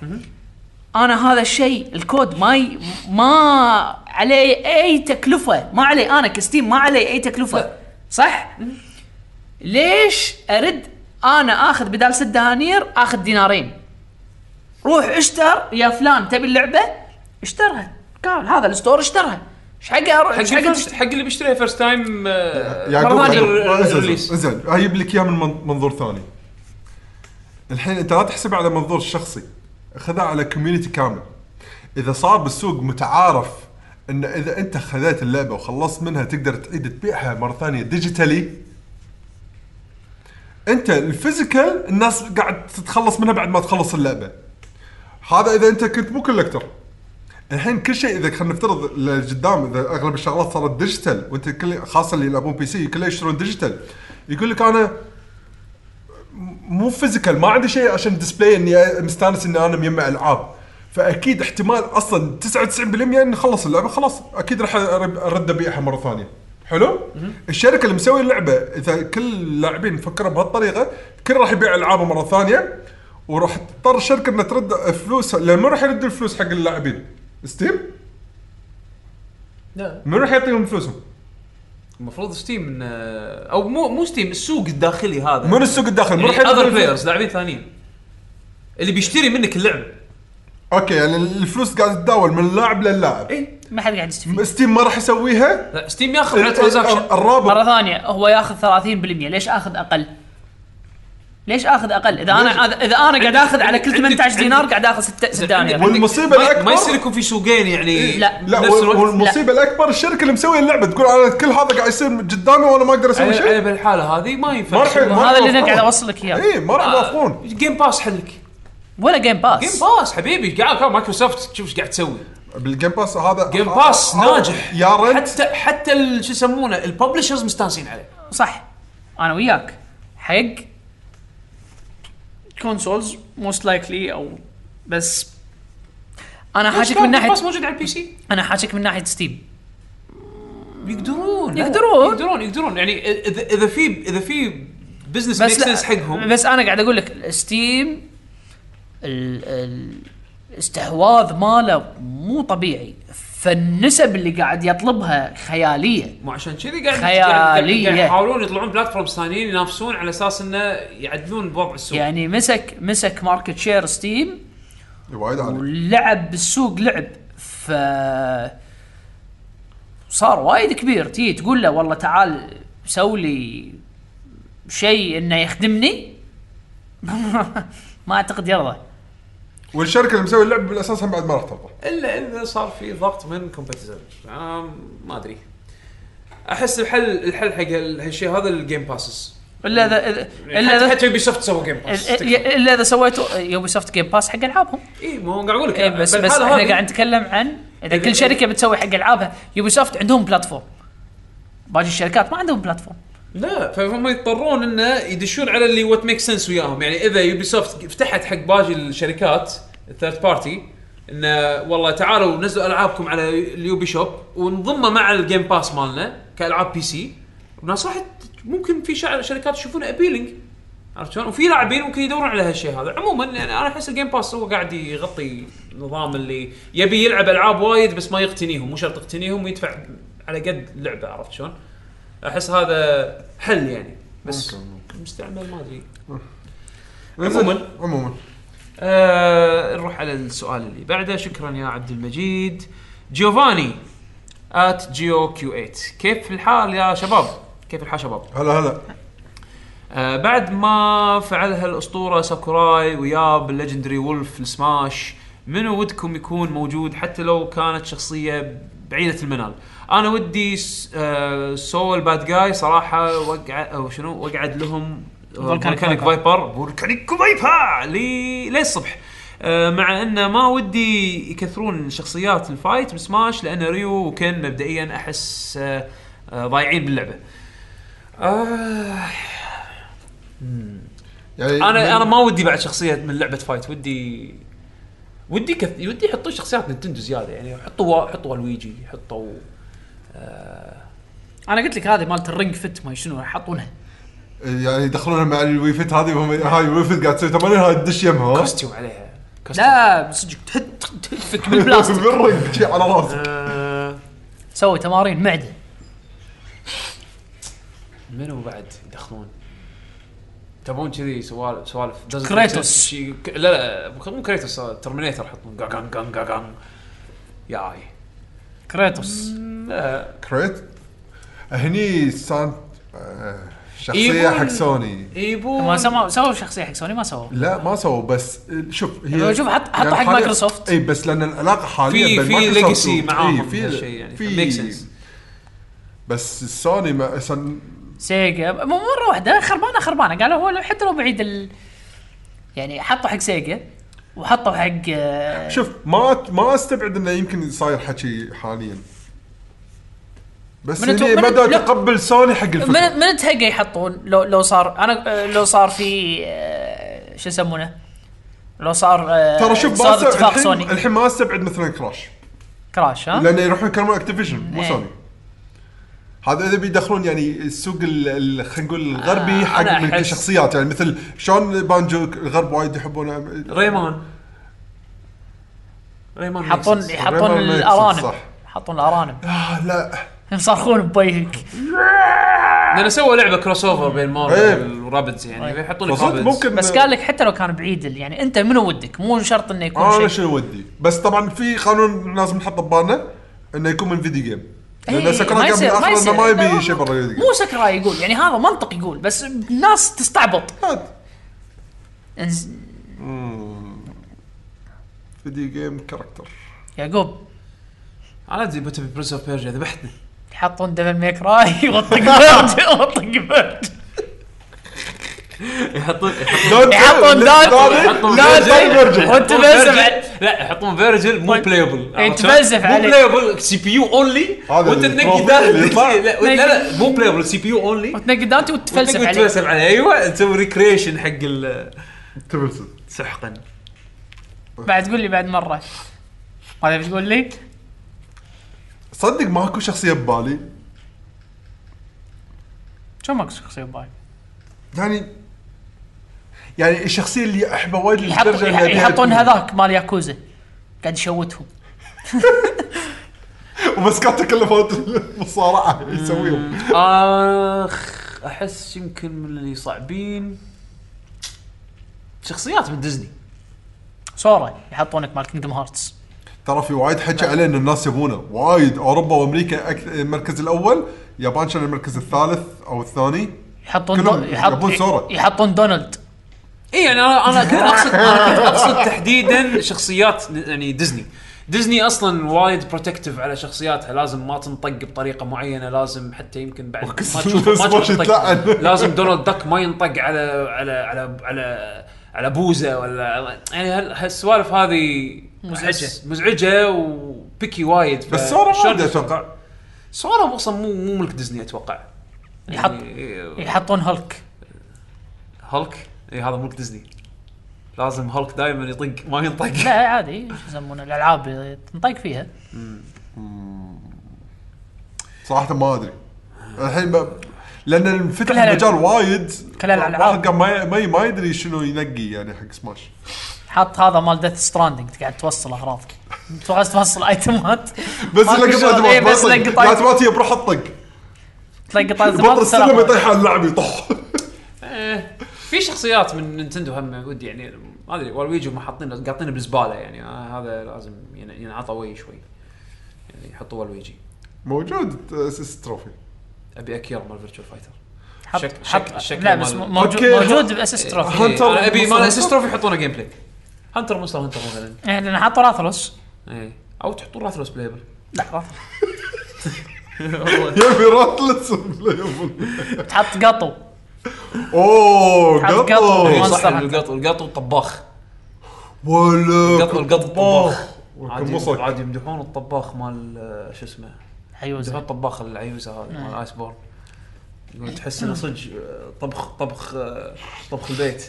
S3: انا هذا الشيء الكود ما ما عليه اي تكلفه ما عليه انا كستيم ما عليه اي تكلفه صح؟ ليش ارد انا اخذ بدال ست دنانير اخذ دينارين روح اشتر يا فلان تبي اللعبه اشترها قال هذا الستور اشترها ايش حقه اروح
S1: حق
S3: إيش حقه
S1: الفيرست- حق اللي بيشتريها آه، فيرست تايم
S4: يعقوب
S3: مرة ثانية.
S4: يعقوب، زين
S1: ريليس.
S4: زين اجيب لك اياه من من- منظور ثاني الحين انت لا تحسب على منظور شخصي خذها على كوميونتي كامل اذا صار بالسوق متعارف ان اذا انت خذيت اللعبه وخلصت منها تقدر تعيد تبيعها مره ثانيه ديجيتالي انت الفيزيكال الناس قاعد تتخلص منها بعد ما تخلص اللعبه هذا اذا انت كنت مو كولكتر الحين كل شيء اذا خلينا نفترض لقدام اذا اغلب الشغلات صارت ديجيتال وانت كل خاصه اللي يلعبون بي سي كلهم يشترون ديجيتال يقول لك انا مو فيزيكال ما عندي شيء عشان ديسبلاي اني مستانس اني انا مجمع العاب فاكيد احتمال اصلا 99% اني اخلص اللعبه خلاص اكيد راح أرب- ارد ابيعها مره ثانيه حلو؟ الشركه اللي مسويه اللعبه اذا كل اللاعبين فكروا بهالطريقه كل راح يبيع العابه مره ثانيه وراح تضطر الشركه انها ترد فلوس لان من راح يرد الفلوس حق اللاعبين؟ ستيم؟
S1: لا
S4: من راح يعطيهم فلوسهم؟
S1: المفروض ستيم إن- او مو مو ستيم السوق الداخلي هذا
S4: من السوق الداخلي من راح يرد
S1: اذر
S4: الفلوس؟
S1: بلايرز لاعبين ثانيين اللي بيشتري منك اللعب
S4: اوكي يعني الفلوس قاعده تتداول من اللاعب للاعب
S1: اي
S3: ما حد قاعد يستفيد
S4: ستيم ما راح يسويها
S1: لا ستيم ياخذ
S4: إيه،
S1: على ترانزاكشن
S4: الرابط
S3: مره ثانيه هو ياخذ 30% ليش اخذ اقل؟ ليش اخذ اقل؟ اذا انا اذا انا قاعد اخذ على كل
S1: عندك-
S3: 18 دينار
S1: عندك-
S3: قاعد اخذ 6 6 دنانير
S4: والمصيبه
S1: ما-
S4: الاكبر
S1: ما يصير يكون في سوقين يعني
S3: لا.
S4: لا
S1: بنفس
S4: وال-
S1: الوقت.
S4: والمصيبه الاكبر الشركه اللي مسويه اللعبه تقول انا كل هذا قاعد يصير قدامي وانا ما اقدر اسوي
S1: على
S4: شيء
S1: على بالحاله هذه ما ينفع
S4: ما راح ما راح
S3: هذا اللي انا
S4: يوافقون.
S3: قاعد اوصل لك
S1: إيه.
S3: اياه
S4: اي إيه،
S1: آه.
S4: ما راح يوافقون
S1: جيم باس حلك
S3: ولا جيم
S1: جيم
S3: باس
S1: باس حبيبي قاعد كان مايكروسوفت شوف ايش قاعد تسوي
S4: بالجيم باس هذا
S1: جيم
S4: آه،
S1: باس
S4: آه،
S1: ناجح
S4: يا ريت
S1: حتى حتى ال- شو يسمونه الببلشرز مستانسين عليه
S3: صح انا وياك حق كونسولز موست لايكلي او بس انا حاشك من ناحيه
S1: باس موجود على البي سي
S3: انا حاشك من ناحيه ستيم
S1: يقدرون
S3: يقدرون.
S1: يقدرون يقدرون يعني اذا اذا في اذا في بزنس ميك
S3: بس لا-
S1: سنس حقهم
S3: بس انا قاعد اقول لك ستيم ال- ال- الاستحواذ ماله مو طبيعي فالنسب اللي قاعد يطلبها خياليه
S1: مو عشان كذي قاعد
S3: خيالية.
S1: قاعد- قاعد يحاولون يطلعون بلاتفورمز ثانيين ينافسون على اساس انه يعدلون بوضع السوق
S3: يعني مسك مسك ماركت شير ستيم
S4: إيه، وايد عالي
S3: ولعب بالسوق لعب ف صار وايد كبير تي تقول له والله تعال سوي لي شيء انه يخدمني ما اعتقد يرضى
S4: والشركه اللي مسويه اللعبه بالاساس هم بعد ما راح ترضى
S1: الا اذا صار في ضغط من كومبيتيتر انا ما ادري احس الحل الحل حق هال- هالشيء هذا الجيم باسز
S3: الا اذا إذا- الا
S1: حتى
S3: اذا
S1: حتى يوبي سوفت سووا جيم باس
S3: إلا- الا اذا سويتوا يوبي سوفت جيم باس حق العابهم
S1: اي ما هو قاعد اقول لك
S3: إيه بس بس
S1: بالحالة
S3: احنا
S1: هذه-
S3: قاعد نتكلم عن اذا كل شركه بتسوي حق العابها يوبي سوفت عندهم بلاتفورم باقي الشركات ما عندهم بلاتفورم
S1: لا فهم يضطرون انه يدشون على اللي وات ميك سنس وياهم يعني اذا يوبي سوفت فتحت حق باقي الشركات الثيرد بارتي انه والله تعالوا نزلوا العابكم على اليوبي شوب ونضمه مع الجيم باس مالنا كالعاب بي سي الناس راح ت- ممكن في شع- شركات يشوفونه ابيلينج عرفت شلون؟ وفي لاعبين ممكن يدورون على هالشيء هذا، عموما يعني انا احس الجيم باس هو قاعد يغطي نظام اللي يبي يلعب العاب وايد بس ما يقتنيهم، مو شرط يقتنيهم ويدفع على قد لعبه عرفت شلون؟ احس هذا حل يعني بس مستعمل ما ادري عموماً.
S4: عموما
S1: آه نروح على السؤال اللي بعده شكرا يا عبد المجيد جيوفاني ات جيو كيو 8 كيف الحال يا شباب؟ كيف الحال شباب؟
S4: هلا هلا
S1: آه بعد ما فعلها الاسطوره ساكوراي وياه بالليجندري وولف السماش منو ودكم يكون موجود حتى لو كانت شخصيه بعيده المنال انا ودي س- آه سول باد جاي صراحه وقع او شنو وقعد لهم آه،
S3: فولكانيك
S1: فولكانيك فايبر فولكانيك فايبر لي للصبح آه، مع انه ما ودي يكثرون شخصيات الفايت بسماش لان ريو وكن مبدئيا احس آه، آه، ضايعين باللعبه. آه
S4: يعني
S1: انا انا ما ودي بعد شخصيه من لعبه فايت ودي ودي كث... ودي يحطون شخصيات نينتندو زياده يعني حطوا حطوا لويجي حطوا
S3: انا قلت لك هذه مالت الرينج فت ما شنو يحطونها
S4: يعني يدخلونها مع الويفت هذه وهم هاي الويفت قاعد تسوي تمارين هاي تدش يمها ها؟
S1: كوستيوم عليها كوستيوم
S3: لا صدق تحط تفك بالبلاستيك
S4: بالرق شي على راسك
S1: آه،
S3: سوي تمارين معده
S1: منو بعد يدخلون؟ تبون كذي سوالف سوالف doesn't make
S3: كريتوس.
S1: sense. شي... ك- لا لا مو كريتوس آه، ترمينيتر يحطون جاجان جان جاجان ياي
S3: كريتوس
S1: لا
S4: كريت هني سانت آه، شخصيه
S3: إيوه.
S1: يبون-
S4: حق سوني
S1: يبون
S3: ما سووا سووا شخصيه حق سوني ما سووا
S4: لا ما سووا بس شوف
S3: يعني شوف، حط- حطوا حق مايكروسوفت.
S4: اي بس لان العلاقه حاليا
S1: في-
S4: بين
S1: في
S4: مايكروسوفت
S1: legacy
S4: و- إي،
S1: معاهم
S4: إيه، في
S1: هالشيء يعني،
S4: في
S1: فmake sense.
S4: بس سوني ما سن
S3: سيجا م- مره واحده خربانه خربانه قالوا هو لو- حتى لو بعيد ال... يعني حطوا حق سيجا وحطوا حق آه،
S4: شوف ما ما استبعد انه يمكن صاير حكي حاليا بس
S3: من
S4: هني
S3: التو- من-
S4: مدى
S3: لا.
S4: تقبل سوني حق الفكره
S3: من من تهقى يحطون لو لو صار انا آه، لو صار في آه، شو يسمونه لو صار آه،
S4: ترى شوف ما
S3: صار
S4: أستبعد-
S3: اتفاق
S4: الحين-
S3: سوني
S4: الحين ما استبعد مثلا كراش
S3: كراش ها
S4: لان يروحون يكلمون اكتيفيشن مو
S3: إيه.
S4: سوني هذا اذا بيدخلون يعني السوق ال- ال- خلينا نقول الغربي آه حق
S1: أنا
S4: من
S1: أحس-
S4: الشخصيات يعني مثل شلون بانجو الغرب وايد يحبون
S1: ريمان ريمان
S3: يحطون
S1: makes sense.
S3: يحطون
S4: ريمان ميكس
S3: الارانب
S4: صح.
S3: يحطون الارانب
S4: آه لا
S3: يصرخون بوجهك
S1: لان سووا لعبه كروس اوفر بين
S4: إيه.
S1: مارفل ورابدز يعني يحطون لك
S4: فصدق
S1: رابدز ممكن
S4: ممكن
S3: بس قال لك حتى لو كان بعيد ال- يعني انت منو ودك مو شرط انه يكون
S4: انا
S3: شيء
S4: شنو ودي بس طبعا في قانون لازم نحطه ببالنا انه يكون من فيديو جيم
S3: إيه،
S4: لان سكران كان
S3: يصير-
S4: بالاخر انه ما
S3: يصير.
S4: يبي
S3: لا،
S4: شيء برا الفيديو جيم
S3: مو سكراي يقول يعني هذا منطق يقول بس الناس تستعبط
S4: هاد.
S3: إنز-
S4: فيديو جيم كاركتر
S3: يعقوب
S1: انا ادري بتبي برنس اوف بيرجيا ذبحتني
S3: يحطون دبل ميك راي وطق برد وطق برد
S1: يحطون
S3: يحطون دارك
S1: يحطون
S3: لا
S1: فيرجل. آه، يحطون طيب. إيه،
S3: طيب، وانت بزف
S1: فيرجل.
S3: على-
S1: لا يحطون فيرجل مو بلايبل
S3: تبزف عليه.
S1: مو بلايبل سي بي يو اونلي
S4: هذا
S1: وانت
S4: اللي
S1: تنقي
S4: يطلع. اللي
S1: داخل
S4: يطلع.
S1: لا لا لا مو بلايبل سي بي يو اونلي
S3: وتنقي دانتي وتتفلسف عليه
S1: تتفلسف عليه ايوه تسوي ريكريشن حق ال-
S4: تبلسم
S1: سحقا
S3: بعد تقول لي بعد مره هذا بتقول لي
S4: صدق ماكو شخصيه ببالي
S3: شو ماكو شخصيه باي
S4: يعني يعني الشخصيه اللي احبها وايد لدرجة إنها أبيها
S3: يحطون
S4: تكون-
S3: هذاك مال ياكوزا قاعد يشوتهم
S4: وبس كانت تكلفات المصارعه يسويهم
S1: اخ احس يمكن من اللي صعبين شخصيات من ديزني
S3: سورا يحطونك مال كينجدم هارتس
S4: ترى في وايد
S3: نعم.
S4: حكي عليه ان الناس يبونه وايد اوروبا وامريكا أك- المركز الاول يابان كان المركز الثالث او الثاني
S3: يحطون
S4: كلهم
S3: دو... يحط...
S4: يبون سورا.
S3: يحطون دونالد
S1: اي يعني انا انا كنت اقصد انا كنت اقصد تحديدا شخصيات يعني ديزني ديزني اصلا وايد بروتكتيف على شخصياتها لازم ما تنطق بطريقه معينه لازم حتى يمكن بعد ما
S4: وكس-
S1: تشوفه ما
S4: سماش
S1: تشوفه
S4: يتلعن.
S1: يطق. لازم دونالد دك ما ينطق على على على على على بوزه ولا يعني هال- هالسوالف هذه
S3: مزعجة.
S1: أحس مزعجه وبيكي وايد ف-
S4: بس سورا
S1: شلون-
S4: وايد اتوقع
S1: سورا اصلا مو مو ملك ديزني اتوقع
S3: يحط
S4: إيه.
S1: يعني
S3: يحطون هولك
S1: هولك اي إيه، هذا ملك ديزني لازم هولك دائما يطق ما ينطق
S3: لا عادي شو يسمونه الالعاب اللي تنطق فيها
S4: صراحه ما ادري الحين ب... لان انفتح
S3: كلها
S4: المجال وايد
S3: كلها الألعاب.
S4: الواحد قام ما ي- ما ي- ما يدري شنو ينقي يعني حق سماش
S3: حط هذا مال ديث ستراندنج قاعد توصل اغراضك تقعد توصل ايتمات
S4: بس
S3: ماكو
S4: لقطات
S3: شغل،
S4: ما
S3: إيه، بس
S4: بطق
S3: لقطات.
S4: لقطات ما تجي بروح اطق
S3: تلاقي طاز
S4: بطل السلم يطيح على اللاعب يطخ
S1: إيه، في شخصيات من نينتندو هم ودي يعني ما ادري والويجي هم حاطين قاطينه بالزباله يعني آه هذا لازم ين- ينعطى وي شوي يعني يحطوا والويجي
S4: موجود اسيست تروفي
S1: ابي اكير مال فيرتشوال فايتر شك- شك-
S3: حط
S1: شكل
S3: لا بس
S1: مال-
S3: موجود
S4: أوكي.
S3: موجود باسيست تروفي
S4: هنتر
S1: انا ابي إيه، مال
S4: مونستر
S1: اسيست
S4: هنتر؟
S1: تروفي يحطونه جيم بلاي هانتر مونستر هانتر مثلا
S3: إيه، لان حطوا راثلوس
S1: إيه. او تحطون راثلوس بلايبل
S4: يبي راتلس بلايبل.
S3: تحط قطو
S4: اوه
S3: حط قطو.
S1: إيه،
S4: قطو
S1: صح
S3: مونستر هانتر.
S1: القط القط طباخ
S4: ولا
S1: القط القط طباخ عادي
S4: كمصك.
S1: عادي يمدحون الطباخ مال آه، شو اسمه يمدحون
S3: عيوزه
S1: الطباخ العيوزه هذا مال ايس بورن يقول تحس انه صدق آه، طبخ طبخ آه، طبخ البيت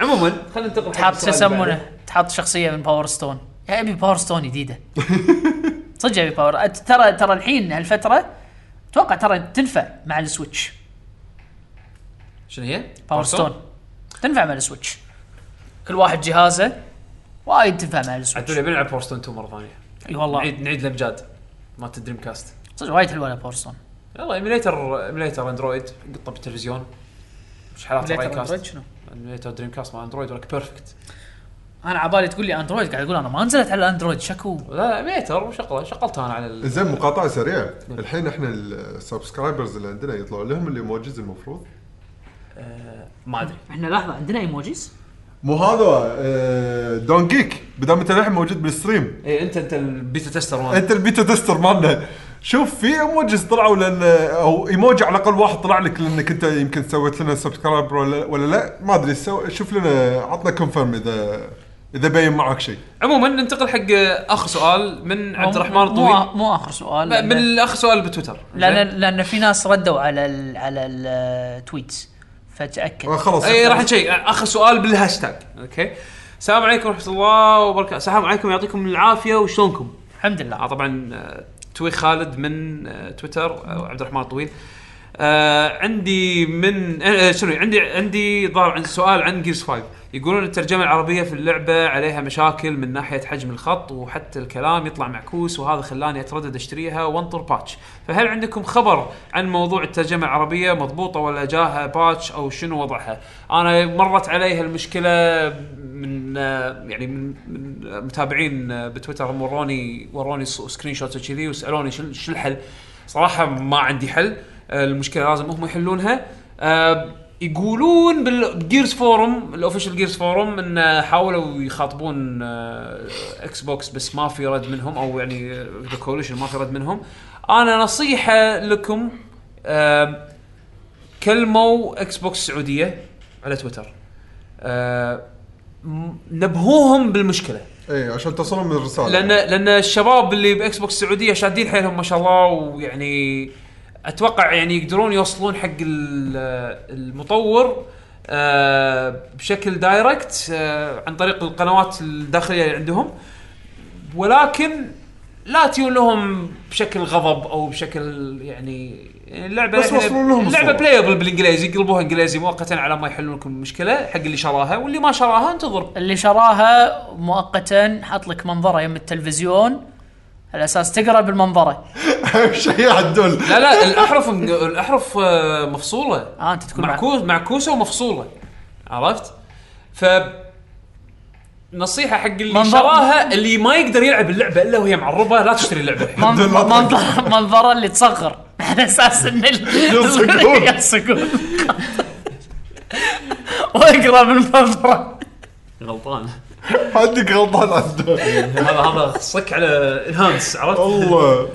S1: عموما خلينا ننتقل حق
S3: تحط شو
S1: السؤال اللي
S3: يسمونه تحط شخصيه من باور ستون يا ابي باور ستون جديده صدق ابي باور أت- ترى ترى الحين هالفتره اتوقع ترى تنفع مع السويتش
S1: بعده. شنو هي؟
S3: باور ستون تنفع مع السويتش كل واحد جهازه وايد تنفع مع
S1: عدول
S3: السويتش
S1: يبي نلعب باور ستون 2 مره ثانيه
S3: اي والله
S1: نعيد نعيد الامجاد مالت الدريم كاست
S3: صدق وايد حلوه باور ستون
S1: يلا ايميليتر ايميليتر اندرويد قطه بالتلفزيون مش حالات راي كاست
S3: شنو؟
S1: ايميليتر دريم كاست مال اندرويد ولك بيرفكت
S3: انا عبالي تقول لي اندرويد قاعد اقول انا ما نزلت على الاندرويد شكو
S1: لا ميتر وشغله شغلت انا على ال...
S4: زين مقاطعه سريعه الحين احنا السبسكرايبرز اللي عندنا يطلعوا لهم الايموجيز المفروض
S1: ما ادري
S3: احنا لحظه عندنا ايموجيز
S4: مو هذا آه، دون جيك بدام انت الحين موجود بالستريم
S1: اي انت انت البيتا تستر مالنا.
S4: انت البيتا تستر مالنا شوف في ايموجيز طلعوا لان او ايموجي على الاقل واحد طلع لك لانك انت يمكن سويت لنا سبسكرايب ولا, ولا لا ما ادري سو- شوف لنا عطنا كونفيرم اذا اذا بين معك شيء
S1: عموما ننتقل حق اخر سؤال من عبد الرحمن
S3: مو
S1: الطويل
S3: مو اخر سؤال
S1: لا،
S3: لأن-
S1: من اخر سؤال بتويتر
S3: لان
S1: زين؟
S3: لان في ناس ردوا على ال على التويتس فتاكد
S4: آه، خلاص
S1: اي إيه، راح نشيك اخر سؤال بالهاشتاج اوكي السلام عليكم ورحمه الله وبركاته السلام عليكم يعطيكم العافيه وشلونكم
S3: الحمد لله
S1: آه طبعا آه، توي خالد من آه، تويتر آه، عبد الرحمن الطويل آه عندي من آه، آه، شنو عندي عندي ظاهر عن سؤال عن جيرز 5 يقولون الترجمه العربيه في اللعبه عليها مشاكل من ناحيه حجم الخط وحتى الكلام يطلع معكوس وهذا خلاني اتردد اشتريها وانطر باتش فهل عندكم خبر عن موضوع الترجمه العربيه مضبوطه ولا جاها باتش او شنو وضعها انا مرت علي هالمشكله من آه، يعني من من متابعين آه، بتويتر هم وروني وروني س- سكرين شوت وكذي وسالوني شو شو الحل صراحه ما عندي حل آه، المشكله لازم هم يحلونها آه، يقولون بالجيرز فورم الاوفيشال جيرز فورم ان آه، حاولوا يخاطبون آه، اكس بوكس بس ما في رد منهم او يعني ذا كوليشن ما في رد منهم انا نصيحه لكم آه، كلموا اكس بوكس السعوديه على تويتر آه، م- نبهوهم بالمشكله
S4: اي إيه، عشان توصلهم الرساله
S1: لان لان الشباب اللي باكس بوكس السعوديه شادين حيلهم ما شاء الله ويعني اتوقع يعني يقدرون يوصلون حق ال- المطور آه، بشكل دايركت آه، عن طريق القنوات الداخليه اللي عندهم ولكن لا تيون لهم بشكل غضب او بشكل يعني يعني اللعبه
S4: بس وصلوا لهم
S1: اللعبه
S4: الصورة.
S1: بلايبل بالانجليزي يقلبوها انجليزي مؤقتا على ما يحلون لكم المشكله حق اللي شراها واللي ما شراها انتظر
S3: اللي شراها مؤقتا حط لك منظره يم التلفزيون على اساس تقرا بالمنظره
S4: اهم شيء عدول
S1: لا لا الاحرف الاحرف آه، مفصوله
S3: اه انت تكون معكوس
S1: معكوس معكوسه ومفصوله عرفت؟ ف نصيحه حق اللي
S3: منظر-
S1: شراها اللي ما يقدر يلعب اللعبه الا وهي معربه لا تشتري اللعبه الحين
S3: منظره منظره اللي تصغر على اساس ان ال-
S4: يلصقون.
S3: يلصقون واقرا بالمنظره
S1: غلطان
S4: عندك غلطان عدول
S1: هذا هذا صك على انهانس عرفت؟
S4: الله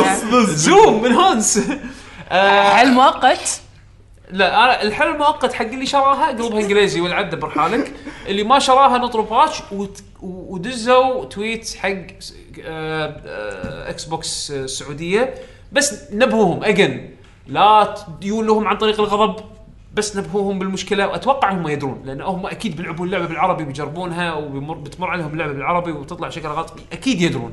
S4: نص نص
S1: زوم انهانس
S3: حل مؤقت
S1: لا انا الحل المؤقت حق اللي شراها قلبها انجليزي والعب دبر حالك اللي ما شراها نطروا باتش وت- و- ودزوا تويت حق س- آه، آه، اكس بوكس آه، السعوديه بس نبهوهم اجن لا تديون لهم عن طريق الغضب بس نبهوهم بالمشكله واتوقع هم يدرون لان هم اكيد بيلعبون اللعبه بالعربي بيجربونها وبتمر عليهم اللعبه بالعربي وتطلع شكلها غلط اكيد يدرون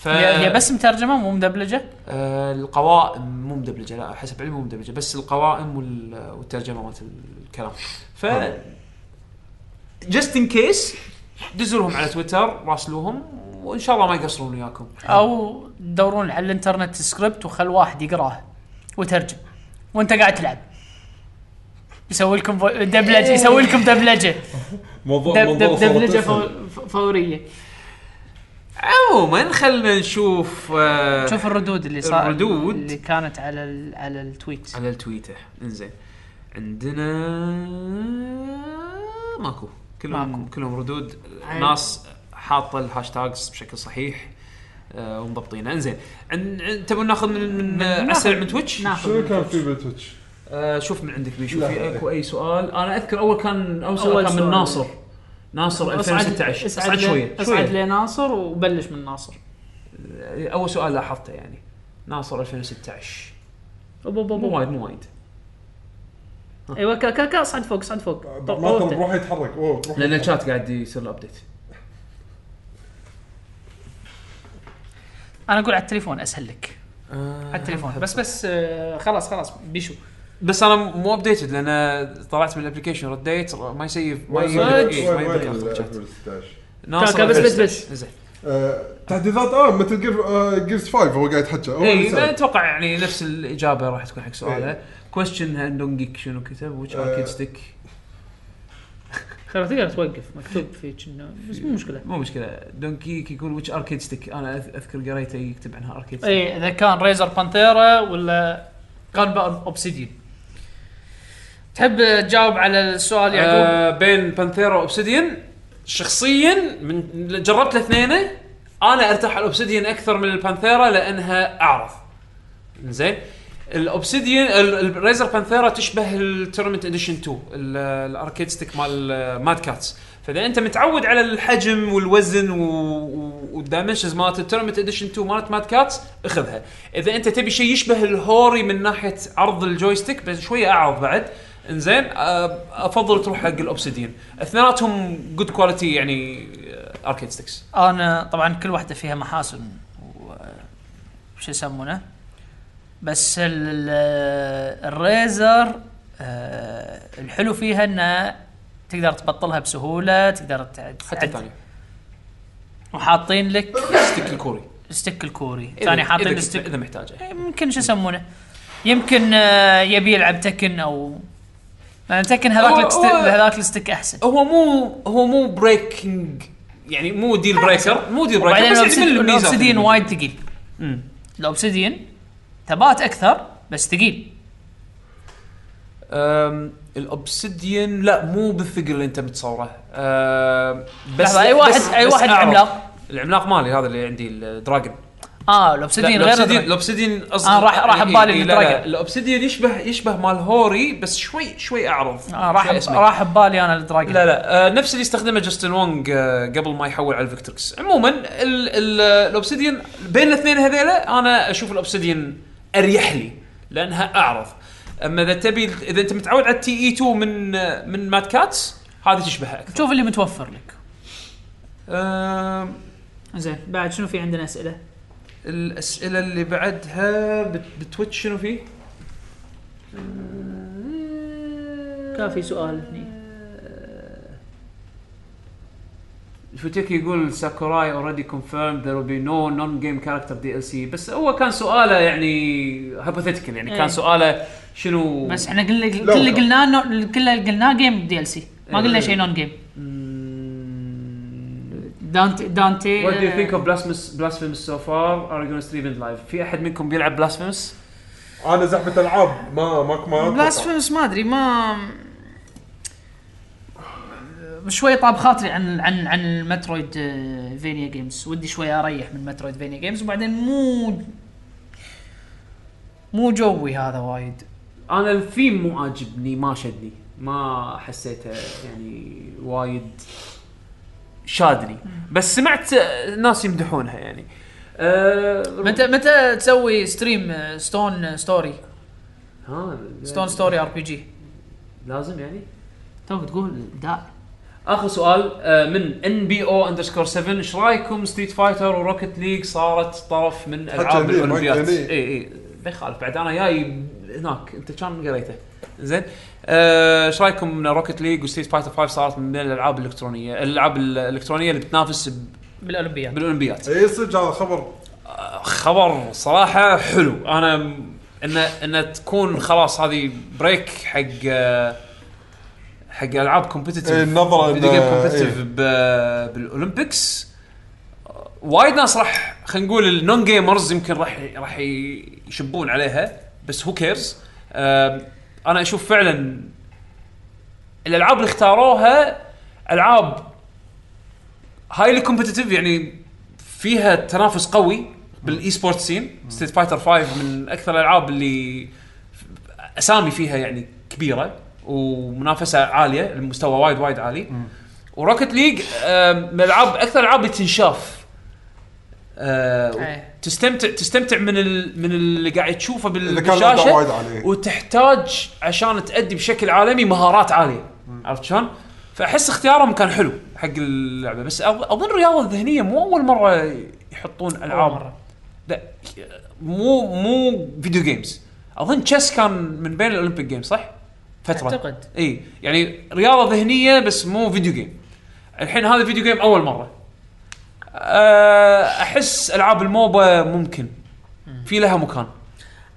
S1: ف...
S3: هي هي بس مترجمه مو مدبلجه
S1: آه، القوائم مو مدبلجه لا حسب علمي مو مدبلجه بس القوائم وال- والترجمه مالت الكلام ف جست ان كيس دزوا لهم على تويتر راسلوهم وان شاء الله ما يقصرون وياكم
S3: او تدورون على الانترنت سكريبت وخل واحد يقراه وترجم وانت قاعد تلعب يسوي لكم فو- دبلجه يسوي لكم دبلجه
S2: موضوع
S3: دب
S2: موضوع
S3: دب دبلجه
S2: صورة
S3: فو- ف- فوريه
S1: عموما خلنا نشوف آه،
S3: شوف الردود اللي صار
S1: الردود.
S3: اللي كانت على ال على التويت
S1: على التويته انزين عندنا ماكو كلهم
S3: ماكو.
S1: كلهم ردود
S3: عيل.
S1: ناس حاطه الهاشتاجز بشكل صحيح آه، ومضبطينه انزين عن- عن- تبون ناخذ من من آه، على السريع من تويتش
S4: شنو كان في بالتويتش؟
S1: آه، شوف من عندك بيشو
S4: لا،
S1: في
S4: لا.
S1: اكو اي سؤال انا اذكر اول كان اول
S3: أول
S1: سؤال كان من
S3: سؤال.
S1: ناصر ناصر 2016 اصعد شويه
S3: اصعد
S1: شويه
S3: لناصر وبلش من ناصر
S1: اول سؤال لاحظته يعني ناصر 2016 مو وايد مو وايد
S3: ايوه كا كا كا اصعد فوق اصعد فوق طب
S4: ما ترى
S3: طولته.
S4: بروحه يتحرك اوه بروحه
S1: لان الشات قاعد يصير له ابديت
S3: انا اقول على التليفون اسهل لك
S1: آه،
S3: على التليفون بس بس آه، خلاص خلاص بيشو
S1: بس انا مو ابديتد لان طلعت من الابلكيشن رديت ما يسيف ما
S4: وين-
S1: يجيب
S4: وين-
S1: ما
S4: وين-
S1: يجيب
S4: وين
S1: لك
S4: ال
S1: الشات.
S4: 2016
S1: ناصر
S3: كان بس- بس-
S1: 2016. زين
S4: آه، تحديثات اه مثل جير- آه، جيرز 5 هو قاعد يتحكى هو اللي
S1: اي
S4: سأل.
S1: اتوقع يعني نفس
S3: إيه.
S1: الاجابه راح تكون حق سؤاله كويشن هندونجيك شنو كتب وش
S4: آه.
S1: اركيد ستيك
S2: ترى تقدر توقف مكتوب في كنا بس مو مشكله
S1: مو مشكله دونكي يقول ويتش اركيد ستيك انا أذ- اذكر قريته يكتب عنها اركيد ستيك
S3: إيه.
S2: اي اذا كان ريزر بانثيرا ولا كان بقى اوبسيديان تحب تجاوب على السؤال
S3: يعني
S2: يعقوب؟
S1: آه بين بانثيرا واوبسيديان شخصيا من جربت الاثنين انا ارتاح على الاوبسيديان اكثر من البانثيرا لانها اعرض زين الاوبسيديان الريزر بانثيرا تشبه التورنمنت اديشن 2 ال- الاركيد ستيك مال ماد كاتس فاذا انت متعود على الحجم والوزن و- و- والدايمنشنز مالت التورنمنت اديشن 2 مالت ماد كاتس اخذها اذا انت تبي شيء يشبه الهوري من ناحيه عرض الجويستيك بس شويه اعرض بعد انزين أ- افضل تروح حق الاوبسيديان اثنيناتهم جود كواليتي يعني اركيد ستيكس
S3: انا طبعا كل واحده فيها محاسن و شو يسمونه بس ال- ال- الريزر آه، الحلو فيها انه تقدر تبطلها بسهوله تقدر تع-
S1: حتى
S3: تعد
S1: الثانيه
S3: وحاطين لك
S1: ستيك الكوري
S3: الستيك الكوري
S1: إذا-
S3: ثاني
S1: إذا
S3: حاطين
S1: كنت-
S3: الستيك
S1: اذا محتاجه
S3: يمكن شو يسمونه يمكن آه، يبي يلعب تكن او لان تكن هذاك
S1: هو-
S3: الست-
S1: هو-
S3: هذاك الستيك احسن
S1: هو مو هو مو بريكنج يعني مو ديل بريكر مو ديل بريكر
S3: وبعدين
S1: بس يعني من
S3: الأوبسيد-
S1: الميزات
S3: الاوبسيديان
S1: اللي-
S3: وايد ثقيل الاوبسيديان ثبات اكثر بس ثقيل
S1: أم، الاوبسيديان لا مو بالثقل اللي انت متصوره أم، بس
S3: لحظة، أي واحد-
S1: بس-
S3: أي
S1: بس
S3: واحد
S1: أعرف.
S3: العملاق؟
S1: العملاق مالي هذا اللي عندي الدراجون
S3: اه
S1: لا،
S3: الاوبسيديان غير
S1: الاوبسيديان
S3: الدراجون.
S1: الاوبسيديان
S3: آه، راح- راح
S1: إي-
S3: ببالي
S1: إي، إيه، لا، لا،
S3: الدراجون.
S1: الاوبسيديان يشبه يشبه مال هوري بس شوي شوي اعرض
S3: آه راح
S1: شوي أسمك.
S3: راح ببالي انا الدراجون
S1: لا لا آه نفس اللي استخدمه جاستن وونج آه قبل ما يحول على الفيكتوركس عموما ال- ال- الاوبسيديان بين الاثنين هذيلا انا اشوف الاوبسيديان اريح لي لانها اعرض اما اذا تبي اذا انت متعود على التي اي 2 من آه، من مات كاتس هذه تشبهها اكثر
S3: شوف اللي متوفر لك
S1: آه
S2: زين بعد شنو في عندنا اسئله؟
S1: الاسئله اللي بعدها بت- بتويتش شنو فيه؟
S2: كان في سؤال هني
S1: فوتيكي يقول ساكوراي اوريدي كونفيرم ذير ويل بي نو نون جيم كاركتر دي ال سي بس هو كان سؤاله يعني هايبوثيتيكال يعني
S2: إيه.
S1: كان سؤاله شنو
S3: بس احنا قلنا كل
S4: لا،
S3: اللي
S4: لا.
S3: قلناه نو- كل اللي قلناه جيم دي ال سي ما
S1: إيه،
S3: قلنا شيء نون جيم
S1: Mm.
S3: دانتي دانتي
S1: What do you
S3: آه،
S1: think of Blasphemous, Blasphemous so far? Are you gonna stream it live? في احد منكم بيلعب Blasphemous؟
S4: انا زحمه العاب ما ما ما أتوقع.
S2: بلاسفيمس ما ادري ما
S3: شوي طاب خاطري عن عن عن المترويد آه، فينيا جيمز ودي شوي اريح من مترويد فينيا جيمز وبعدين مو مو جوي هذا وايد
S1: انا الثيم مو عاجبني ما شدني ما حسيته يعني وايد شادني بس سمعت آه، ناس يمدحونها يعني آه
S3: متى متى تسوي ستريم آه، ستون آه، ستوري
S1: ها
S3: ستون ستوري ار بي جي
S1: لازم يعني
S3: توك تقول دا
S1: اخر سؤال آه، من ان بي او اندرسكور 7 ايش رايكم ستريت فايتر وروكت ليج صارت طرف من إيه، العاب
S4: هني،
S1: الاولمبياد
S4: حتى هني.
S1: اي اي ما يخالف بعد انا جاي هناك انت كان قريته زين آه، ايش رايكم ان روكت ليج وستريت فايتر 5 صارت من بين الالعاب الالكترونيه الالعاب الالكترونيه اللي بتنافس ب-
S2: بالاولمبياد
S1: بالاولمبياد
S4: اي إيه، صدق هذا خبر
S1: خبر صراحه حلو انا م- ان ان تكون خلاص هذه بريك حق آه، حق العاب كومبتتف
S4: إيه، النظرة إيه. إنه-
S1: فيديو جيم كومبتتف بالاولمبيكس آه، وايد ناس راح خلينا نقول النون جيمرز يمكن راح راح يشبون عليها بس هو كيرز انا اشوف فعلا الالعاب اللي اختاروها العاب هايلي كومبتتف يعني فيها تنافس قوي بالاي سبورت سين ستيت فايتر 5 من اكثر الالعاب اللي اسامي فيها يعني كبيره ومنافسه عاليه المستوى وايد وايد عالي وروكت ليج آم، من الالعاب اكثر الالعاب اللي تنشاف آه،
S3: إيه.
S1: تستمتع تستمتع من ال- من اللي قاعد تشوفه بال-
S4: إذا كان الأداء
S1: بالشاشه
S4: وايد عالي.
S1: وتحتاج عشان تأدي بشكل عالمي مهارات عاليه عرفت شلون؟ فاحس اختيارهم كان حلو حق اللعبه بس أظ- اظن الرياضه الذهنيه مو اول مره يحطون العاب
S3: مرة.
S1: لا مو مو فيديو جيمز اظن تشيس كان من بين الاولمبيك جيمز صح؟ فتره
S3: أعتقد.
S1: اي يعني رياضه ذهنيه بس مو فيديو جيم الحين هذا فيديو جيم اول مره أه، احس العاب الموبا ممكن في لها مكان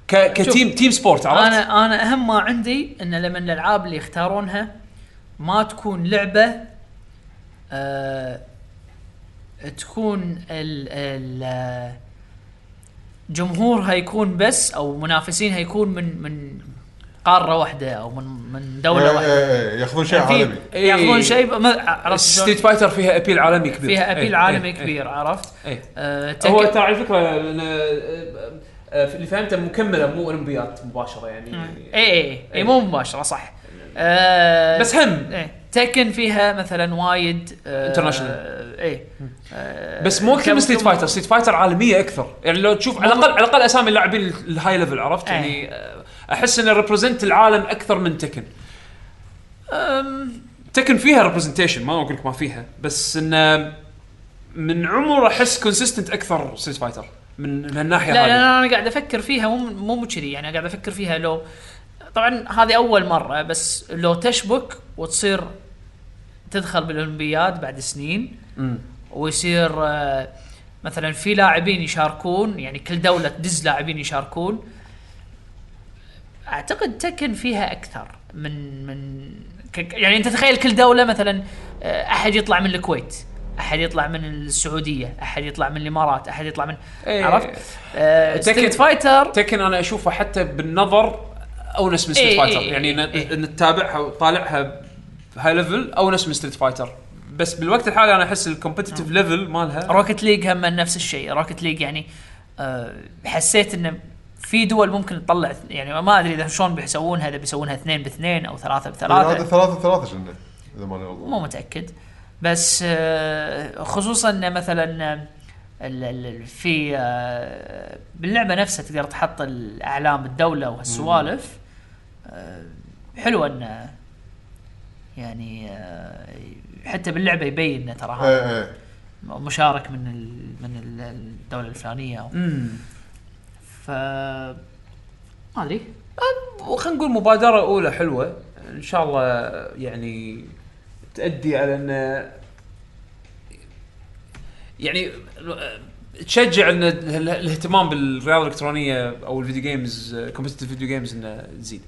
S1: ك... كتيم تيم سبورت عرفت؟
S3: انا انا اهم ما عندي ان لما الالعاب اللي يختارونها ما تكون لعبه آه تكون ال ال جمهورها يكون بس او منافسينها يكون من من قاره واحده او من من دوله
S4: إيه،
S3: واحده
S4: إيه، إيه، ياخذون شيء
S3: يعني في-
S4: عالمي
S3: ياخذون شيء ما- عرفت شلون؟
S1: ستريت فايتر فيها ابيل عالمي كبير
S3: فيها ابيل
S1: إيه. إيه،
S3: عالمي
S1: إيه،
S3: كبير عرفت؟
S1: إيه.
S3: آه،
S1: إيه. هو
S3: تك-
S1: ترى على فكره لأن- آه، آه، اللي فهمته مكمله مو اولمبياد مباشره يعني
S3: اي اي اي إيه، مو مباشره صح آه
S1: بس هم
S3: ايه تكن فيها مثلا وايد آه إيه.
S1: International.
S3: اي
S1: بس مو
S3: إيه،
S1: اكثر من ستريت فايتر ستريت فايتر عالميه اكثر يعني لو تشوف على الاقل على الاقل اسامي اللاعبين ال- الهاي ليفل عرفت
S3: إيه.
S1: يعني آه، احس انه ريبريزنت العالم اكثر من تكن أم، تكن فيها ريبرزنتيشن ما اقول لك ما فيها بس انه من عمر احس كونسيستنت اكثر ستريت فايتر من من هالناحيه
S3: لا
S1: هذه.
S3: لا انا قاعد افكر فيها مو مو مو كذي يعني قاعد افكر فيها لو طبعا هذه اول مره بس لو تشبك وتصير تدخل بالاولمبياد بعد سنين ويصير آه، مثلا في لاعبين يشاركون يعني كل دوله تدز لاعبين يشاركون اعتقد تكن فيها اكثر من من ك- يعني انت تخيل كل دوله مثلا آه، احد يطلع من الكويت احد يطلع من السعوديه احد يطلع من الامارات احد يطلع من
S1: إيه.
S3: عرفت آه،
S1: تكن-
S3: ستريت فايتر
S1: تكن انا اشوفها حتى بالنظر اونس من ستريت
S3: إيه،
S1: فايتر
S3: إيه،
S1: يعني إن-
S3: إيه.
S1: ان تتابعها وتطالعها هاي ليفل اونس من ستريت فايتر بس بالوقت الحالي انا احس الكومبتتف
S3: آه.
S1: ليفل مالها
S3: روكت ليج هم نفس الشيء روكت ليج يعني آه، حسيت انه في دول ممكن تطلع يعني ما ادري اذا شلون بيسوونها اذا بيسوونها اثنين باثنين او
S4: هذا
S3: ثلاثه بثلاثه
S4: ثلاثة ثلاثة شنو اذا ماني
S3: مو
S4: غلطان
S3: متاكد بس آه، خصوصا إنه مثلا آه، ال- ال- ال- في آه، باللعبه نفسها تقدر تحط الاعلام الدوله وهالسوالف آه، حلوه انه يعني آه، حتى باللعبه يبين إنه ترى هذا
S4: ايه ايه
S3: مشارك من ال... من ال- الدوله الفلانيه أو... ف ما ادري
S1: وخلينا نقول مبادره اولى حلوه ان شاء الله يعني تؤدي على ان يعني تشجع ان ال- الاهتمام بالرياضه الالكترونيه او الفيديو جيمز كومبتتف فيديو جيمز انه تزيد.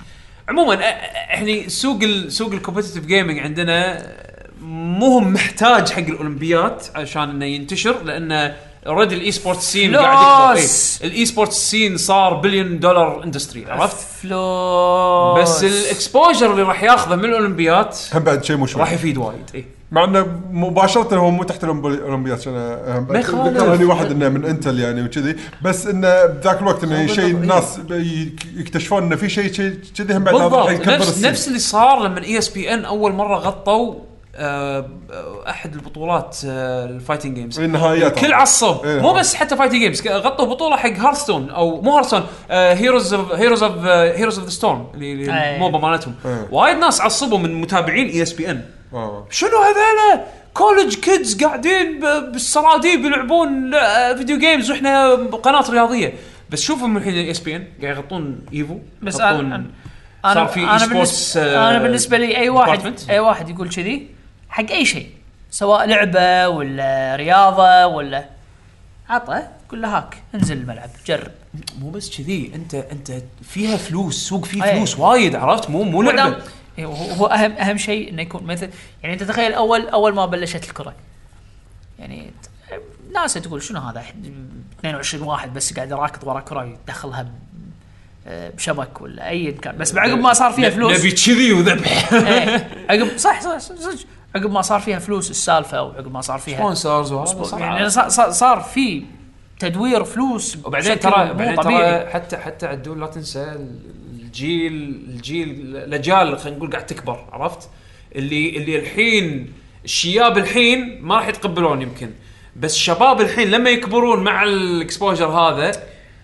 S1: عموما أ- أ- احنا سوق ال سوق الكومبتتف جيمنج عندنا مو هم محتاج حق الاولمبياد عشان انه ينتشر لانه اوريدي الاي سبورت سين قاعد يكبر
S3: فلوس!
S1: الاي سبورت سين صار بليون دولار اندستري عرفت؟
S3: فلوس
S1: بس الاكسبوجر اللي راح ياخذه من الاولمبياد
S4: هم بعد شيء مو شوي
S1: راح يفيد وايد إيه. اي
S4: مع انه مباشره هو مو تحت الأولمبي- الاولمبياد عشان
S1: ما يخالف.
S4: ذكرني واحد انه من انتل يعني وكذي بس انه بذاك الوقت انه
S1: هو
S4: شيء
S1: بالضبط،
S4: الناس بي- يكتشفون انه في شيء شيء كذي هم بعد هذا راح
S1: بالضبط
S4: يكبر
S1: نفس
S4: السن.
S1: نفس اللي صار لما E اي اس بي ان اول مره غطوا آه، احد البطولات آه، الفايتنج جيمز
S4: النهايات
S1: كل عصب
S4: إيه.
S1: مو بس حتى فايتنج جيمز غطوا بطوله حق هارستون او مو آه، هارستون هيروز اوف هيروز اوف هيروز اوف ذا ستورم اللي اللي
S3: أي.
S1: الموبا مالتهم
S4: إيه.
S1: وايد ناس عصبوا من متابعين E اي اس بي ان
S4: آه.
S1: شنو هذول كولج كيدز قاعدين ب- بالسراديب يلعبون آه، فيديو جيمز واحنا قناه رياضيه بس شوفهم الحين E الاس بي ان قاعد يغطون ايفو
S3: بس
S1: يغطون-
S3: أنا-
S1: صار
S3: انا
S1: في
S3: انا
S1: e-sports،
S3: بالنسبه انا
S1: آه،
S3: بالنسبه لي اي واحد
S1: department.
S3: اي واحد يقول كذي حق اي شيء سواء لعبه ولا رياضه ولا عطه قول له هاك انزل الملعب جرب
S1: مو بس كذي انت انت فيها فلوس سوق فيه
S3: أي.
S1: فلوس وايد عرفت مو مو
S3: ودام-
S1: لعبه
S3: إيه، هو هو اهم اهم شيء انه يكون مثل يعني انت تخيل اول اول ما بلشت الكره يعني ت- ناس تقول شنو هذا أحد- 22 واحد بس قاعد راكض ورا كره يدخلها ب- آه، بشبك ولا ايا كان بس بعقب ما صار فيها فلوس
S1: نبي كذي وذبح
S3: إيه، عقب صح صح صح- صح عقب ما صار فيها فلوس السالفه وعقب ما صار فيها
S1: سبونسرز وهذا صار
S3: يعني
S1: عرفت.
S3: صار- صار صار في تدوير فلوس
S1: وبعدين
S3: بشكل
S1: ترى
S3: مو
S1: بعدين
S3: طبيعي.
S1: ترى حتى حتى عدول لا تنسى الجيل الجيل الاجيال خلينا نقول قاعد تكبر عرفت؟ اللي اللي الحين الشياب الحين ما راح يتقبلون يمكن بس الشباب الحين لما يكبرون مع الاكسبوجر هذا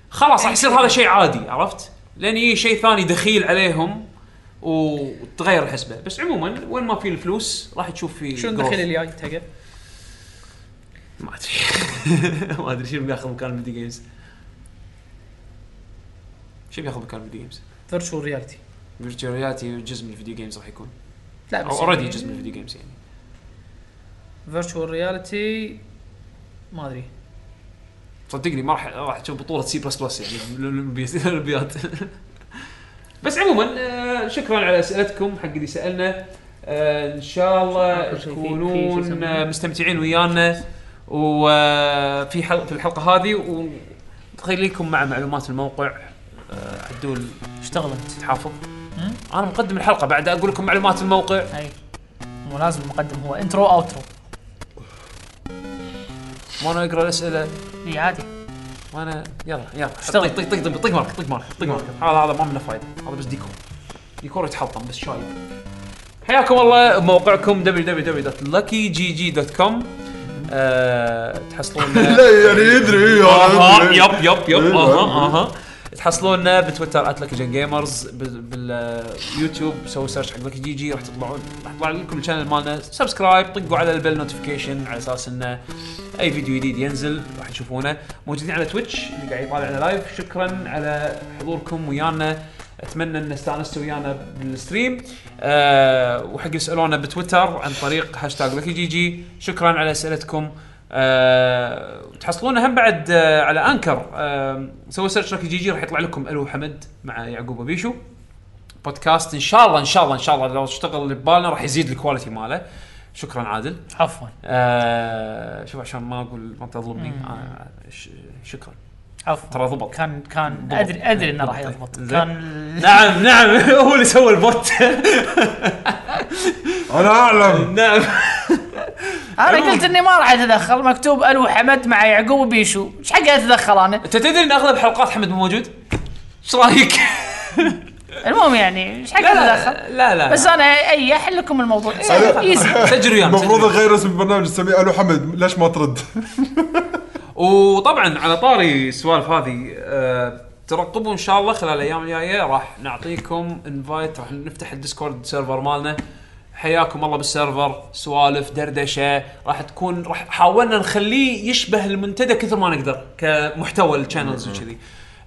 S1: خلاص راح يصير هذا شيء عادي عرفت؟ لان يجي شيء ثاني دخيل عليهم وتغير الحسبه بس عموما وين ما في الفلوس راح تشوف في
S8: شنو
S1: growth.
S8: الدخل اللي جاي تقل؟
S1: ما ادري ما ادري شنو بياخذ مكان الفيديو جيمز شو بياخذ مكان الفيديو جيمز؟
S8: فيرتشوال رياليتي
S1: فيرتشوال رياليتي جزء من الفيديو جيمز راح يكون
S8: لا
S1: او اوريدي جزء من الفيديو جيمز يعني
S8: فيرتشوال رياليتي ما ادري
S1: صدقني ما راح راح تشوف بطوله سي بلس بلس يعني بالأولمبي- الاولمبياد بس عموما آه، شكرا على اسئلتكم حق اللي سالنا آه، ان شاء الله
S9: آخر شيء في- في شيء
S1: تكونون
S9: يسمونه؟
S1: آه، مستمتعين ويانا وفي حلقه في الحلقه هذه وخليكم مع معلومات الموقع آه، عدول
S9: اشتغلت
S1: تحافظ انا مقدم الحلقه بعد اقول لكم معلومات الموقع
S9: اي مو لازم المقدم هو انترو اوترو
S1: وانا اقرا الاسئله
S9: اي عادي
S1: وانا يلا يلا
S9: اشتغل.
S1: طق طق طق طق طق ماركت طق ماركت طق ماركت طيب، هذا هذا ما منه فايده هذا بس ديكور ديكور يتحطم بس شايب حياكم الله بموقعكم www.luckygg.com آه، تحصلون
S4: لا يعني يدري
S1: اها يب يب يب اها اها تحصلونا بتويتر @لكيجن جيمرز باليوتيوب سووا سيرش حق لكي جي جي راح تطلعون راح يطلع لكم الشانل مالنا سبسكرايب طقوا على البل نوتيفيكيشن على اساس انه اي فيديو جديد ينزل راح تشوفونه موجودين على تويتش اللي قاعد يطالعنا لايف شكرا على حضوركم ويانا اتمنى ان استانستوا ويانا بالستريم أه وحق يسالونا بتويتر عن طريق هاشتاج لكي جي جي شكرا على اسئلتكم أه تحصلون هم بعد أه على انكر أه سووا سيرش لكي جي جي راح يطلع لكم الو حمد مع يعقوب وبيشو بودكاست ان شاء الله ان شاء الله ان شاء الله لو اشتغل اللي ببالنا راح يزيد الكواليتي ماله شكرا عادل
S9: عفوا
S1: آه شوف عشان ما اقول ما تظلمني آه ش- شكرا
S9: عفوا
S1: ترى ضبط
S9: كان كان ادري ادري انه راح يضبط
S1: زين.
S9: كان ال-
S1: نعم نعم هو اللي سوى البوت
S4: انا اعلم
S1: نعم
S9: انا قلت اني ما راح اتدخل مكتوب الو حمد مع يعقوب وبيشو ايش حق اتدخل انا
S1: انت تدري ان اغلب حلقات حمد مو موجود؟ ايش رايك؟
S9: المهم يعني ايش حق اتدخل
S1: لا لا لا
S9: بس انا اي احل لكم الموضوع ايزي
S1: سجلوا ويانا
S4: المفروض
S1: سجلوا.
S4: اغير اسم البرنامج اسميه الو حمد ليش ما ترد؟
S1: وطبعا على طاري السوالف هذه آه ترقبوا ان شاء الله خلال الايام الجايه راح نعطيكم انفايت راح نفتح الديسكورد سيرفر مالنا حياكم الله بالسيرفر سوالف دردشه راح تكون راح حاولنا نخليه يشبه المنتدى كثر ما نقدر كمحتوى الشانلز وكذي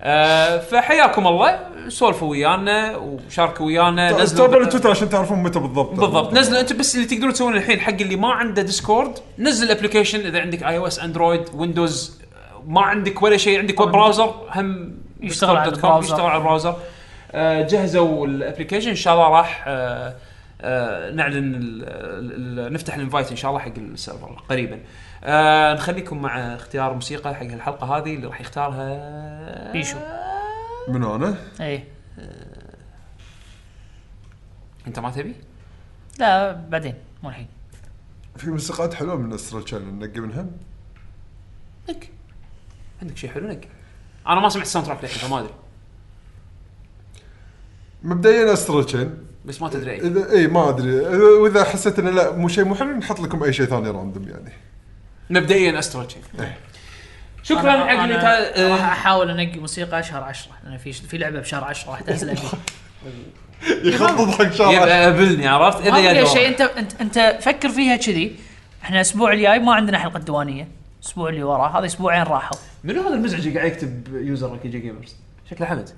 S1: آه فحياكم الله سولفوا ويانا وشاركوا ويانا
S4: تابعوا التويتر عشان تعرفون متى بالضبط
S1: بالضبط نزلوا انتم بس اللي تقدرون تسوونه الحين حق اللي ما عنده ديسكورد نزل الابلكيشن اذا عندك اي او اس اندرويد ويندوز آه، ما عندك ولا شيء عندك ويب براوزر هم
S9: يشتغل على
S1: Discord.com
S9: البراوزر.
S1: يشتغل على البراوزر آه، جهزوا الابلكيشن ان شاء الله راح آه، آه، نعلن ال- ال- ال- نفتح الانفايت ان شاء الله حق السيرفر قريبا آه، نخليكم مع اختيار موسيقى حق الحلقه هذه اللي راح يختارها
S9: بيشو
S4: منو انا؟
S9: اي
S1: انت ما تبي؟
S9: لا بعدين مو الحين
S4: في موسيقات حلوه من استرال تشانل ننقي منها
S1: نك عندك شيء حلو نك انا ما سمعت الساوند تراك للحين فما ادري
S4: مبدئيا استرال تشين
S1: بس ما تدري أي.
S4: اذا اي ما ادري إذا- واذا حسيت انه لا مو شيء مو حلو نحط لكم اي شيء ثاني راندوم يعني
S1: مبدئيا استرو تشين
S4: إيه.
S1: شكرا
S9: أنا-
S1: حق
S9: أنا
S1: اللي تا-
S9: راح
S1: آه،
S9: احاول انقي موسيقى شهر 10 لان في في لعبه بشهر 10 راح تنزل أبي.
S4: يخطط حق
S1: يبقى
S4: شارع
S1: قابلني عرفت
S9: ما
S1: اذا
S9: ادري
S1: يا
S9: أي شيء
S1: شيء
S9: انت انت انت فكر فيها كذي احنا الاسبوع الجاي ما عندنا حلقه دوانيه الاسبوع اللي وراه هذا اسبوعين راحوا
S1: منو هذا المزعج اللي قاعد يكتب يوزر ركي جي جيمرز شكله حمد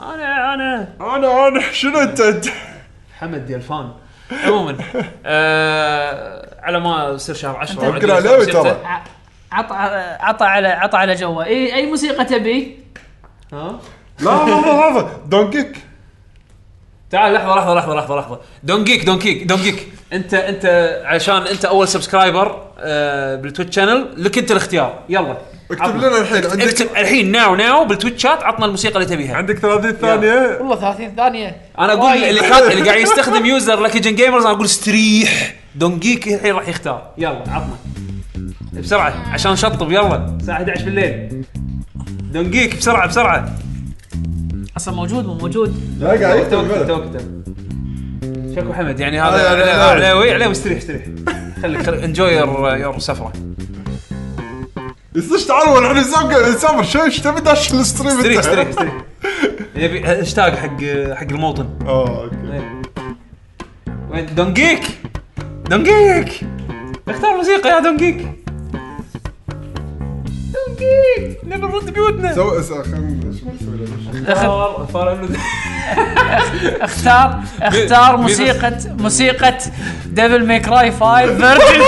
S1: انا انا
S4: انا انا شنو انت انت؟
S1: حمد يا الفان عموما آه على ما يصير شهر 10
S9: أنت-
S4: يمكن عليوي ترى.
S9: ع- عط عطى على عطى على جوه اي اي موسيقى تبي
S1: ها
S4: لا لحظه لحظه دون كيك
S1: تعال لحظه لحظه لحظه لحظه لحظه دون جيك دون جيك دون جيك انت انت عشان انت اول سبسكرايبر آه بالتويتش شانل لك انت الاختيار يلا
S4: اكتب
S1: عطنا.
S4: لنا الحين
S1: اكتب
S4: عندك
S1: الحين ناو ناو بالتويتش شات عطنا الموسيقى اللي تبيها
S4: عندك 30 ثانيه
S3: والله 30 ثانيه
S1: انا اقول
S3: وايد.
S1: اللي حاط اللي قاعد يستخدم يوزر لكي جن جيمرز انا اقول استريح دونجيك الحين راح يختار يلا عطنا بسرعه عشان نشطب يلا الساعه 11 بالليل دونجيك بسرعه بسرعه
S9: اصلا موجود مو موجود
S4: لا قاعد
S1: تو
S4: يكتب
S1: تو
S4: بلا.
S1: كتب شكو حمد يعني
S4: آه، يعني
S1: هذا
S4: هذا.
S1: عليوي عليوي استريح استريح خليك خليك انجوي يور يور سفره
S4: ليش تعالوا احنا نسافر نسافر شو ايش تبي داش الستريم
S1: استريح
S4: انت؟
S1: استريح استريح يبي هاشتاج حق حق الموطن
S4: اه اوكي
S1: وين دونجيك دونجيك اختار موسيقى يا دونجيك دونجيك نبي نرد بيوتنا
S4: سو اسا خلنا شو نسوي له؟
S1: اختار اختار ابن-
S9: اختار اختار
S1: مين- مين
S9: موسيقى موسيقى ديفل ميك راي 5 فيرجن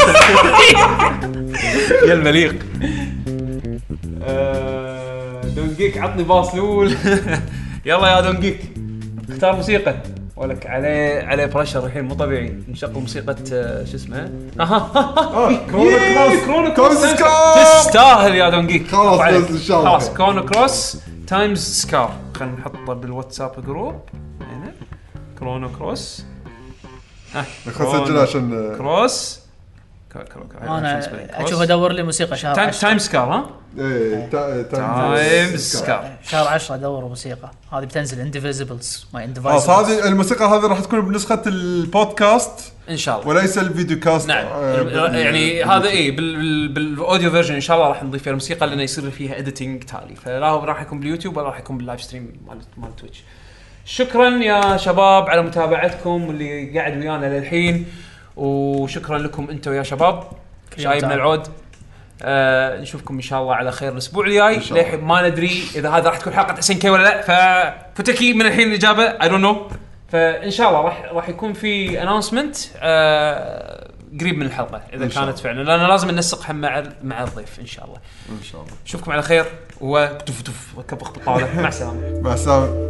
S1: يا المليق آه، دونجيك عطني باص الاول يلا يا دونجيك اختار موسيقى ولك عليه عليه بريشر الحين مو طبيعي انشق موسيقى آه، شو اسمه اها
S4: كرونو آه، كروس
S1: كرونو
S4: كرونو
S1: كروس
S4: سكار.
S1: تستاهل يا دونجيك
S4: خلاص،
S1: أبو عليك.
S4: إن شاء الله.
S1: خلاص كرونو كروس تايمز سكار خلينا نحطه بالواتساب جروب هنا كرونو كروس ها،
S4: خلنا نسجل
S1: كرونو
S4: عشان
S1: كروس كرو- كرو- كرو-
S9: انا
S1: شو اسمه؟
S9: اشوف
S1: كروس.
S9: ادور لي موسيقى شهر
S1: تايم
S9: 10
S1: تايم سكار ها
S4: ايه تا- إيه،
S1: تايم سكار
S9: شهر 10 ادور موسيقى هذه بتنزل انديفيزبلز ما
S4: خلاص
S9: انديفيزبلز
S4: هذه الموسيقى هذه راح تكون بنسخه البودكاست
S1: ان شاء الله
S4: وليس الفيديو كاست
S1: نعم
S4: آه، بال-
S1: يعني هذا اي بالاوديو فيرجن ان شاء الله راح نضيف فيها الموسيقى لانه يصير فيها اديتنج تالي فلا هو راح يكون باليوتيوب ولا راح يكون باللايف ستريم مال مال تويتش شكرا يا شباب على متابعتكم واللي قاعد ويانا للحين وشكرا لكم انتم يا شباب شايبنا
S9: تعال.
S1: العود آه نشوفكم ان شاء الله على خير الاسبوع الجاي
S4: شاء الله.
S1: للحين ما ندري اذا هذا راح تكون حلقه حسين كي ولا لا ففتكي من الحين الاجابه اي دونت نو فان شاء الله راح راح يكون في اناونسمنت آه قريب من الحلقه اذا
S4: إن شاء
S1: كانت فعلا لان لازم ننسق هم مع مع الضيف ان شاء الله
S4: ان شاء الله
S1: نشوفكم على خير وتف تف وكبخ بالطاوله مع السلامه
S4: مع السلامه